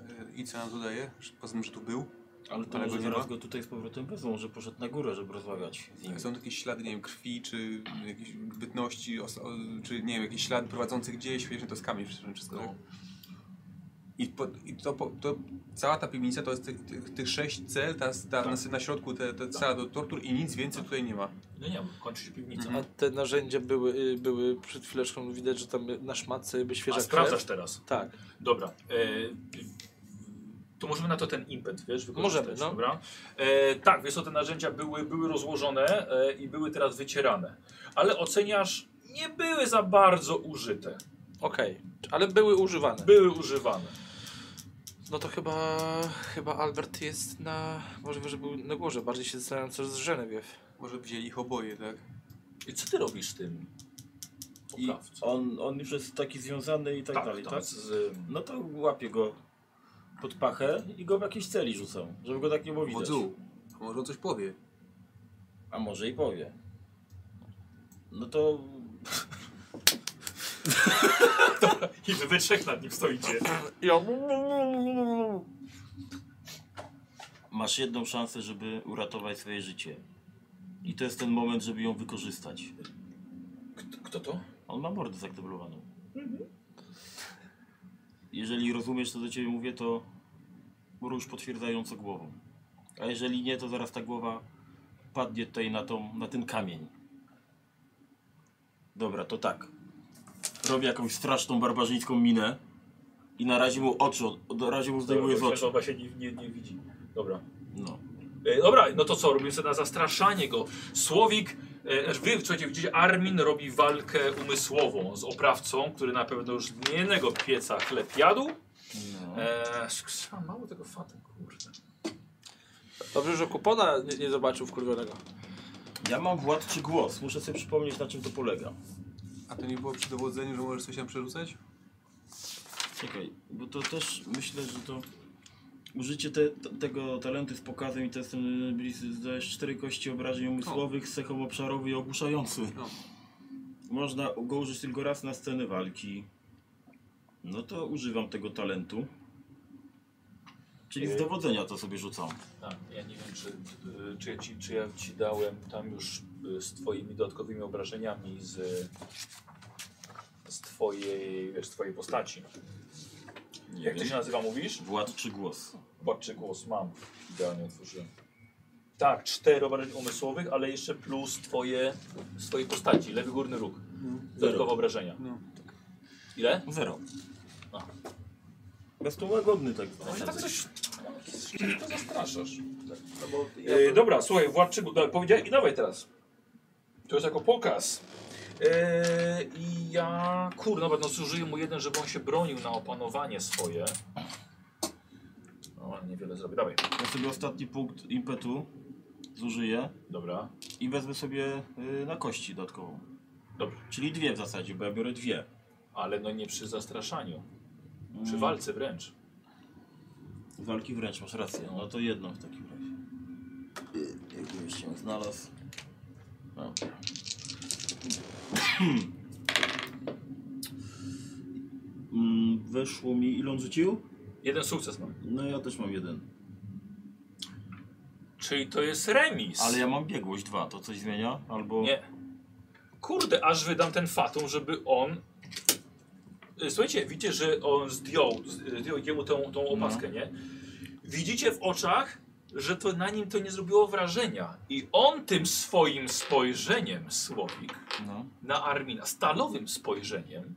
S3: E, I co nam dodaje? Że Poza tym, że tu był.
S5: ale to
S3: Ale
S5: może
S3: go nie
S5: zaraz
S3: ma?
S5: go tutaj z powrotem wezmą, że poszedł na górę, żeby rozmawiać z nim.
S3: Są jakieś ślady, nie wiem, krwi, czy jakiejś bytności, oso- o- czy nie wiem, jakieś ślady prowadzące gdzieś, wiesz, że to z kamień wszystko. tak? I, po, i to, po, to cała ta piwnica to jest tych, tych, tych sześć cel, ta, ta na, na środku te, te cela do tortur i nic więcej tutaj nie ma.
S1: No nie wiem, kończy się piwnica.
S5: Mhm.
S2: A te narzędzia były, y, były przed chwileczką, widać, że tam na szmatce by świeża
S1: A
S2: krew.
S1: sprawdzasz teraz.
S2: Tak.
S1: Dobra. E, to możemy na to ten impet, wiesz, wykorzystać.
S2: Możemy, no.
S1: Dobra. E, tak, wiesz, co te narzędzia były, były rozłożone e, i były teraz wycierane. Ale oceniasz, nie były za bardzo użyte.
S2: Okej, ale były używane.
S1: Były używane.
S2: No to chyba, chyba Albert jest na, możliwe, że był na górze. Bardziej się zastanawiam, co z Genevieve.
S3: Może wzięli ich oboje, tak?
S1: I co ty robisz z tym?
S5: I
S1: Poprawcą?
S5: on, on już jest taki związany i tak, dalej, tak?
S1: Z,
S5: No to łapię go pod pachę i go w jakieś celi rzucę, żeby go tak nie było widać.
S3: Wodzu, a może on coś powie.
S5: A może i powie. No to...
S1: I wy we trzech nad nim stoicie.
S5: Masz jedną szansę, żeby uratować swoje życie. I to jest ten moment, żeby ją wykorzystać.
S1: Kto to?
S5: On ma mordę zaktywowaną. Jeżeli rozumiesz, co do ciebie mówię, to rusz potwierdzająco głową. A jeżeli nie, to zaraz ta głowa padnie tutaj na, tą, na ten kamień. Dobra, to tak. Robię jakąś straszną, barbarzyńską minę i na razie mu oczy, od- na razie mu zdejmuję z
S1: Dobra,
S5: oczu.
S1: Chyba się nie, nie, nie widzi. Dobra.
S5: No.
S1: E, dobra, no to co? Robimy sobie na zastraszanie go. Słowik, e, wy słuchajcie, widzicie, Armin robi walkę umysłową z oprawcą, który na pewno już nie jednego pieca chleb jadł.
S5: no.
S1: E, sksa, mało tego fatu, kurde.
S2: Dobrze, że kupona nie, nie zobaczył wkurwionego.
S5: Ja mam władczy głos, muszę sobie przypomnieć na czym to polega.
S3: A to nie było przy dowodzeniu, że możesz coś tam przerzucać?
S5: Czekaj, bo to też myślę, że to użycie te, t- tego talentu z pokazem i testem y, byli z- zdajesz cztery kości obrażeń umysłowych z cechą obszarowy i ogłuszający.
S3: No.
S5: Można go użyć tylko raz na scenę walki. No to używam tego talentu. Czyli z dowodzenia to sobie rzucam.
S1: Tak, ja nie wiem, czy, y, czy, ja ci, czy ja ci dałem tam już y, z twoimi dodatkowymi obrażeniami z, z twojej, wiesz, z twojej postaci.
S5: Nie
S1: Jak to się nazywa, mówisz?
S5: Władczy głos.
S1: Patrzę głos mam. Idealnie otworzyłem. Tak, cztery obrażeń umysłowych, ale jeszcze plus twoje, z twojej postaci, lewy górny róg.
S8: No,
S1: Dodatkowe obrażenia.
S3: No.
S1: Ile?
S5: Zero.
S1: A.
S5: Bez to łagodny tak.
S1: Może tak coś... To zastraszasz.
S8: No bo ja
S1: E, dobra, słuchaj, władczy... No, powiedziałem i dawaj teraz. To jest jako pokaz. E, I ja... Kur, nawet no zużyję mu jeden, żeby on się bronił na opanowanie swoje. No, ale niewiele zrobię. Dawaj.
S5: Ja sobie ostatni punkt impetu zużyję.
S1: Dobra.
S5: I wezmę sobie y, na kości dodatkową.
S1: Dobrze.
S5: Czyli dwie w zasadzie, bo ja biorę dwie.
S1: Ale no nie przy zastraszaniu. Przy
S5: Mm.
S1: walce wręcz.
S5: Z Walki wręcz, masz rację. No to jedną w takim razie. Y, Jakbym jeszcze ją znalazł. No. [CLEARS THROAT] Dobra. Mm, Weszło mi, ile on rzucił?
S1: Jeden sukces mam.
S5: No ja też mam jeden.
S1: Czyli to jest remis.
S5: Ale ja mam biegłość dwa, to coś zmienia? Albo...
S1: Nie. Kurde, aż wydam ten fatum, żeby on... Y, Słuchajcie, widzicie, że on zdjął, z- zdjął jemu tą, tą opaskę, nie? Widzicie w oczach, że to na nim to nie zrobiło wrażenia. I on tym swoim spojrzeniem, Słowik,
S5: No.
S1: na Armina, stalowym spojrzeniem,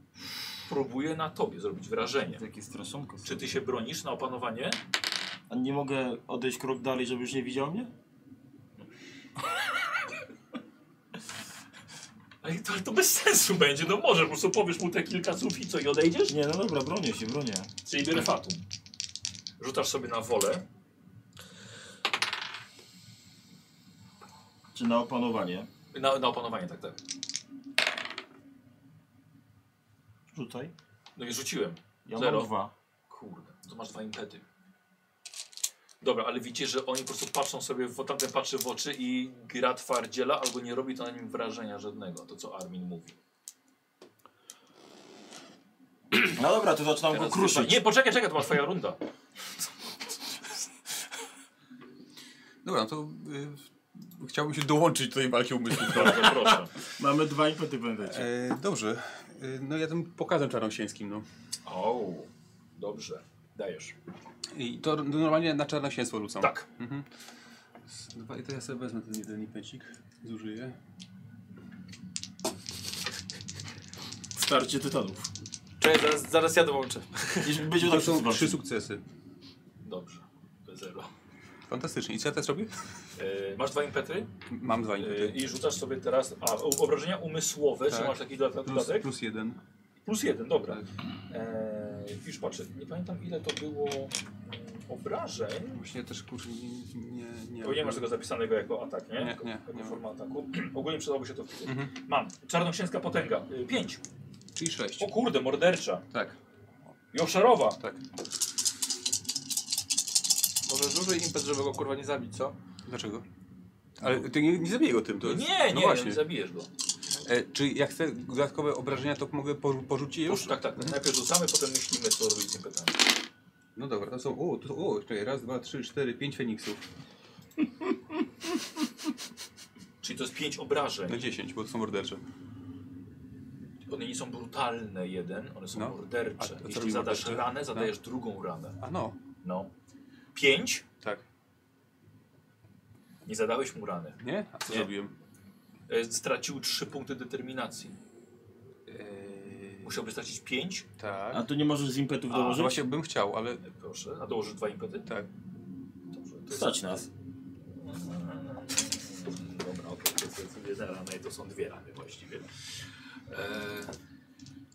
S1: próbuje na tobie zrobić wrażenie.
S5: Takie straszonko.
S1: Czy ty się bronisz na opanowanie?
S5: A nie mogę odejść krok dalej, żeby już nie widział mnie?
S1: Ale to, to bez sensu będzie, no może, po prostu powiesz mu te kilka słów i co, i odejdziesz?
S5: Nie, no dobra, bronię się, bronię.
S1: Czyli biorę fatum. Rzucasz sobie na wolę.
S5: Czy na opanowanie?
S1: Na, na opanowanie, tak, tak.
S5: Rzucaj.
S1: No i rzuciłem.
S5: Ja
S1: Zero.
S5: mam dwa.
S1: Kurde, to masz dwa impety. Dobra, ale widzicie, że oni po prostu patrzą sobie, w- tamten patrzy w oczy i gra twardziela, albo nie robi to na nim wrażenia żadnego, to co Armin mówi.
S5: No dobra, to zaczynam go
S1: Teraz
S5: kruszyć.
S1: Nie, poczekaj, czekaj, to była twoja runda.
S3: Dobra, no to y, chciałbym się dołączyć do tej walki umysłów. Dobra.
S1: Bardzo [LAUGHS] proszę.
S5: Mamy dwa impety, pamiętajcie.
S3: [LAUGHS] E, dobrze. E, no ja tym pokazem czarnosięskim, no.
S1: O, dobrze. Dajesz.
S3: I to to normalnie na czarnosięstwo rzucam.
S1: Tak.
S3: Dwa, I to ja sobie wezmę ten jeden impecik, zużyję.
S5: Starcie tytanów.
S3: [LAUGHS]
S2: Cześć, zaraz, zaraz ja dołączę.
S5: Jeśli będzie
S3: To
S5: tak
S3: są
S5: się
S3: trzy sukcesy.
S1: Dobrze. To Zero.
S3: Fantastycznie. I co ja teraz robię? Yy,
S1: E, masz dwa impety
S3: Mam dwa
S1: e,
S3: impety.
S1: i rzucasz sobie teraz. A, o- obrażenia umysłowe, czy
S3: Tak.
S1: masz taki dodat-
S3: Plus,
S1: dodatek?
S3: plus jeden.
S1: Plus jeden, dobra.
S3: Tak.
S1: Eee, już patrzę, nie pamiętam ile to było mm, obrażeń.
S3: Właśnie też kurczę nie... nie, nie
S1: Bo nie masz tego zapisanego jako atak, nie?
S3: Nie,
S1: Jako-
S3: nie,
S1: Jako
S3: nie Mhm.
S1: forma ataku. [CLEARS THROAT] Ogólnie przydałoby się to wpisać. Mam. Czarnoksięska potęga. Y, Pięć.
S3: Czyli sześć.
S1: O kurde, mordercza.
S3: Tak.
S1: I obszarowa.
S3: Tak.
S2: Może zużyj impet, żeby go kurwa nie zabić, co?
S3: Dlaczego? Ale ty nie, nie zabiję go tym, to jest...
S1: Nie,
S3: no
S1: nie,
S3: właśnie.
S1: nie zabijesz go.
S3: E, czy jak chcę dodatkowe obrażenia, to mogę porzu- porzucić już?
S1: Już? Tak, tak. Najpierw rzucamy, potem myślimy, co robić z tym pytaniem.
S3: No dobra, to są. O, to, o czekaj, raz, dwa, trzy, cztery, pięć Feniksów.
S1: Czyli to jest pięć obrażeń.
S3: No dziesięć, bo to są mordercze.
S1: One nie są brutalne jeden, one są
S3: No. A- a
S1: mordercze.
S3: co No.
S1: Jeśli
S3: robi
S1: zadasz
S3: morderczy?
S1: ranę, zadajesz drugą ranę.
S3: A no,
S1: No. Pięć.
S3: tak.
S1: Nie zadałeś mu rany.
S3: Nie? A co
S1: Nie.
S3: zrobiłem?
S1: E, Stracił 3 punkty determinacji. Musiałby stracić 5.
S3: tak.
S5: A tu nie możesz z impetów
S1: A,
S5: dołożyć?
S3: No Właśnie bym chciał, ale.
S1: Proszę, a dołożysz dwa impety?
S3: Tak.
S1: Dobrze, to jest...
S5: Stać nas.
S1: Dobra, okej, to jest jedna rana i to są dwie rany właściwie. E,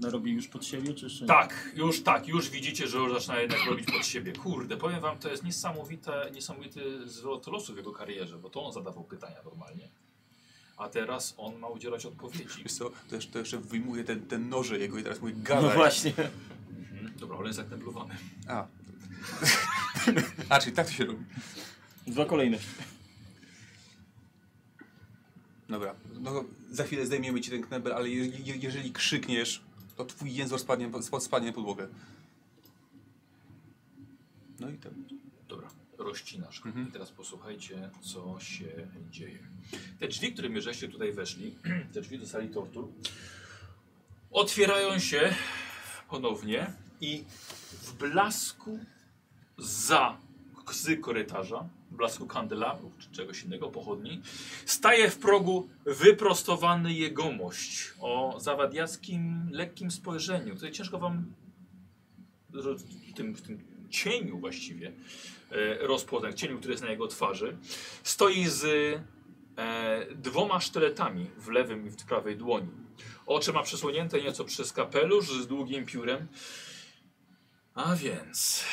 S5: Narobi już pod siebie, czy jeszcze nie?
S1: Tak, już tak, już widzicie, że już zaczyna jednak robić pod siebie. Kurde, powiem wam, to jest niesamowite, niesamowity zwrot losu w jego karierze, bo to on zadawał pytania normalnie. A teraz on ma udzielać odpowiedzi.
S3: Wiesz co, to jeszcze, to jeszcze wyjmuję ten, ten noże jego i teraz mój
S5: No
S3: gadaj.
S5: właśnie.
S1: Mhm. Dobra, ale jest zakneblowany.
S3: A. [LAUGHS] A, czyli tak to się robi.
S5: Dwa kolejne.
S3: Dobra, no za chwilę zdejmiemy ci ten knebel, ale jeżeli, je- jeżeli krzykniesz, to twój język spadnie, sp- spadnie na podłogę. No i tam.
S1: Dobra, rozcinasz. I teraz posłuchajcie, co się dzieje. Te drzwi, którymi żeście tutaj weszli, [CLEARS THROAT] te drzwi do sali tortur, otwierają się ponownie i w blasku za z korytarza, w blasku kandelabrów czy czegoś innego, pochodni, staje w progu wyprostowany jegomość o zawadiackim, lekkim spojrzeniu, które ciężko wam roz- w tym, w tym cieniu właściwie e, rozpoznać, cieniu, który jest na jego twarzy. Stoi z e, dwoma sztyletami w lewym i w prawej dłoni. Oczy ma przesłonięte nieco przez kapelusz z długim piórem. A więc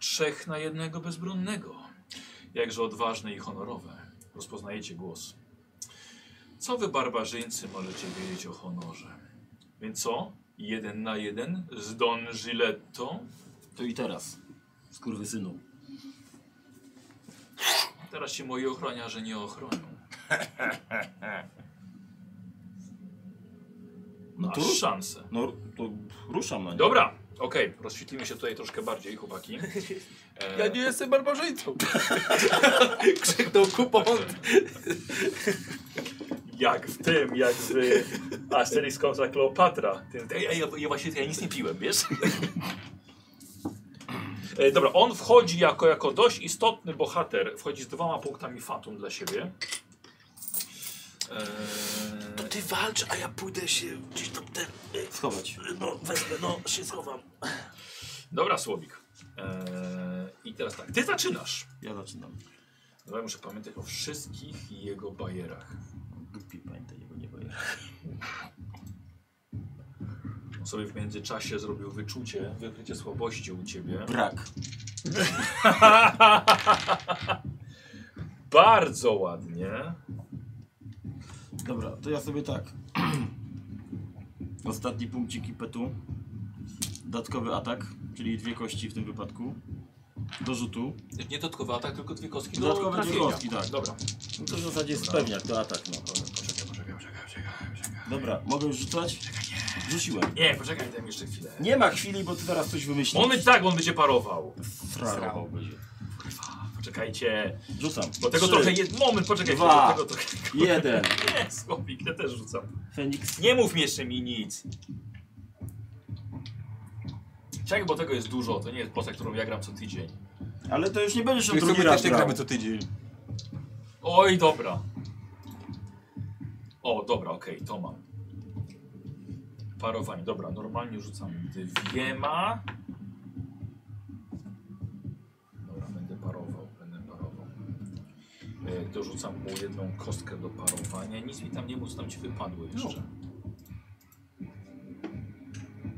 S1: trzech na jednego bezbronnego. Jakże odważne i honorowe. Rozpoznajecie głos. Co wy barbarzyńcy możecie wiedzieć o honorze? Więc co? Jeden na jeden z Don Giletto?
S5: Tu i teraz. Skurwysynu.
S1: Teraz się moi ochroniarze nie ochronią.
S5: No
S1: Masz
S5: to-
S1: szansę.
S5: No to ruszam na nie.
S1: Dobra, Okej, rozświetlimy się tutaj troszkę bardziej, [LAUGHS] chłopaki. E,
S2: Ja nie jestem barbarzyńcą.
S1: krzyknął kupon.
S6: Jak w tym, jak w Asterix kontra Kleopatra. Tym,
S1: Ja, ja, ja właśnie ja nic nie piłem, wiesz? [LAUGHS] E, dobra, on wchodzi jako, jako dość istotny bohater. Wchodzi z dwoma punktami fatum dla siebie. E,
S10: To ty walcz, a ja pójdę się gdzieś tam ten... y,
S5: Schować.
S10: No, wezmę, no, się schowam.
S1: dobra, Słowik. E, I teraz tak, ty zaczynasz.
S5: Ja zaczynam.
S1: No, ja muszę pamiętać o wszystkich jego bajerach.
S5: Głupi pamiętaj, jego nie boję.
S1: On sobie w międzyczasie zrobił wyczucie, wykrycie słabości u ciebie.
S5: Brak.
S1: Bardzo ładnie.
S5: Dobra, to ja sobie tak. [CLEARS THROAT] Ostatni punkcik ipetu. Dodatkowy atak, czyli dwie kości w tym wypadku. Do rzutu.
S1: Nie dodatkowy atak, tylko dwie kostki. do
S5: Dodatkowe dwie
S1: trafienia.
S5: kostki, tak.
S1: Dobra.
S5: No to w zasadzie jest pewniak, to atak, no.
S1: Poczekaj, poczekaj, poczekaj, poczekaj, poczekaj.
S5: Dobra, mogę już rzucać? Rzuciłem.
S1: Nie, poczekaj, daj mi jeszcze chwilę.
S5: Nie ma chwili, bo ty zaraz coś wymyślisz.
S1: Moment tak, on będzie parował.
S5: Srało będzie.
S1: Poczekajcie,
S5: Rzucam.
S1: bo tego
S5: Trzy,
S1: trochę jest. Moment, poczekaj,
S5: Dwa.
S1: bo tego trochę. [LAUGHS]
S5: Jeden.
S1: Nie, słowik, ja też rzucam.
S5: Feniks.
S1: Nie mów mi jeszcze mi nic. Czekaj, bo tego jest dużo, to nie jest postać, którą ja gram co tydzień.
S5: Ale to już nie będziesz już
S3: Wiesz No co,
S5: drugi
S3: my
S5: raz
S3: też nie
S5: grał.
S3: gramy co tydzień.
S1: Oj, dobra. O, dobra, okej, to mam. Parowanie, dobra, normalnie rzucam dwiema. Dobra, będę parował, będę parował. E, Dorzucam mu jedną kostkę do parowania. Nic mi tam nie móc, tam ci wypadło jeszcze.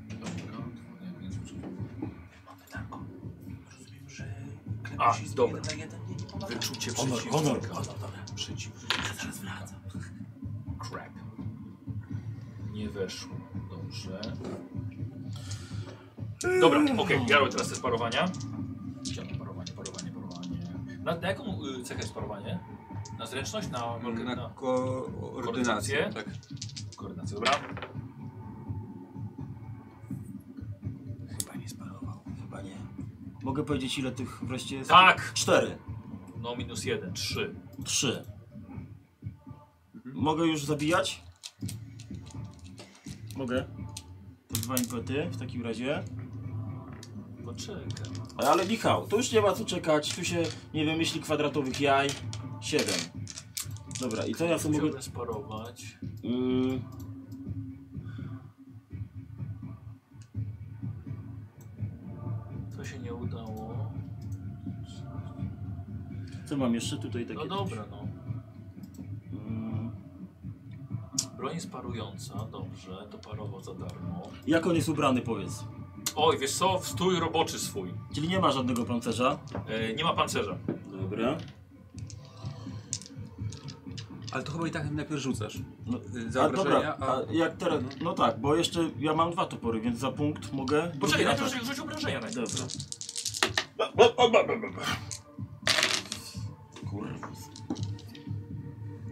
S1: Dobra, nie, więc muszę- A, dobra. Wyczucie
S5: Honor,
S1: przeciwnika.
S5: honor.
S1: Przeciw. przeciwnika. Crap. Nie weszło. Dobrze. Dobra, okej, ja robię teraz te sparowania. Chciałem parowanie, parowanie, parowanie. Na, na jaką y, cechę jest parowanie? Na zręczność? Na, na,
S3: Na
S1: na
S3: koordynację.
S1: Koordynację?
S3: Tak.
S1: koordynację, dobra?
S5: Chyba nie sparował. Chyba nie. Mogę powiedzieć ile tych wreszcie jest?
S1: Tak!
S5: Cztery.
S1: No minus jeden, trzy.
S5: Trzy. Mogę już zabijać? Mogę. To dwa impety w takim razie.
S1: Poczekaj.
S5: Ale Michał, tu już nie ma co czekać. Tu się nie wymyśli kwadratowych jaj. Siedem. Dobra, i co ja sobie mogę...
S1: Chciałbym sparować.
S5: Mm.
S1: To się nie udało.
S5: Co mam jeszcze tutaj takie?
S1: No dobra, no.
S5: Mm.
S1: Broń jest parująca, dobrze, to parował za darmo.
S5: Jak on jest ubrany, powiedz.
S1: Oj, wiesz co, wstój roboczy swój.
S5: Czyli nie ma żadnego pancerza.
S1: E, nie ma pancerza.
S5: Dobra.
S3: Ale to chyba i tak najpierw rzucasz.
S5: No,
S3: Y, Za
S5: A
S3: obrażenia,
S5: dobra,
S3: a...
S5: a jak teraz, no tak, bo jeszcze ja mam dwa topory, więc za punkt mogę... drugi
S1: Poczekaj, najpierw
S5: atak.
S1: rzuć- rzuć obrażenia najpierw.
S5: Dobra. Kurwa.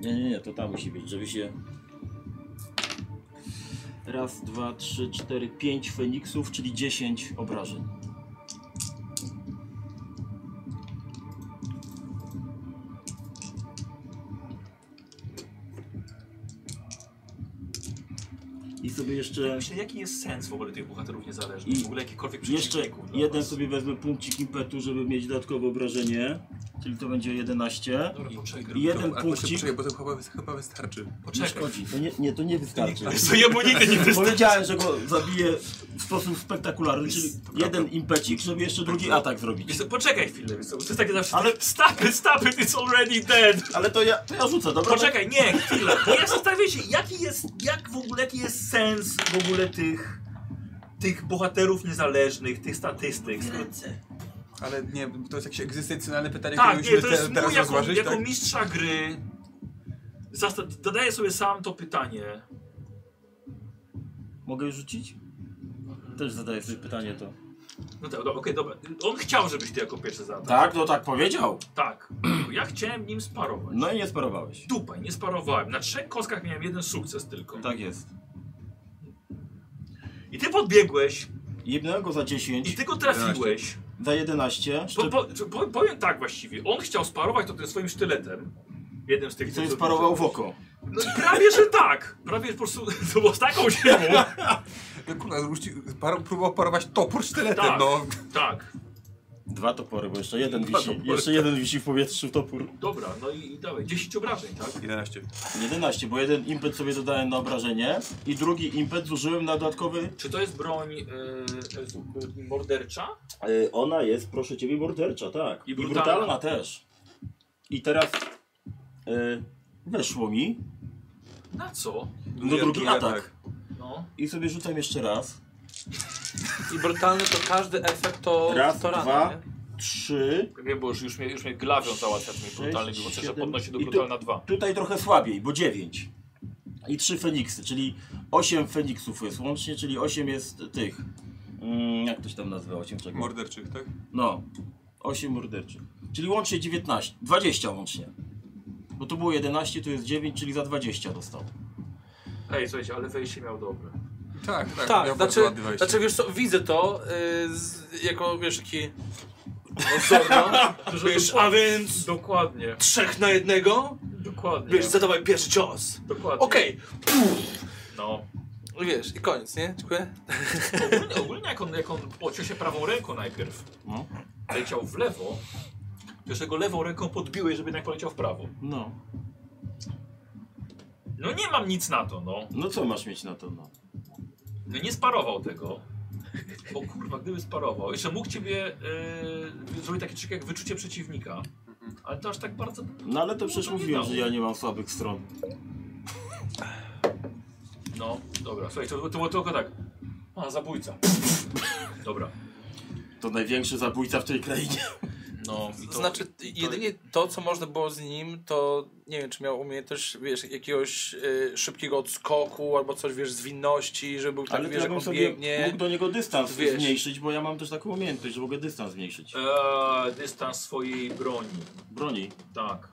S5: Nie, nie, nie, to tam musi być, żeby się... Raz, dwa, trzy, cztery, pięć Feniksów, czyli dziesięć obrażeń. I sobie jeszcze...
S1: Myślę, jaki jest sens w ogóle tych bohaterów niezależnych?
S5: I
S1: w ogóle jakikolwiek
S5: Jeszcze
S1: przeciwników no. dla
S5: jeden
S1: was?
S5: sobie wezmę punkcik impetu, żeby mieć dodatkowe obrażenie, czyli to będzie 11.
S1: Dobra, poczekaj. [LAUGHS]
S5: I jeden
S3: A to się
S5: punkcik.
S3: czekaj, bo to chyba, chyba wystarczy.
S5: Nie
S1: Poczekaj.
S5: szkodzi. To nie, nie, to nie wystarczy.
S1: Co jemu nigdy nie
S5: [LAUGHS]
S1: wystarczy.
S5: Powiedziałem, że go zabiję w sposób spektakularny, czyli jeden impecik, żeby jeszcze drugi atak zrobić.
S1: Wiesz co, Poczekaj chwilę, wiesz co, bo to jest takie zawsze...
S5: Ale-
S1: Stop it, stop it, it's already dead!
S5: [LAUGHS] Ale to ja, to ja rzucę, dobra?
S1: Poczekaj, nie, chwilę, bo ja zastanawiam się, jaki jest, jak w ogóle, jaki jest sens w ogóle tych, tych bohaterów niezależnych, tych statystyk. skoro-
S3: Ale nie, to jest jakieś egzystencjonalne pytanie, które
S1: Tak, nie,
S3: musimy
S1: to
S3: te-
S1: jest mój
S3: teraz
S1: jako,
S3: rozważyć.
S1: jako
S3: Tak?
S1: mistrza gry. Zasta- Dodaję sobie sam to pytanie.
S5: Mogę już rzucić? Też zadaję sobie pytanie to.
S1: No tak, do- okej, dobra. On chciał, żebyś ty jako pierwszy zadał.
S5: Tak, no tak powiedział.
S1: Tak. Ja chciałem nim sparować.
S5: No i nie sparowałeś.
S1: Dupa, nie sparowałem. Na trzech kostkach miałem jeden sukces tylko.
S5: Tak jest.
S1: I ty podbiegłeś
S5: I Jednego za 10,
S1: I ty go trafiłeś.
S5: za 11.
S1: Po,
S5: Szczep...
S1: po, po, powiem tak właściwie. On chciał sparować to tym swoim sztyletem. Jednym z tych
S5: Co
S1: co-
S5: jest parował w oko.
S1: No, prawie, że tak. Prawie po prostu [LAUGHS] to było z taką
S5: [LAUGHS]
S1: siłą.
S3: No kurwa, rzuci, par, próbował parować topór sztyletem,
S1: Tak.
S3: no.
S1: Tak.
S5: Dwa topory, bo jeszcze jeden wisi.
S3: topory.
S5: Jeszcze jeden wisi w powietrzu topór.
S1: Dobra, no i, i dawaj. 10 obrażeń, tak?
S3: 11.
S5: 11, bo jeden impet sobie dodałem na obrażenie i drugi impet zużyłem na dodatkowy.
S1: Czy to jest broń e, e, mordercza?
S5: Yy, ona jest, proszę ciebie, mordercza, tak.
S1: I
S5: I
S1: brutalna.
S5: brutalna, też. I teraz yy, weszło mi
S1: Na co?
S5: no drugi atak.
S1: No.
S5: I sobie rzucam jeszcze raz.
S2: I brutalny to każdy efekt to,
S5: Raz,
S2: to rana,
S5: dwa.
S2: nie?
S5: Trzy.
S1: Wiem, bo już, już mnie, już mnie glawią załatwia tymi
S5: Sześć,
S1: brutalnymi, bo chcę, że
S5: siedem.
S1: podnosi do
S5: I tu-
S1: brutalna 2.
S5: Tutaj trochę słabiej, bo dziewięć. I trzy Feniksy, czyli osiem Feniksów jest łącznie, czyli osiem jest tych. Mm, jak to się tam nazywa? Osiem czego?
S3: Morderczych, tak?
S5: No, 8 morderczych. Czyli łącznie 19, 20 łącznie. Bo tu było 11, tu jest 9, czyli za 20 dostał.
S1: Ej, słuchajcie, ale wejście miał dobre.
S3: Tak, tak.
S2: Tak,
S3: miał
S2: znaczy,
S3: bardzo ładne wejście.
S2: znaczy wiesz co, widzę to y, z, jako wiesz taki osobno, wiesz, a więc
S1: Dokładnie,
S2: trzech na jednego,
S1: dokładnie.
S2: wiesz, zadawaj pierwszy cios.
S1: dokładnie.
S2: Okej,
S1: No.
S2: wiesz, i koniec, nie? Dziękuję.
S1: Ogólnie, ogólnie jak on, jak on pociął się prawą ręką najpierw,
S5: No.
S1: leciał w lewo, to jeszcze go lewą ręką podbiłeś, żeby jednak poleciał w prawo.
S5: No.
S1: No nie mam nic na to, no.
S5: No co masz mieć na to? No.
S1: No nie sparował tego. Bo kurwa, gdyby sparował. Jeszcze mógł ciebie yy, zrobić taki trick jak wyczucie przeciwnika. Ale to aż tak bardzo...
S5: no ale to przecież
S1: No to nie
S5: mówiłem,
S1: dało.
S5: że ja nie mam słabych stron.
S1: No, dobra, słuchaj, to, to było tylko tak. A, zabójca. Dobra.
S5: To największy zabójca w tej krainie.
S1: No, i
S2: To znaczy, jedynie to, co można było z nim, to nie wiem, czy miał umiejętność, wiesz, jakiegoś y, szybkiego odskoku albo coś, wiesz, zwinności, żeby był
S5: Ale
S2: tak,
S5: tak,
S2: wiesz,
S5: ja
S2: jak
S5: bym
S2: on
S5: sobie
S2: biegnie.
S5: mógł do niego dystans
S2: Wiesz.
S5: zmniejszyć, bo ja mam też taką umiejętność, że mogę dystans zmniejszyć.
S1: Eee, dystans swojej broni.
S5: Broni.
S1: Tak.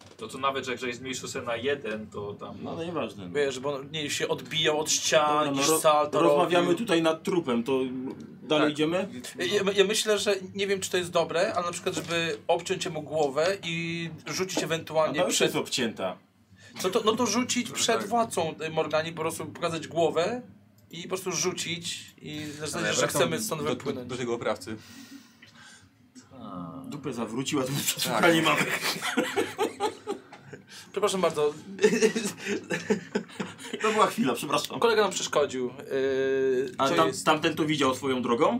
S1: No To to nawet, że jak zmniejszył sobie na jeden, to tam...
S5: No ale nieważne. No.
S2: Wiesz, bo on nie, się odbijał od ścian,
S5: Dobra, no,
S2: jakiś
S5: ro-
S2: salto
S5: rozmawiamy
S2: robił.
S5: tutaj nad trupem, to dalej
S2: Tak.
S5: idziemy?
S2: Ja, ja myślę, że nie wiem, czy to jest dobre, ale na przykład, żeby obciąć jemu głowę i rzucić
S5: A
S2: ewentualnie
S5: ta już
S2: Tak, przed.
S5: jest obcięta.
S2: No to, no to rzucić przed
S3: tak.
S2: władcą y, Morgani, po prostu pokazać głowę i po prostu rzucić i w zasadzie, że
S3: Wracam
S2: chcemy stąd
S3: do, do,
S2: wypłynąć.
S3: do tego oprawcy.
S5: Dupę zawróciła, to tak. nie mamy.
S2: Przepraszam
S5: [LAUGHS]
S2: bardzo,
S5: To była chwila, przepraszam.
S2: kolega nam przeszkodził. Yy,
S5: A
S2: to
S5: tam,
S2: jest-
S5: tamten to widział swoją drogą?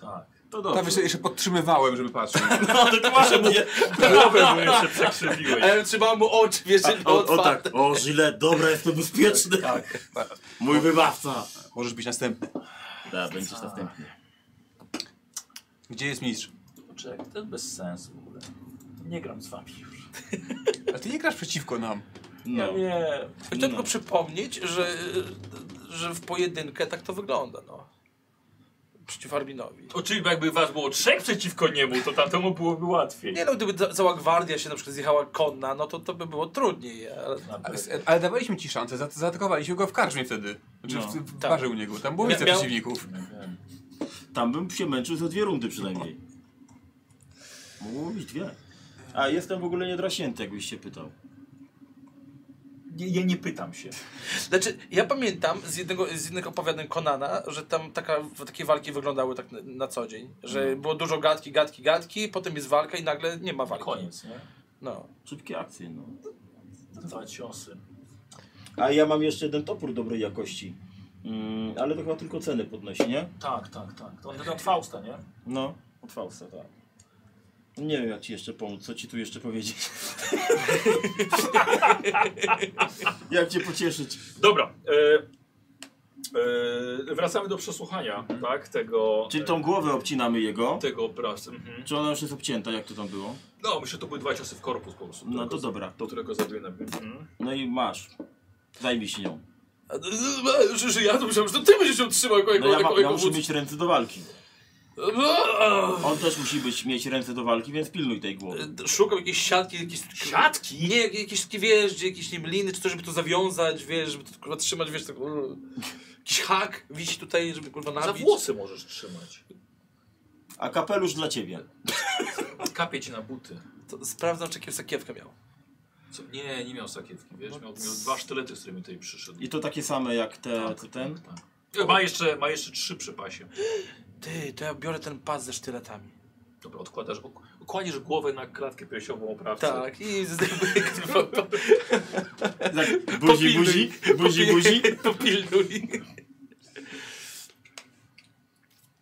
S1: Tak.
S5: To
S3: Tam
S5: dobrze. [LAUGHS]
S3: jeszcze, jeszcze podtrzymywałem, żeby patrzył.
S2: [LAUGHS]
S5: Dokładnie.
S1: Głowę mu jeszcze przekrzywiłeś. [LAUGHS]
S2: Ale trzymałem mu oczy, wiesz,
S5: O, o
S2: otwarte.
S5: tak, o Żyle, dobra, jestem bezpieczny. Tak. Mój wybawca.
S3: [LAUGHS] Możesz być następny.
S5: Da, będziesz następny.
S3: Gdzie jest mistrz?
S1: Czekaj, to jest bez sensu w ogóle. Nie gram z wami już.
S3: Ale ty nie grasz przeciwko nam.
S5: No.
S1: Nie.
S2: Chciałem tylko przypomnieć, że, że w pojedynkę tak to wygląda, no. Przeciw Arminowi.
S1: Oczywiście jakby was było trzech przeciwko niemu, to tamtemu byłoby łatwiej.
S2: Nie no, gdyby za- cała gwardia się na przykład zjechała konna, no to to by było trudniej, ale...
S5: Znaczy-
S3: Ale, ale dawaliśmy ci szansę, za- zaatakowaliśmy go w karczmie wtedy. Znaczy
S5: No,
S3: w, w
S2: tak.
S3: barze u niego, tam było
S2: Mia-
S3: więcej
S2: miał-
S3: przeciwników.
S5: Tam bym się męczył za dwie rundy przynajmniej. Mogło być dwie. A jestem w ogóle niedraśnięty, jakbyś się pytał.
S1: Nie, ja nie pytam się.
S2: Znaczy, ja pamiętam z jednego, z jednych opowiadań Konana, że tam taka, w- takie walki wyglądały tak na, na co dzień. Że
S5: Mhm.
S2: było dużo gadki, gadki, gadki, potem jest walka i nagle nie ma walki.
S1: Koniec, nie?
S2: No.
S5: Szybkie akcje, no.
S1: Dwa ciosy.
S5: A ja mam jeszcze jeden topór dobrej jakości. Mm, ale to chyba tylko ceny podnosi, nie?
S1: Tak, tak, tak. To on ten od Fausta, nie?
S5: No, od Fausta, tak. No Nie wiem, jak ci jeszcze pomóc, co ci tu jeszcze powiedzieć. [LAUGHS] jak cię pocieszyć.
S1: Dobra. E, e, wracamy do przesłuchania, tak? Tego.
S5: Czyli tą głowę obcinamy jego.
S1: tego oprawcy. Mhm.
S5: Czy ona już jest obcięta, jak to tam było?
S1: No, myślę, że to były dwa ciosy w korpus po prostu.
S5: No
S1: którego-
S5: to dobra. To,
S1: Którego zabiję na mhm.
S5: no i masz. Zajmij się nią. No
S2: A, Że, że ja to myślałem, że to ty będziesz się trzymał jako, jako,
S5: No ja,
S2: jako,
S5: ma, ja
S2: jako
S5: muszę
S2: wódz.
S5: mieć ręce do walki. On też musi być, mieć ręce do walki, więc pilnuj tej głowy.
S2: E, Szukam jakiejś siatki, jakieś... Siatki? Nie, jakieś takie, wiesz, gdzie jakieś nie wiem, liny czy coś, żeby to zawiązać, wiesz, żeby to kurwa trzymać, wiesz, tak... mm. Jakiś hak wisi tutaj, żeby kurwa
S1: Za
S2: nabić.
S1: włosy możesz trzymać.
S5: A kapelusz dla ciebie.
S1: Kapie ci na buty.
S2: To sprawdzam, czy jakieś sakiewkę miał.
S1: Co? Nie, nie miał sakiewki, wiesz? Miał, miał dwa sztylety, z którymi tutaj przyszedł.
S5: No I to takie same jak te, ten.
S1: E, Ma jeszcze, ma jeszcze trzy przy pasie.
S2: Ty, to ja biorę ten pas ze sztyletami.
S1: Dobra, odkładasz, ok- kładziesz głowę na klatkę piersiową oprawcy.
S2: Tak, i zdejmuję kurwa to.
S5: Tak, buzi, buzi, buzi, buzi.
S2: Popilnuj.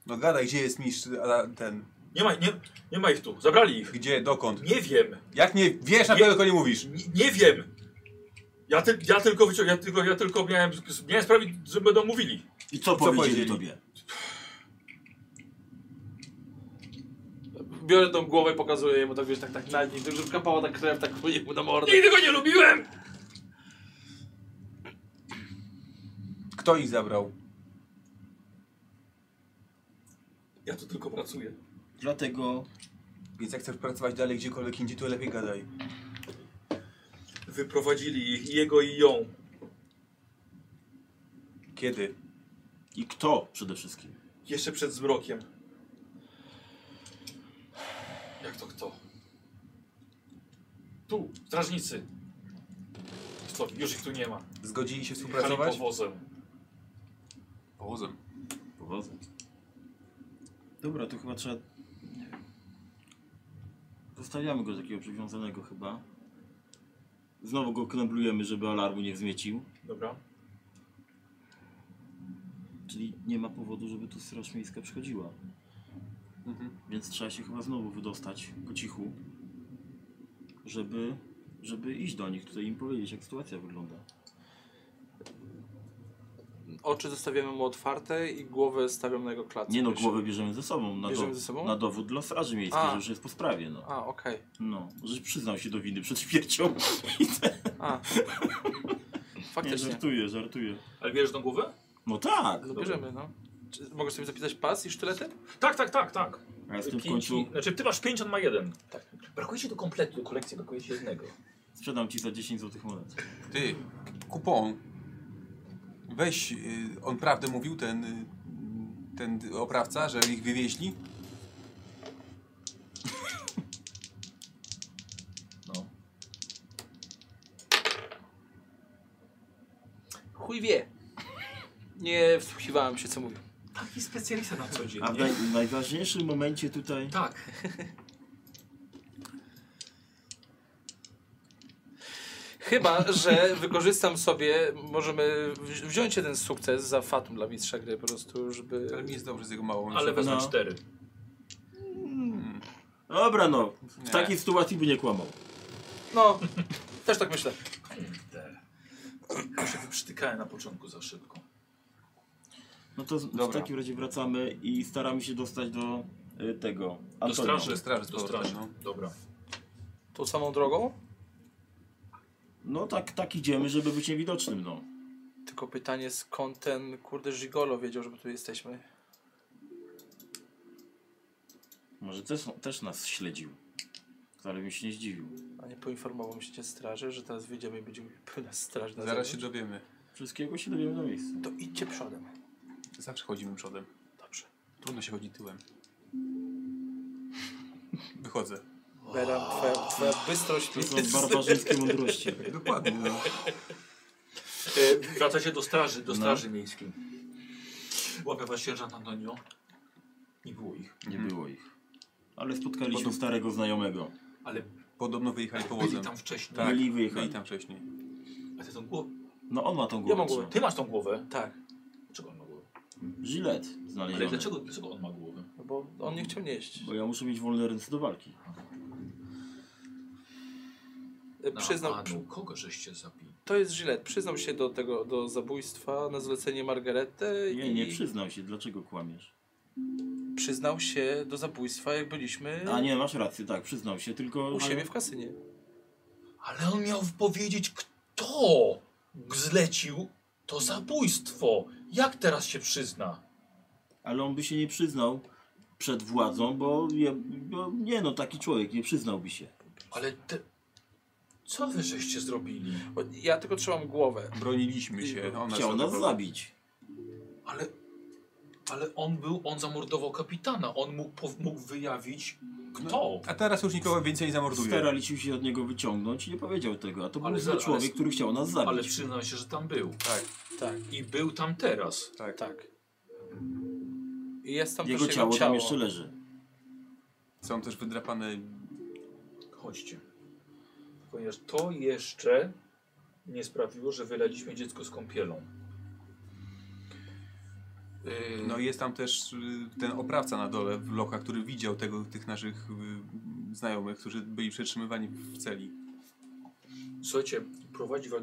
S3: No gadaj, gdzie jest mistrz, a ten,
S1: Nie ma, nie, nie ma ich tu, zabrali ich.
S3: gdzie, dokąd?
S1: Nie wiem,
S3: Jak nie wiesz, na
S1: Nie-
S3: pewno tylko nie mówisz.
S1: nie, nie wiem. Ja, ty, ja tylko wycią, ja tylko, ja tylko miałem, miałem sprawić, że będą mówili.
S5: I co powiedzieli
S3: powiedzieli?
S5: tobie?
S2: Biorę tą głowę i pokazuję mu tak, wiesz, tak, tak na niej, tak, żeby kapała tak krew, tak płynie mu na mordę.
S1: Nigdy go nie lubiłem!
S3: Kto ich zabrał?
S1: Ja tu tylko pracuję.
S5: Dlatego
S3: Więc jak chcesz pracować dalej gdziekolwiek indziej, to lepiej gadaj.
S1: Wyprowadzili ich, i jego i ją.
S3: Kiedy?
S5: i kto przede wszystkim?
S1: Jeszcze przed zmrokiem. Jak to kto? Tu, strażnicy. Co, już ich tu nie ma.
S3: Zgodzili się
S1: Jechali
S3: współpracować?
S1: powozem.
S3: Powozem.
S5: Powodzeń. Dobra, to chyba trzeba... nie wiem. Zostawiamy go takiego przywiązanego chyba. Znowu go kneblujemy, żeby alarmu nie wzmiecił.
S1: Dobra.
S5: Czyli nie ma powodu, żeby tu straż miejska przychodziła.
S2: Mhm.
S5: Więc trzeba się chyba znowu wydostać po cichu, żeby, żeby iść do nich, tutaj im powiedzieć, jak sytuacja wygląda.
S2: Oczy zostawiamy mu otwarte i głowę stawiam na jego klatce.
S5: Nie no,
S2: wiesz.
S5: głowę bierzemy ze sobą, na,
S2: Bierzemy
S5: do,
S2: ze sobą?
S5: na dowód dla straży miejskiej,
S2: A.
S5: że już jest po sprawie. No.
S2: A, okej.
S5: no, że przyznał się do winy przed śmiercią. [LAUGHS] I te-
S2: A.
S5: [LAUGHS] Nie,
S2: Faktycznie.
S5: żartuję, żartuję.
S1: Ale bierzesz tą głowę?
S5: No tak!
S2: No bierzemy, no. Czy mogę sobie zapisać pas i sztylety?
S1: Tak, tak, tak, tak.
S5: A jestem w
S1: Pięć
S5: końcu...
S1: i- Znaczy ty masz 5, on ma jeden. Tak. Brakuje ci do kompletu, do kolekcji, brakuje ci jednego.
S5: Sprzedam ci za 10 złotych monet.
S3: Ty, kupon. Weź, y, on prawdę mówił, ten, y, ten oprawca, że ich wywieźli?
S1: No.
S2: Chuj wie. Nie wsłuchiwałem się, co mówił.
S1: Taki Tak, specjalista na co dzień.
S5: A w naj, najważniejszym momencie tutaj...
S1: Tak.
S2: Chyba, że wykorzystam sobie, możemy wzi- wziąć jeden sukces za fatum dla mistrza gry po prostu, żeby...
S3: Ale mi jest dobrze z jego małą.
S1: Ale wezmę
S5: No.
S1: cztery.
S5: Dobra no, w
S3: Nie.
S5: takiej sytuacji by nie kłamał.
S2: No, też tak myślę.
S1: Już się wyprztykałem na początku za szybko.
S5: No to z, w
S3: Dobra.
S5: takim razie wracamy i staramy się dostać do y, tego.
S1: Do
S5: Antonio.
S1: straży.
S3: straży z
S1: Do
S3: powrotem,
S1: straży.
S3: no.
S1: Dobra.
S2: Tą samą drogą?
S5: No tak, tak idziemy, żeby być niewidocznym, no.
S2: Tylko pytanie, skąd ten kurde Gigolo wiedział, że my tu jesteśmy?
S5: Może też, też nas śledził. Wcale bym się nie zdziwił.
S2: A nie poinformował się straży, że teraz wyjdziemy i będziemy [LAUGHS] pełna straż na
S3: Zaraz
S2: zewnątrz?
S3: się dowiemy.
S5: Wszystkiego się dowiemy na miejscu.
S2: To idźcie przodem.
S3: Zawsze chodzimy przodem.
S2: Dobrze.
S3: Trudno się chodzi tyłem. Wychodzę.
S2: Bera, twoja, twoja bystrość
S5: To są barbarzyńskie mądrości.
S3: Dokładnie, no.
S1: E, wracacie do straży, do
S5: No.
S1: straży miejskiej. Łapie was sierżant Antonio. Nie było ich.
S5: Nie było ich. Hmm. Ale spotkaliśmy starego znajomego.
S1: Ale
S3: Podobno wyjechali powozem.
S1: byli tam wcześniej.
S3: Tak,
S5: Byli i wyjechali.
S3: byli tam wcześniej.
S1: A ty tą głowę.
S5: No on ma tą
S2: Ja
S5: głowę.
S2: mam głowę.
S5: co?
S1: Ty masz tą głowę.
S2: Tak,
S1: Dlaczego on ma głowę?
S5: Żylet
S1: Ale
S5: znaleziony.
S1: dlaczego, dlaczego on ma głowę?
S2: no bo on nie chciał nieść.
S5: Bo ja muszę mieć wolne ręce do walki.
S2: E,
S1: Na
S2: Przyznał,
S1: Anu, kogo żeście zabili?
S2: to jest Gillette. Przyznał się do tego, do zabójstwa na zlecenie Margarety
S5: Nie,
S2: i
S5: nie przyznał się, dlaczego kłamiesz?
S2: przyznał się do zabójstwa, jak byliśmy
S5: A nie, masz rację, tak, przyznał się, tylko...
S2: u siebie w kasynie.
S1: Ale on miał powiedzieć, kto zlecił to zabójstwo. Jak teraz się przyzna?
S5: Ale on by się nie przyznał, przed władzą, bo, je, bo nie no, taki człowiek nie przyznałby się.
S1: Ale te... Co wy żeście zrobili?
S2: Bo Ja tylko trzymam głowę.
S3: Broniliśmy się. Ona
S5: Chciał nas
S3: zaatakował.
S5: zabić.
S1: Ale... Ale on był, on zamordował kapitana. On mógł, pow- mógł wyjawić kto.
S3: A teraz już nikogo więcej nie zamorduje.
S5: Staraliśmy się od niego wyciągnąć i nie powiedział tego, a to
S1: Ale
S5: był
S1: za-
S5: zły
S1: ale-
S5: człowiek, który chciał nas zabić.
S1: Ale przyznał się, że tam był.
S3: Tak.
S2: Tak.
S1: I był tam teraz.
S2: Tak. I jest tam
S5: Jego
S2: też
S5: ciało
S2: jego
S5: tam
S2: ciało.
S5: jeszcze leży.
S3: Są też wydrapane
S1: Chodźcie. Ponieważ to jeszcze nie sprawiło, że wylaliśmy dziecko z kąpielą. Yy,
S3: No i jest tam też y, ten oprawca na dole w lokach, który widział tego, tych naszych y, znajomych, którzy byli przetrzymywani w celi.
S1: Słuchajcie, prowadzi was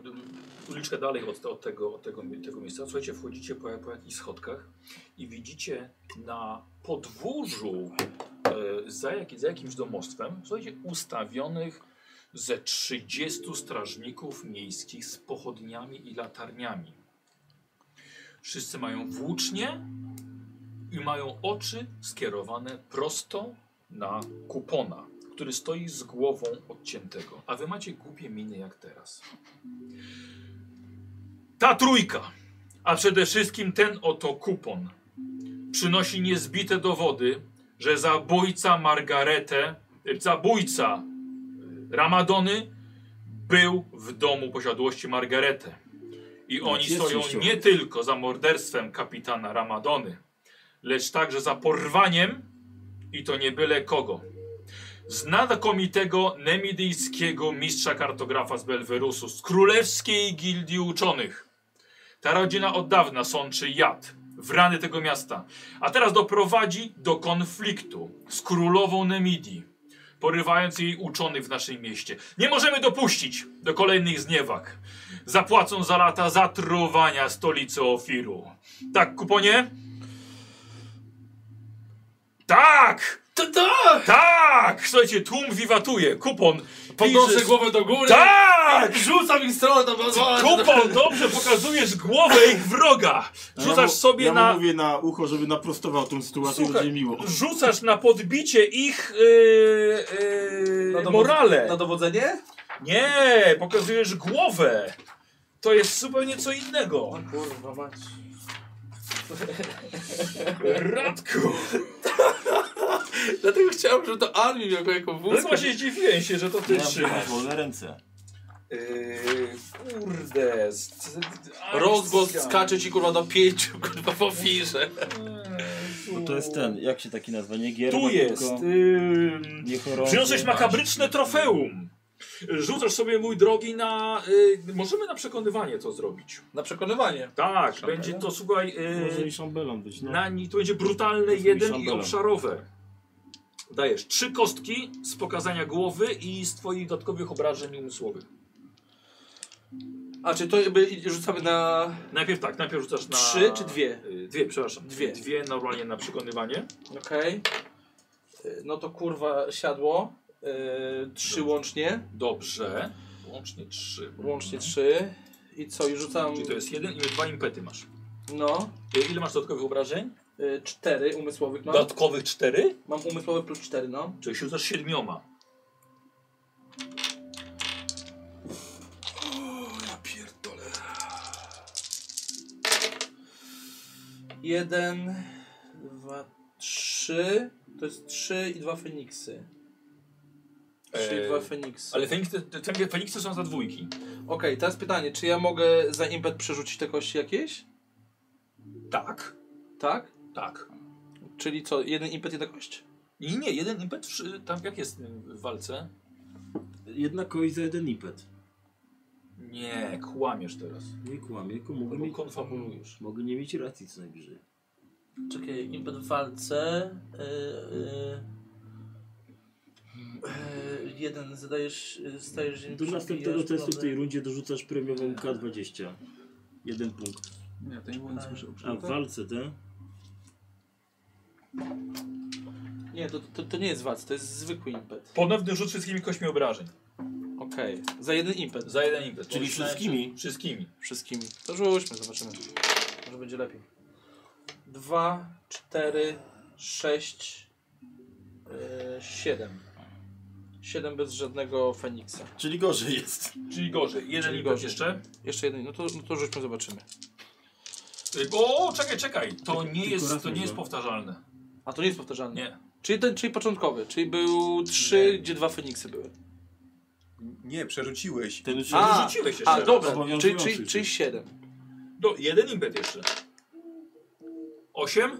S1: uliczkę dalej od, od, tego, od tego, tego miejsca. Słuchajcie, wchodzicie po, po jakichś schodkach i widzicie na podwórzu e, za, jak, za jakimś domostwem, słuchajcie, ustawionych ze 30 strażników miejskich z pochodniami i latarniami. Wszyscy mają włócznie i mają oczy skierowane prosto na kupona, który stoi z głową odciętego. A wy macie głupie miny jak teraz. Ta trójka, a przede wszystkim ten oto kupon, przynosi niezbite dowody, że zabójca Margaretę, y, zabójca y, Ramadony był w domu posiadłości Margaretę. I
S5: No,
S1: oni
S5: jest
S1: stoją
S5: coś się-
S1: nie tylko za morderstwem kapitana Ramadony, lecz także za porwaniem i to nie byle kogo. Znakomitego nemidyjskiego mistrza kartografa z Belwerusu, z Królewskiej Gildii Uczonych. Ta rodzina od dawna sączy jad w rany tego miasta, a teraz doprowadzi do konfliktu z królową Nemidii, porywając jej uczonych w naszym mieście. Nie możemy dopuścić do kolejnych zniewag. Zapłacą za lata zatruwania stolicy Ofiru. Tak, kuponie? Tak!
S11: To tak!
S1: Tak! Słuchajcie, tłum wiwatuje. Kupon.
S11: Podnoszę
S1: pisze-
S11: głowę do góry.
S1: Tak!
S11: Rzucam ich stronę tam.
S1: Kupon, dobrze, pokazujesz głowę ich wroga.
S5: A ja
S1: Rzucasz
S5: mu-
S1: sobie
S5: ja mu
S1: na...
S5: mówię na ucho, żeby naprostował tą sytuację,
S1: Słuchaj,
S5: będzie miło.
S1: Rzucasz na podbicie ich yy,
S12: Na
S1: yy,
S12: dowód-
S1: morale.
S12: Na dowodzenie?
S1: Nie, pokazujesz głowę. To jest zupełnie co innego.
S13: Kurwa mać.
S1: Radku!
S11: Dlatego chciałem, żeby to Armin miał jako
S1: No
S11: wózka.
S1: właśnie zdziwiłem się, że to ty
S5: Ja mam
S1: trzymasz.
S5: wolne ręce.
S1: Yy, kurde. z- z-
S11: Rozgłos skacze ci kurwa do pięciu, kurwa w ofirze.
S5: Bo to jest ten, jak się taki nazywa, nie gier,
S1: Tu jest. Yy,
S5: Nie chorąży.
S1: Przyniosłeś makabryczne trofeum. Rzucasz sobie, mój drogi, na. Y, możemy na przekonywanie to zrobić.
S2: Na przekonywanie.
S1: Tak, będzie to, słuchaj.
S5: Może
S1: Y,
S5: i Yy, szambelon być, no.
S1: na ni to będzie brutalne
S5: Może i
S1: jeden i
S5: szambelem.
S1: obszarowe. Dajesz trzy kostki z pokazania głowy i z twoich dodatkowych obrażeń umysłowych.
S2: A czy to jakby rzucamy na
S1: Najpierw tak, najpierw rzucasz na.
S2: Trzy czy dwie?
S1: Y, dwie, przepraszam.
S2: Dwie.
S1: Dwie normalnie na przekonywanie.
S2: Okej. Y, No to kurwa siadło. Yy, trzy łącznie.
S1: Dobrze. Łącznie trzy.
S2: Łącznie trzy. I co? I rzucam.
S1: Czyli to jest jeden i dwa impety masz.
S2: No.
S1: Y, Ile masz dodatkowych obrażeń?
S2: y, Cztery umysłowych mam.
S1: Dodatkowych cztery?
S2: Mam umysłowy plus cztery, no.
S1: Czyli się rzucasz siedmioma.
S2: Jeden, dwa, trzy. To jest trzy i dwa Feniksy. Trzy
S1: Eee,
S2: i dwa Feniksy.
S1: Ale Feniksy, te- te- Feniksy są za dwójki.
S2: Okej, teraz pytanie, czy ja mogę za impet przerzucić te kości jakieś?
S1: Tak.
S2: Tak?
S1: Tak.
S2: Czyli co, jeden impet, jedna kość?
S1: I nie, jeden impet, przy- tam jak jest w walce?
S5: Jedna kość za jeden impet.
S1: Nie, kłamiesz teraz.
S5: Nie kłamie, tylko mogę,
S1: Albo
S5: mieć,
S1: konfabulujesz.
S5: mogę nie mieć racji co najwyżej.
S2: Czekaj, impet w walce. Yy, yy, yy, jeden, zadajesz, yy, stajesz...
S5: Do następnego testu w tej rundzie dorzucasz premiową K20. Jeden punkt.
S3: Nie, to nie było nic słyszę o
S5: A w
S3: przypadku.
S5: walce te?
S2: Nie, to, to, to nie jest walc, to jest zwykły impet.
S1: Ponowny rzut wszystkimi kośćmi obrażeń.
S2: Okej, za jeden impet.
S1: Za jeden impet.
S5: Czyli wszystkimi?
S1: Wszystkimi.
S2: wszystkimi. To rzućmy, zobaczymy. Może będzie lepiej. 2, 4, 6, e, Siedem. Siedem bez żadnego Feniksa.
S5: Czyli gorzej jest.
S1: Czyli gorzej. Jeden
S2: Czyli
S1: impet
S2: gorzej.
S1: jeszcze.
S2: Jeszcze jeden, no to, no to rzućmy, zobaczymy.
S1: Y, O, czekaj, czekaj. To nie
S3: tylko
S1: jest,
S3: raz
S1: to nie
S3: może.
S1: jest powtarzalne.
S2: A to nie jest powtarzalne.
S1: Nie.
S2: Czyli ten, czyli początkowy, czyli był trzy, gdzie dwa Feniksy były.
S3: Nie, przerzuciłeś.
S5: Ten już
S2: A,
S1: Rzuciłeś
S2: A,
S1: jeszcze.
S2: dobra, czyli,
S5: Obowiązujący
S2: czyli,
S5: już
S2: czyli
S5: jest.
S2: siedem.
S1: Do, jeden impet jeszcze. Osiem?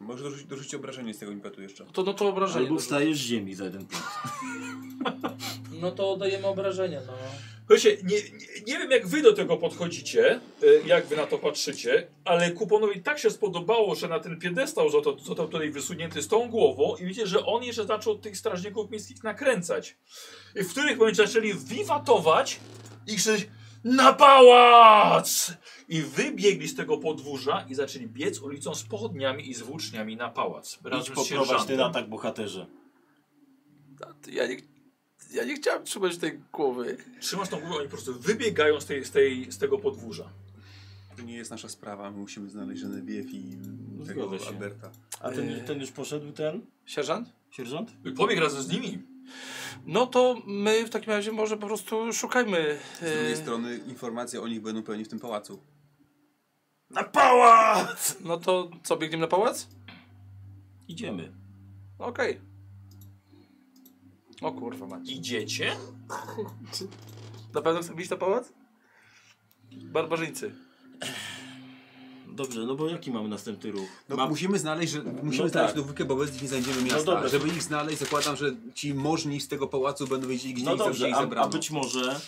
S3: Możesz dorzucić, dorzucić obrażenie z tego impetu jeszcze.
S2: To, no to obrażenie.
S5: Albo
S2: dorzuć.
S5: wstajesz z ziemi za jeden punkt.
S14: No to dajemy obrażenia, no.
S6: Słuchajcie, nie, nie, nie wiem jak wy do tego podchodzicie, e, jak wy na to patrzycie, ale Kuponowi tak się spodobało, że na ten piedestał został, został tutaj wysunięty z tą głową i widzicie, że on jeszcze zaczął tych strażników miejskich nakręcać. I w których momencie zaczęli wiwatować i krzyczeć na pałac! I wybiegli z tego podwórza i zaczęli biec ulicą z pochodniami i z włóczniami na pałac.
S5: Idź
S6: Razem z
S5: poprowadź ten
S6: sierżantem.
S5: atak bohaterze.
S2: Ja nie, ja nie chciałem trzymać tej głowy.
S6: Trzymasz tą głowę, oni po prostu wybiegają z, tej, z, tej, z tego podwórza.
S3: To nie jest nasza sprawa, my musimy znaleźć Genevieve i tego
S5: No, Zgodzę się.
S3: Alberta.
S5: A ten, ten już poszedł, ten
S2: Sierżant?
S5: sierżant?
S1: Pobieg razem z nimi.
S2: No to my w takim razie może po prostu szukajmy.
S3: Z drugiej
S2: e,
S3: strony informacje o nich będą pełni w tym pałacu.
S5: Na pałac!
S2: No to co, biegniemy na pałac?
S5: Idziemy.
S2: Okej. O kurwa mać.
S1: Idziecie?
S2: Na pewno chcemy iść na pałac? Barbarzyńcy.
S5: Dobrze, no bo jaki mamy następny ruch?
S3: No,
S5: Ma-
S3: musimy znaleźć, że, musimy
S5: No
S3: znaleźć
S5: tak.
S3: dowódkę, bo bez nich nie znajdziemy miasta.
S5: dobra.
S3: Żeby ich znaleźć, zakładam, że ci możni z tego pałacu będą wiedzieli, gdzie
S5: No
S3: ich, dobrze,
S5: dobrze,
S3: ich
S5: a,
S3: zabrano.
S5: a być może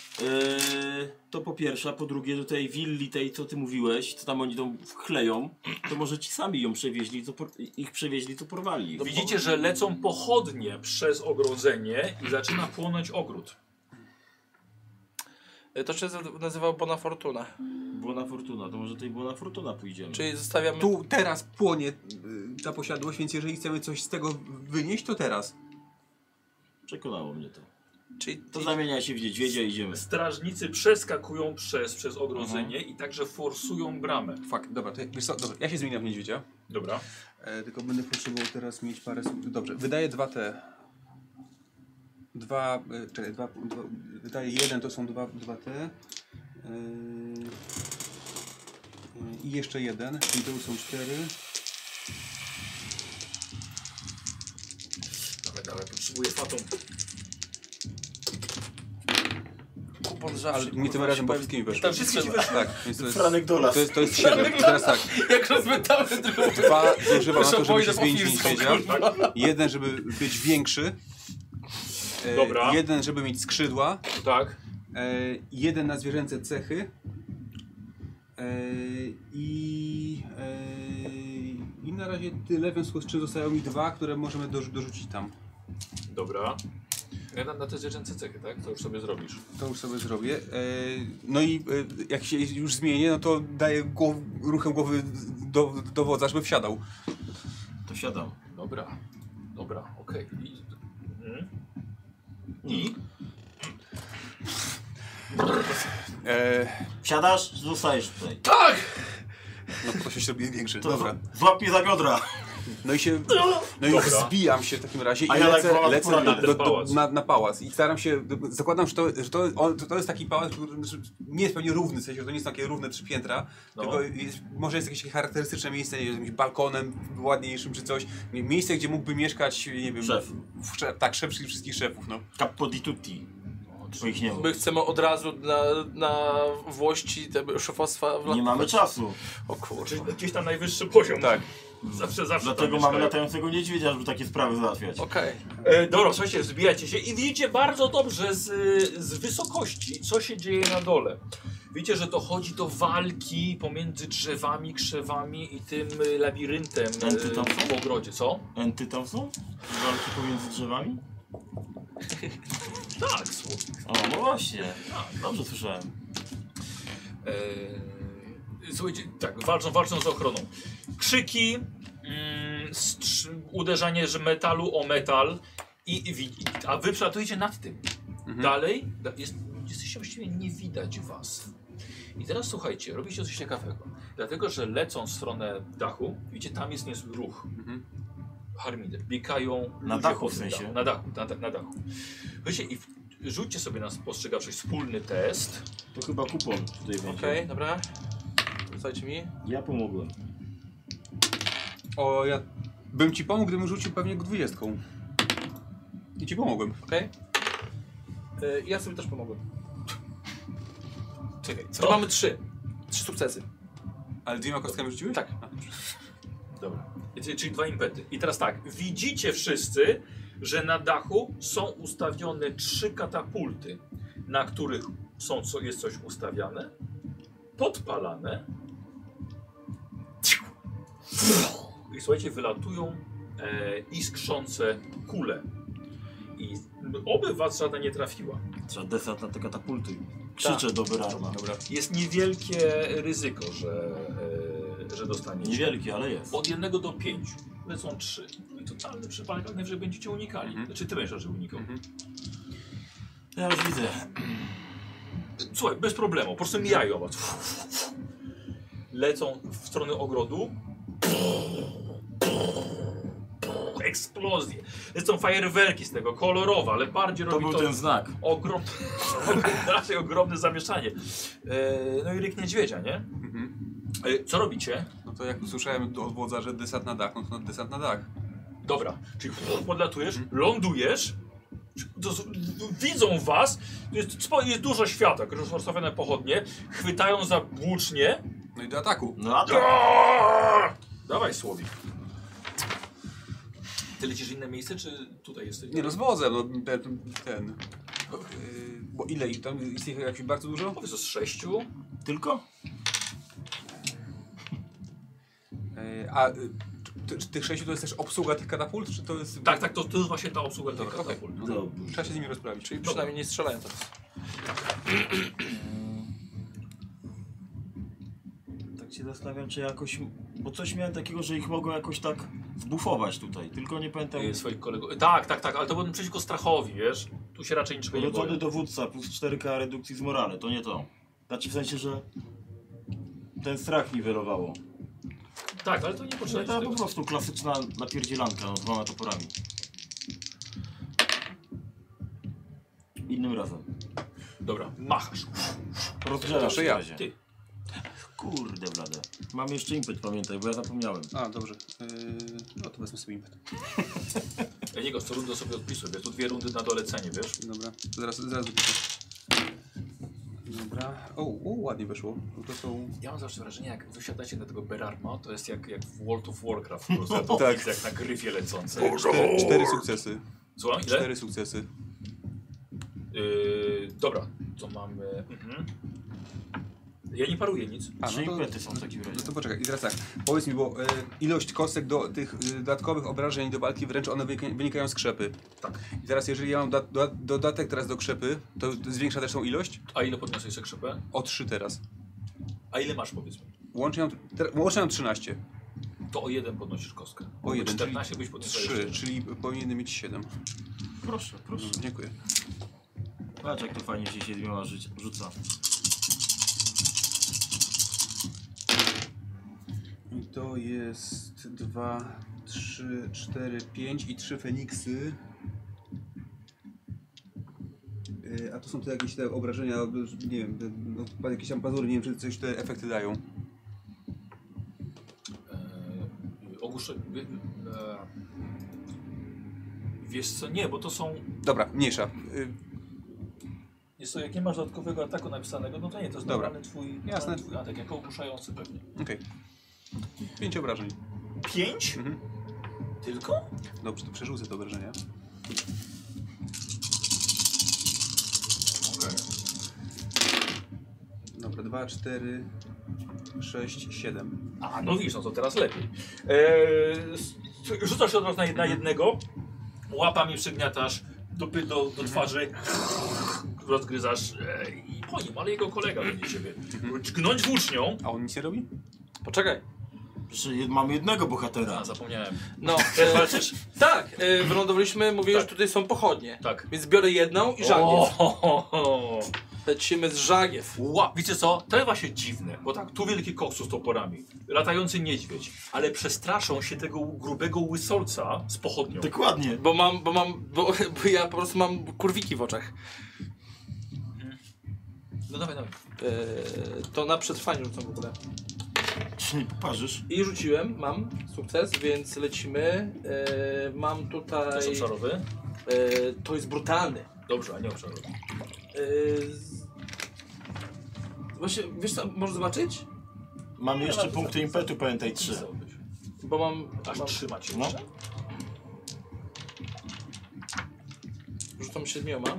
S5: yy, to po pierwsze, a po drugie do tej willi tej, co ty mówiłeś, co tam oni tą wkleją, to może ci sami ją przewieźli, to por- ich przewieźli, to porwali.
S1: Widzicie, że lecą pochodnie przez ogrodzenie i zaczyna płonąć ogród.
S2: E, To się za- nazywa Bona Fortuna.
S5: Błona fortuna, to może tej błona fortuna pójdziemy.
S2: Czyli zostawiamy.
S3: Tu teraz płonie y, ta posiadłość, więc jeżeli chcemy coś z tego wynieść, to teraz.
S5: Przekonało mnie to.
S2: Czyli
S5: To zamienia się w niedźwiedzia i idziemy.
S1: Strażnicy przeskakują przez, przez ogrodzenie i także forsują bramę.
S3: Fakt, dobra, to, ja- wiesz co, dobra, ja się zmieniam w niedźwiedzia.
S1: Dobra.
S3: E, tylko będę potrzebował teraz mieć parę słów. Dobrze, wydaję dwa te. Dwa, e, czekaj, dwa, dwa wydaję jeden, to są dwa, dwa te. E, e, I jeszcze jeden, czyli to już są cztery.
S1: Dawaj, dawaj, potrzebuję fatum.
S2: kupon
S3: Ale
S2: zawsze.
S3: mi tym
S2: kurwa,
S3: razem
S2: się
S3: po
S2: bawi.
S3: wszystkim weszło.
S2: wszystkie ci
S3: Tak, więc to jest,
S5: Franek Dolas.
S3: to jest, to jest siedem. Teraz tak,
S2: Jak rozmytamy drugą.
S3: dwa zużywam na
S2: Proszę,
S3: to, żeby się
S2: pójdę po Tak.
S3: zmienić w
S2: fińską,
S3: niedźwiedzia. Jeden, żeby być większy. E,
S1: Dobra.
S3: Jeden, żeby mieć skrzydła.
S1: Tak.
S3: E, jeden na zwierzęce cechy e, i, e, i na razie tyle, w związku z czym zostają mi dwa, które możemy dorzu- dorzucić tam.
S1: Dobra. Ja na, na te zwierzęce cechy, tak? To już sobie zrobisz.
S3: To już sobie zrobię. E, no i e, jak się już zmienię, no to daję głow, ruchem głowy do, do wodza, żeby wsiadał.
S5: To siadam.
S1: Dobra. Dobra, okej. I... Mhm. I?
S3: E,
S5: Siadasz, zostajesz tutaj.
S3: no po to się robię większy.
S5: To
S3: Dobra.
S5: z- Złap mnie za biodra.
S3: No i się. No i zbijam się w takim razie i
S5: A ja tak
S3: lecę,
S5: wołam,
S3: lecę
S5: kurwa,
S3: do,
S5: na
S3: do,
S1: ten pałac.
S3: na, na pałac. I staram się. Zakładam, że to, że to, on, to, to jest taki pałac, który że nie jest pewnie równy, w sensie, że to nie są takie równe trzy piętra,
S1: No.
S3: tylko jest, może jest jakieś takie charakterystyczne miejsce, nie wiem, z jakimś balkonem ładniejszym czy coś. Nie, Miejsce, gdzie mógłby mieszkać, nie wiem.
S5: Szef.
S3: w- szef- tak, szef wszystkich, wszystkich szefów, no.
S5: Capoditutti. Twoich nie ma.
S2: My chcemy od razu na, na włości te szefostwa w
S5: Nie mamy czasu.
S2: O kurwa.
S6: Czyli gdzieś tam najwyższy poziom.
S3: Tak.
S6: Zawsze, zawsze tam
S5: Dlatego mamy
S6: mieszkają.
S5: latającego niedźwiedzia, żeby takie sprawy załatwiać.
S2: Okej.
S1: E, dobra, słuchajcie, wzbijacie się i widzicie bardzo dobrze z, z wysokości, co się dzieje na dole. Widzicie, że dochodzi do walki pomiędzy drzewami, krzewami i tym y, labiryntem
S5: Enty tam
S1: y, w
S5: są?
S1: ogrodzie, co?
S5: Enty tam są? Walki pomiędzy drzewami?
S1: Tak, słuchaj.
S5: O, no właśnie. A, dobrze słyszałem.
S1: E, słuchajcie, tak, walczą, walczą z ochroną. Krzyki, mm, strz- uderzanie że metalu o metal, i, i, wi- a wy przelatujecie nad tym.
S5: Mhm.
S1: Dalej da- jest, jesteście właściwie nie widać was. I teraz słuchajcie, robicie coś ciekawego. Dlatego, że lecą w stronę dachu, widzicie, tam jest niezły ruch. harmidę. Biegają
S5: Mhm. Na
S1: ludzie
S5: dachu
S1: po
S5: w
S1: tym
S5: sensie.
S1: dachu. Na dachu, na, da- na dachu. Wiecie, i w, rzućcie sobie na spostrzegawczość wspólny test.
S5: To chyba kupon tutaj będzie.
S2: Okej, dobra. Słuchajcie mi.
S5: Ja pomogłem.
S3: O, ja bym ci pomógł, gdybym rzucił pewnie dwudziestką. I ci pomogłem.
S2: Okej. Y, Ja sobie też pomogłem.
S1: Czekaj,
S5: No.
S2: To mamy trzy. Trzy sukcesy.
S3: Ale dwiema kostkami rzuciłeś?
S2: Tak.
S1: Dobra. Czyli czyli dwa impety. I teraz tak, widzicie wszyscy, że na dachu są ustawione trzy katapulty, na których są, co, jest coś ustawiane, podpalane. I słuchajcie, wylatują e, iskrzące kule. I oby was żadna nie trafiła.
S5: Trzeba desant na te katapulty. Krzyczę do Berarma.
S3: Dobra.
S1: Jest niewielkie ryzyko, że, e, że dostaniecie.
S5: Niewielki, ale jest.
S1: Od jednego do pięciu. Lecą trzy. No i totalny przypadek, ale najwyżej będziecie unikali.
S5: Mhm.
S1: Znaczy ty będziesz raczej unikał.
S5: Ja już widzę.
S1: Słuchaj, bez problemu, po prostu mijają was. Lecą w stronę ogrodu. Eksplozje. Lecą fajerwerki z tego, kolorowe, ale bardziej
S5: To
S1: robi
S5: był
S1: to
S5: ten znak.
S1: ogrom... [LAUGHS] raczej ogromne zamieszanie. E, No i ryk niedźwiedzia, nie?
S5: Mhm.
S1: E, Co robicie?
S3: No to jak usłyszałem od wodza, że desant na dach, no to desant na dach.
S1: Dobra, czyli podlatujesz, lądujesz, to z, widzą was, jest, spo- jest dużo świateł, które są rozstawione pochodnie, chwytają za włócznie.
S3: No i do ataku.
S5: No a to.
S1: Aaaa! Dawaj Słowik. Ty lecisz w inne miejsce, czy tutaj jesteś?
S3: Nie no, z wodzem, no ten... ten. Yy, bo ile ich tam? Jest ich jakoś bardzo dużo?
S1: No, Powiedz, że z sześciu.
S5: Tylko?
S3: Yy, a y, czy- czy tych sześciu to jest też obsługa tych katapult, czy to jest...
S1: Tak, tak, to, to jest właśnie ta obsługa
S5: No,
S1: tych
S5: tak,
S3: Dobra, okej.
S1: katapult. no
S5: Dobrze.
S3: Trzeba się z nimi rozprawić.
S2: Czyli przynajmniej nie strzelają teraz.
S5: Tak się zastanawiam, czy jakoś... Bo coś miałem takiego, że ich mogło jakoś tak zbufować tutaj. Tylko nie pamiętam...
S1: Y, Swoich kolegów. Tak, tak, tak, ale to było przeciwko strachowi, wiesz? Tu się raczej niczego nie
S5: Urodzony
S1: boję.
S5: dowódca plus 4K redukcji z morale. To nie to. Znaczy w sensie, że... Ten strach niwelowało.
S1: Tak, ale to nie
S5: No
S1: potrzebne.
S5: to
S1: jest
S5: po
S1: tego.
S5: prostu klasyczna napierdzielanka no, dwoma toporami. Innym razem.
S1: Dobra, machasz.
S5: Rozgrzelasz
S3: To ja.
S5: w razie.
S1: Ty.
S5: Kurde blade. Mam jeszcze impet, pamiętaj, bo ja zapomniałem.
S4: A, dobrze.
S3: E,
S4: Yy, no to wezmę sobie impet.
S1: Ja niego co rundę sobie odpisuję, wiesz? Tu dwie rundy na dolecenie, wiesz?
S4: Dobra, zaraz, zaraz wypiszę. Dobra. O, o, ładnie wyszło. To są...
S1: Ja mam zawsze wrażenie, jak wysiadacie na tego Berarma, to jest jak, jak w World of Warcraft. Po
S3: [LAUGHS]
S1: prostu, to tak. jak na gryfie lecące.
S3: Cztery, cztery sukcesy.
S1: Słucham, ile?
S3: Cztery sukcesy.
S1: Yy, dobra, to mamy... Mhm. Ja nie paruję nic.
S3: A,
S5: Trzy
S3: no to,
S5: impety są w takim razie.
S3: no to poczekaj, i teraz tak. Powiedz mi, bo e, ilość kostek do tych e, dodatkowych obrażeń do walki wręcz one wynika- wynikają z krzepy.
S1: Tak.
S3: I teraz jeżeli ja mam da, do, dodatek teraz do krzepy, to zwiększa też tą ilość?
S1: A ile podniosłeś sobie krzepę?
S3: O 3 teraz.
S1: A ile masz powiedzmy?
S3: Łącznie mam, ter- łącznie mam 13.
S1: To o jeden podnosisz kostkę.
S3: O jeden,
S1: 14 byś podniósł
S3: 3, czyli powinienem mieć 7.
S5: Proszę, proszę.
S3: Dziękuję.
S5: Patrz jak to fajnie się siedmioma żyć- rzuca.
S4: I to jest 2, 3, 4, 5 i 3 Feniksy.
S3: E, A to są te jakieś te obrażenia, nie wiem, te, no, pa- jakieś tam pazury, nie wiem, czy coś te efekty dają.
S1: Yy, ogłuszenie... Yy, yy, wiesz co? Nie, bo to są...
S3: Dobra, mniejsza. Y,
S1: Jest to, jak nie masz dodatkowego ataku napisanego, no to nie, to jest
S3: Dobra.
S1: normalny twój,
S3: Jasne.
S1: normalny twój atak, jako ogłuszający pewnie.
S3: Okej. Pięć obrażeń.
S1: Pięć?
S3: Mhm.
S1: Tylko?
S3: Dobrze, to przerzucę te obrażenia.
S4: Dobra, 2, 4, 6, 7.
S1: A, no widzisz, no to teraz lepiej. Eee, s- s- rzucasz się od razu na,
S5: Mhm.
S1: na jednego, łapami przygniatasz dupy do, do twarzy, [LAUGHS] rozgryzasz e, i po nim, ale jego kolega będzie ciebie
S5: Mhm.
S1: czknąć włócznią.
S3: A on nic nie robi?
S2: Poczekaj.
S5: Proszę, jed- mamy jednego bohatera.
S1: A, zapomniałem. [LAUGHS]
S2: No,
S1: Też
S2: e,
S1: walczysz?
S2: tak, e, wylądowaliśmy, mówiłem,
S1: Tak.
S2: że tutaj są pochodnie.
S1: Tak.
S2: Więc biorę jedną i żagię.
S1: O, ho, ho, ho.
S2: Lecimy z żagiew.
S1: Ła, wiecie co? To jest właśnie dziwne, bo tak, tu wielki koksu z toporami, latający niedźwiedź, ale przestraszą się tego grubego łysolca z pochodnią.
S5: Dokładnie.
S2: Bo mam, bo mam, bo, [LAUGHS] bo ja po prostu mam kurwiki w oczach.
S1: No dawaj, dawaj.
S2: Eee, to na przetrwanie rzucam w ogóle.
S5: Czy nie poparzysz?
S2: I rzuciłem, mam sukces, więc lecimy. Eee, mam
S1: To
S2: tutaj...
S1: jest obszarowy?
S2: eee, to jest brutalny.
S1: Dobrze, a nie obszarowy.
S2: Eee, z- Właśnie, wiesz co, możesz zobaczyć?
S5: Mamy jeszcze punkty impetu, pamiętaj, trzy.
S1: Pisałbyś.
S2: Bo mam...
S1: Aż
S2: mam
S1: trzymać się.
S5: No.
S1: jeszcze?
S2: rzucam siedmioma.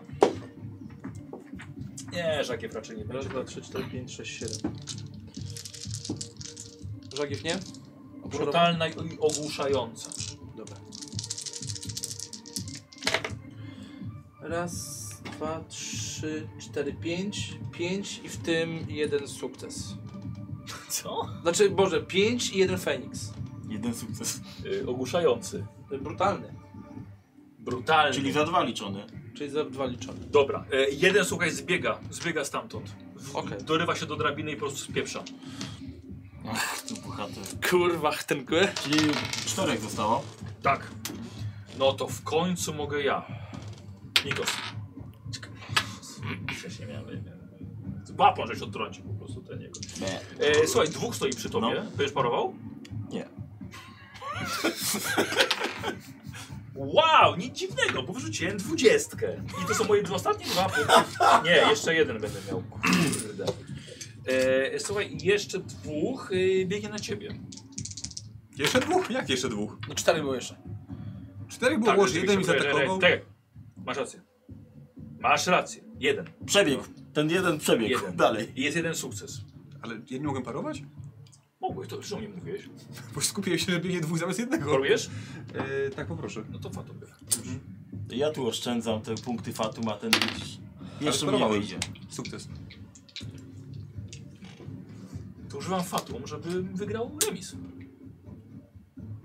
S1: Nie, żagiew raczej nie
S2: Raz,
S1: będzie.
S2: dwa, trzy, cztery, pięć, sześć, siedem. Żagiew nie?
S1: Brutalna i ogłuszająca.
S2: Dobra. Raz, dwa, trzy, cztery, pięć. Pięć i w tym jeden sukces.
S1: Co?
S2: Znaczy, Boże, pięć i jeden Feniks.
S5: Jeden sukces.
S1: Yy, ogłuszający.
S2: Brutalny.
S1: Brutalny.
S5: Czyli za dwa liczony.
S2: Czyli za dwa liczone.
S1: Dobra, e, jeden słuchaj zbiega, zbiega stamtąd. W,
S2: Okej.
S1: Dorywa się do drabiny i po prostu spieprza.
S5: Ach, tu bohater.
S2: Kurwa, chtenkę.
S5: Czyli czterech zostało.
S1: Tak. No to w końcu mogę ja. Nikos. Wcześniej miałem. Łapą, żeś odtrącił po prostu ten jego.
S5: Nie.
S1: E, słuchaj, dwóch stoi przy tobie.
S5: No.
S1: Będziesz parował?
S5: Nie.
S1: Wow, nic dziwnego, bo wyrzuciłem dwudziestkę. I to są moje dwa ostatnie dwa punkty. Nie, jeszcze jeden będę miał. Kurde. E, słuchaj, jeszcze dwóch e, biegnie na ciebie.
S3: Jeszcze dwóch? Jak jeszcze dwóch?
S2: No cztery było jeszcze.
S3: Czterech
S1: Tak,
S3: było łoży, jeden mi
S1: rzeczywiście,
S3: zaatakował.
S1: Tak, masz rację. Masz rację. Jeden.
S5: Przebiegł. Ten jeden przebiegł.
S1: Jeden.
S5: Dalej.
S1: I jest jeden sukces.
S3: Ale ja nie mogłem parować?
S1: Mogłeś, to zresztą nie mówiłeś.
S3: Bo skupiłem się, że biegnie dwóch zamiast jednego.
S1: Chorujesz?
S3: E, tak, poproszę.
S1: No to fatum.
S5: Ja tu oszczędzam te punkty Fatum, a ten widzisz. Jeszcze mnie
S3: sparowałem.
S5: wyjdzie.
S3: Sukces.
S1: To używam fatum, żeby wygrał remis.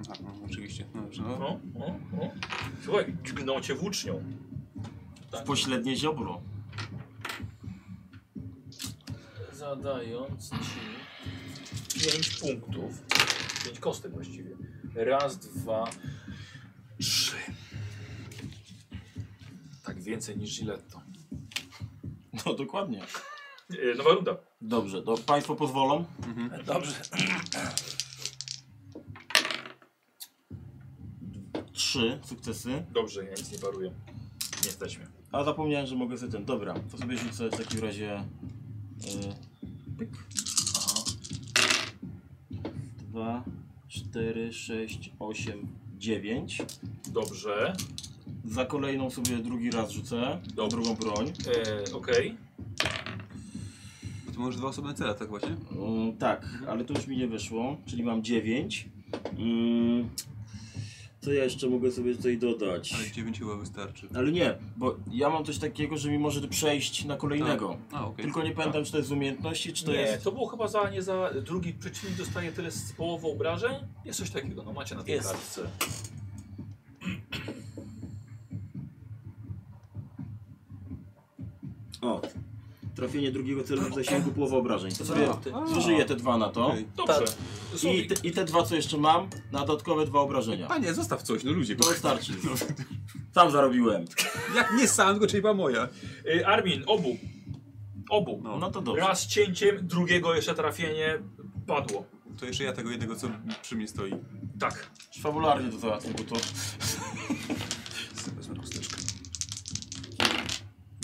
S3: A, no, oczywiście. No, dobrze, no.
S1: No, no, no. Słuchaj, dźgnął cię włócznią. Tak.
S5: W pośrednie ziobro.
S1: Zadając ci 5 punktów. 5 kostek właściwie. Raz, dwa, trzy. Tak więcej niż Giletto.
S5: No dokładnie.
S1: E, Nowa runda.
S5: Dobrze, to Państwo pozwolą? Mhm.
S2: Dobrze.
S5: Trzy sukcesy.
S1: Dobrze, ja nic nie paruję. Nie stać mnie.
S5: A zapomniałem, że mogę sobie ten. Dobra, to sobie rzucę w takim razie. Yy, pyk. Aha. 2, 4, 6, 8, 9.
S1: Dobrze.
S5: Za kolejną sobie drugi raz rzucę.
S1: Dobrze.
S5: Drugą broń.
S1: E, Okej.
S3: To możesz dwa osobne cele, tak właśnie?
S5: Mm, tak, ale to już mi nie wyszło, czyli mam 9. co ja jeszcze mogę sobie tutaj dodać?
S3: Ale dziewięć chyba wystarczy.
S5: Ale nie, bo ja mam coś takiego, że mi może przejść na kolejnego.
S3: A, okej.
S5: Tylko nie pamiętam, czy to jest z umiejętności, czy to
S1: Tak. nie,
S5: jest.
S1: to było chyba za, nie za drugi przeciwnik dostaje tyle z połową obrażeń? Jest coś takiego, no macie na tej
S5: Jest.
S1: kartce.
S5: O. Trafienie drugiego celu w zasięgu połowa obrażeń. To sobie zużyję te dwa na to.
S3: Okej.
S1: Dobrze.
S5: I
S1: Słuchaj,
S5: te, I te dwa, co jeszcze mam, na dodatkowe dwa obrażenia.
S3: A nie, zostaw coś, no ludzie.
S5: To wystarczy. Sam zarobiłem.
S3: Jak nie sam, tylko czyli była moja.
S1: y, Armin, obu. Obu.
S3: No.
S5: No to dobrze.
S1: Raz cięciem, drugiego jeszcze trafienie padło.
S3: To jeszcze ja tego jednego, co przy mnie stoi.
S1: Tak.
S5: Fabularnie to załatwię, bo to
S3: Sobie Wezmę kosteczkę.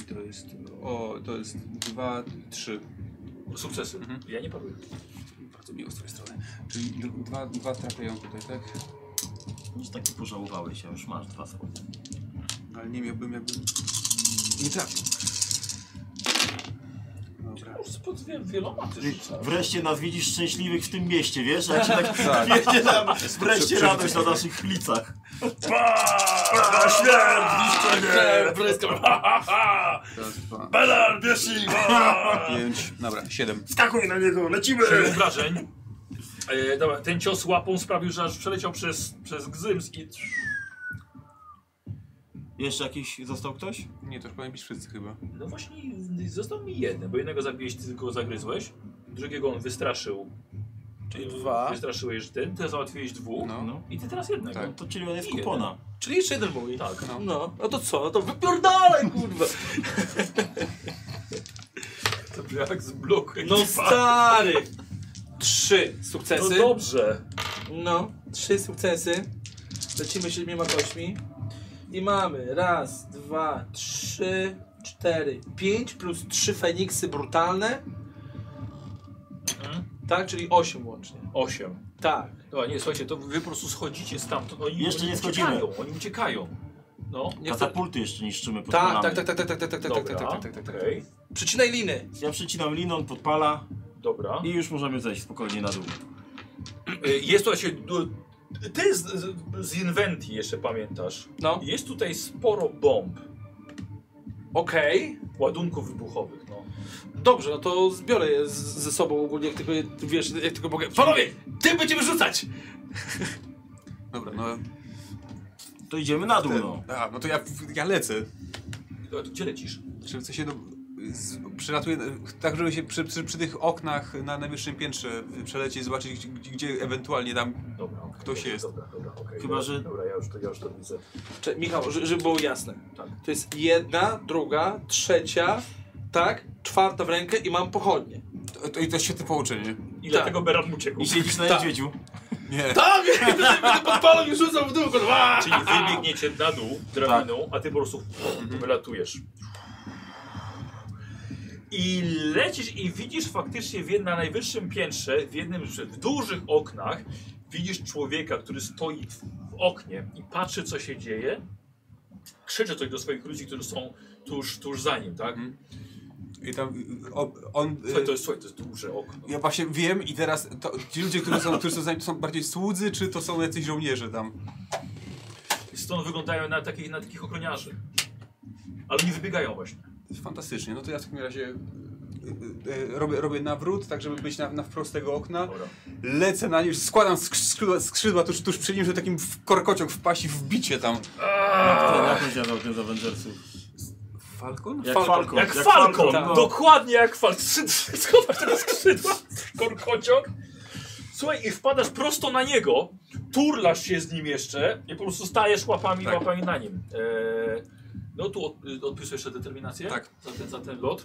S3: I to jest... O, to jest dwa, trzy.
S1: Sukcesy.
S3: Mhm.
S1: Ja nie paruję.
S3: Bardzo miło z twojej strony. Czyli dru- dwa, dwa trafiają tutaj, tak?
S5: już taki pożałowałeś, a już masz dwa sekundy.
S3: Ale nie miałbym jakby... Nie trafił. Dobra.
S1: Już pod wie- wieloma ty rzucasz.
S5: Wreszcie nas widzisz szczęśliwych w tym mieście, wiesz? Jak się
S2: [LAUGHS]
S5: tak [LAUGHS] wiecie tam, wreszcie radość na naszych plicach. Pa! Śmierć!
S3: Raz, dwa,
S5: Belar, bierz ich!
S3: pięć. Dobra, siedem.
S5: Skakuj na niego, lecimy!
S1: Siedem obrażeń. E, dobra, ten cios łapą sprawił, że aż przeleciał przez, przez gzyms i...
S5: Jeszcze jakiś został ktoś?
S3: Nie, to już powinien być wszyscy chyba.
S1: No właśnie, został mi jeden, bo jednego zabiłeś, ty tylko zagryzłeś. Drugiego on wystraszył.
S2: Czyli
S1: E,
S2: dwa.
S1: Wystraszyłeś ten, ty załatwiłeś dwóch.
S3: No.
S1: I ty teraz jednego.
S3: Tak.
S5: No to czyli on jest
S1: Jeden.
S5: kupona.
S2: Czyli jeszcze jeden mówi.
S1: Tak.
S3: No.
S2: No, no to co? No to wypierdalaj, kurwa.
S1: To brzmi jak z bloku.
S2: No stary! Trzy
S15: No
S2: sukcesy.
S15: dobrze.
S2: No, trzy sukcesy. Lecimy siedmioma kośćmi. I mamy raz, dwa, trzy, cztery, pięć plus trzy feniksy brutalne. Tak, czyli osiem łącznie.
S1: Osiem.
S2: Tak.
S1: Dobra, nie, słuchajcie, to wy po prostu schodzicie stamtąd. Oni,
S5: Jeszcze
S1: oni
S5: nie schodzimy.
S1: uciekają, oni uciekają. No.
S2: Nie chcę...
S5: Katapulty jeszcze niszczymy, podpalamy.
S2: Tak, tak, tak, tak, tak, tak, tak, tak, tak, tak,
S1: Dobra,
S2: tak, tak, tak, tak.
S1: okej,
S2: Przycinaj liny.
S5: Ja przecinam liną, podpala
S1: Dobra.
S5: i już możemy zejść spokojnie na dół.
S1: Y, Jest to się. Ty z, z, z Inventi jeszcze pamiętasz.
S2: No.
S1: Jest tutaj sporo bomb,
S2: Okej.
S1: ładunków wybuchowych. No.
S2: Dobrze, no to zbiorę je z, ze sobą ogólnie, jak tylko, je- wiesz, jak tylko mogę. Panowie, tym będziemy rzucać!
S3: Dobra, no.
S5: To idziemy na dół,
S3: Ten,
S5: no.
S3: a, no to ja, ja lecę.
S1: To- to Gdzie lecisz?
S3: Czy w sensie do, z, przylatuję, tak żeby się przy, przy, przy tych oknach na najwyższym piętrze przelecieć, zobaczyć gdzie, gdzie ewentualnie tam
S1: Dobra, okej,
S3: Ktoś
S1: dobra,
S3: jest.
S1: Dobra, dobra, okej,
S5: Chyba,
S1: dobra,
S5: że-
S1: Dobra, ja już to, ja już to widzę.
S2: Cze- Michał, ż- żeby było jasne.
S1: Tak.
S2: To jest jedna, druga, trzecia, tak, czwarta w rękę i mam pochodnie.
S3: To, to, i to świetne połączenie.
S1: I dlatego Beran mu uciekł.
S5: I siedzisz na
S2: Tak.
S5: niedźwiedziu.
S3: Nie.
S2: Tak, ja będę podpalał i rzucał w dół, kurwa!
S1: Czyli wybiegniecie na dół drabiną, a ty po prostu wylatujesz. I lecisz i widzisz faktycznie w jed- na najwyższym piętrze, w jednym z w dużych oknach, widzisz człowieka, który stoi w w oknie i patrzy, co się dzieje. Krzyczy coś do swoich ludzi, którzy są tuż, tuż za nim, tak?
S3: Mhm. I tam o, on... y,
S1: Słuchaj, to jest, słuchaj, to jest duże okno.
S3: Ja właśnie wiem i teraz to, ci ludzie, którzy są, którzy są za nim, to są bardziej słudzy, czy to są jacyś żołnierze tam?
S1: Stąd wyglądają na takich, na takich ochroniarzy. Ale nie wybiegają właśnie.
S3: Fantastycznie, no to ja w takim razie y, y, y, robię, robię nawrót, tak żeby być na, na wprost tego okna.
S1: Dobra.
S3: Lecę na nim, składam skrzy- skrzydła, skrzydła tuż, tuż przy nim, żeby takim w korkociąg wpaść i wbicie tam.
S5: Jak on zjadał ten z Avengersów?
S3: Falcon?
S5: Jak
S2: Falcon.
S5: Falcon. Tak.
S1: Jak, Falcon! tak.
S2: Falcon, no.
S1: Dokładnie jak Falcon. [LAUGHS] Schowasz tego skrzydła, korkociąg. Słuchaj, i wpadasz prosto na niego, turlasz się z nim jeszcze i po prostu stajesz łapami,
S3: Tak.
S1: łapami na nim. Eee, no tu od, odpisujesz jeszcze determinację
S3: Tak.
S1: za, ten, za ten lot.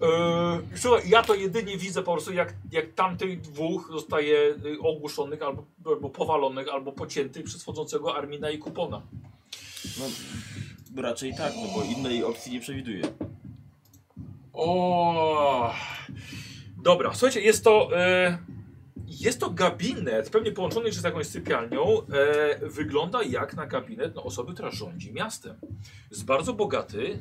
S1: Eee, słuchaj, ja to jedynie widzę po prostu jak, jak tamtych dwóch zostaje y, ogłuszonych albo, albo powalonych, albo pociętych przez wchodzącego Armina i Kupona.
S5: No, raczej tak, no bo innej opcji nie przewiduję.
S1: O. Dobra, słuchajcie, jest to. E, jest to gabinet, pewnie połączony jeszcze z jakąś sypialnią. E, wygląda jak na gabinet no, osoby, która rządzi miastem. Jest bardzo bogaty.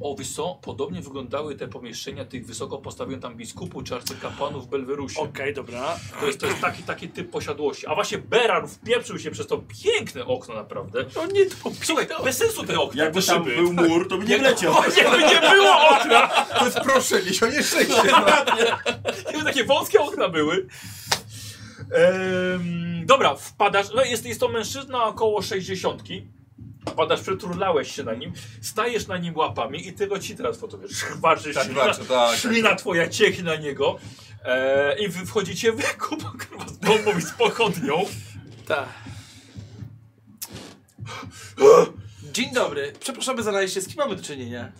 S1: O, wyso, podobnie wyglądały te pomieszczenia tych wysoko postawionych tam biskupów czy arcykapłanów w Belwerusie.
S2: dobra.
S1: To jest, to jest taki, taki typ posiadłości. A właśnie Beran wpieprzył się przez to piękne okno naprawdę.
S2: To No nie to.
S1: Słuchaj, bez sensu te okna,
S5: Jakby
S1: te
S5: tam
S1: szyby.
S5: był mur, to by
S1: [LAUGHS]
S5: nie wleciał.
S1: Właśnie, by nie było okna!
S3: To jest proszę, nie się nie szczęście.
S1: Gdyby takie wąskie okna były. Em, dobra, wpadasz. No jest, jest to mężczyzna około 60. Wpadasz, przeturlałeś się na nim, stajesz na nim łapami i tego ci teraz fotografujesz. Chwarzysz
S3: Tak,
S1: ślina,
S3: walczę, tak.
S1: ślina twoja cieknie na niego. E, I wy wchodzicie w kup [LAUGHS] kurwa, z bombą i z pochodnią.
S2: Tak. Dzień dobry. Przepraszamy za najście. Z kim mamy do czynienia?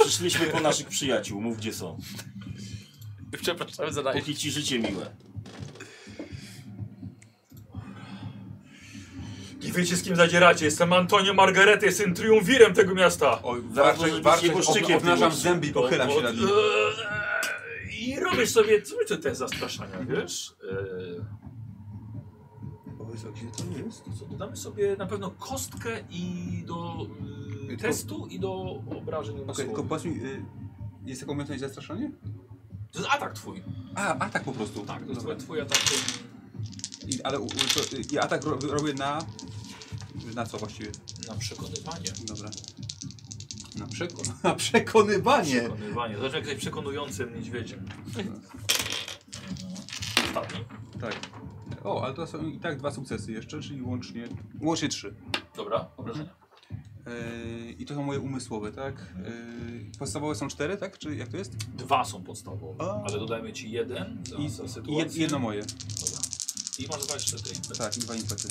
S5: Przyszliśmy po naszych przyjaciół, mów gdzie są.
S2: Przepraszamy za najście.
S5: Póki ci życie miłe.
S1: I wiecie z kim zadzieracie? Jestem Antonio Margarety, jestem triumvirem tego miasta.
S3: Oj,
S5: Zaraz może
S3: warczę,
S5: być
S3: warczę,
S5: nieboszczykiem
S3: ob- obnażam
S5: tym
S3: zęby i pochylam się nad nim.
S1: Eee, I robisz sobie co to te zastraszania, wiesz? Eee,
S16: gdzie to jest?
S1: co, dodamy sobie na pewno kostkę i do eee,
S3: Tylko-
S1: testu i do obrażeń
S3: Okej,
S1: umysłowych.
S3: tylko powiedz mi, y, jest taka umiejętność zastraszanie?
S1: To jest atak twój.
S3: A, atak po prostu.
S1: Tak, to jest
S3: Dobra.
S1: twój- twój atak.
S3: I, ale u, u, to, y, i atak ro, robię na... Na co właściwie?
S1: Na przekonywanie.
S3: Dobra. Na, przeko [LAUGHS] na przekonywanie.
S1: Przekonywanie. Zobacz jak jesteś przekonującym niedźwiedziem. Ostatni.
S3: Tak. O, ale to są i tak dwa sukcesy jeszcze, czyli łącznie... Łącznie trzy.
S1: Dobra, obrażenia.
S3: Yy, I to są moje umysłowe, tak? Yy, podstawowe są cztery, tak? Czy jak to jest?
S1: Dwa są podstawowe,
S3: A.
S1: ale dodajmy ci jeden za,
S3: I,
S1: za
S3: i jed,
S1: sytuację.
S3: jedno moje.
S1: Dobra. I masz dwa jeszcze tej.
S3: Tak, i dwa impety.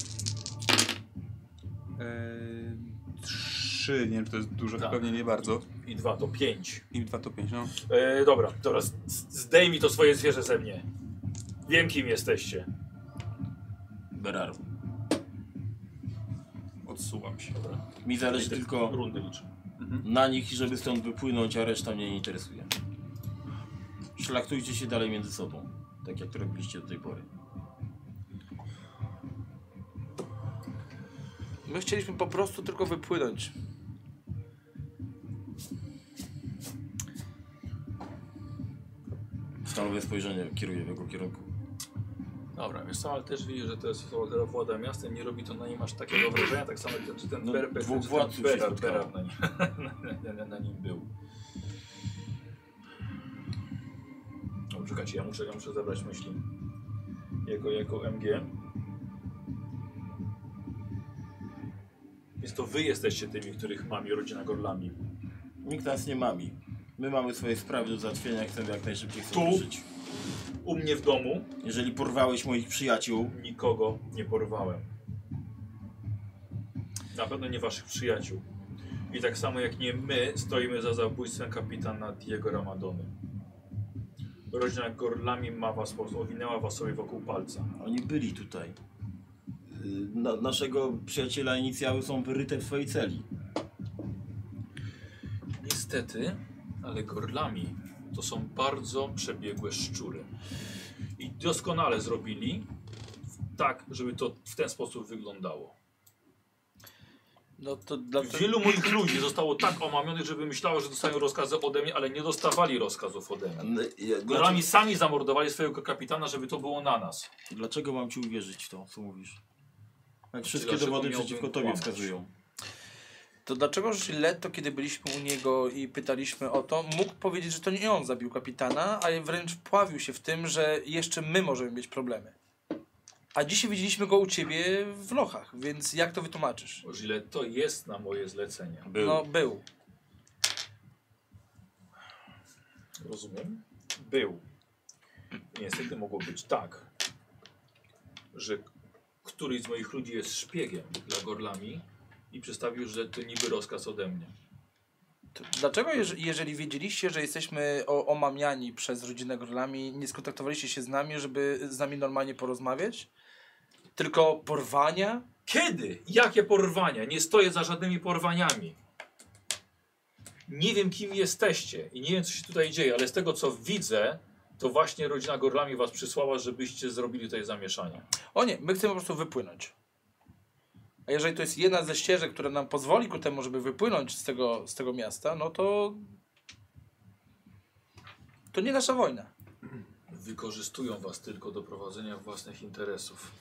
S3: Yy, trzy, nie wiem, czy to jest dużo,
S1: Tak.
S3: pewnie nie bardzo.
S1: I dwa to pięć.
S3: I dwa to pięć, no.
S6: E, dobra, dobra, z- z- zdejmij to swoje zwierzę ze mnie. Wiem kim jesteście.
S5: Beraru.
S1: Odsuwam się, dobra.
S5: Mi zależy tylko
S1: Rundy liczę.
S5: na nich i żeby stąd wypłynąć, a reszta mnie nie interesuje. Szlachtujcie się dalej między sobą, tak jak to robiliście do tej pory.
S2: My chcieliśmy po prostu tylko wypłynąć.
S5: Stalowe spojrzenie kieruje w jego kierunku.
S1: Dobra, wiesz co, ale też widzisz, że to jest Solder włada miastem, nie robi to na nim aż takiego wrażenia, tak samo jak ten, czy ten
S5: No,
S1: Berber,
S5: dwóch
S1: czy
S5: władców się
S1: ten Berar,
S5: spotkało.
S1: Berar na, nim, [LAUGHS] na, na, na nim był. No, czekajcie, ja muszę, ja muszę zabrać myśli. Jako, jako MG. Więc to wy jesteście tymi, których mami rodzina Gorlami.
S5: Nikt nas nie mami. My mamy swoje sprawy do załatwienia, chcemy jak najszybciej
S1: Tu?
S5: chcemy żyć.
S1: U mnie w domu
S5: Jeżeli porwałeś moich przyjaciół,
S1: nikogo nie porwałem. Na pewno nie waszych przyjaciół. I tak samo jak nie my stoimy za zabójstwem kapitana Diego Ramadony. Rodzina Gorlami ma was, po prostu owinęła was sobie wokół palca.
S5: oni byli tutaj. Yy, Na, naszego przyjaciela inicjały są wyryte w swojej celi.
S1: Niestety, ale Gorlami to są bardzo przebiegłe szczury. I doskonale zrobili tak, żeby to w ten sposób wyglądało.
S2: No to dlatego...
S1: Wielu moich ludzi zostało tak omamionych, że myślało, że dostają rozkazy ode mnie, ale nie dostawali rozkazów ode mnie. Gorami
S5: Dlaczego,
S1: sami zamordowali swojego kapitana, żeby to było na nas.
S5: dlaczego mam ci uwierzyć w to, co mówisz? Jak wszystkie
S1: Znaczy, dlaczego
S5: dowody
S1: miałbym
S5: przeciwko tobie
S1: kłamać?
S5: wskazują.
S2: To dlaczegoż Leto, kiedy byliśmy u niego i pytaliśmy o to, mógł powiedzieć, że to nie on zabił kapitana, a wręcz pławił się w tym, że jeszcze my możemy mieć problemy. A dzisiaj widzieliśmy go u ciebie w lochach, więc jak to wytłumaczysz?
S1: Bo Gillette to jest na moje zlecenie.
S5: Był.
S2: No, był.
S1: Rozumiem? Był. Niestety mogło być tak, że któryś z moich ludzi jest szpiegiem dla Gorlami i przedstawił, że to niby rozkaz ode mnie.
S2: To dlaczego, jeż- jeżeli wiedzieliście, że jesteśmy o- omamiani przez rodzinę Grolami, nie skontaktowaliście się z nami, żeby z nami normalnie porozmawiać? Tylko porwania?
S1: Kiedy? Jakie porwania? Nie stoję za żadnymi porwaniami. Nie wiem, kim jesteście i nie wiem, co się tutaj dzieje, ale z tego, co widzę, to właśnie rodzina Gorlami was przysłała, żebyście zrobili tutaj zamieszanie.
S2: O nie, my chcemy po prostu wypłynąć. A jeżeli to jest jedna ze ścieżek, która nam pozwoli ku temu, żeby wypłynąć z tego, z tego miasta, no to. To nie nasza wojna.
S1: Wykorzystują was tylko do prowadzenia własnych interesów.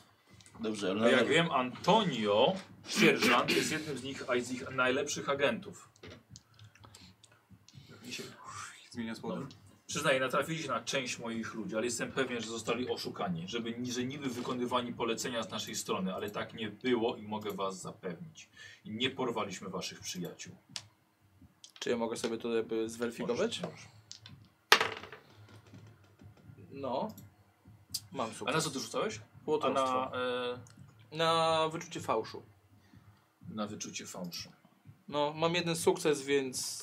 S5: Dobrze,
S1: A
S5: ale
S1: jak wiem, Antonio, sierżant, jest jednym z nich, a z ich najlepszych agentów.
S3: Zmieniam słowem.
S1: Przyznaję, natrafiliście na część moich ludzi, ale jestem pewien, że zostali oszukani, żeby, że niby wykonywani polecenia z naszej strony, ale tak nie było i mogę was zapewnić. Nie porwaliśmy waszych przyjaciół.
S2: Czy ja mogę sobie to jakby zweryfikować? No. Mam
S1: A
S2: sukces.
S1: na co ty rzucałeś? A
S2: Na...
S1: na, e,
S2: na wyczucie fałszu.
S1: na wyczucie fałszu.
S2: No, mam jeden sukces, więc.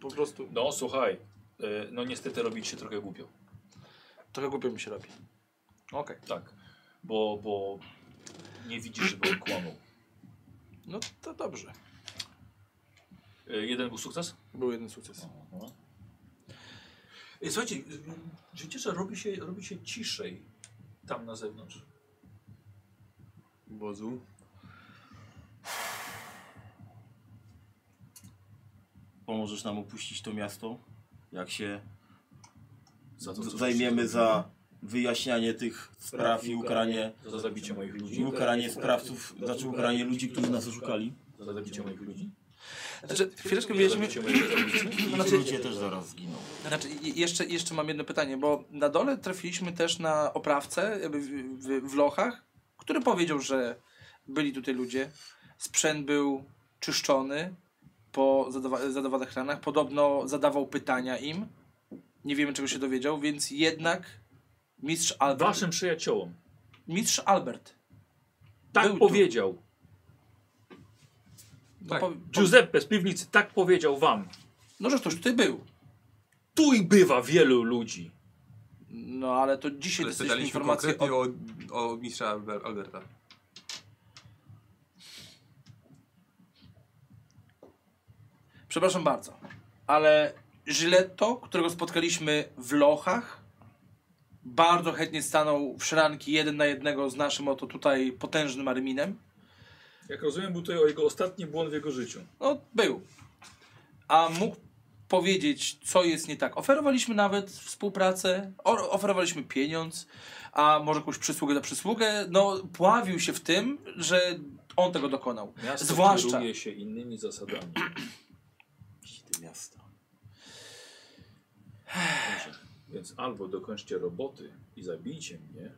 S2: Po prostu.
S1: No słuchaj, e, no niestety robić się trochę głupio.
S2: Trochę głupio mi się robi. Okej.
S1: Tak, bo, bo nie widzisz, żeby on kłamał.
S2: No to dobrze.
S1: E, jeden był sukces?
S2: Był jeden sukces.
S1: Ej, Mhm. Słuchajcie, y, wiecie, że robi się, robi się ciszej tam na zewnątrz.
S3: Wozu.
S5: pomożesz nam opuścić to miasto, jak się
S1: Za to, co
S5: zajmiemy
S1: żeście
S5: za wyjaśnianie tych spraw i ukaranie,
S1: zrobili. Za zabicie moich
S5: i
S1: ludzi.
S5: ukaranie sprawców, znaczy ukaranie ludzi, którzy nas oszukali.
S1: Za zabicie moich ludzi.
S2: Znaczy, chwileczkę
S1: Za
S2: wiedzieliśmy.
S1: zabicie moich ludzi.
S5: I ci ludzie też zaraz zginą.
S2: Znaczy, i- jeszcze, jeszcze mam jedno pytanie, bo na dole trafiliśmy też na oprawcę jakby w, w, w Lochach, który powiedział, że byli tutaj ludzie. Sprzęt był czyszczony po zadawa- zadawanych ranach. Podobno zadawał pytania im. Nie wiemy, czego się dowiedział, więc jednak mistrz Albert.
S1: Waszym przyjaciołom.
S2: Mistrz Albert.
S1: Tak
S2: Był tu.
S1: powiedział.
S2: No,
S3: Tak.
S2: po, po,
S1: Giuseppe z piwnicy tak powiedział wam.
S2: no, że ktoś tutaj był.
S1: Tu i bywa wielu ludzi.
S2: No, ale to dzisiaj
S3: Ale
S2: dostaliśmy
S3: pytaliśmy
S2: informację
S3: konkretnie
S2: o.
S3: o, o mistrza Alber- Alberta.
S2: Przepraszam bardzo, ale Żyletto, którego spotkaliśmy w Lochach, bardzo chętnie stanął w szranki jeden na jednego z naszym oto tutaj potężnym Arminem.
S17: Jak rozumiem, był to jego ostatni błąd w jego życiu.
S2: No, był. A mógł powiedzieć, co jest nie tak. Oferowaliśmy nawet współpracę, o- oferowaliśmy pieniądz, a może jakąś przysługę za przysługę. No, pławił się w tym, że on tego dokonał.
S1: Miasto
S2: Zwłaszcza-
S1: kieruje się innymi zasadami.
S5: Te miasta.
S1: Dobrze. Więc albo dokończcie roboty i zabijcie mnie,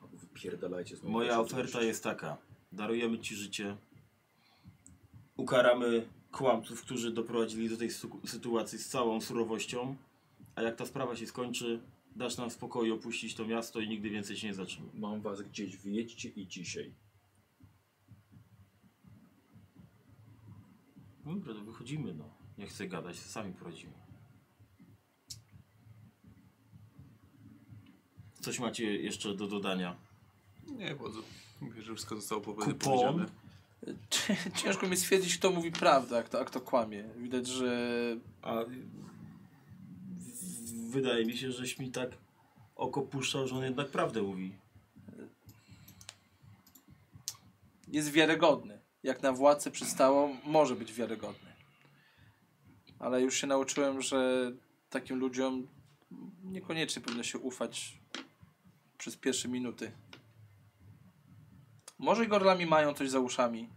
S1: albo wypierdalajcie z mojej
S5: Moja
S1: rzeczywistości.
S5: oferta jest taka. Darujemy ci życie. Ukaramy kłamców, którzy doprowadzili do tej su- sytuacji z całą surowością. A jak ta sprawa się skończy, dasz nam w spokoju opuścić to miasto i nigdy więcej się nie zatrzyma.
S1: Mam was gdzieś, wyjedźcie i dzisiaj.
S5: Dobra, to wychodzimy no. Nie chcę gadać, sami poradzimy. Coś macie jeszcze do dodania?
S3: Nie, wodzu. Mówię, że wszystko zostało po-
S5: Kupon?
S3: powiedziane.
S2: Ciężko mi stwierdzić, kto mówi prawdę, a kto, a kto kłamie. Widać, że
S5: A y, w- wydaje mi się, żeś mi tak oko puszczał, że on jednak prawdę mówi.
S2: jest wiarygodny. Jak na władcę przystało, może być wiarygodny. Ale już się nauczyłem, że takim ludziom niekoniecznie powinno się ufać przez pierwsze minuty. Może gorlami mają coś za uszami,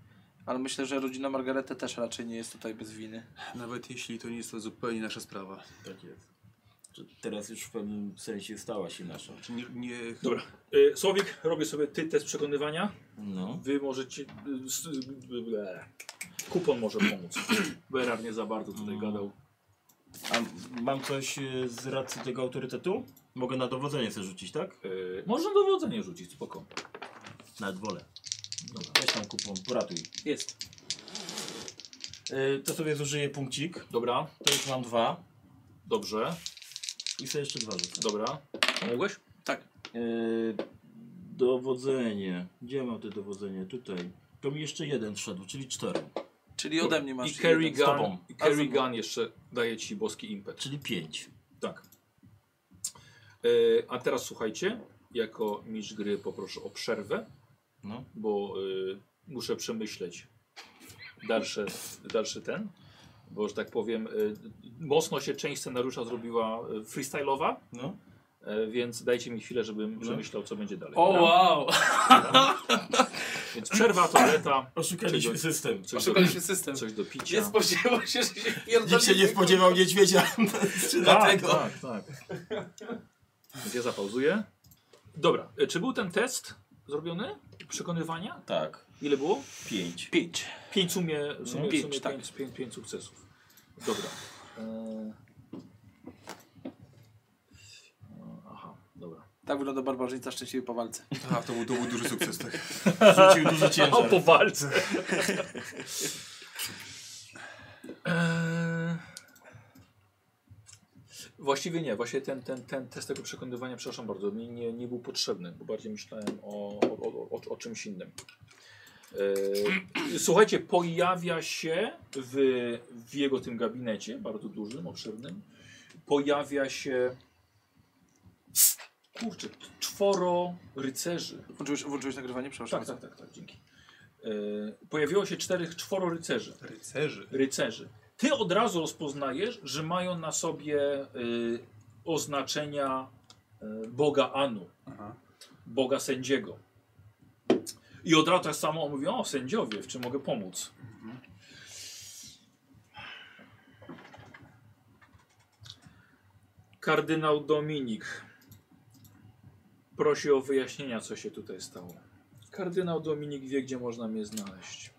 S2: ale myślę, że rodzina Margarety też raczej nie jest tutaj bez winy.
S3: Nawet jeśli to nie jest to zupełnie nasza sprawa.
S5: Tak jest. To Teraz już w pewnym sensie stała się nasza.
S3: Czy nie, nie
S17: Dobra. Y, Słowik, robię sobie ty test przekonywania.
S5: No.
S17: Wy możecie... y, s- y, ble. Kupon może
S1: [CLEARS THROAT]
S17: pomóc.
S1: Berar nie za bardzo tutaj
S5: Mm.
S1: gadał.
S5: A m- mam coś y, z racji tego autorytetu? Mogę na dowodzenie sobie rzucić, tak?
S1: Yy, można dowodzenie rzucić, spoko.
S5: Nawet wolę. Dobra, weź tam kupon, poratuj.
S2: Jest.
S5: Y, to sobie zużyję punkcik.
S1: Dobra,
S5: To już mam dwa.
S1: dobrze,
S5: I sobie jeszcze dwa rzucę.
S1: dobra. Pomogłeś?
S5: Y, dowodzenie. Gdzie mam te dowodzenie? Tutaj. To mi jeszcze jeden wszedł, czyli cztery.
S2: Czyli ode mnie masz
S1: I carry
S2: jeden.
S1: gun,
S5: tobą.
S1: i carry
S2: Razem.
S1: gun jeszcze daje ci boski impet.
S5: Czyli pięć.
S1: Tak. Yy, a teraz słuchajcie, jako mistrz gry poproszę o przerwę,
S5: No.
S1: bo yy, muszę przemyśleć dalsze, dalszy ten, bo że tak powiem, yy, mocno się część scenariusza zrobiła yy, freestyle'owa,
S5: No.
S1: yy, więc dajcie mi chwilę, żebym przemyślał, co będzie dalej.
S18: O
S1: Dobra?
S18: wow!
S1: Więc przerwa, toaleta,
S5: Oszukaliśmy
S1: Czyli-
S5: system.
S1: coś do,
S18: Szukaliśmy system.
S1: coś do
S18: Nie
S1: picia.
S18: spodziewał się, że się
S5: Nikt się nie
S18: pierdolimy.
S5: spodziewał niedźwiedzia.
S1: Tak,
S5: Czy dlatego?
S1: tak, tak. Więc ja zapauzuję. Dobra, e, czy był ten test zrobiony? Przekonywania?
S5: Tak,
S1: Ile było?
S5: pięć.
S2: Pięć.
S1: Pięć w sumie, w sumie,
S2: No,
S1: w
S2: pięć,
S1: sumie
S2: tak.
S1: pięć, pięć, pięć sukcesów. Dobra. E... Aha, dobra.
S2: Tak wygląda barbarzyńca szczęśliwy po walce.
S3: A, to był, to był duży sukces, tak.
S5: Rzucił duży
S1: O,
S5: ciężar. [LAUGHS]
S1: po walce. Eee, Właściwie nie, właśnie ten, ten, ten test tego przekonywania, przepraszam bardzo, mi nie, nie był potrzebny, bo bardziej myślałem o, o, o, o, o czymś innym. Eee, Słuchajcie, pojawia się w, w jego tym gabinecie, bardzo dużym, obszernym, pojawia się kurczę, czworo rycerzy.
S2: Włączyłeś, włączyłeś nagrywanie? Przepraszam.
S1: Tak, tak, tak, tak, dzięki. Yy, pojawiło się czterech, czworo rycerzy.
S3: [LAUGHS] Rycerzy.
S1: rycerzy. Ty od razu rozpoznajesz, że mają na sobie yy, oznaczenia yy, Boga Anu,
S19: Aha.
S1: Boga Sędziego. I od razu tak samo on mówi, o sędziowie, w czym mogę pomóc? Kardynał Dominik prosi o wyjaśnienia, co się tutaj stało. Kardynał Dominik wie, gdzie można mnie znaleźć.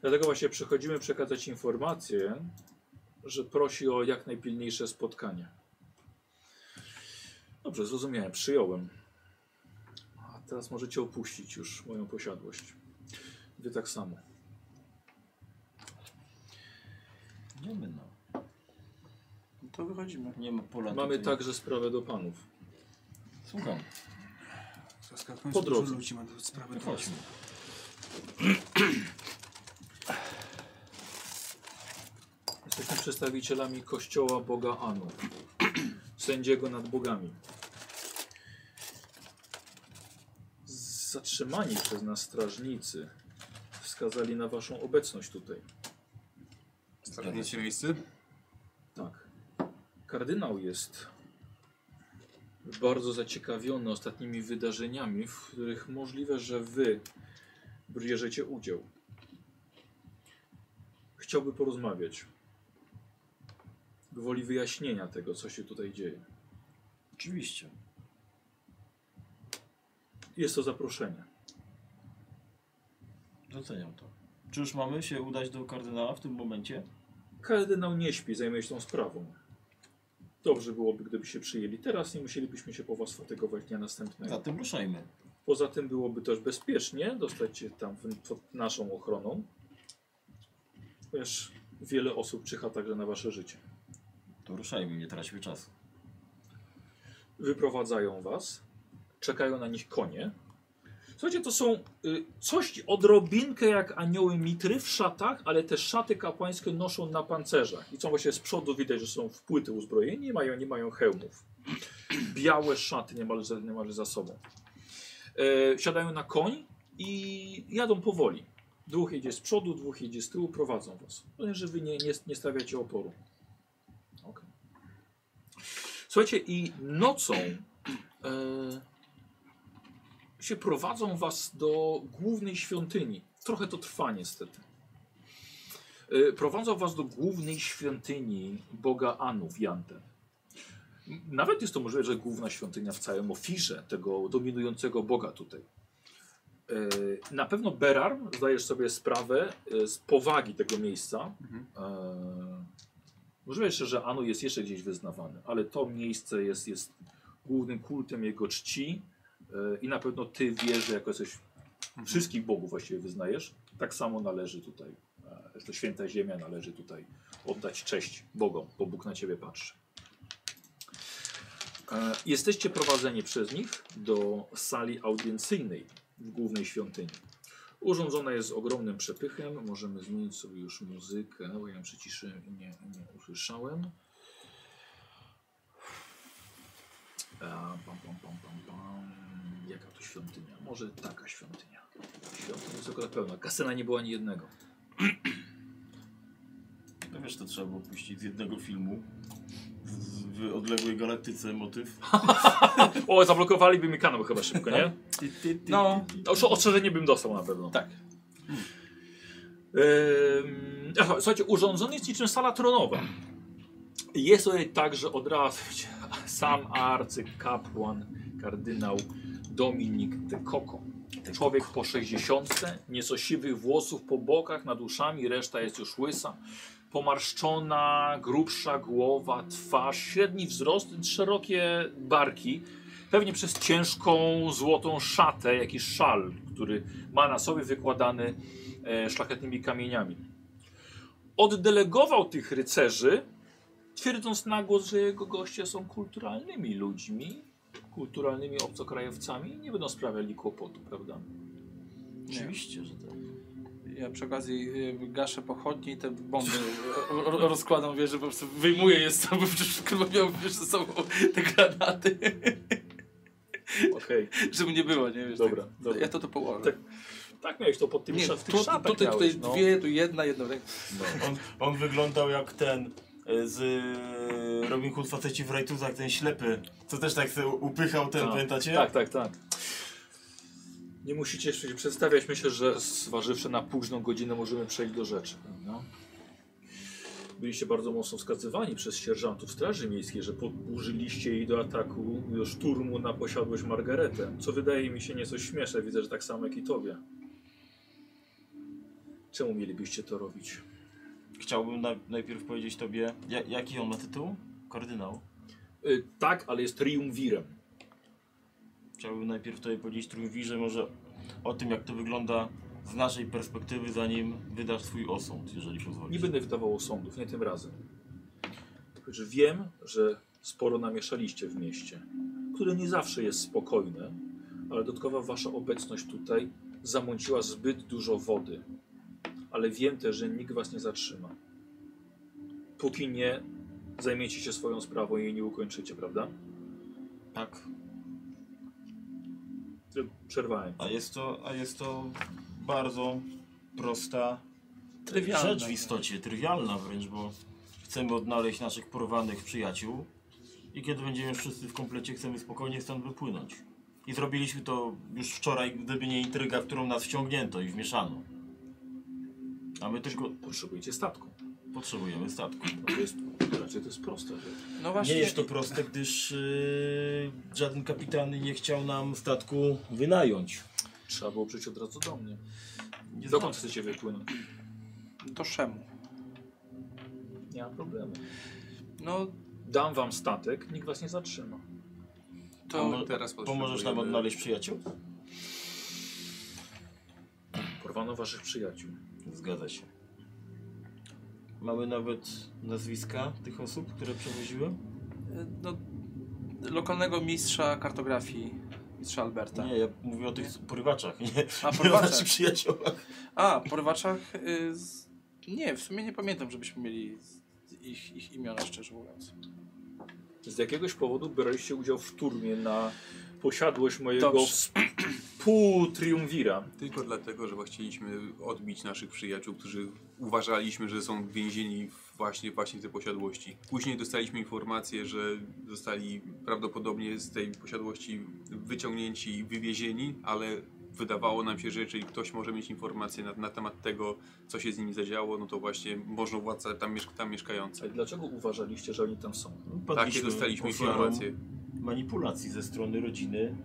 S1: Dlatego właśnie przychodzimy przekazać informację, że prosi o jak najpilniejsze spotkanie. Dobrze, zrozumiałem, przyjąłem. A teraz możecie opuścić już moją posiadłość. Wy tak samo.
S5: Idziemy no.
S1: tak.
S5: No To wychodzimy. Nie ma pola
S1: Mamy
S5: tutaj.
S1: także sprawę do panów.
S5: Słucham.
S1: Po drodze.
S4: Ludzi ma do sprawy do
S5: Chodźmy.
S1: [CLEARS THROAT] Jesteśmy przedstawicielami kościoła Boga Anu, [CLEARS THROAT] sędziego nad bogami. Zatrzymani przez nas strażnicy wskazali na waszą obecność tutaj.
S3: Strażnicy miejscy?
S1: Tak. Kardynał jest bardzo zaciekawiony ostatnimi wydarzeniami, w których możliwe, że wy bierzecie udział. Chciałby porozmawiać. Gwoli wyjaśnienia tego, co się tutaj dzieje.
S5: Oczywiście.
S1: Jest to zaproszenie.
S5: Doceniam to. Czy już mamy się udać do kardynała w tym momencie?
S1: Kardynał nie śpi, zajmuje się tą sprawą. Dobrze byłoby, gdyby się przyjęli teraz, nie musielibyśmy się po was fatygować dnia następnego.
S5: Zatem ruszajmy.
S1: Poza tym byłoby też bezpiecznie dostać się tam w- pod naszą ochroną, ponieważ wiele osób czyha także na wasze życie.
S5: To ruszajmy, nie traćmy czasu.
S1: Wyprowadzają was, czekają na nich konie. Słuchajcie, to są y, coś odrobinkę jak anioły mitry w szatach, ale te szaty kapłańskie noszą na pancerzach. I są właśnie z przodu widać, że są w płyty uzbrojeni, nie mają, nie mają hełmów. Białe szaty niemalże, niemalże za sobą. E, siadają na koń i jadą powoli. Dwóch jedzie z przodu, dwóch jedzie z tyłu, prowadzą was. Powiem, że wy nie, nie, nie stawiacie oporu. Ok. Słuchajcie, i nocą e, się prowadzą was do głównej świątyni. Trochę to trwa niestety. E, prowadzą was do głównej świątyni Boga Anu w Janten. Nawet jest to możliwe, że główna świątynia w całym ofirze tego dominującego Boga tutaj. E, Na pewno Berarm zdajesz sobie sprawę e, z powagi tego miejsca. E, Możliwe jeszcze, że Anu jest jeszcze gdzieś wyznawany, ale to miejsce jest, jest głównym kultem jego czci e, i na pewno ty wiesz, że jako jesteś wszystkich bogów właściwie wyznajesz, tak samo należy tutaj. e, Jest to święta ziemia, należy tutaj oddać cześć bogom, bo Bóg na ciebie patrzy. E, Jesteście prowadzeni przez nich do sali audiencyjnej w głównej świątyni. Urządzona jest ogromnym przepychem. Możemy zmienić sobie już muzykę, no bo ja ją przyciszyłem i nie, nie usłyszałem. E, Pam, pam, pam, pam, pam. Jaka to świątynia? Może taka świątynia. Świątynia jest akurat pełna. Kasyna nie była ani jednego.
S5: No wiesz, to trzeba było puścić z jednego filmu. Z, z, w odległej galaktyce motyw.
S1: O, zablokowaliby mi kanał chyba szybko, nie?
S5: Ty, ty, ty,
S2: No.
S5: ty, ty.
S1: Ostrze- Ostrzeżenie bym dostał na pewno.
S2: Tak.
S1: Ym, aha, słuchajcie, urządzony jest niczym sala tronowa. Jest tutaj także od razu [LAUGHS] sam arcykapłan, kardynał Dominik de Coco. Człowiek po 60, nieco siwych włosów po bokach, nad uszami, reszta jest już łysa. Pomarszczona, grubsza głowa, twarz, średni wzrost, szerokie barki. Pewnie przez ciężką, złotą szatę, jakiś szal, który ma na sobie wykładany e, szlachetnymi kamieniami. Oddelegował tych rycerzy, twierdząc na głos, że jego goście są kulturalnymi ludźmi, kulturalnymi obcokrajowcami i nie będą sprawiali kłopotu, [LAUGHS] prawda?
S5: Oczywiście, że tak.
S2: Ja przy okazji y, gaszę pochodnie i te bomby ro- ro- rozkładam, wiesz, że po prostu wyjmuję je z sobą, [LAUGHS] przecież kurwa miał wiesz, ze sobą te granaty, [LAUGHS]
S1: Okej,
S2: żeby nie było, nie wiesz.
S1: dobra,
S2: tak,
S1: dobra.
S2: Ja to tu położę.
S1: Tak, tak miałeś to pod tym
S2: nie,
S1: szaf,
S2: tu, tutaj, tutaj
S1: miałeś, no.
S2: dwie, tu jedna, jedną rękę.
S5: No. On, on wyglądał jak ten e, z e, Robin Hood faceci w rajtuzach, ten ślepy, co też tak se upychał ten,
S1: Tak.
S5: pamiętacie?
S1: Tak, tak, tak. Nie musicie się przedstawiać. Myślę, że zważywszy na późną godzinę możemy przejść do rzeczy. No. byliście bardzo mocno wskazywani przez sierżantów Straży Miejskiej, że podburzyliście jej do ataku, do szturmu na posiadłość Margaretę. Co wydaje mi się nieco śmieszne, widzę, że tak samo jak i tobie. Czemu mielibyście to robić?
S5: Chciałbym na, najpierw powiedzieć tobie, ja, jaki on ma tytuł? Kardynał.
S1: Y, tak, ale jest triumvirem.
S5: Chciałbym najpierw tobie powiedzieć Trójwirze może o tym, jak to wygląda z naszej perspektywy, zanim wydasz swój osąd, jeżeli pozwolisz.
S1: Nie będę wydawał osądów, nie tym razem. Tylko, że wiem, że sporo namieszaliście w mieście, które nie zawsze jest spokojne, ale dodatkowa wasza obecność tutaj zamąciła zbyt dużo wody. Ale wiem też, że nikt was nie zatrzyma. Póki nie zajmiecie się swoją sprawą i jej nie ukończycie, prawda?
S5: Tak.
S1: Przerwałem.
S5: A jest to, a jest to bardzo prosta
S2: Trywialna.
S5: rzecz w istocie, trywialna wręcz, bo chcemy odnaleźć naszych porwanych przyjaciół i kiedy będziemy wszyscy w komplecie, chcemy spokojnie stąd wypłynąć. I zrobiliśmy to już wczoraj, gdyby nie intryga, w którą nas wciągnięto i wmieszano. A my tylko
S1: Potrzebujecie statku. No
S5: potrzebujemy statku.
S1: To jest, raczej to jest prosta rzecz.
S2: No właśnie.
S5: Nie jest to proste, gdyż yy, żaden kapitan nie chciał nam statku wynająć.
S1: Trzeba było przyjść od razu do mnie.
S5: Nie
S1: Dokąd chcecie wypłynąć?
S2: To szemu.
S1: Nie ma problemu.
S2: No
S1: Dam wam statek, nikt was nie zatrzyma.
S5: A
S2: to
S5: mo-
S3: teraz
S5: Pomożesz nam
S3: potrzebujemy-
S5: odnaleźć przyjaciół?
S1: Porwano waszych przyjaciół.
S5: Zgadza się. Mamy nawet nazwiska tych osób, które przewoziły?
S2: y, no, lokalnego mistrza kartografii, mistrza Alberta.
S5: Nie, Znaczy, ja mówię o tych porywaczach, nie, [LAUGHS]
S2: A
S5: nie o
S2: porwaczach.
S5: naszych przyjaciołach.
S2: A, porwaczach. Y, z... Nie, w sumie nie pamiętam, żebyśmy mieli z- ich, ich imiona, szczerze mówiąc.
S1: Z jakiegoś powodu braliście udział w turmie na posiadłość mojego
S2: Dobrze.
S1: współtriumwira.
S3: Tylko dlatego, że chcieliśmy odbić naszych przyjaciół, którzy uważaliśmy, że są więzieni właśnie, właśnie w tej posiadłości. Później dostaliśmy informację, że zostali prawdopodobnie z tej posiadłości wyciągnięci i wywiezieni, ale wydawało nam się, że jeżeli ktoś może mieć informacje na, na temat tego, co się z nimi zadziało, no to właśnie można władca tam, mieszk tam mieszkający.
S1: Ale dlaczego uważaliście, że oni tam są?
S3: Takie
S5: Padliśmy
S3: Tak, dostaliśmy
S5: ofiarą
S3: informacje.
S5: manipulacji ze strony rodziny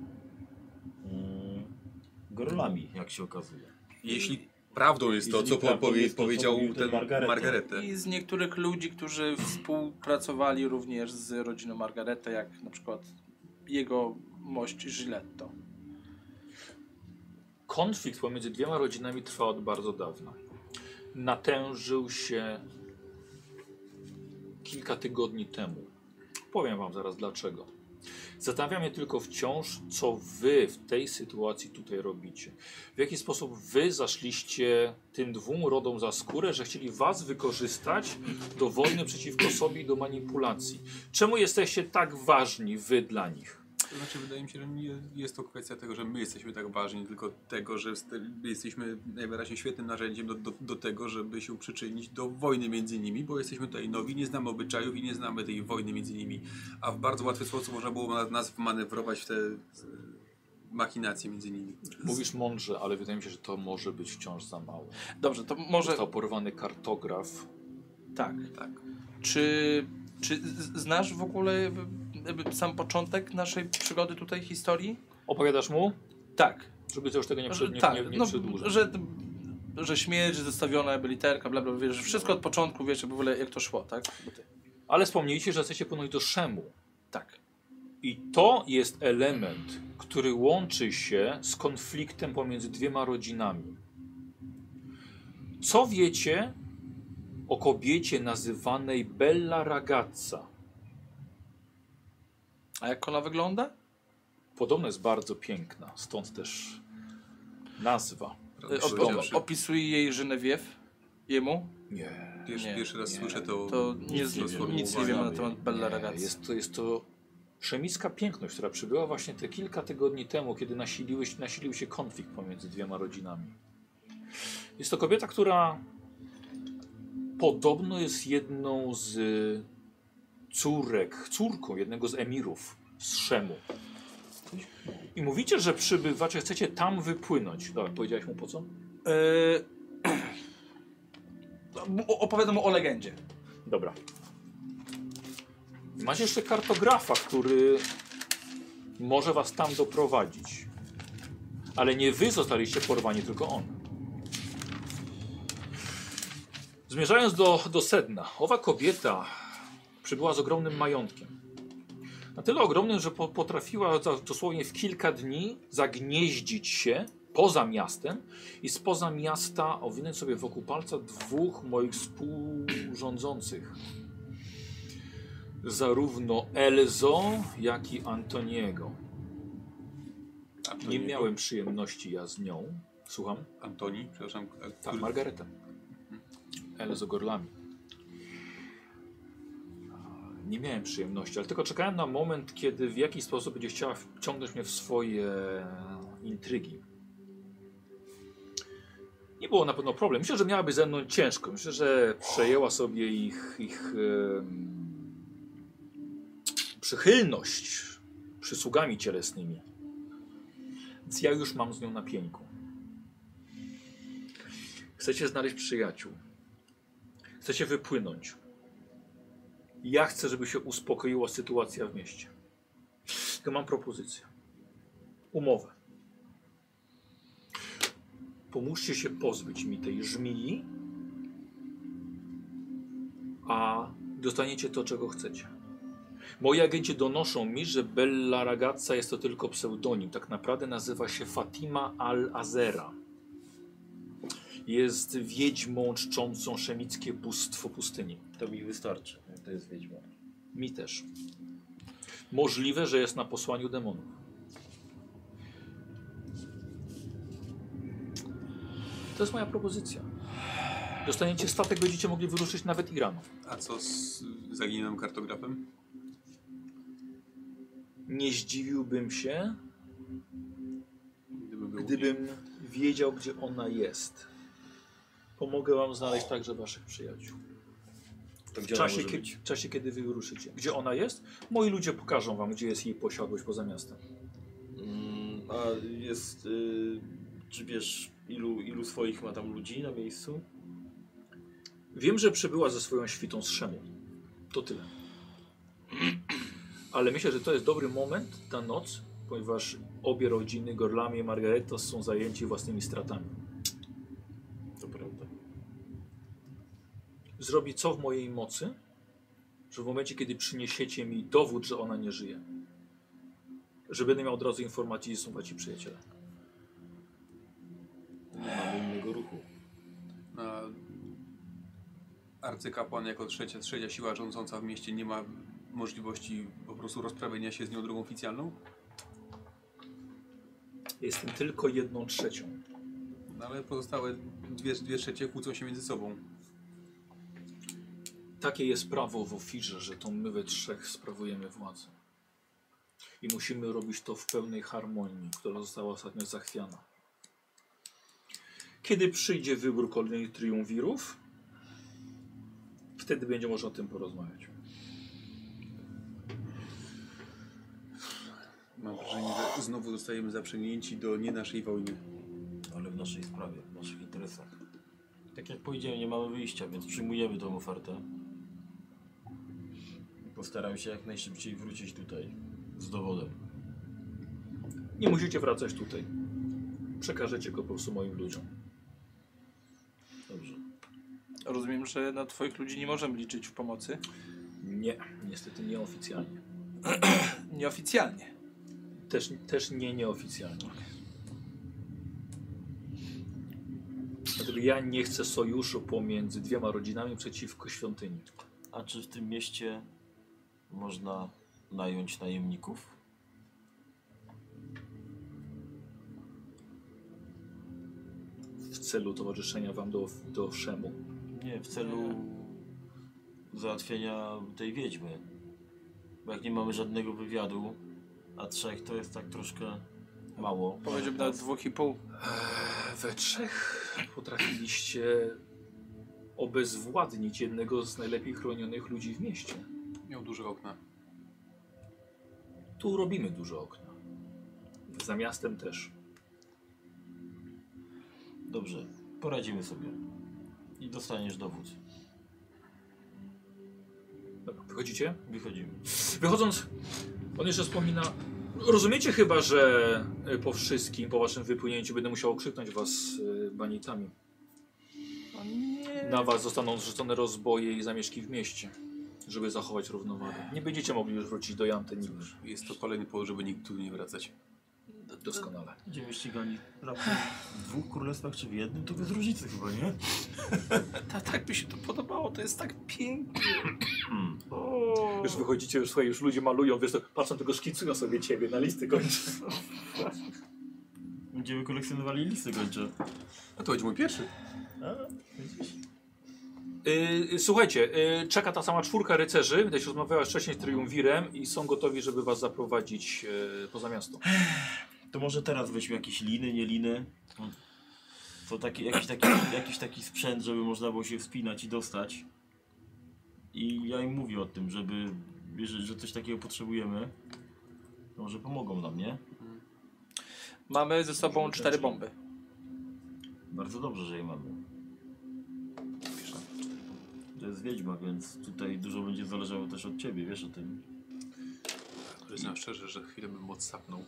S5: mm, Gorlami, jak się okazuje.
S3: Jeśli prawdą jest to,
S5: Jeśli
S3: co po,
S5: prawdą
S3: powie,
S5: jest to, co
S3: powiedział
S5: mówił ten
S3: ten
S5: Margareta.
S3: Margaretę.
S2: I z niektórych ludzi, którzy współpracowali również z rodziną Margaretę, jak na przykład jego mość Giletto.
S1: Konflikt pomiędzy dwiema rodzinami trwa od bardzo dawna. Natężył się kilka tygodni temu. Powiem wam zaraz dlaczego. Zastanawia mnie tylko wciąż, co wy w tej sytuacji tutaj robicie. W jaki sposób wy zaszliście tym dwóm rodom za skórę, że chcieli was wykorzystać do wojny przeciwko sobie i do manipulacji. Czemu jesteście tak ważni wy dla nich?
S3: To znaczy, wydaje mi się, że nie jest to kwestia tego, że my jesteśmy tak ważni, tylko tego, że st- jesteśmy najwyraźniej świetnym narzędziem do, do, do tego, żeby się przyczynić do wojny między nimi, bo jesteśmy tutaj nowi, nie znamy obyczajów i nie znamy tej wojny między nimi. A w bardzo łatwy sposób można było na- nas manewrować w te e, machinacje między nimi.
S1: Mówisz mądrze, ale wydaje mi się, że to może być wciąż za mało.
S2: Dobrze, to może
S1: Został porwany kartograf.
S2: tak.
S3: Tak.
S2: Czy, czy z- znasz w ogóle jakby, jakby sam początek naszej przygody tutaj, historii?
S1: Opowiadasz mu,
S2: Tak.
S1: żeby to już tego nie,
S2: Że,
S1: przed, nie,
S2: tak,
S1: nie, nie
S2: no,
S1: przedłużać.
S2: że, że śmierć, że zostawiona literka, bla, bla, bla, wiesz, że wszystko od początku, wiesz, jakby w ogóle jak to szło, tak?
S1: Ale wspomnieliście, że chcecie płynąć do Szemu.
S2: Tak.
S1: I to jest element, który łączy się z konfliktem pomiędzy dwiema rodzinami. Co wiecie o kobiecie nazywanej Bella Ragazza?
S2: A jak ona wygląda?
S1: Podobno jest bardzo piękna, stąd też nazwa.
S3: Prawdę
S2: Y, Op, op,
S3: powiedziawszy.
S2: opisuje jej Genewiew, jemu,
S1: Nie.
S3: Pierwszy,
S2: nie,
S3: pierwszy raz
S1: nie.
S3: słyszę to.
S2: to nie,
S5: nie
S2: z,
S5: wiemy.
S2: nic nie wiemy na
S5: Uważamy.
S2: temat Bella Ragazzi.
S1: Jest to, jest to szemicka piękność, która przybyła właśnie te kilka tygodni temu, kiedy nasiliły, się- nasilił się konflikt pomiędzy dwiema rodzinami. Jest to kobieta, która podobno jest jedną z y, córek, córką jednego z emirów z Szemu. I mówicie, że przybywacie, chcecie tam wypłynąć. Dobra, powiedziałeś mu po co?
S2: E, [CLEARS THROAT] Y, o- Opowiadam mu o legendzie.
S1: Dobra. Masz jeszcze kartografa, który może was tam doprowadzić. Ale nie wy zostaliście porwani, tylko on. Zmierzając do, do sedna, owa kobieta przybyła z ogromnym majątkiem. Na tyle ogromnym, że po, potrafiła za- dosłownie w kilka dni zagnieździć się poza miastem i spoza miasta owinąć sobie wokół palca dwóch moich współrządzących. Zarówno Elzo, jak i Antoniego. Nie
S3: Antoni-
S1: miałem przyjemności ja z nią. Słucham?
S3: Antoni, przepraszam. a
S1: Tak,
S3: który-
S1: Margareta. Ale z ogorlami. Nie miałem przyjemności, ale tylko czekałem na moment, kiedy w jakiś sposób będzie chciała wciągnąć mnie w swoje intrygi. Nie było na pewno problem. Myślę, że miałaby ze mną ciężko. Myślę, że przejęła sobie ich, ich em, przychylność przysługami cielesnymi. Więc ja już mam z nią na pieńku. Chcecie znaleźć przyjaciół. Chcecie wypłynąć. Ja chcę, żeby się uspokoiła sytuacja w mieście. Tylko mam propozycję. Umowę. Pomóżcie się pozbyć mi tej żmii, a dostaniecie to, czego chcecie. Moi agenci donoszą mi, że Bella Ragazza jest to tylko pseudonim. Tak naprawdę nazywa się Fatima Al-Azera jest wiedźmą czczącą szemickie bóstwo pustyni.
S5: To mi wystarczy. To jest wiedźma.
S1: Mi też. Możliwe, że jest na posłaniu demonów. To jest moja propozycja. Dostaniecie statek, będziecie mogli wyruszyć nawet i rano.
S3: A co z zaginionym kartografem?
S1: Nie zdziwiłbym się,
S3: Gdyby był
S1: gdybym wiedział, gdzie ona jest. Pomogę wam znaleźć także waszych przyjaciół.
S5: To
S1: W
S5: gdzie ona
S1: czasie,
S5: może
S1: kie-
S5: być?
S1: w czasie, kiedy wy wyruszycie. Gdzie ona jest? Moi ludzie pokażą wam, gdzie jest jej posiadłość poza miastem.
S5: Mm, a jest... Y, czy wiesz, ilu, ilu swoich ma tam ludzi na miejscu?
S1: Wiem, że przybyła ze swoją świtą z Szemu. To tyle. Ale myślę, że to jest dobry moment, ta noc, ponieważ obie rodziny, Gorlami i Margareta, są zajęci własnymi stratami.
S5: To prawda.
S1: Zrobi co w mojej mocy, że w momencie, kiedy przyniesiecie mi dowód, że ona nie żyje, że będę miał od razu informacje i są wasi przyjaciele.
S5: Nie mamy innego ruchu.
S3: A arcykapłan jako trzecia, trzecia siła rządząca w mieście nie ma możliwości po prostu rozprawienia się z nią drogą oficjalną?
S1: Jestem tylko jedną trzecią.
S3: No, ale pozostałe dwie, dwie trzecie kłócą się między sobą.
S1: Takie jest prawo w ofirze, że to my we trzech sprawujemy władzę. I musimy robić to w pełnej harmonii, która została ostatnio zachwiana. Kiedy przyjdzie wybór kolejnych triumvirów, wtedy będzie można o tym porozmawiać.
S3: Mam wrażenie, że znowu zostajemy zaprzęgnięci do nie naszej wojny.
S5: Ale w naszej sprawie, w naszych interesach. Tak jak powiedziałem, nie mamy wyjścia, więc przyjmujemy tą ofertę. I Postaram się jak najszybciej wrócić tutaj. Z dowodem.
S1: Nie musicie wracać tutaj. Przekażecie go po prostu moim ludziom.
S5: Dobrze.
S2: Rozumiem, że na twoich ludzi nie możemy liczyć w pomocy.
S1: Nie, niestety nieoficjalnie.
S2: Nieoficjalnie.
S1: Też, też nie nieoficjalnie. Dlatego ja nie chcę sojuszu pomiędzy dwiema rodzinami przeciwko świątyni.
S5: A czy w tym mieście można nająć najemników?
S1: w celu towarzyszenia wam do, do Szemu.
S5: Nie, w celu załatwienia tej wiedźmy. Bo jak nie mamy żadnego wywiadu, a trzech to jest tak troszkę mało.
S2: Powiedziałbym nawet dwóch i pół.
S1: We trzech potrafiliście obezwładnić jednego z najlepiej chronionych ludzi w mieście.
S3: Miał duże okna.
S1: Tu robimy dużo okna. Za miastem też.
S5: Dobrze, poradzimy sobie. I dostaniesz dowód.
S1: Dobra, wychodzicie?
S5: Wychodzimy.
S1: Wychodząc, on jeszcze wspomina. Rozumiecie chyba, że y, po wszystkim, po waszym wypłynięciu będę musiał okrzyknąć was y, banitami. Na was zostaną zrzucone rozboje i zamieszki w mieście, żeby zachować równowagę. Nie będziecie mogli już wrócić do Janty nigdy.
S3: Jest to kolejny powód, żeby nikt tu nie wracać.
S1: Doskonale.
S5: Będziemy ścigani raptem w dwóch królestwach czy w jednym, to bez różnicy chyba, nie?
S2: Ta, tak mi się to podobało, to jest tak piękne.
S7: Już wychodzicie, już, słuchaj, już ludzie malują, wiesz, to patrzą tylko szkicują sobie ciebie, na listy kończą.
S5: Będziemy kolekcjonowali listy gończe.
S3: A to będzie mój pierwszy.
S1: Y, słuchajcie, y, czeka ta sama czwórka rycerzy, gdyś rozmawiałaś wcześniej z Triumvirem i są gotowi, żeby was zaprowadzić y, poza miasto.
S5: To może teraz weźmy jakieś liny, nie liny. To taki, jakiś, taki, jakiś taki sprzęt, żeby można było się wspinać i dostać. I ja im mówię o tym, żeby, jeżeli że coś takiego potrzebujemy, to może pomogą nam, nie?
S2: Mamy ze sobą cztery bomby.
S5: Bardzo dobrze, że je mamy. To jest wiedźma, więc tutaj dużo będzie zależało też od ciebie, wiesz o tym.
S3: Przyznam szczerze, że chwilę bym moc sapnął.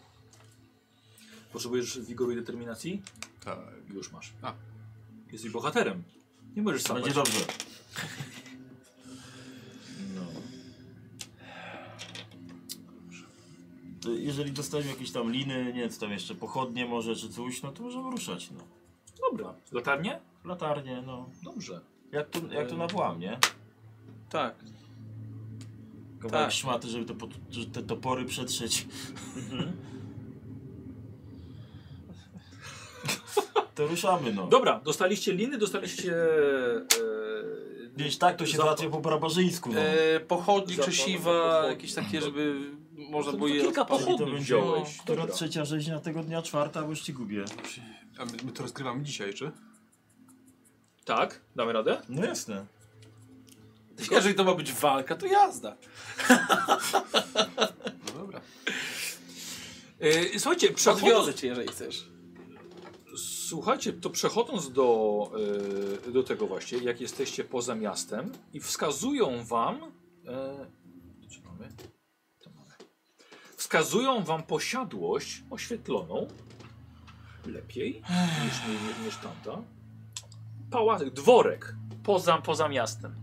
S1: Potrzebujesz wigoru i determinacji?
S3: Tak.
S1: Już masz.
S3: A.
S1: Jesteś bohaterem. Nie możesz sam.
S5: Będzie dobrze. No. To Jeżeli dostaniemy jakieś tam liny, nie wiem, co tam jeszcze, pochodnie może, czy coś, no to możemy ruszać, no.
S1: Dobra. Latarnie?
S5: Latarnie, no.
S1: Dobrze.
S5: Jak to, jak to na włam, nie?
S2: Tak.
S5: Kawałek
S2: Tak.
S5: szmaty, żeby, to, pod- żeby te topory przetrzeć. to ruszamy, no.
S1: Dobra, dostaliście liny, dostaliście. E,
S5: Wiesz, tak to się
S1: Zap-
S5: załatwia po barbarzyńsku, no.
S2: E, pochodni czy
S1: Zapalone
S2: siwa,
S1: pochodnie.
S2: jakieś takie, żeby można było
S1: to
S2: je
S1: kilka
S2: odpalić.
S5: Czyli to
S1: pochodni
S5: będzie
S1: wziąłeś.
S5: która
S1: Dobra.
S5: trzecia rzeźnia tego dnia, czwarta, bo już ci gubię.
S3: A my, my to rozkrywamy dzisiaj, czy?
S1: Tak, damy radę?
S5: No jasne.
S2: Jeżeli to ma być walka, to jazda.
S3: No dobra.
S1: E, słuchajcie, przechodząc,
S2: Odwiozę cię, jeżeli chcesz.
S1: słuchajcie, to przechodząc do, e, do tego właśnie, jak jesteście poza miastem i wskazują wam. E, gdzie mamy? To mamy. Wskazują wam posiadłość oświetloną lepiej niż, niż, niż tamta. Pałacyk, dworek poza, poza miastem.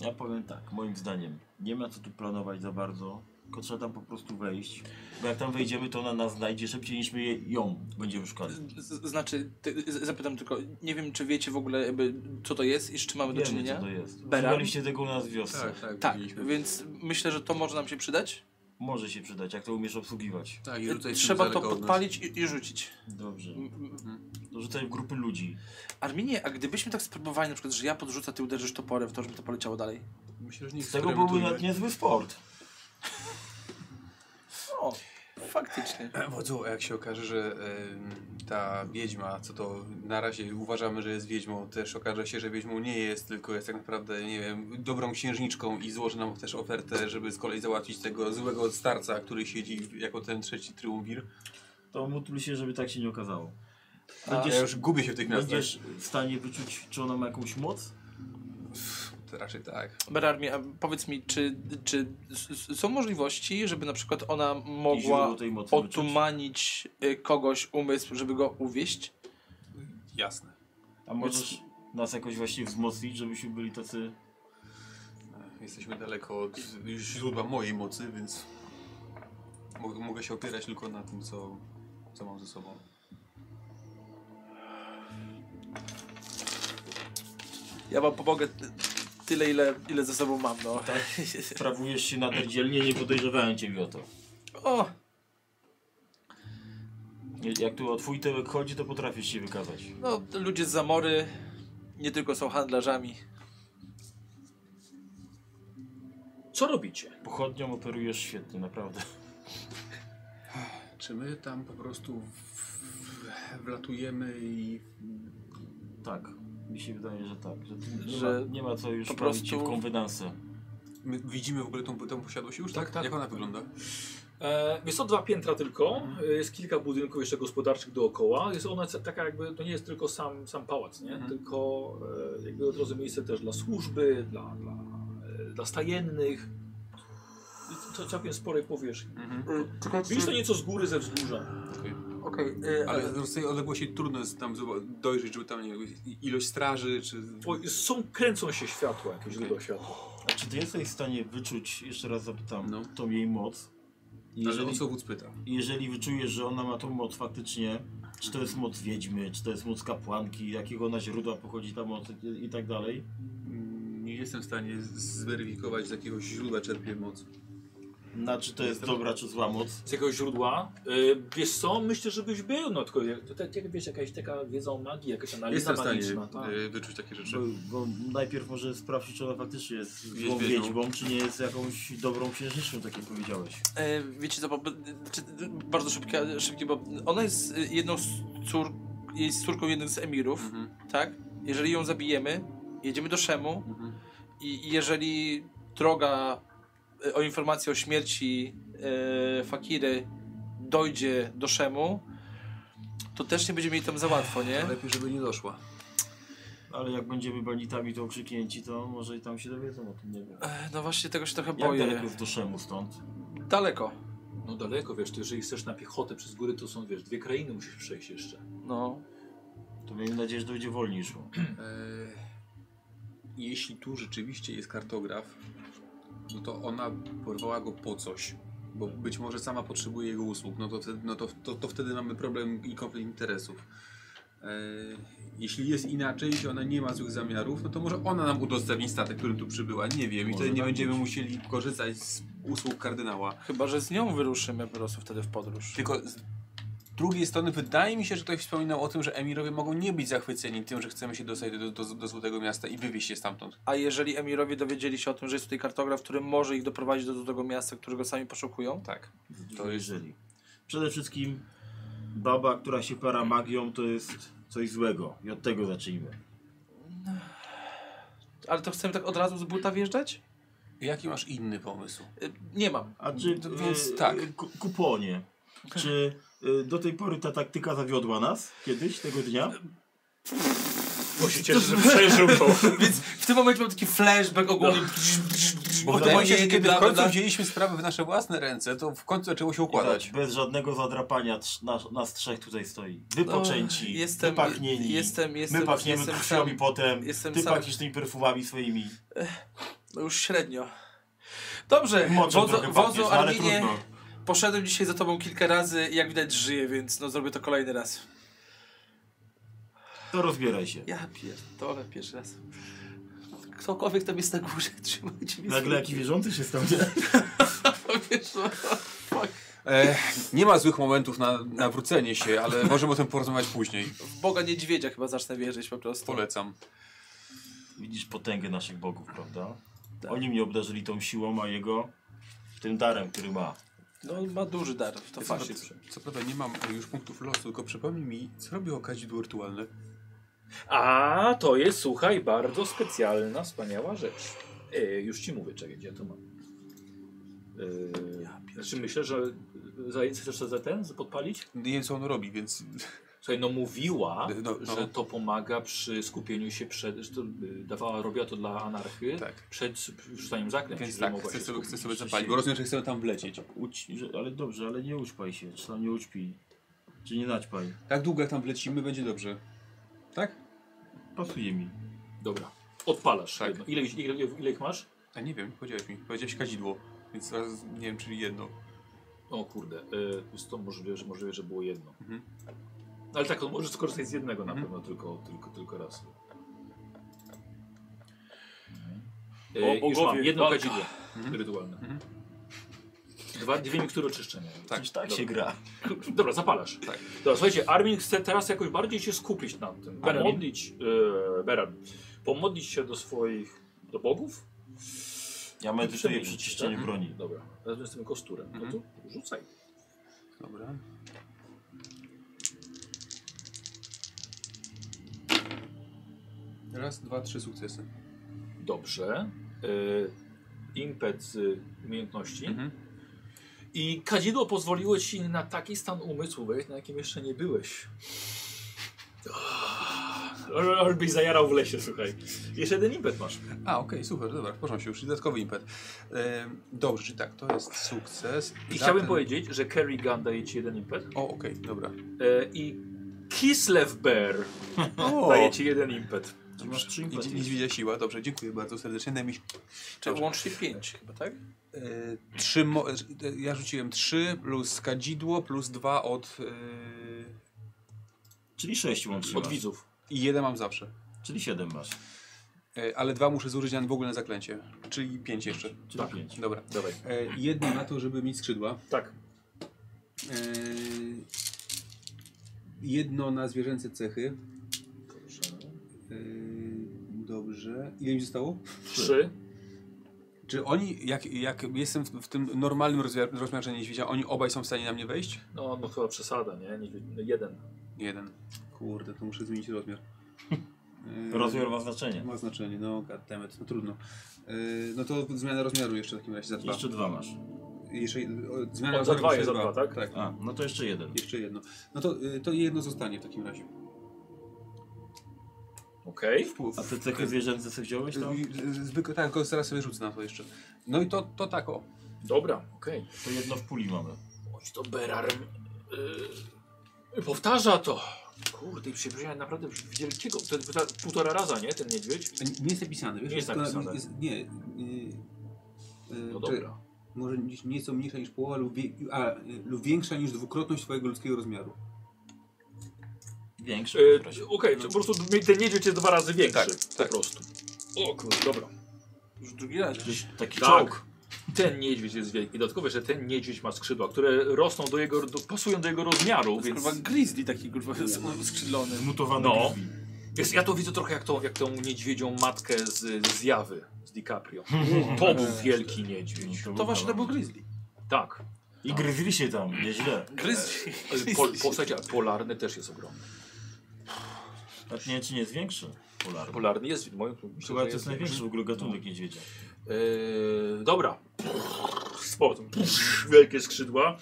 S5: Ja powiem tak, moim zdaniem nie ma co tu planować za bardzo, tylko trzeba tam po prostu wejść. Bo jak tam wejdziemy, to ona nas znajdzie szybciej niż my je- ją będziemy szukali.
S2: Z, znaczy, ty, z, zapytam tylko, nie wiem, czy wiecie w ogóle, jakby, co to jest i z czym mamy do
S5: Wiemy,
S2: czynienia.
S5: co to jest.
S2: Beran?
S5: Szukaliście tego u nas w wiosce.
S3: Tak, tak.
S2: Tak,
S3: widzieliśmy.
S2: więc myślę, że to może nam się przydać.
S5: Może się przydać, jak to umiesz obsługiwać.
S3: tak i rzucaj
S2: Y, Trzeba
S3: tym
S2: to
S3: daleko od nas.
S2: podpalić i, i rzucić.
S5: Dobrze.
S2: M- m-
S5: To rzucaj w grupy ludzi.
S2: Arminie, a gdybyśmy tak spróbowali, na przykład, że ja podrzucę, ty uderzysz toporem w to, żeby to poleciało dalej.
S3: Myślę, że nie
S5: Z tego byłby nawet niezły sport.
S2: O, faktycznie.
S3: Wodzu, a jak się okaże, że em, ta wiedźma, co to na razie uważamy, że jest wiedźmą, też okaże się, że wiedźmą nie jest, tylko jest tak naprawdę, nie wiem, dobrą księżniczką i złoży nam też ofertę, żeby z kolei załatwić tego złego starca, który siedzi jako ten trzeci triumvir.
S5: To módl się, żeby tak się nie okazało.
S3: A ja już gubię się w tych nazwach.
S5: Będziesz w stanie wyczuć, czy ona ma jakąś moc?
S3: Raczej tak.
S2: Berarmi, a powiedz mi, czy, czy s- s- są możliwości, żeby na przykład ona
S5: I źródło
S2: mogła
S5: tej mocy wyczuć?
S2: otumanić y, kogoś umysł, żeby go uwieść?
S3: Jasne.
S5: A możesz nas jakoś właśnie wzmocnić, żebyśmy byli tacy...
S3: Jesteśmy daleko od źródła mojej mocy, więc mo- mogę się opierać tylko na tym, co, co mam ze sobą.
S2: Ja wam pomogę ty- tyle, ile, ile ze sobą mam, no.
S5: Tak. Sprawujesz się nader dzielnie, nie podejrzewałem ciebie o to.
S2: O,
S5: Nie- Jak tu o twój tyłek chodzi, to potrafisz się wykazać.
S2: no, ludzie z Zamory nie tylko są handlarzami.
S1: Co robicie?
S5: Pochodnią operujesz świetnie, naprawdę.
S3: Czy my tam po prostu wlatujemy i...
S5: Tak. Mi się wydaje, że tak. Że, tu nie,
S2: Że
S5: ma, nie ma co już
S2: po
S5: po
S2: prostu-
S5: prostu... się w konwedansę.
S3: My widzimy w ogóle tą, tą posiadłość już, tak? Jak ona wygląda?
S1: E, Jest to dwa piętra tylko,
S3: Mhm.
S1: e, jest kilka budynków jeszcze gospodarczych dookoła. Jest ona ca- taka jakby, to nie jest tylko
S3: Mhm.
S1: sam, sam pałac, nie? tylko e, jakby od razu miejsce też dla służby, dla, dla e, dla stajennych. To całkiem sporej powierzchni.
S3: Mhm.
S1: Widzisz
S7: Widzisz
S1: to nieco z góry ze wzgórza.
S4: Okej, y, ale...
S3: Ale z tej odległości trudno jest tam zoba- dojrzeć, żeby tam nie wiem, ilość straży, czy...
S1: Oj, są, kręcą się światła, jakieś źródła światła.
S5: A czy ty jesteś w stanie wyczuć, jeszcze raz zapytam,
S3: No.
S5: tą jej moc?
S3: Jeżeli...
S5: Jeżeli,
S3: o co wódz pyta.
S5: jeżeli wyczujesz, że ona ma tą moc faktycznie, czy to jest moc wiedźmy, czy to jest moc kapłanki, jakiego ona źródła pochodzi ta moc i, i tak dalej.
S3: Mm, Nie jestem w stanie z- zweryfikować, z jakiego źródła czerpie moc.
S5: Na czy to jest dobra, czy zła moc.
S1: Z jakiegoś źródła. E, wiesz co, myślę, żebyś był, no tylko jak- to tak jak wiesz, jakaś taka wiedza o magii, jakaś analiza
S3: Jestem w stanie
S1: magiczna. tak.
S3: y, wyczuć takie rzeczy.
S5: Bo, bo najpierw może sprawdzić, czy ona faktycznie jest
S3: Wiedźmią.
S5: złą wiedźmą, czy nie jest jakąś dobrą księżniczką, tak jak powiedziałeś.
S2: E, wiecie co, bo, b- czy, bardzo szybki, szybki, bo ona jest y, jedną z cór, jest córką jednym z emirów,
S3: Mhm.
S2: tak? Jeżeli ją zabijemy, jedziemy do Szemu
S3: Mhm.
S2: i, i jeżeli droga y, o informację o śmierci e, Fakiry dojdzie do Szemu, to też nie będziemy jej tam za łatwo, nie?
S3: Lepiej, żeby nie doszła.
S5: Ale jak będziemy banditami to okrzyknięci, to może i tam się dowiedzą o tym, nie wiem.
S2: E, No właśnie, tego się trochę
S5: Jak
S2: boję.
S5: daleko jest do Szemu stąd?
S2: Daleko.
S1: No daleko, wiesz, ty jeżeli chcesz na piechotę przez góry, to są, wiesz, dwie krainy musisz przejść jeszcze.
S2: No.
S5: To miejmy nadzieję, że dojdzie wolniej szło.
S3: E, jeśli tu rzeczywiście jest kartograf, no to ona porwała go po coś. Bo być może sama potrzebuje jego usług. No to wtedy, no to, to, to wtedy mamy problem i konflikt interesów. E, jeśli jest inaczej, jeśli ona nie ma złych zamiarów, no to może ona nam udostępni statek, którym tu przybyła. Nie wiem. I
S5: Może
S3: wtedy nie
S5: tak
S3: będziemy
S5: być.
S3: musieli korzystać z usług kardynała.
S2: Chyba, że z nią wyruszymy po prostu wtedy w podróż.
S3: Tylko z drugiej strony wydaje mi się, że ktoś wspominał o tym, że emirowie mogą nie być zachwyceni tym, że chcemy się dostać do, do, do Złotego Miasta i wywieźć się stamtąd.
S2: A jeżeli emirowie dowiedzieli się o tym, że jest tutaj kartograf, który może ich doprowadzić do tego miasta, którego sami poszukują?
S3: Tak.
S5: To jeżeli. Przede wszystkim baba, która się para magią, to jest coś złego. I od tego zacznijmy.
S2: Ale to chcemy tak od razu z buta wjeżdżać?
S3: Jaki masz inny pomysł?
S2: Y, Nie mam.
S5: A czy
S3: To więc
S5: y,
S3: tak.
S5: y, ku- kuponie? Czy y, do tej pory ta taktyka zawiodła nas kiedyś tego dnia?
S6: Bo się cieszę, że przeżył to.
S2: Więc w tym momencie mam taki flashback ogólny.
S3: No. Bo
S2: O,
S3: wydaje
S2: to
S3: mi się, że
S2: jedzie
S3: kiedy
S2: bla,
S3: w końcu
S2: bla, bla.
S3: wzięliśmy sprawę w nasze własne ręce, to w końcu zaczęło się
S5: I tak,
S3: układać.
S5: bez żadnego zadrapania trz, nas, nas trzech tutaj stoi. Wypoczęci,
S2: No, jestem-
S5: wypachnieni.
S2: jestem- jestem-
S5: My pachniemy
S2: jestem
S5: krwią
S2: sam.
S5: i potem.
S2: Jestem
S5: ty
S2: sam.
S5: pachniesz tymi
S2: [CLEARS THROAT]
S5: perfumami swoimi.
S2: No już średnio. Dobrze,
S5: Moczą
S2: wodzo,
S5: trochę pachniesz,
S2: wodzo
S5: no, ale
S2: Arminie,
S5: trudno.
S2: poszedłem dzisiaj za tobą kilka razy i jak widać żyję, więc no zrobię to kolejny raz.
S5: To rozbieraj się.
S2: Ja pierdolę pierwszy raz. Ktokolwiek tam jest na górze, [LAUGHS] trzymajcie mnie. za
S5: Nagle jaki wierzący się stał.
S2: rękę, wiesz, no.
S3: E, nie ma złych momentów na nawrócenie się, ale możemy o tym porozmawiać później.
S2: W Boga niedźwiedzia chyba zacznę wierzyć po prostu.
S3: Polecam.
S5: [LAUGHS] Widzisz potęgę naszych bogów, prawda?
S2: Tak.
S5: Oni mnie obdarzyli tą siłą, a jego tym darem, który ma.
S2: No on ma duży dar, to fakt.
S3: Co prawda nie mam już punktów losu, tylko przypomnij mi, co robiło kadzidło rytualne?
S1: A to jest, słuchaj, bardzo specjalna, wspaniała rzecz. E, już ci mówię, czekaj, gdzie ja to mam. E, znaczy myślę, że zajęcie chcesz to za ten podpalić?
S3: Nie wiem, co on robi, więc...
S1: Słuchaj, no mówiła,
S3: No, no.
S1: że to pomaga przy skupieniu się przed, że to, y, dawała, robiła to dla anarchy,
S3: Tak.
S1: przed rzucaniem zaklęć.
S3: Więc
S1: żeby
S3: tak,
S1: mogła
S3: chcę
S1: się
S3: sobie, chcę
S1: skupić.
S3: sobie zapalić, bo rozumiem, że chcemy tam wlecieć.
S5: Uć, że, ale dobrze, ale nie ućpaj się, czy tam nie ućpij. Czy nie naćpaj.
S3: Tak długo jak tam wlecimy, będzie dobrze. Tak?
S5: Pasuje mi.
S1: Dobra, odpalasz
S3: Tak.
S1: jedno. Ile, ile, ile ich masz?
S3: A nie wiem, nie powiedziałeś mi. Powiedziałeś kadzidło, więc teraz nie wiem, czyli jedno.
S1: O kurde, e, jest to możliwe, że możliwe, że było jedno.
S3: Mhm.
S1: Ale tak, on może skorzystać z jednego na
S3: Mhm.
S1: pewno tylko, tylko, tylko raz.
S6: O,
S1: E, już mam
S6: bogowie,
S1: jedno
S6: walka.
S1: kadzidło rytualne.
S3: Mhm.
S1: Dwa, dwie mikstury oczyszczenia.
S3: Tak,
S5: Przecież tak
S1: dobra.
S5: się gra.
S1: [LAUGHS] Dobra, zapalasz.
S3: Tak.
S1: Dobra, słuchajcie, Armin chce teraz jakoś bardziej się skupić na tym.
S5: Beramin.
S1: Pomodlić, e, Beran, pomodlić się do swoich, do bogów?
S5: Ja medytuję
S1: Przemienić,
S5: przy czyszczeniu
S1: tak?
S5: broni.
S1: Dobra, razem z tym kosturem. No
S3: Mhm.
S1: to rzucaj.
S3: Dobra. Raz, dwa, trzy sukcesy.
S1: Dobrze. E, impet z umiejętności.
S3: Mhm.
S1: I kadzidło pozwoliło ci na taki stan umysłu, weź, na jakim jeszcze nie byłeś.
S6: Ah, Or byś zajarał w lesie, słuchaj. Tak. Jeszcze jeden impet masz.
S3: A, okej, super, dobra, proszę się, już dodatkowy impet. E, dobrze, czyli tak, to jest sukces.
S1: I chciałbym
S3: Zatem-
S1: powiedzieć, że Kerrigan daje ci jeden impet
S3: O, okej, dobra.
S1: e, i Kislev
S6: [LAUGHS]
S1: Bear
S3: O,
S1: daje ci jeden impet.
S5: To masz trzy impety.
S3: Idzie- Niedźwiedzia siła, dobrze, dziękuję bardzo serdecznie. Najmniej...
S2: Czy łącznie 5 chyba, tak?
S3: E, trzy mo... e, Ja rzuciłem trzy plus kadzidło, plus dwa od... e,
S5: Czyli sześć łącznie
S1: Od
S5: masz.
S1: widzów.
S3: I jeden mam zawsze.
S5: Czyli siedem masz.
S3: E, ale dwa muszę zużyć na w ogóle na zaklęcie. Czyli pięć jeszcze.
S5: Czyli pięć.
S3: Dobra.
S1: Dawaj.
S3: E, jedno na to, żeby mieć skrzydła.
S6: Tak.
S3: E, jedno na zwierzęce cechy. E, dobrze. Ile mi zostało?
S1: Trzy.
S3: Czy oni, jak, jak jestem w, w tym normalnym rozmiar, rozmiarze niedźwiedzia, oni obaj są w stanie na mnie wejść?
S1: No, no chyba przesada, nie? Niedźwiedź- Jeden.
S3: Jeden. Kurde, to muszę zmienić rozmiar. E,
S5: Rozmiar ma znaczenie.
S3: Ma znaczenie, no goddammit, no trudno. E, no to zmiana rozmiaru jeszcze w takim razie za dwa.
S5: Jeszcze dwa masz.
S3: Jeszcze, o, zmiana
S1: O, za
S3: rozmiaru
S1: dwa
S3: jeszcze
S1: jest, za dwa, tak?
S3: tak?
S5: A, no to jeszcze jeden.
S3: Jeszcze jedno. No to, y, to jedno zostanie w takim razie.
S1: Okej.
S3: Wpływ.
S5: A te cechy zwierzęce sobie wziąłeś tam?
S3: Zwykle tak, tylko zaraz sobie rzucę na to jeszcze. No i to, to tak o.
S1: Dobra, okej.
S5: To jedno w puli mamy.
S1: Chodź to Berarm. Yy, powtarza to. Kurde, i się wziąłem naprawdę wielkiego. To jest ta- półtora raza, nie? Ten niedźwiedź.
S3: A Nie nie jest napisane, wiesz?
S1: Nie jest
S3: Tylko
S1: napisane.
S3: jest- nie. y, y,
S1: No
S3: czekaj,
S1: dobra.
S3: Może gdzieś nie są mniejsza niż połowa lub, wie, a, y, lub większa niż dwukrotność twojego ludzkiego rozmiaru.
S5: Większy.
S1: Yy,
S5: w razie.
S1: Okej, to po prostu ten niedźwiedź jest dwa razy większy.
S3: Tak,
S1: Po prostu. O kurde, dobra.
S2: Już drugi raz.
S5: Gdzieś taki
S1: Tak.
S5: czołg.
S1: Ten niedźwiedź jest wielki. Dodatkowo, że ten niedźwiedź ma skrzydła, które rosną do jego, do, pasują do jego rozmiaru,
S2: Więc...
S1: więc...
S2: Kurwa grizzly taki kurwa [LAUGHS] skrzydlony.
S5: Zmutowany
S1: No.
S5: krwi.
S1: Jest, ja to widzę trochę jak tą, jak tą niedźwiedzią matkę z z zjawy, z DiCaprio. To był wielki
S5: No,
S1: niedźwiedź.
S2: To właśnie to był
S5: kawał.
S2: grizzly.
S1: Tak.
S5: I gryzli się tam, nieźle.
S2: Grizzly.
S1: Ale Po, po, słuchajcie, a polarny też jest ogromny.
S5: A nie wiem, czy nie jest większy. Polarny.
S1: Polarny jest, moim myślę,
S5: Chyba
S1: że
S5: to jest największy w ogóle gatunek niedźwiedzia.
S1: Eee, dobra. Sport. [LAUGHS] Wielkie skrzydła.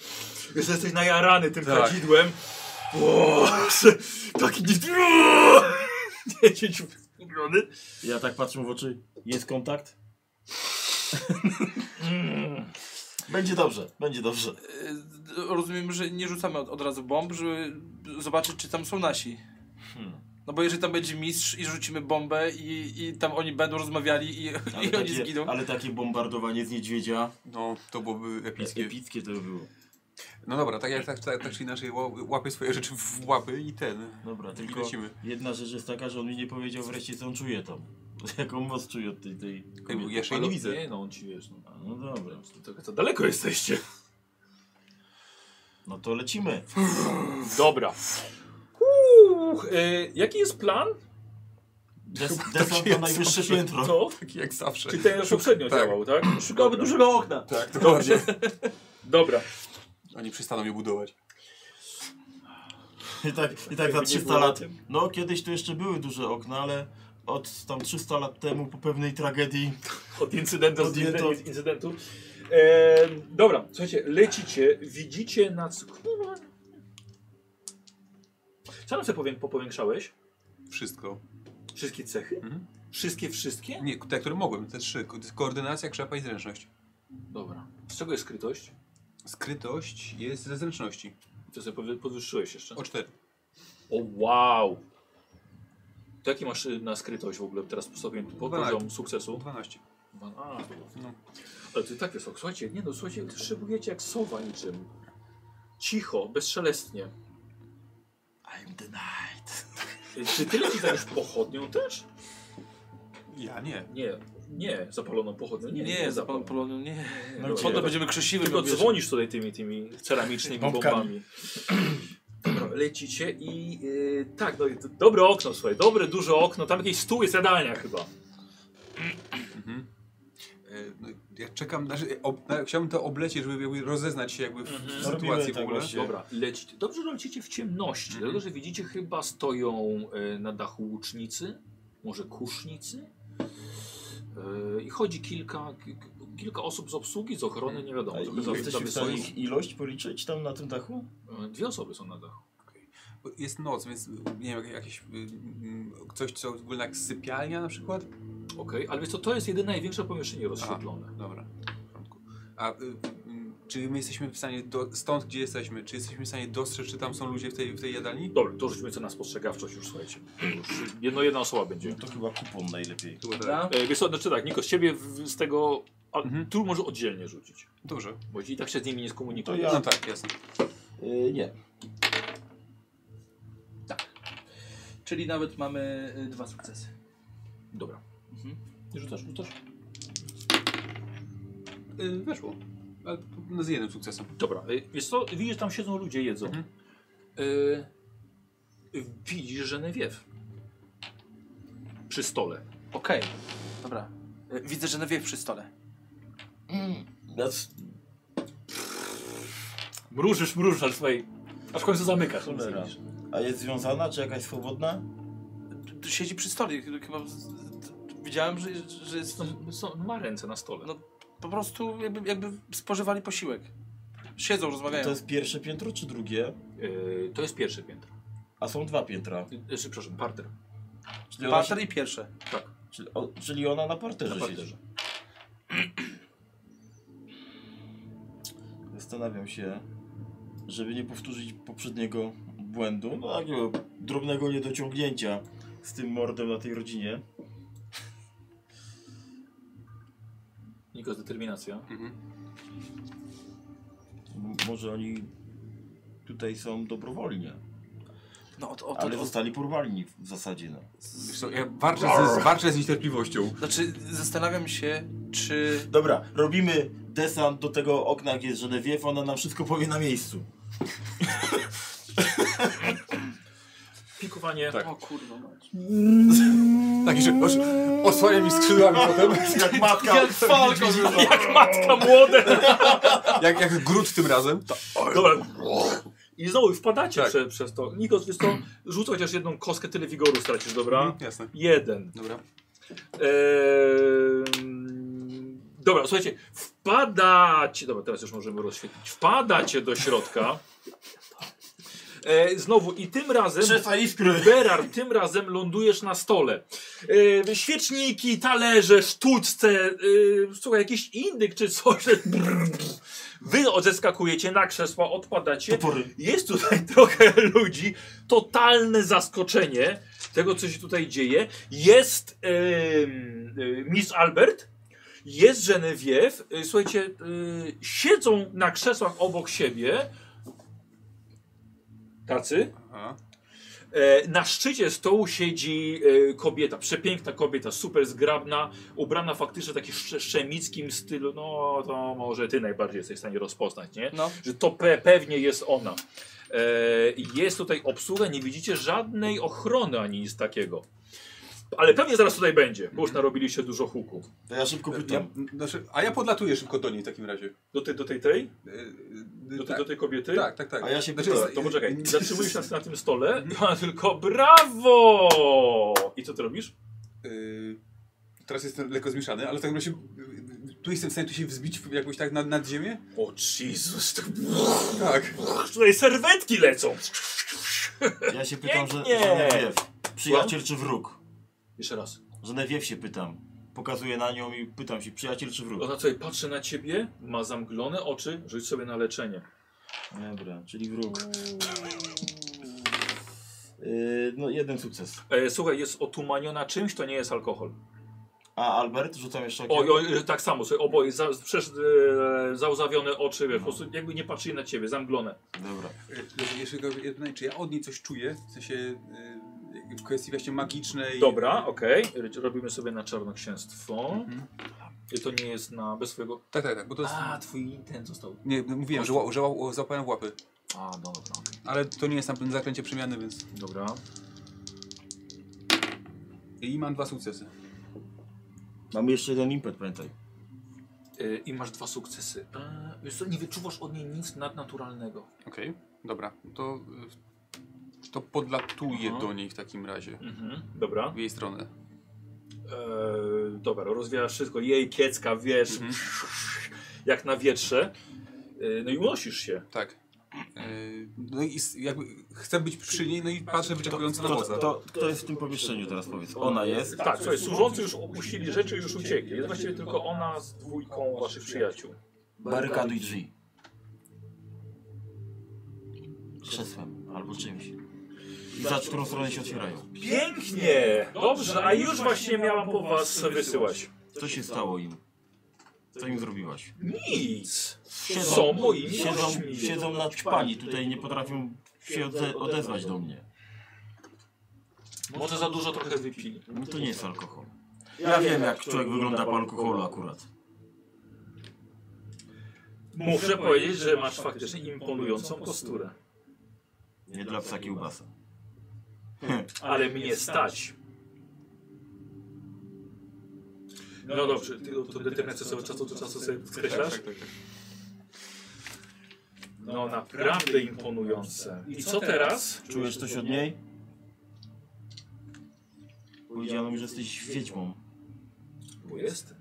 S1: Jest- Jesteś najarany tym
S3: Tak.
S1: kadzidłem. O, taki niedźwiedź upiony.
S5: Ja tak patrzę w oczy. Jest kontakt? [LAUGHS] będzie dobrze, będzie dobrze.
S2: Y, Rozumiem, że nie rzucamy od, od razu bomb, żeby zobaczyć, czy tam są nasi. No bo jeżeli tam będzie mistrz i rzucimy bombę i, i tam oni będą rozmawiali i,
S5: Ale,
S2: i oni
S5: takie,
S2: zginą.
S5: ale takie bombardowanie z niedźwiedzia.
S3: No, to byłoby epickie.
S5: Epickie to by było.
S3: No dobra, tak, jak, tak, tak, tak czy inaczej ła- łapię swoje rzeczy w łapy i ten.
S5: Dobra,
S3: I
S5: tylko
S3: lecimy.
S5: jedna rzecz jest taka, że on mi nie powiedział wreszcie co on czuje tam. [LAUGHS] Jaką moc czuje od tej, tej
S3: Jakby
S5: kobiety.
S3: Jeszcze jej nie widzę.
S1: Nie no, on ci wiesz. No.
S5: A, No dobra.
S1: To, to daleko jesteście.
S5: No to [LAUGHS] lecimy.
S1: Dobra. Uch, y, jaki jest plan?
S5: Des, desant na [LAUGHS] najwyższe piętro.
S1: No,
S3: Taki jak zawsze.
S1: czyli ten już poprzednio
S3: Tak.
S1: działał, tak?
S14: Szukałby dużego okna.
S3: Tak, to
S1: Dobrze.
S3: dobrze.
S1: Dobra.
S3: [LAUGHS] Oni przestaną je budować.
S5: I tak, I tak za 300 lat. No kiedyś to jeszcze były duże okna, ale od tam 300 lat temu po pewnej tragedii
S1: Od incydentu
S5: Od
S1: do incydentu.
S5: incydentu.
S1: incydentu. Em, dobra, słuchajcie, lecicie, widzicie na co... kurwa. Co nam sobie powię- popowiększałeś?
S3: Wszystko.
S1: Wszystkie cechy?
S3: Mhm.
S1: Wszystkie, wszystkie?
S3: Nie, te, które mogłem, te trzy. Ko- Koordynacja, krzepa i zręczność.
S1: Dobra. Z czego jest skrytość?
S3: Skrytość jest ze zręczności.
S1: To sobie powy- podwyższyłeś jeszcze.
S3: O cztery.
S1: O wow! To jaki masz y, na skrytość w ogóle teraz po sobie po-
S3: Dwa.
S1: poziom sukcesu?
S3: 12.
S1: A,
S3: No.
S1: Ale ty tak wysoko, słuchajcie, nie no, słuchajcie, wy szybujecie jak sowa niczym. Cicho, bezszelestnie.
S5: I'm the night.
S1: Y, Czy ty lecisz tam już pochodnią też?
S3: Ja nie.
S1: Nie, nie, zapaloną pochodnią, nie.
S2: Nie, nie za
S1: zapaloną.
S2: Polonią nie.
S1: Nie,
S5: No
S1: dobra.
S2: Po to będziemy krzesiły.
S1: Tylko
S2: robić.
S1: dzwonisz tutaj tymi, tymi ceramicznymi
S5: Bombkami.
S1: bombami. Dobra, lecicie i y, tak, no, i d- dobre okno, słuchaj, dobre, duże okno, tam jakiś stół jest jadalnia chyba.
S3: Mhm. E, No, ja czekam, znaczy, ob, na, chciałbym to oblecieć, żeby jakby rozeznać się jakby w
S1: Mhm.
S3: sytuacji
S5: Robimy
S3: w
S5: tak
S3: ogóle.
S5: właśnie.
S1: Dobra, lecicie. Dobrze, że lecicie w ciemności,
S3: Mhm.
S1: dlatego że widzicie chyba stoją y, na dachu łucznicy, może kusznicy. Y, I chodzi kilka, ki- kilka osób z obsługi, z ochrony, nie wiadomo.
S5: Mhm. A
S1: trochę
S5: i
S1: za- za
S5: jesteśmy w
S1: wysoko. E,
S5: stanie ich ilość policzyć tam na tym dachu?
S1: Y, Dwie osoby są na dachu.
S3: Jest noc, więc y, nie wiem, jak- jakieś y, mm, coś, co wygląda jak sypialnia na przykład?
S1: Okej, ale wiesz co, to jest jedyne największe pomieszczenie rozświetlone.
S3: Dobra. w porządku. A y, y, y, czy my jesteśmy w stanie, do, stąd gdzie jesteśmy, czy jesteśmy w stanie dostrzec, czy tam są ludzie w tej, w tej jadalni?
S1: Dobra, to rzućmy co na spostrzegawczość już, słuchajcie. Już jedno, jedna osoba będzie.
S5: To chyba kupon najlepiej.
S3: Chyba tak.
S14: Dobra?
S1: E, wiesz co, znaczy tak, Niko, z ciebie w, z tego... A,
S3: Mhm.
S1: Tu może oddzielnie rzucić,
S3: Dobrze.
S1: bo i tak się z nimi nie
S5: To
S1: skomunikujesz.
S5: ja.
S3: No tak, jasne.
S5: Y, nie.
S2: Czyli nawet mamy y, dwa sukcesy.
S1: Dobra.
S2: Mhm.
S1: Rzucasz, rzucasz.
S3: Y, weszło. Ale p- no z jednym sukcesem.
S1: Dobra, y, wiesz co, widzisz, tam siedzą ludzie, jedzą.
S3: Mhm.
S1: Y, widzisz, że Newiew. Przy stole.
S2: Okej, dobra. Y, Widzę, że na wiek przy stole.
S5: That's...
S1: Mrużysz, mrużasz swojej, a w końcu zamykasz. nic nie
S5: Cholera.
S1: widzisz.
S5: A jest związana, czy jakaś swobodna?
S2: Tu Siedzi przy stole, chyba z- z- widziałem, że, że jest
S1: Są, są, ma ręce na stole.
S2: No. po prostu jakby, jakby spożywali posiłek. Siedzą, rozmawiają.
S5: To jest pierwsze piętro, czy drugie?
S1: Y, to jest pierwsze piętro.
S5: A są dwa piętra.
S1: Y, Znaczy, przepraszam, parter.
S5: Czyli ona, się,
S2: Parter i pierwsze.
S5: czyli, o, czyli ona na parterze,
S1: Na parterze.
S5: siedzi. [CLEARS THROAT] Zastanawiam się, żeby nie powtórzyć poprzedniego błędu, no takiego drobnego niedociągnięcia z tym mordem na tej rodzinie.
S1: Niko, determinacja.
S3: Mm.
S5: M- może oni tutaj są dobrowolnie,
S2: No, o, o, to,
S5: ale
S2: o,
S5: zostali porwani w w zasadzie. No.
S3: Wiesz co, ja walczę z, walczę z niecierpliwością.
S2: znaczy, zastanawiam się, czy.
S5: Dobra, robimy desant do tego okna, gdzie jest Genevieve, ona nam wszystko powie na miejscu.
S1: Pikowanie.
S3: Tak.
S2: O kurwa, mać.
S3: Taki, że os, osłania mi skrzydłami potem,
S5: [LAUGHS] Jak matka,
S2: Jak Falcon.
S1: Jak matka młode!
S3: jak, jak grud tym razem.
S1: Dobra. I znowu wpadacie
S3: Tak.
S1: prze, przez to. Niko, wiesz co, rzuć chociaż jedną kostkę, tyle wigoru stracisz, dobra?
S3: Jasne.
S1: Jeden.
S3: Dobra.
S1: Ehm, dobra, słuchajcie, wpadacie. Dobra, teraz już możemy rozświetlić. Wpadacie do środka. E, znowu i tym razem.
S5: Trzefa iskry.
S1: Berar, tym razem lądujesz na stole. E, świeczniki, talerze, sztuczce, e, słuchaj, jakiś indyk czy coś. Wy odeskakujecie na krzesła, odpadacie.
S5: Topory.
S1: Jest tutaj [LAUGHS] trochę ludzi, totalne zaskoczenie tego, co się tutaj dzieje. Jest em, y, Miss Albert, jest Genevieve. Y, Słuchajcie, y, siedzą na krzesłach obok siebie. Tacy.
S3: Aha.
S1: E, Na szczycie stołu siedzi e, kobieta, przepiękna kobieta, super zgrabna, ubrana faktycznie w takim sze- szemickim stylu. No to może ty najbardziej jesteś w stanie rozpoznać, nie?
S2: No.
S1: że to pe pewnie jest ona. E, jest tutaj obsługa, nie widzicie żadnej ochrony ani nic takiego. Ale pewnie zaraz tutaj będzie, bo już narobiliście dużo huku.
S5: To ja szybko
S3: Ja,
S5: pytam.
S3: znaczy, a ja podlatuję szybko do niej w takim razie.
S1: Do, tej do tej tej?
S3: Y, y,
S1: Do, tej
S3: tak.
S1: do tej kobiety?
S3: tak, tak, tak.
S5: A ja się
S3: Znaczy,
S5: pytam,
S3: jest-
S1: To [LAUGHS]
S3: [LAUGHS]
S1: poczekaj, zatrzymujesz się na, na tym stole, no, a tylko brawo! I co ty robisz?
S3: Y, Teraz jestem lekko zmieszany, ale w takim razie y, y, tu jestem w stanie tu się wzbić w- jakoś tak nad, nad ziemię?
S1: O Jezus, to...
S3: Tak.
S1: tutaj serwetki lecą!
S5: Ja się pytam, że
S1: Pięknie.
S5: Genevieve. Przyjaciel czy wróg?
S1: Jeszcze raz.
S5: Genevieve się pytam. Pokazuję na nią i pytam się, przyjaciel czy wróg?
S1: Ona tutaj patrzy na ciebie, ma zamglone oczy, rzuć sobie na leczenie.
S5: Dobra, czyli wróg. Yy, no, jeden sukces.
S1: E, słuchaj, jest otumaniona czymś, to nie jest alkohol.
S5: A Albert, rzucam jeszcze okiem.
S1: Oj, oj, tak samo, sobie oboje, za, przecież, e, załzawione oczy, wiesz, po prostu jakby nie patrzyli na ciebie, zamglone.
S5: Dobra.
S3: Y, Jeszcze tylko jedno pytanie, czy ja od niej coś czuję? W sensie y, w kwestii właśnie magicznej.
S1: Dobra, okej, robimy sobie na czarnoksięstwo.
S3: Mhm.
S1: I To nie jest na, bez swojego...
S3: Tak, tak, tak, bo to jest...
S1: A, twój ten został.
S3: Nie, no, mówiłem, że, ła- że ła- złapałem w łapy.
S1: A, no dobra, okej.
S3: Ale to nie jest na pewno zaklęcie przemiany, więc...
S1: Dobra.
S3: I mam dwa sukcesy.
S5: Mamy jeszcze jeden impet, pamiętaj.
S1: E, I masz dwa sukcesy. E, wiesz co, nie wyczuwasz od niej nic nadnaturalnego.
S3: Okej, dobra. To, y, to podlatuję
S1: Aha.
S3: do niej w takim razie.
S1: Mhm, dobra.
S3: W jej stronę.
S1: E, dobra, rozwijasz wszystko, jej kiecka, wiesz, jak na wietrze. E, no i unosisz się.
S3: Tak. Y, No i s- jakby chcę być przy niej, no i patrzę wyczekująco na
S5: Kto,
S3: woza.
S5: kto, kto jest w tym pomieszczeniu teraz, powiedz? Ona jest?
S1: Tak, słuchaj, służący już opuścili rzeczy i już uciekli. Jest właściwie tylko ona z dwójką waszych przyjaciół.
S5: Barykady i drzwi. Krzesłem albo czymś. I za którą stronę się otwierają.
S1: Pięknie! Dobrze, a już właśnie miałam po was wysyłać.
S5: Co się stało im? Co im zrobiłaś?
S1: Nic!
S5: Siedzą,
S1: Są moimi
S5: siedzą,
S1: gośćmi.
S5: siedzą naćpani, tutaj nie potrafią się odze odezwać do mnie.
S1: Może za dużo trochę wypili.
S5: No to nie jest alkohol. Ja wiem jak człowiek wygląda po alkoholu akurat.
S1: Muszę powiedzieć, że masz faktycznie imponującą posturę.
S5: Nie dla psa kiełbasa.
S1: Ale mnie stać. No dobrze, ty to determinację sobie od czasu do czasu sobie
S3: Tak,
S1: podkreślasz. No naprawdę imponujące. I co teraz?
S5: Czujesz coś od niej? Powiedziano mi, że jesteś wiedźmą.
S1: Bo jestem.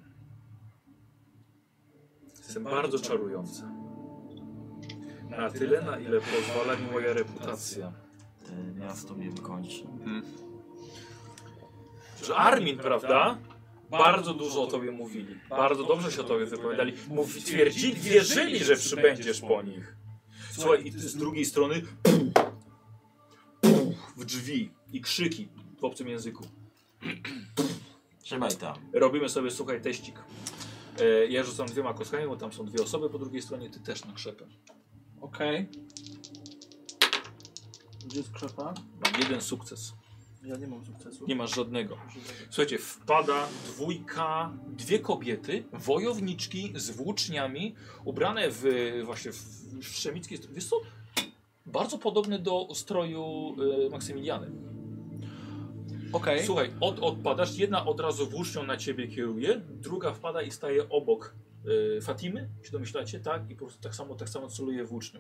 S1: Jestem bardzo czarujący. Na tyle, na ile pozwala mi moja reputacja.
S5: Te E, miasto mnie wykończy.
S1: Że Armin, prawda? Bardzo dużo o tobie mówili. Bardzo dobrze się o tobie wypowiadali. Mówi, twierdzili, wierzyli, że przybędziesz po nich. Słuchaj, i ty z drugiej strony puch, puch, w drzwi i krzyki w obcym języku.
S5: Trzymaj tam.
S1: Robimy sobie, słuchaj, teścik. E, ja rzucam dwiema kostkami, bo tam są dwie osoby po drugiej stronie, ty też na krzepę.
S2: Okej. Gdzie jest krzepa?
S1: Mam jeden sukces.
S2: Ja nie mam sukcesu.
S1: Nie masz żadnego. Słuchajcie, wpada dwójka, dwie kobiety, wojowniczki z włóczniami, ubrane w e, właśnie w, w szemickie stro- Wiesz co? Bardzo podobne do stroju e, Maksymiliany.
S2: Okej.
S1: Słuchaj, od, odpadasz, jedna od razu włócznią na ciebie kieruje, druga wpada i staje obok e, Fatimy, się domyślacie, tak? I po prostu tak samo, tak samo celuje włócznią.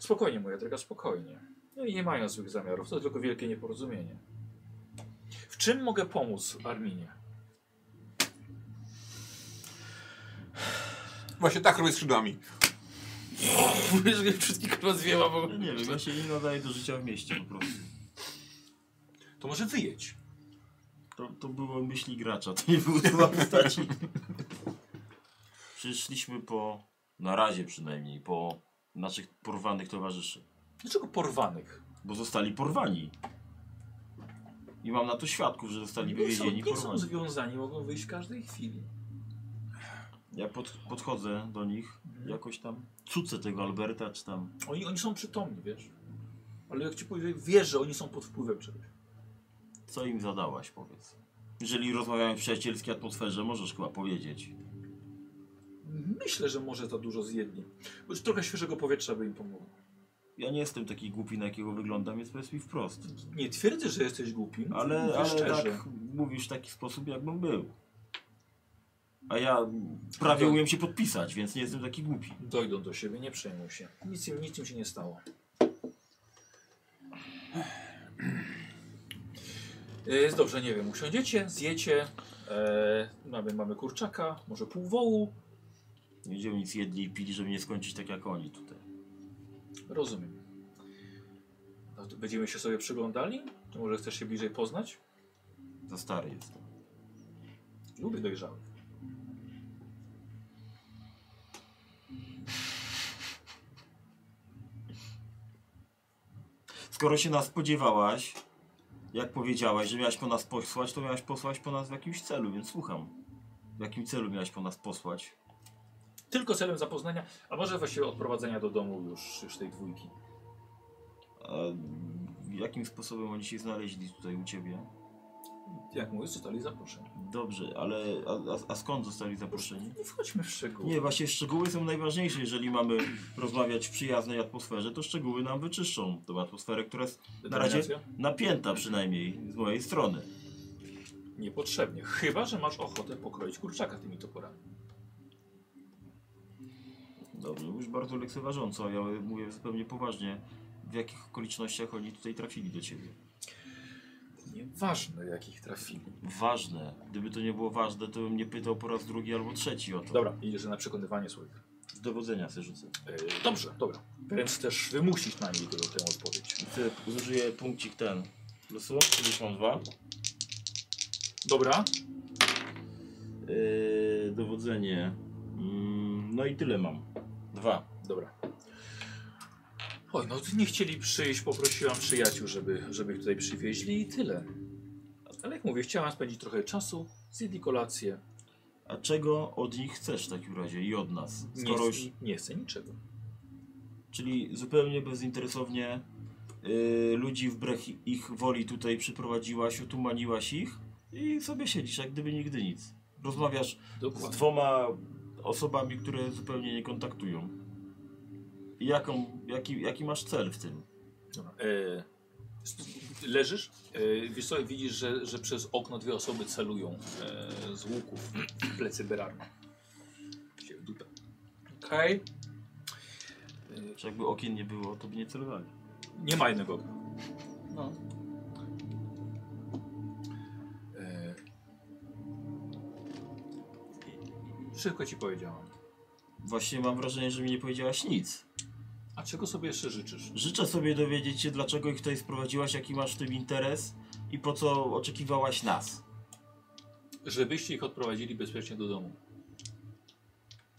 S1: Spokojnie, moja droga, spokojnie. No i nie mają złych zamiarów, to tylko wielkie nieporozumienie. W czym mogę pomóc Arminie?
S3: Właśnie tak robię skrzydłami.
S2: Wiesz, że wszystkich kurwa zwiewa, bo...
S5: Ja nie wiem, ja się nie nadaję do życia w mieście po prostu.
S1: To może wyjedź.
S5: To, to było myśli gracza, to nie było słowa postaci. Przyszliśmy po, na razie przynajmniej, po naszych porwanych towarzyszy.
S1: Dlaczego porwanych?
S5: Bo zostali porwani. I mam na to świadków, że zostali
S1: Nie są,
S5: wywiezieni
S1: nie są
S5: porwani.
S1: związani, mogą wyjść w każdej chwili.
S5: Ja pod, podchodzę do nich, jakoś tam cucę tego Alberta, czy tam...
S1: Oni, oni są przytomni, wiesz. Ale jak ci powiem, wiesz, że oni są pod wpływem czegoś.
S5: Co im zadałaś, powiedz. Jeżeli rozmawiamy w przyjacielskiej atmosferze, możesz chyba powiedzieć.
S1: Myślę, że może za dużo zjedli. Bo już trochę świeżego powietrza by im pomogło.
S5: Ja nie jestem taki głupi, na jakiego wyglądam, więc powiedz mi wprost.
S1: Nie twierdzę, że jesteś głupim,
S5: Ale,
S1: mówię
S5: ale
S1: szczerze.
S5: tak mówisz w taki sposób, jakbym był. A ja prawie umiem się podpisać, więc nie jestem taki głupi.
S1: Dojdą do siebie, nie przejmuj się. Nic im, nic im się nie stało. E, Jest dobrze, nie wiem, usiądziecie, zjecie, e, mamy, mamy kurczaka, może pół wołu,
S5: Nie będziemy nic jedli i pili, żeby nie skończyć tak jak oni tutaj.
S1: Rozumiem. No to będziemy się sobie przyglądali? Czy może chcesz się bliżej poznać?
S5: Za stary jestem.
S1: Lubię dojrzałych.
S5: Skoro się nas spodziewałaś, jak powiedziałaś, że miałaś po nas posłać, to miałaś posłać po nas w jakimś celu, więc słucham. W jakim celu miałaś po nas posłać?
S1: Tylko celem zapoznania, a może właściwie odprowadzenia do domu już, już tej dwójki.
S5: A jakim sposobem oni się znaleźli tutaj u ciebie?
S1: Jak mówię, zostali zaproszeni.
S5: Dobrze, ale a, a, a skąd zostali zaproszeni?
S1: Nie wchodźmy w szczegóły.
S5: Nie, właśnie szczegóły są najważniejsze. Jeżeli mamy rozmawiać w przyjaznej atmosferze, to szczegóły nam wyczyszczą tą atmosferę, która jest na razie
S1: Determinacja?
S5: napięta przynajmniej z mojej strony.
S1: Niepotrzebnie. Chyba, że masz ochotę pokroić kurczaka tymi toporami.
S5: Dobrze, już bardzo lekceważąco, a ja mówię zupełnie poważnie, w jakich okolicznościach oni tutaj trafili do ciebie.
S1: Nieważne, jakich trafili.
S5: Ważne. Gdyby to nie było ważne, to bym nie pytał po raz drugi albo trzeci o to.
S1: Dobra, idziesz na przekonywanie swoich.
S5: Z dowodzenia sobie rzucę.
S1: E, Dobrze, dobra. Więc też wymusić na niej tę tę odpowiedź.
S5: Chcę- Zużyję punkcik ten. Losu, gdzieś mam dwa.
S1: Dobra,
S5: Yy, dowodzenie. Mm, no i tyle mam. Dwa.
S1: dobra. Oj, no nie chcieli przyjść, poprosiłam przyjaciół, żeby, żeby ich tutaj przywieźli i tyle. Ale jak mówię, chciałam spędzić trochę czasu, zjedli kolację.
S5: A czego od nich chcesz w takim razie i od nas?
S1: Nie,
S5: Skoro już,
S1: nie chcę niczego.
S5: czyli zupełnie bezinteresownie yy, ludzi wbrew ich woli tutaj przyprowadziłaś, otumaniłaś ich i sobie siedzisz, jak gdyby nigdy nic. Rozmawiasz z
S1: Dokładnie.
S5: dwoma osobami, które zupełnie nie kontaktują. I Jaką, jaki, jaki masz cel w tym?
S1: Dobra. E, sp- leżysz, e, wiesz co, widzisz, że, że przez okno dwie osoby celują e, z łuków w plecy Berarna. Się w dupę.
S2: Okej.
S5: Czy jakby okien nie było, to by nie celowali.
S1: Nie ma jednego okna.
S2: No.
S1: E, Szybko ci powiedziałam.
S5: Właśnie mam wrażenie, że mi nie powiedziałaś nic.
S1: A czego sobie jeszcze życzysz?
S5: Życzę sobie dowiedzieć się, dlaczego ich tutaj sprowadziłaś, jaki masz w tym interes i po co oczekiwałaś nas.
S1: Żebyście ich odprowadzili bezpiecznie do domu.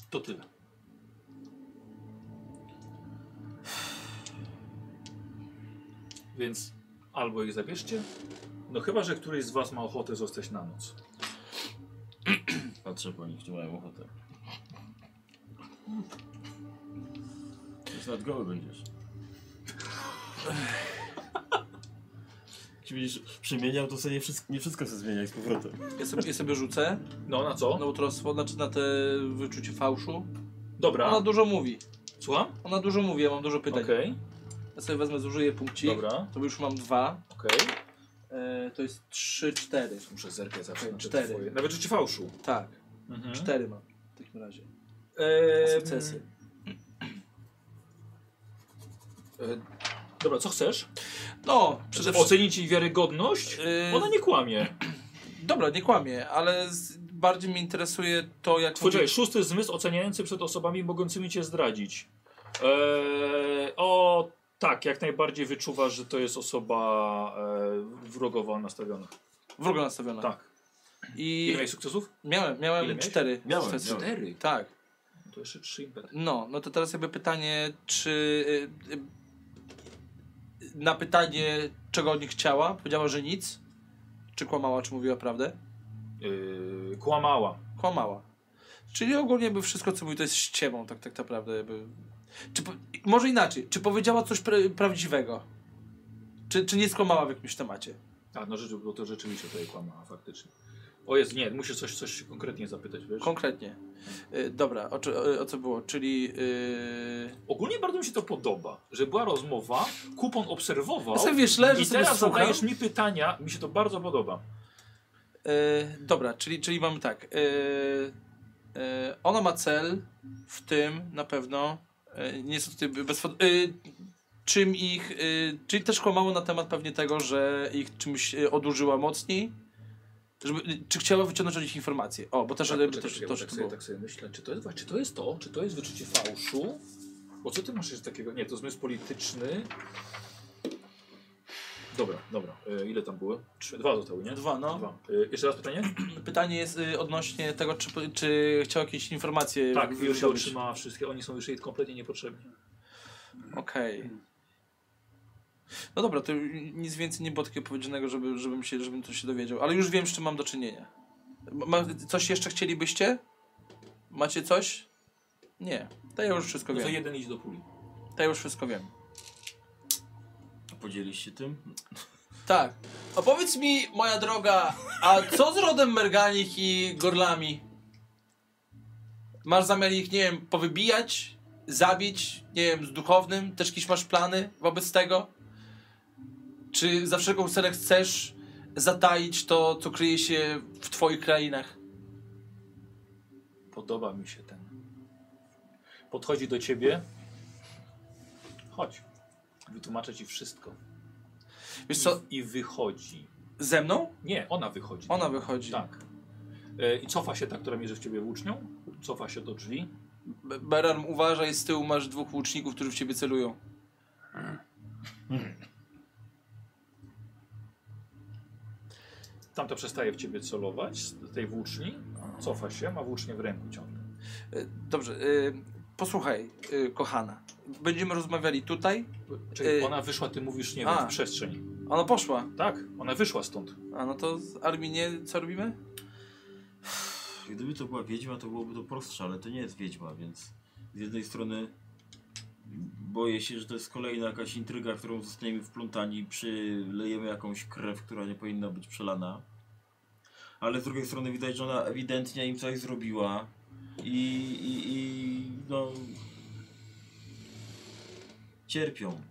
S1: To tyle. Więc albo ich zabierzcie, no chyba, że któryś z was ma ochotę zostać na noc.
S5: Patrzę po nich, czy mają ochotę. Już nad goły będziesz. Jeśli będziesz przemieniał, to sobie nie wszystko, nie wszystko sobie zmieniaj z powrotem.
S2: Ja sobie, ja sobie rzucę
S1: No, na co?
S2: na utrostwo, znaczy na te wyczucie fałszu. Ona
S1: Dobra.
S2: dużo mówi.
S1: Słucham?
S2: Ona dużo mówi, ja mam dużo pytań.
S1: Okej,
S2: Ja sobie wezmę, zużyję punkcik.
S1: dobra,
S2: To już mam dwa.
S1: okej.
S2: E, to jest trzy, cztery.
S1: Muszę zerkać zawsze na te
S2: Cztery.
S1: twoje. Nawet rzeczy fałszu.
S2: Tak,
S1: Mhm.
S2: cztery mam w takim razie.
S1: Eee,
S2: Sukcesy.
S1: E, dobra, co chcesz?
S2: No, przede
S1: Przede
S2: wszystkim.
S1: Ocenić jej wiarygodność?
S2: e,
S1: Ona nie kłamie.
S2: Dobra, nie kłamie, ale z, bardziej mnie interesuje to, jak.
S1: Poczekaj, szósty zmysł oceniający przed osobami mogącymi cię zdradzić. Eee, o tak, jak najbardziej wyczuwasz, że to jest osoba e, wrogowo nastawiona.
S2: Wrogo nastawiona.
S1: Tak.
S2: I
S1: Ile miałeś sukcesów?
S2: miałem, miałem
S1: Ile miałeś?
S2: cztery
S5: Miałem,
S2: sukcesy.
S5: miałem.
S1: Cztery.
S2: Tak.
S1: To jeszcze trzy impety.
S2: No, no to teraz jakby pytanie, czy y, y, na pytanie, czego od nich chciała, powiedziała, że nic? Czy kłamała, czy mówiła prawdę?
S1: Eee, kłamała.
S2: Kłamała. Czyli ogólnie jakby wszystko, co mówi, to jest ściemą, tak, tak naprawdę. Jakby. Czy, po- może inaczej, czy powiedziała coś pra prawdziwego? Czy, czy nie skłamała w jakimś temacie?
S1: A, no rzeczy, bo to rzeczywiście tutaj kłamała, faktycznie. O jest, nie, musisz coś, coś konkretnie zapytać, wiesz?
S2: Konkretnie. Y, dobra, o, czy- o, o co było? Czyli... Y,
S1: Ogólnie bardzo mi się to podoba, że była rozmowa, kupon obserwował
S2: ja sobie wiesz, leżę,
S1: i
S2: sobie
S1: teraz
S2: słucham.
S1: zadajesz mi pytania, mi się to bardzo podoba.
S2: E, dobra, czyli, czyli mamy tak. E, e, ona ma cel w tym na pewno. E, nie są tutaj bez. E, czym ich. E, czyli też kłamało na temat pewnie tego, że ich czymś e, odurzyła mocniej. Żeby, czy chciała wyciągnąć od nich informacje? O, bo też,
S1: Tak,
S2: jakby
S1: poczekaj,
S2: też,
S1: poczekaj,
S2: też
S1: bo tak, sobie,
S2: to było.
S1: tak sobie myślę, czy to, jest, czy to jest to? Czy to jest wyczucie fałszu? Bo co ty masz jeszcze takiego? Nie, to zmysł polityczny. Dobra, dobra. E, ile tam było? Trzy, dwa zostały, nie?
S2: Dwa, no.
S1: Dwa. E, jeszcze raz pytanie?
S2: Pytanie jest y, odnośnie tego, czy, czy chciała jakieś informacje.
S1: Tak,
S2: wy-
S1: już się
S2: wydobyć.
S1: otrzymała wszystkie. Oni są już jej kompletnie niepotrzebni.
S2: Okej. Mm. No dobra, to nic więcej nie było takiego powiedzianego, żeby, żebym, się, żebym to się dowiedział. Ale już wiem, z czym mam do czynienia. Ma, coś jeszcze chcielibyście? Macie coś? Nie. To ja już wszystko
S1: No to
S2: wiem.
S1: jeden idź do puli.
S2: To ja już wszystko wiem.
S5: Podzielisz się tym?
S2: Tak. Opowiedz mi, moja droga, a co z rodem Merganich i Gorlami? Masz zamiar ich, nie wiem, powybijać? Zabić? Nie wiem, z duchownym? Też jakieś masz plany wobec tego? Czy za wszelką cenę chcesz zataić to, co kryje się w twoich krainach?
S1: Podoba mi się ten. Podchodzi do ciebie. Chodź. Wytłumaczę ci wszystko.
S2: Wiesz co,
S1: I, I wychodzi.
S2: ze mną?
S1: Nie, ona wychodzi.
S2: Ona wychodzi.
S1: Tak. E, I cofa się ta, która mierzy w ciebie włócznią. Cofa się do drzwi.
S2: Be- Beran, uważaj, z tyłu masz dwóch łuczników, którzy w ciebie celują.
S1: Tamta przestaje w ciebie celować z tej włóczni, cofa się, ma włócznie w ręku ciągle.
S2: E, Dobrze, e, posłuchaj, e, kochana. Będziemy rozmawiali tutaj.
S1: Czyli
S2: Y-
S1: ona wyszła, ty mówisz, nie wiem,
S2: A.
S1: w przestrzeń.
S2: Ona poszła.
S1: Tak, ona wyszła stąd.
S2: A no to z Arminie co robimy?
S5: Gdyby to była wiedźma, to byłoby to prostsze, ale to nie jest wiedźma, więc z jednej strony boję się, że to jest kolejna jakaś intryga, w którą zostaniemy wplątani, przylejemy jakąś krew, która nie powinna być przelana. Ale z drugiej strony widać, że ona ewidentnie im coś zrobiła i, i, i no cierpią.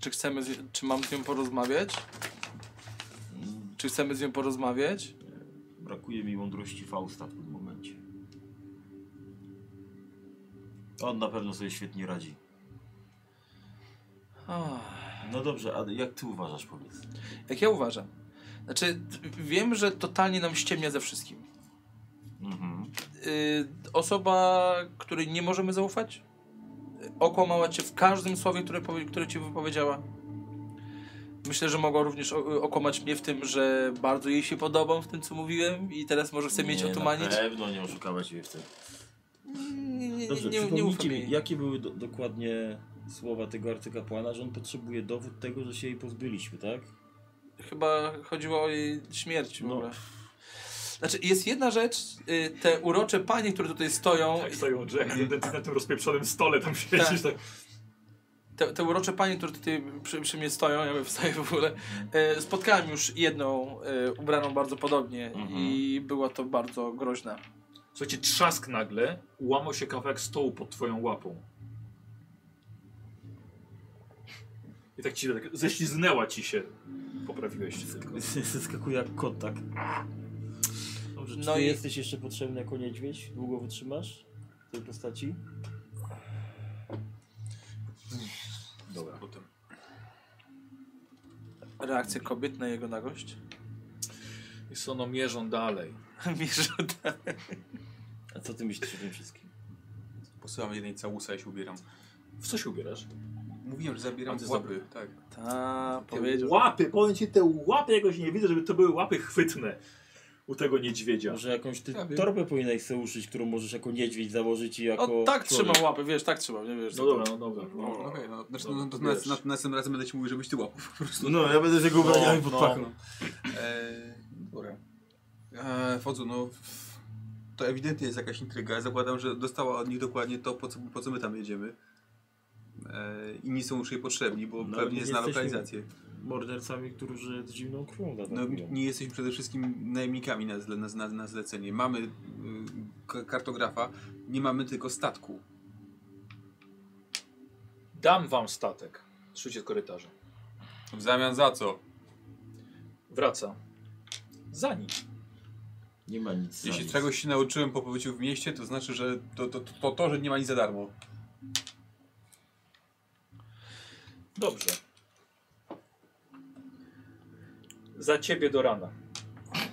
S2: Czy chcemy, z, czy mam z nią porozmawiać?
S5: Mm,
S2: Czy chcemy z nią porozmawiać?
S5: Brakuje mi mądrości Fausta w tym momencie. On na pewno sobie świetnie radzi.
S2: Ah.
S5: No dobrze, a jak ty uważasz, powiedz?
S2: Mhm. Jak ja uważam. Znaczy, t- wiem, że totalnie nam ściemnia ze wszystkim.
S5: Mhm.
S2: Y, osoba, której nie możemy zaufać, y, okłamała cię w każdym słowie, które, powie- które ci wypowiedziała. Myślę, że mogła również o- y, okłamać mnie w tym, że bardzo jej się podobam w tym, co mówiłem i teraz może chce mieć
S5: nie, no tak.
S2: otumanić.
S5: Na pewno nie oszukała ciebie w tym.
S2: Nie, nie, nie, nie,
S5: Dobrze,
S2: nie
S5: przypomnijcie
S2: ufam
S5: mi,
S2: jej.
S5: jakie były do, dokładnie słowa tego arcykapłana, że on potrzebuje dowód tego, że się jej pozbyliśmy, [LAUGHS] tak?
S2: Chyba chodziło o jej śmierć w
S5: No.
S2: ogóle. Znaczy, jest jedna rzecz, y, te urocze panie, które tutaj stoją,
S7: Tak stoją Jack jeden na tym rozpieprzonym stole tam siedzisz. Tak.
S2: te, te urocze panie, które tutaj przy, przy mnie stoją, ja bym wstaję w ogóle, e, spotkałem już jedną e, ubraną bardzo podobnie
S5: Mhm.
S2: i była to bardzo groźna.
S1: Słuchajcie, trzask nagle, łamał się kawałek stołu pod twoją łapą. I tak ci tak ześliznęła ci się. Poprawiłeś się tylko.
S5: Zaskakuje jak kot, tak? Dobrze, czy
S2: No
S5: ty
S2: i-
S5: jesteś jeszcze potrzebny jako niedźwiedź? Długo wytrzymasz w tej postaci?
S1: Dobra.
S2: Reakcja kobiet na jego nagość. [LAUGHS]
S1: I co, no mierzą dalej.
S2: Mierze tak.
S5: A co ty myślisz o tym wszystkim?
S3: Posyłam jednej całusa i się ubieram.
S1: W co się ubierasz?
S3: Mówiłem, że zabieram
S1: A ty
S3: łapy. Tak.
S2: Ta, powiedział.
S7: Łapy, powiem ci, te łapy jakoś nie widzę, żeby to były łapy chwytne u tego niedźwiedzia.
S5: Może jakąś ty
S3: Ja wiem.
S5: torbę powinieneś sobie uszyć, którą możesz jako niedźwiedź założyć i jako...
S2: O, tak
S5: człowiek.
S2: trzymał łapy, wiesz, tak trzymał, nie wiesz.
S1: No dobra, no dobra.
S3: Okej, no, znaczy, no, to na, na, następnym razem będę ci mówił, żebyś ty łapał po prostu.
S5: No, ja będę z jego ubraniami pod pachą.
S3: Eee, dobra. Eee, Fodzu, no w- to ewidentnie jest jakaś intryga. Zakładam, że dostała od nich dokładnie to, po co, po co my tam jedziemy. Eee, inni są już jej potrzebni, bo
S5: No, ale
S3: pewnie
S5: nie
S3: zna
S5: jesteśmy-
S3: lokalizację.
S5: mordercami, którzy z zimną krwią
S3: No,
S5: atakują.
S3: nie jesteśmy przede wszystkim najemnikami na, zle, na, na, na zlecenie. Mamy y, k- kartografa, nie mamy tylko statku.
S1: Dam wam statek. Szycie korytarza.
S3: W zamian za co?
S1: Wraca. Za nim.
S5: nie ma nic
S3: Jeśli
S5: za
S3: czegoś się nauczyłem po pobyciu w mieście, to znaczy, że to, to, to, to, to że nie ma nic za darmo.
S1: Dobrze. Za ciebie do rana.
S5: nic.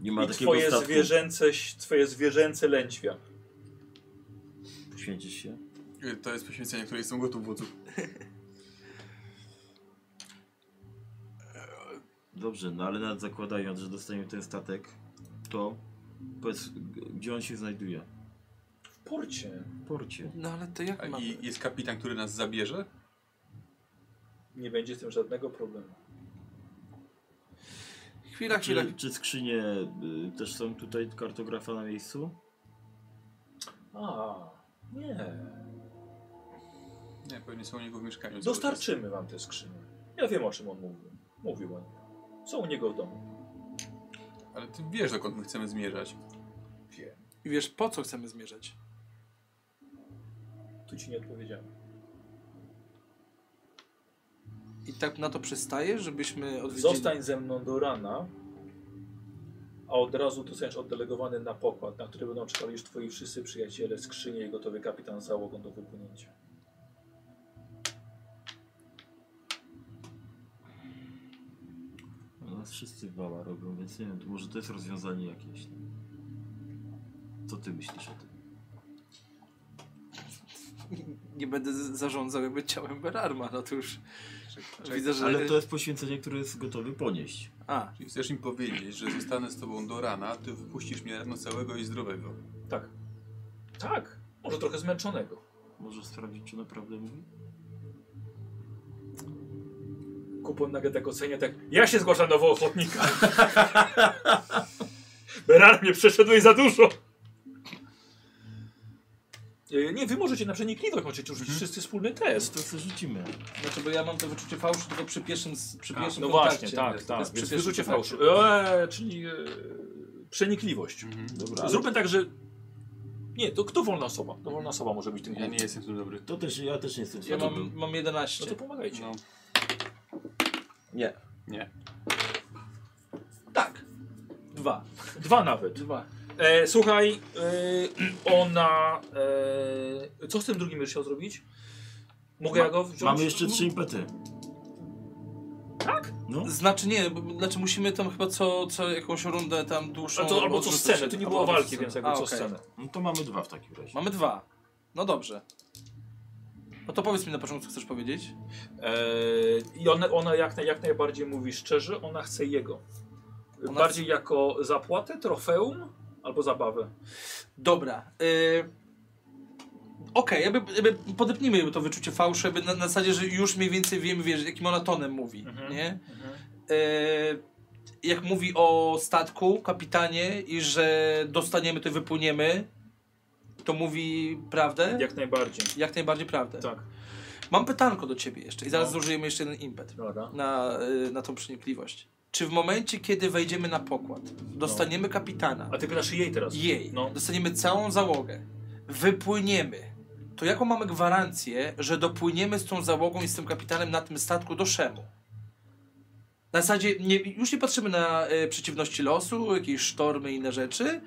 S5: Nie ma
S1: I
S5: takiego
S1: twoje
S5: statku.
S1: zwierzęce, twoje zwierzęce lędźwia.
S5: Poświęcisz się?
S3: Y, To jest poświęcenie, które jestem gotów, Wodzu.
S5: Dobrze, no ale nawet zakładając, że dostaniemy ten statek, to powiedz, g- gdzie on się znajduje?
S1: W porcie.
S5: W porcie.
S2: No ale to jak
S3: A
S2: mamy?
S3: I jest kapitan, który nas zabierze?
S1: Nie będzie z tym żadnego problemu.
S2: Chwila, chwila.
S5: Czy, czy skrzynie y, też są tutaj kartografa na miejscu?
S1: A, nie.
S3: Nie, pewnie są u niego w mieszkaniu. cały
S1: Dostarczymy wam te skrzynie. Ja wiem o czym on mówił. Mówił o nim. Są u niego w domu.
S3: czas. Ale ty wiesz, dokąd my chcemy zmierzać.
S2: I wiesz, po co chcemy zmierzać?
S1: Tu ci nie odpowiedziałem.
S2: I tak na to przystaje, żebyśmy odwiedzili...
S1: Zostań ze mną do rana, a od razu dostaniesz oddelegowany na pokład, na który będą czekali już twoi wszyscy przyjaciele, skrzynie i gotowy kapitan z załogą do wypłynięcia.
S5: No, Nas wszyscy wała robią, więc nie wiem, to może to jest rozwiązanie jakieś. Co ty myślisz o tym?
S2: [LAUGHS] Nie będę z- zarządzał jakby ciałem Berarma, no to już widzę, że...
S5: Ale to jest poświęcenie, które jest gotowy ponieść.
S2: A,
S3: Czyli chcesz im powiedzieć, że zostanę z tobą do rana, ty wypuścisz mnie rano całego i zdrowego.
S1: Tak, może trochę zmęczonego.
S5: Może sprawdzić, czy naprawdę mówi?
S6: Kupon nagle tak ocenia, tak ja się zgłaszam do ochotnika. [LAUGHS] Berar mnie przeszedłeś za dużo.
S1: E, Nie, wy możecie na przenikliwość, możecie
S6: Mhm.
S1: rzucić wszyscy wspólny test.
S5: To co rzucimy.
S2: znaczy, bo ja mam to wyczucie fałszu tylko przy pierwszym, s- przy
S1: A,
S2: pierwszym
S1: no
S2: kontakcie.
S1: właśnie, tak,
S2: To
S1: tak.
S2: jest przy
S1: Więc
S2: pierwszym
S1: wyrzucie
S2: kontakcie.
S1: fałszu. Eee, czyli e, przenikliwość.
S5: Dobra.
S1: Zróbmy tak, że... Nie, to kto wolna osoba? To wolna osoba może być tym
S3: Ja
S1: głównym.
S3: nie jestem w tym dobry.
S5: To też, ja też nie jestem
S2: Ja
S5: słaby
S2: mam,
S5: był.
S2: mam
S1: No
S2: 11.
S1: to pomagajcie.
S3: No.
S5: Nie.
S1: Tak,
S2: Dwa.
S1: dwa nawet.
S2: Dwa.
S1: E, słuchaj, e, ona... E, co z tym drugim będziesz chciał zrobić? Mogę ja go wziąć?
S5: Mamy jeszcze trzy impety.
S1: Tak?
S5: No.
S2: Znaczy nie, bo, znaczy musimy tam chyba co, co jakąś rundę tam dłuższą...
S1: A No to albo co
S2: odrzucać.
S1: scenę, to nie
S2: Albo
S1: było
S2: co
S1: walki,
S2: scenę.
S1: więc jakby
S2: A,
S1: co
S2: okej.
S1: scenę.
S5: No to mamy dwa w takim razie.
S2: Mamy dwa. No dobrze. No to powiedz mi na początku, co chcesz powiedzieć.
S1: Eee, I ona, ona jak, naj- jak najbardziej mówi szczerze, ona chce jego.
S2: Ona
S1: Bardziej jako zapłatę, trofeum albo zabawę.
S2: Dobra. Y... Okej, jakby, jakby podepnijmy to wyczucie fałszu, jakby na, na zasadzie, że już mniej więcej wiemy, wiesz, jakim ona tonem mówi,
S1: Mhm.
S2: nie? Y... Jak mówi o statku, kapitanie i że dostaniemy to i wypłyniemy, to mówi prawdę? Jak,
S1: Jak najbardziej.
S2: najbardziej prawdę.
S1: Tak.
S2: Mam pytanko do ciebie jeszcze i zaraz
S1: No.
S2: zużyjemy jeszcze jeden impet.
S1: Dobra.
S2: na, y, na tą przenikliwość. Czy w momencie, kiedy wejdziemy na pokład,
S1: No.
S2: dostaniemy kapitana,
S1: A ty pytasz jej teraz.
S2: jej,
S1: No.
S2: dostaniemy całą załogę, wypłyniemy, to jaką mamy gwarancję, że dopłyniemy z tą załogą i z tym kapitanem na tym statku do Szemu? Na zasadzie nie, już nie patrzymy na y, przeciwności losu, jakieś sztormy i inne rzeczy,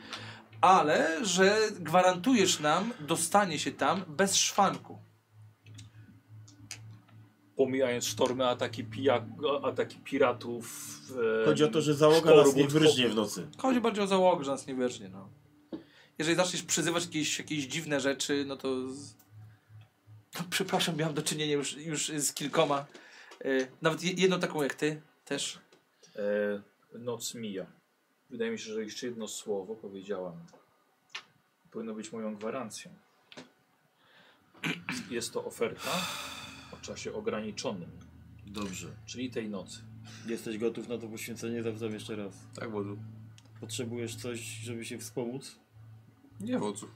S2: ale że gwarantujesz nam dostanie się tam bez szwanku.
S1: Pomijając sztormy, ataki, pijak, ataki piratów. e,
S5: Chodzi o to, że załoga nas nie
S1: sztormów,
S5: wyryżnie w nocy.
S2: Chodzi bardziej o załogę, że nas nie wyrżnie, no. Jeżeli zaczniesz przyzywać jakieś, jakieś dziwne rzeczy, no to... Z... No, przepraszam, miałem do czynienia już, już z kilkoma. y, nawet je- jedną taką jak ty też.
S1: E, noc mija. Wydaje mi się, że jeszcze jedno słowo powiedziałam. Powinno być moją gwarancją. Jest to oferta o czasie ograniczonym,
S5: Dobrze.
S1: czyli tej nocy.
S5: Jesteś gotów na to poświęcenie? Zapytam jeszcze raz.
S3: Tak, wodzu.
S5: Potrzebujesz coś, żeby się wspomóc?
S3: Nie, wodzu.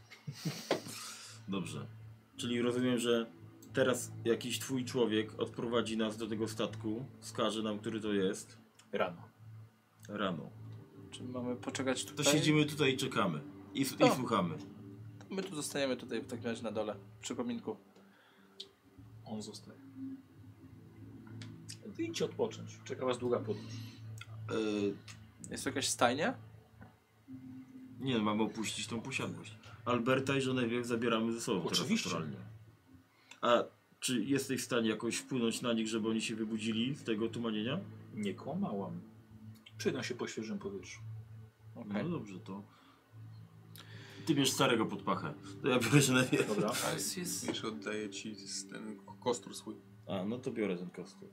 S5: Dobrze. Czyli rozumiem, że teraz jakiś twój człowiek odprowadzi nas do tego statku, wskaże nam, który to jest,
S1: Rano.
S5: rano.
S2: Czy mamy poczekać
S5: To
S2: tutaj?
S5: siedzimy tutaj i czekamy. I, s- i
S2: O.
S5: słuchamy.
S2: My tu zostajemy tutaj w takim razie na dole, przy kominku.
S1: On zostaje. Ty idźcie odpocząć. Czeka was długa podróż.
S5: Yy,
S2: Jest tu jakaś stajnia?
S5: nie, no, mamy opuścić tą posiadłość. Alberta i Genevieve zabieramy ze sobą
S1: Oczywiście.
S5: teraz naturalnie. A czy jesteś w stanie jakoś wpłynąć na nich, żeby oni się wybudzili z tego tumanienia?
S1: Nie kłamałam. Przyda się po świeżym powietrzu.
S2: Okej.
S5: No dobrze, to... Ty bierz starego pod pachę. To ja biorę Genevieve.
S1: Dobra.
S2: Jest, jest...
S3: Jeszcze oddaję ci ten kostur swój.
S5: A, no to biorę ten kostur.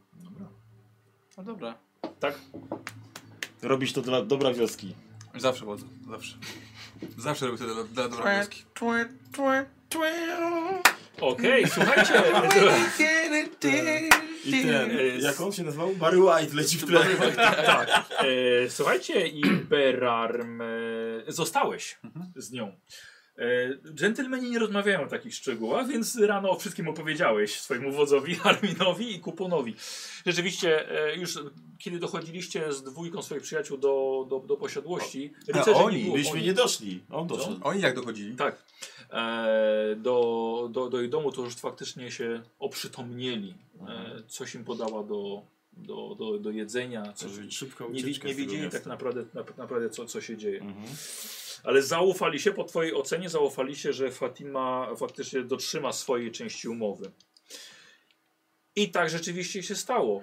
S2: No dobra.
S5: Robisz to dla dobra wioski.
S3: Zawsze wodzu, zawsze. Zawsze robię to dla, dla dobra
S5: Tak.
S3: wioski.
S2: Twe, twe, twe.
S1: Okej, słuchajcie.
S5: I ten,
S1: Yy,
S5: jak on się nazywał? Barry White leci w tle. [LAUGHS]
S1: e, słuchajcie, i Berarm, e, zostałeś
S3: Mhm.
S1: z nią. E, dżentelmeni nie rozmawiają o takich szczegółach, więc rano o wszystkim opowiedziałeś swojemu wodzowi, [LAUGHS] Arminowi i Kuponowi. Rzeczywiście, e, już kiedy dochodziliście z dwójką swoich przyjaciół do, do, do posiadłości,
S3: A,
S1: rycerzy nie
S3: oni,
S1: było,
S5: Byśmy
S1: oni-
S5: nie doszli. On doszedł.
S3: Oni jak dochodzili?
S1: Tak. E, do, do, do jej domu to już faktycznie się oprzytomnieli.
S3: Mhm.
S1: E, coś im podała do, do, do, do jedzenia. Coś,
S5: Szybko
S1: nie, wi- nie wiedzieli tak naprawdę, na, naprawdę co, co się dzieje.
S5: Mhm.
S1: Ale zaufali się, po twojej ocenie zaufali się, że Fatima faktycznie dotrzyma swojej części umowy. I tak rzeczywiście się stało.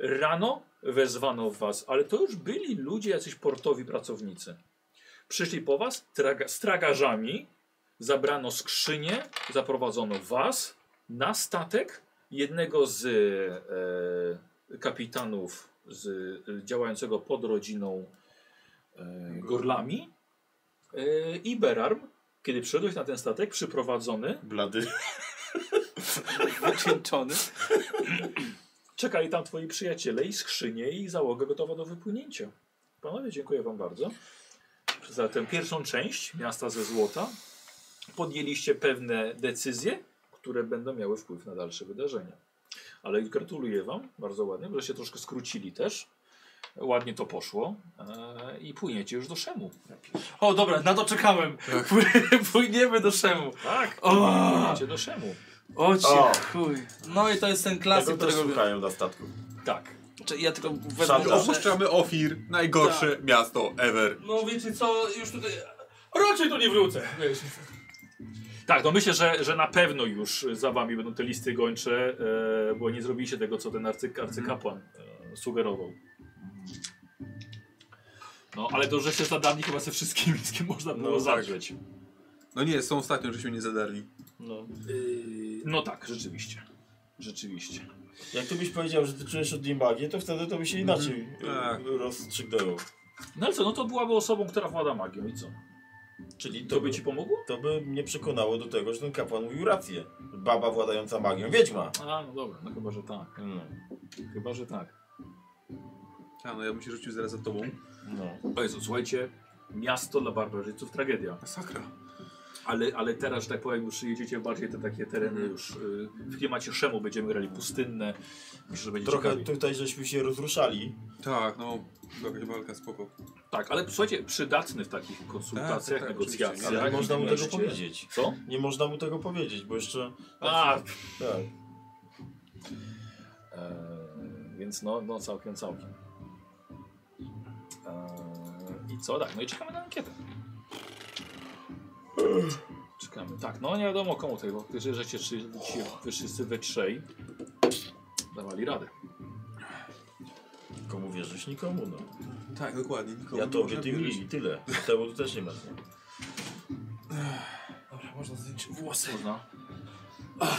S1: Rano wezwano was, ale to już byli ludzie, jacyś portowi pracownicy, Przyszli po was traga, z tragarzami, zabrano skrzynię, zaprowadzono was na statek jednego z e, kapitanów z, e, działającego pod rodziną e, Gorlami e, i Berarm. Kiedy przyszedłeś na ten statek, przyprowadzony,
S5: Blady.
S2: Wycieńczony.
S1: czekali tam twoi przyjaciele i skrzynie i załogę gotowa do wypłynięcia. Panowie, dziękuję wam bardzo za tę pierwszą część Miasta ze Złota. Podjęliście pewne decyzje, które będą miały wpływ na dalsze wydarzenia. Ale gratuluję wam, bardzo ładnie, że się troszkę skrócili też. Ładnie to poszło eee, i płyniecie już do Szemu.
S2: O, dobra, na to czekałem.
S5: Tak.
S2: Płyniemy do Szemu.
S1: Tak,
S2: O!
S1: płyniecie do Szemu.
S2: O ci
S5: O.
S2: chuj. No i to jest ten klasyk,
S5: Tego też
S2: którego...
S5: szukają na statku.
S1: Tak.
S2: Czy Ja tylko
S5: Szantaż.
S2: wezmę...
S3: Opuszczamy Ofir, najgorsze miasto ever.
S20: No wiecie co, już tutaj... Raczej tu nie wrócę. Wiesz.
S1: Tak, no myślę, że, że na pewno już za wami będą te listy gończe, e, bo nie zrobiliście tego, co ten arcy, arcykapłan e, sugerował. No, ale to, żeście zadali chyba ze [LAUGHS] wszystkimi, z kim można było
S5: No, tak.
S1: zadrzeć.
S3: No nie, są ostatnio, żeśmy nie zadarli.
S5: No.
S1: Y, no tak, rzeczywiście. Rzeczywiście.
S5: Jak ty byś powiedział, że ty czujesz od niej magię, to wtedy to by się inaczej
S3: Tak.
S5: mm rozstrzygnęło.
S1: No ale co, no to byłaby osobą, która włada magią i co?
S5: Czyli
S1: To by ci pomogło?
S5: to by mnie przekonało do tego, że ten kapłan mówił rację. Baba władająca magią, wiedźma.
S1: A, no dobra, no chyba, że tak.
S5: No.
S1: Chyba, że tak.
S3: A no ja bym się rzucił zaraz za tobą.
S5: no.
S1: O Jezu, słuchajcie, miasto dla barbarzyńców tragedia.
S3: Masakra.
S1: Ale, ale teraz, że tak powiem, już jedziecie bardziej te takie tereny już y, w klimacie Szemu będziemy grali pustynne. Myślę, że będzie
S5: Trochę
S1: ciekawie.
S5: tutaj żeśmy się rozruszali.
S3: Tak, no, jakaś walka, spoko.
S1: Tak, ale słuchajcie, przydatny w takich konsultacjach,
S3: Tak, tak, tak,
S1: negocjacjach.
S3: oczywiście.
S5: Ale można mu tego
S1: Mieście.
S5: powiedzieć.
S1: Co?
S5: Nie można mu tego powiedzieć, bo jeszcze...
S1: A,
S5: Tak.
S1: E, więc no, no całkiem, całkiem. E, I co? Tak, no i czekamy na ankietę. Czekamy. Tak, no nie wiadomo komu tego, bo jeżeli żeście trzy- ci wy wszyscy we trzej dawali radę.
S5: Komu wierzysz? Nikomu, no.
S3: Tak, dokładnie. Nikomu
S5: Ja
S3: nie
S5: tobie,
S3: można
S5: ty
S3: wierzyć.
S5: mi i tyle. Temu tu też nie będę.
S2: Dobra, można zdjąć włosy.
S1: Można.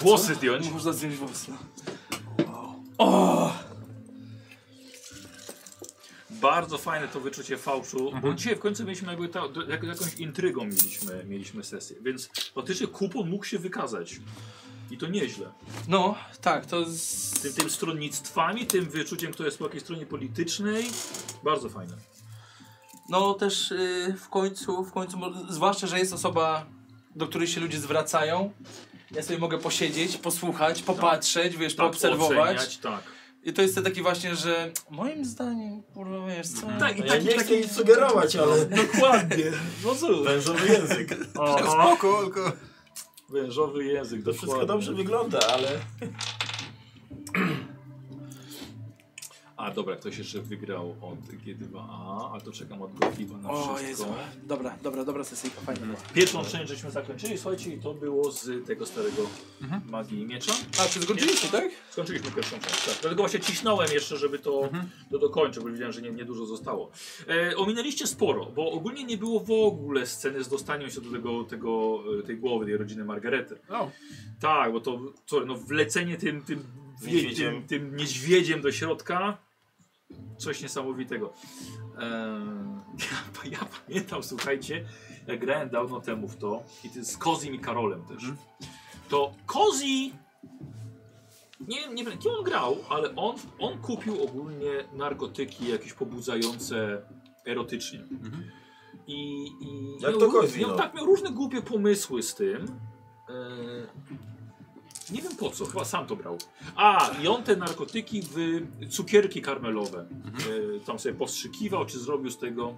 S1: Włosy zdjąć.
S2: Można zdjąć włosy. O!
S1: Bardzo fajne to wyczucie fałszu, bo dzisiaj w końcu mieliśmy jakby ta, do- jak, jakąś intrygą mieliśmy, mieliśmy sesję, więc faktycznie kupon mógł się wykazać. I to nieźle.
S2: No, tak, to
S1: Tym,
S2: z...
S1: tym stronnictwami, tym wyczuciem, kto jest po jakiej stronie politycznej. Bardzo fajne. Tak
S2: No też y, w końcu, w końcu, mo- zwłaszcza, że jest osoba, do której się ludzie zwracają. Ja sobie mogę posiedzieć, posłuchać, popatrzeć, wiesz, poobserwować.
S1: oceniać, tak.
S2: I to jest to taki właśnie, że moim zdaniem, kurwa, wiesz co...
S1: Tak, i
S5: No Ja
S1: taki,
S5: nie chcę
S1: taki
S5: nic
S1: [LAUGHS]
S5: sugerować, ale
S1: dokładnie. No cóż.
S5: wężowy język.
S1: Aha.
S3: Spoko, tylko...
S1: Wężowy język,
S5: To wszystko dobrze wygląda, ale...
S1: A dobra, ktoś jeszcze wygrał od G2A, a to czekam od Gokiwa na
S2: O
S1: wszystko.
S2: Jezu, dobra, dobra, dobra sesyjka, fajna była.
S1: Pierwszą część żeśmy zakończyli, słuchajcie, i to było z tego starego magii i miecza.
S2: A, czy zgodziliście, tak?
S1: Skończyliśmy pierwszą część, tak. Dlatego właśnie ciśnąłem jeszcze, żeby to, to dokończyć, bo widziałem, że nie- niedużo zostało. E, ominęliście sporo, bo ogólnie nie było w ogóle sceny z dostaniem się do tego, tego e, tej głowy, tej rodziny Margarety.
S3: No.
S1: Tak, bo to, sorry, no wlecenie tym, tym, wie,
S5: Niedźwiedziem.
S1: tym, tym niedźwiedziem do środka, coś niesamowitego. Eee, [LAUGHS] ja, ja pamiętam, słuchajcie, jak grałem dawno temu w to i ty z Kozim i Karolem też.
S5: Mhm.
S1: To Kozi, nie wiem, nie wiem, kim on grał, ale on, on kupił ogólnie narkotyki jakieś pobudzające erotycznie. I, i
S5: Mhm. Jak
S1: miał
S5: to
S1: ró-
S5: Kozi,
S1: miał,
S5: no.
S1: Tak, miał różne głupie pomysły z tym. Eee, nie wiem po co, chyba sam to brał. A, i on te narkotyki w cukierki karmelowe.
S5: Mhm.
S1: E, tam sobie powstrzykiwał, czy zrobił z tego.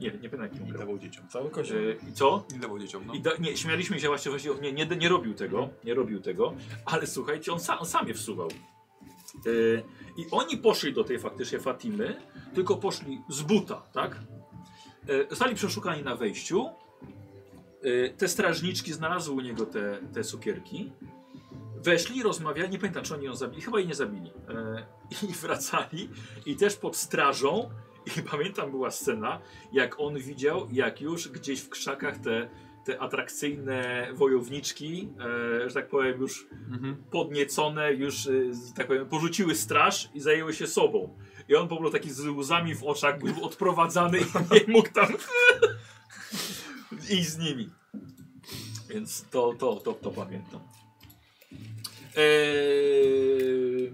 S1: Nie, nie pamiętam jakim
S3: I
S1: brał.
S3: dawał dzieciom.
S5: Cały kozioł.
S1: E, I co?
S3: I dawał dzieciom, no.
S1: I da, nie, śmialiśmy się właśnie, właśnie nie, nie, nie robił tego, nie robił tego, ale słuchajcie, on, sa, on sam je wsuwał. E, I oni poszli do tej faktycznie Fatimy, tylko poszli z buta, tak? E, Zostali przeszukani na wejściu. E, Te strażniczki znalazły u niego te, te cukierki. Weszli, rozmawiali, nie pamiętam czy oni ją zabili, chyba jej nie zabili. E, I wracali i też pod strażą I pamiętam była scena, jak on widział, jak już gdzieś w krzakach te, te atrakcyjne wojowniczki, e, że tak powiem, już podniecone, już, e, z- tak powiem, porzuciły straż i zajęły się sobą. I on po prostu taki z łzami w oczach był odprowadzany i nie mógł tam [LAUGHS] iść z nimi. Więc to, to, to, to pamiętam. Eee,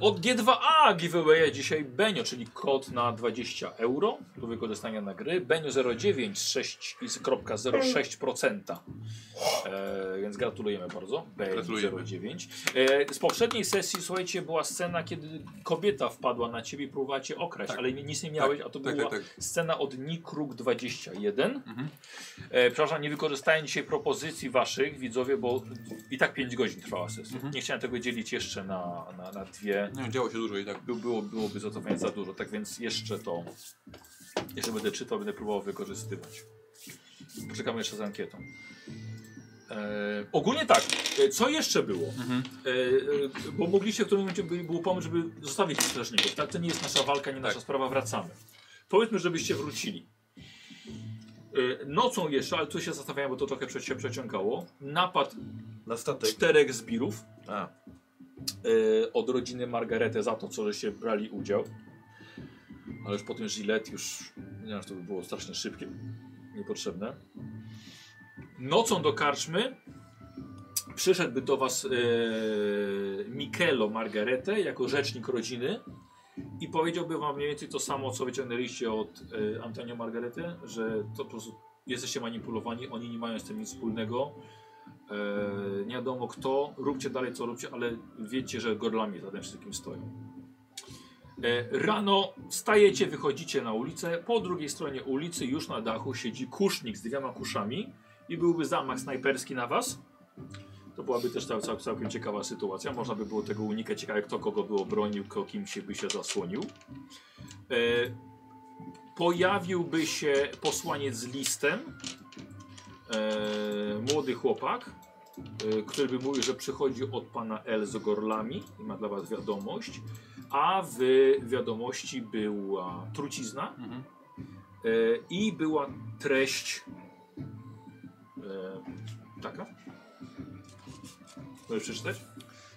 S1: od G2A giveawaya dzisiaj Benio, czyli kod na 20 euro do wykorzystania na gry. Benio 0,9,06%. Eee, więc gratulujemy bardzo. Benio
S3: Gratulujemy.
S1: 0,9. Eee, z poprzedniej sesji, słuchajcie, była scena, kiedy kobieta wpadła na ciebie i próbowała cię okraść,
S3: Tak.
S1: ale nic nie miałeś, a to
S3: Tak,
S1: była
S3: tak, tak.
S1: scena od Nikruk 21.
S3: Mhm.
S1: E, przepraszam, nie wykorzystałem dzisiaj propozycji waszych, widzowie, bo i tak 5 godzin trwała sesja.
S3: Mhm.
S1: Nie chciałem tego dzielić jeszcze na, na, na dwie.
S3: No, działo się dużo i tak.
S1: By, było, byłoby zacofania za dużo, tak więc jeszcze to. Jeszcze będę czytał, będę próbował wykorzystywać. Poczekamy jeszcze z ankietą. E, ogólnie tak, e, co jeszcze było? E, e, bo mogliście w którymś momencie by, był pomysł, żeby zostawić tych strażników. Tak, to nie jest nasza walka, nie nasza sprawa, wracamy. Powiedzmy, żebyście wrócili. E, nocą jeszcze, ale tu się zastanawiałem, bo to trochę prze- się przeciągało. Napad
S5: Na statek.
S1: czterech zbirów
S5: A.
S1: e, od rodziny Margaretę za to, co żeście brali udział. Ale już po tym gilet już, nie wiem, że to by było strasznie szybkie, niepotrzebne. Nocą do karczmy przyszedłby do was e, Michelo Margaretę jako rzecznik rodziny i powiedziałby wam mniej więcej to samo, co wyciągnęliście od e, Antonio Margarety, że to po prostu jesteście manipulowani, oni nie mają z tym nic wspólnego. E, nie wiadomo kto, róbcie dalej co róbcie, ale wiecie, że gorlami za tym wszystkim stoją. E, Rano wstajecie, wychodzicie na ulicę. Po drugiej stronie ulicy, już na dachu, siedzi kusznik z dwiema kuszami i byłby zamach snajperski na was. To byłaby też cał, cał, całkiem ciekawa sytuacja. Można by było tego unikać. Ciekawe, kto kogo by obronił, kto kim się by się zasłonił. E, pojawiłby się posłaniec z listem. E, młody chłopak, e, który by mówił, że przychodzi od pana L z gorlami i ma dla was wiadomość. A w wiadomości była trucizna
S3: Mhm.
S1: e, i była treść e, taka. Możesz przeczytać?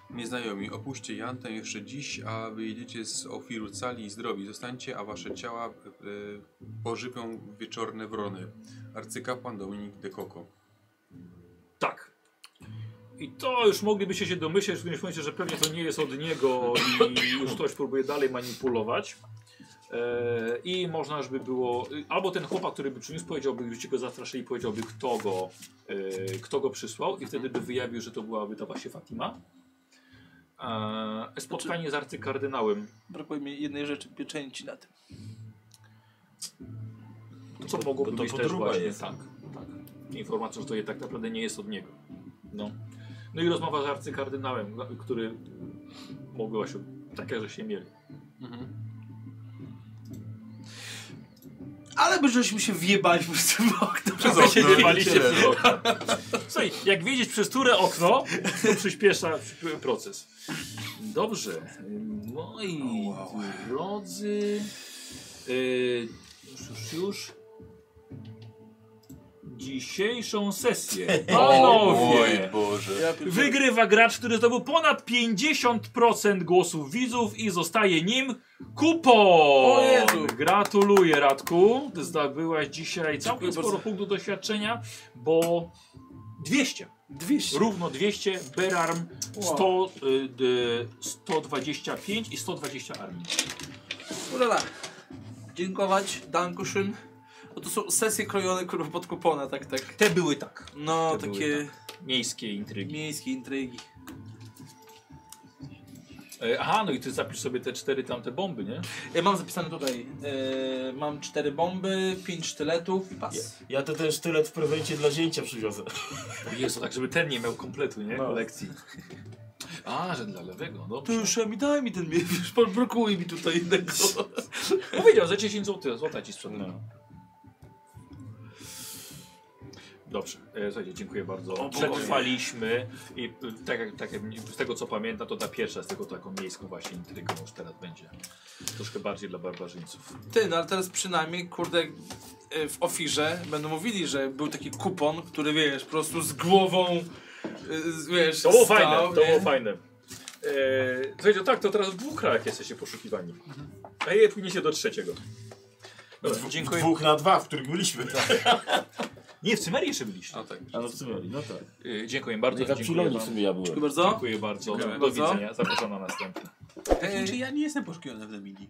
S3: Nieznajomi, opuśćcie Jantę jeszcze dziś, a wyjedziecie z Ofiru cali i zdrowi. Zostańcie, a wasze ciała e, pożywią wieczorne wrony. Arcykapłan Dominik de Coco.
S1: Tak. I to już moglibyście się domyśleć w którymś momencie, że pewnie to nie jest od niego i już ktoś próbuje dalej manipulować. E, I można już by było, albo ten chłopak, który by przyniósł, powiedziałby, gdybyście go zastraszyli, powiedziałby kto go, e, kto go przysłał i wtedy by wyjawił, że to byłaby ta właśnie Fatima. E, Spotkanie z arcykardynałem.
S2: Brakuje mi jednej rzeczy, pieczęci na tym.
S1: Co mogłoby
S5: to
S1: być też
S5: podróba
S1: właśnie
S5: jest.
S1: tak, tak. Informacja, że to je tak naprawdę nie jest od niego. No. No i rozmowa z arcykardynałem, na- który mogła się taka, że się mieli.
S2: Ale by żeśmy się wjebali po prostu w okno.
S3: Przez
S1: Wy się
S3: okno.
S1: wyrwaliście przez okno. Słuchaj, jak widzisz przez które okno, to przyspiesza przy- proces. Dobrze, moi drodzy, y, już, już, już, dzisiejszą sesję, panowie,
S2: Ja
S1: wygrywa gracz, który zdobył ponad 50% głosów widzów i zostaje nim Kupo!
S2: O Jezu!
S1: Gratuluję Radku, ty zdobyłaś dzisiaj całkiem
S2: Dziękuję
S1: sporo
S2: bardzo.
S1: punktów doświadczenia, bo 200,
S2: 200.
S1: równo 200, Berarm 100, y, d, 125 i 120 armii.
S2: Urala. Dziękować, Dankuszyn. Bo to są sesje krojone kurwa pod kupona, tak, tak.
S1: Te były tak,
S2: No,
S1: Te były tak.
S2: takie
S1: miejskie intrygi.
S2: miejskie intrygi.
S1: E, aha, no i ty zapisz sobie te cztery tamte bomby, nie?
S2: Ja mam zapisane tutaj. e, mam cztery bomby, pięć sztyletów i pas.
S5: Ja, ja to ten sztylet w prewencie dla zięcia przywiozę.
S1: Jezu, tak żeby ten nie miał kompletu, nie?
S5: No.
S1: Kolekcji. A, że dla lewego, no
S2: To już ja mi daj mi ten miecz, już pan blokuje mi tutaj
S1: [LAUGHS]
S2: jednego.
S1: Powiedział, za 10 zł, złota ci sprzedam.
S5: No.
S1: Dobrze, e, słuchajcie, dziękuję bardzo.
S10: O Bogowie.
S1: Przetrwaliśmy i p- tak, jak- tak, jak- z tego co pamiętam, to ta pierwsza z tego taką miejską właśnie intrygą już teraz będzie. Troszkę bardziej dla barbarzyńców.
S2: Ty, no ale teraz przynajmniej, kurde, jak, y, w ofirze będą mówili, że był taki kupon, który wiesz, po prostu z głową, y, z- wiesz,
S1: To było
S2: stał,
S1: fajne, to
S2: nie?
S1: było fajne. E, słuchajcie, tak, to teraz w dwóch krajach jesteście poszukiwani. A je płyniecie do trzeciego. Dobra,
S5: Dwu-
S1: dziękuję.
S5: Dwóch na dwa, w których byliśmy.
S1: Nie, w Cymerii jeszcze byliście.
S5: A no w sumie, no tak.
S1: E, dziękuję
S5: No i
S1: bardzo.
S5: w
S1: Dziękuję
S5: Epsilonie w
S1: bardzo.
S5: sumie ja byłem.
S2: Dziękuję bardzo.
S1: Dziękuję bardzo.
S2: Dziękuję
S1: Do
S2: bardzo.
S1: widzenia. Zapraszam na następny.
S2: Hej.
S3: Czy ja nie jestem poszukiwany w Namibie?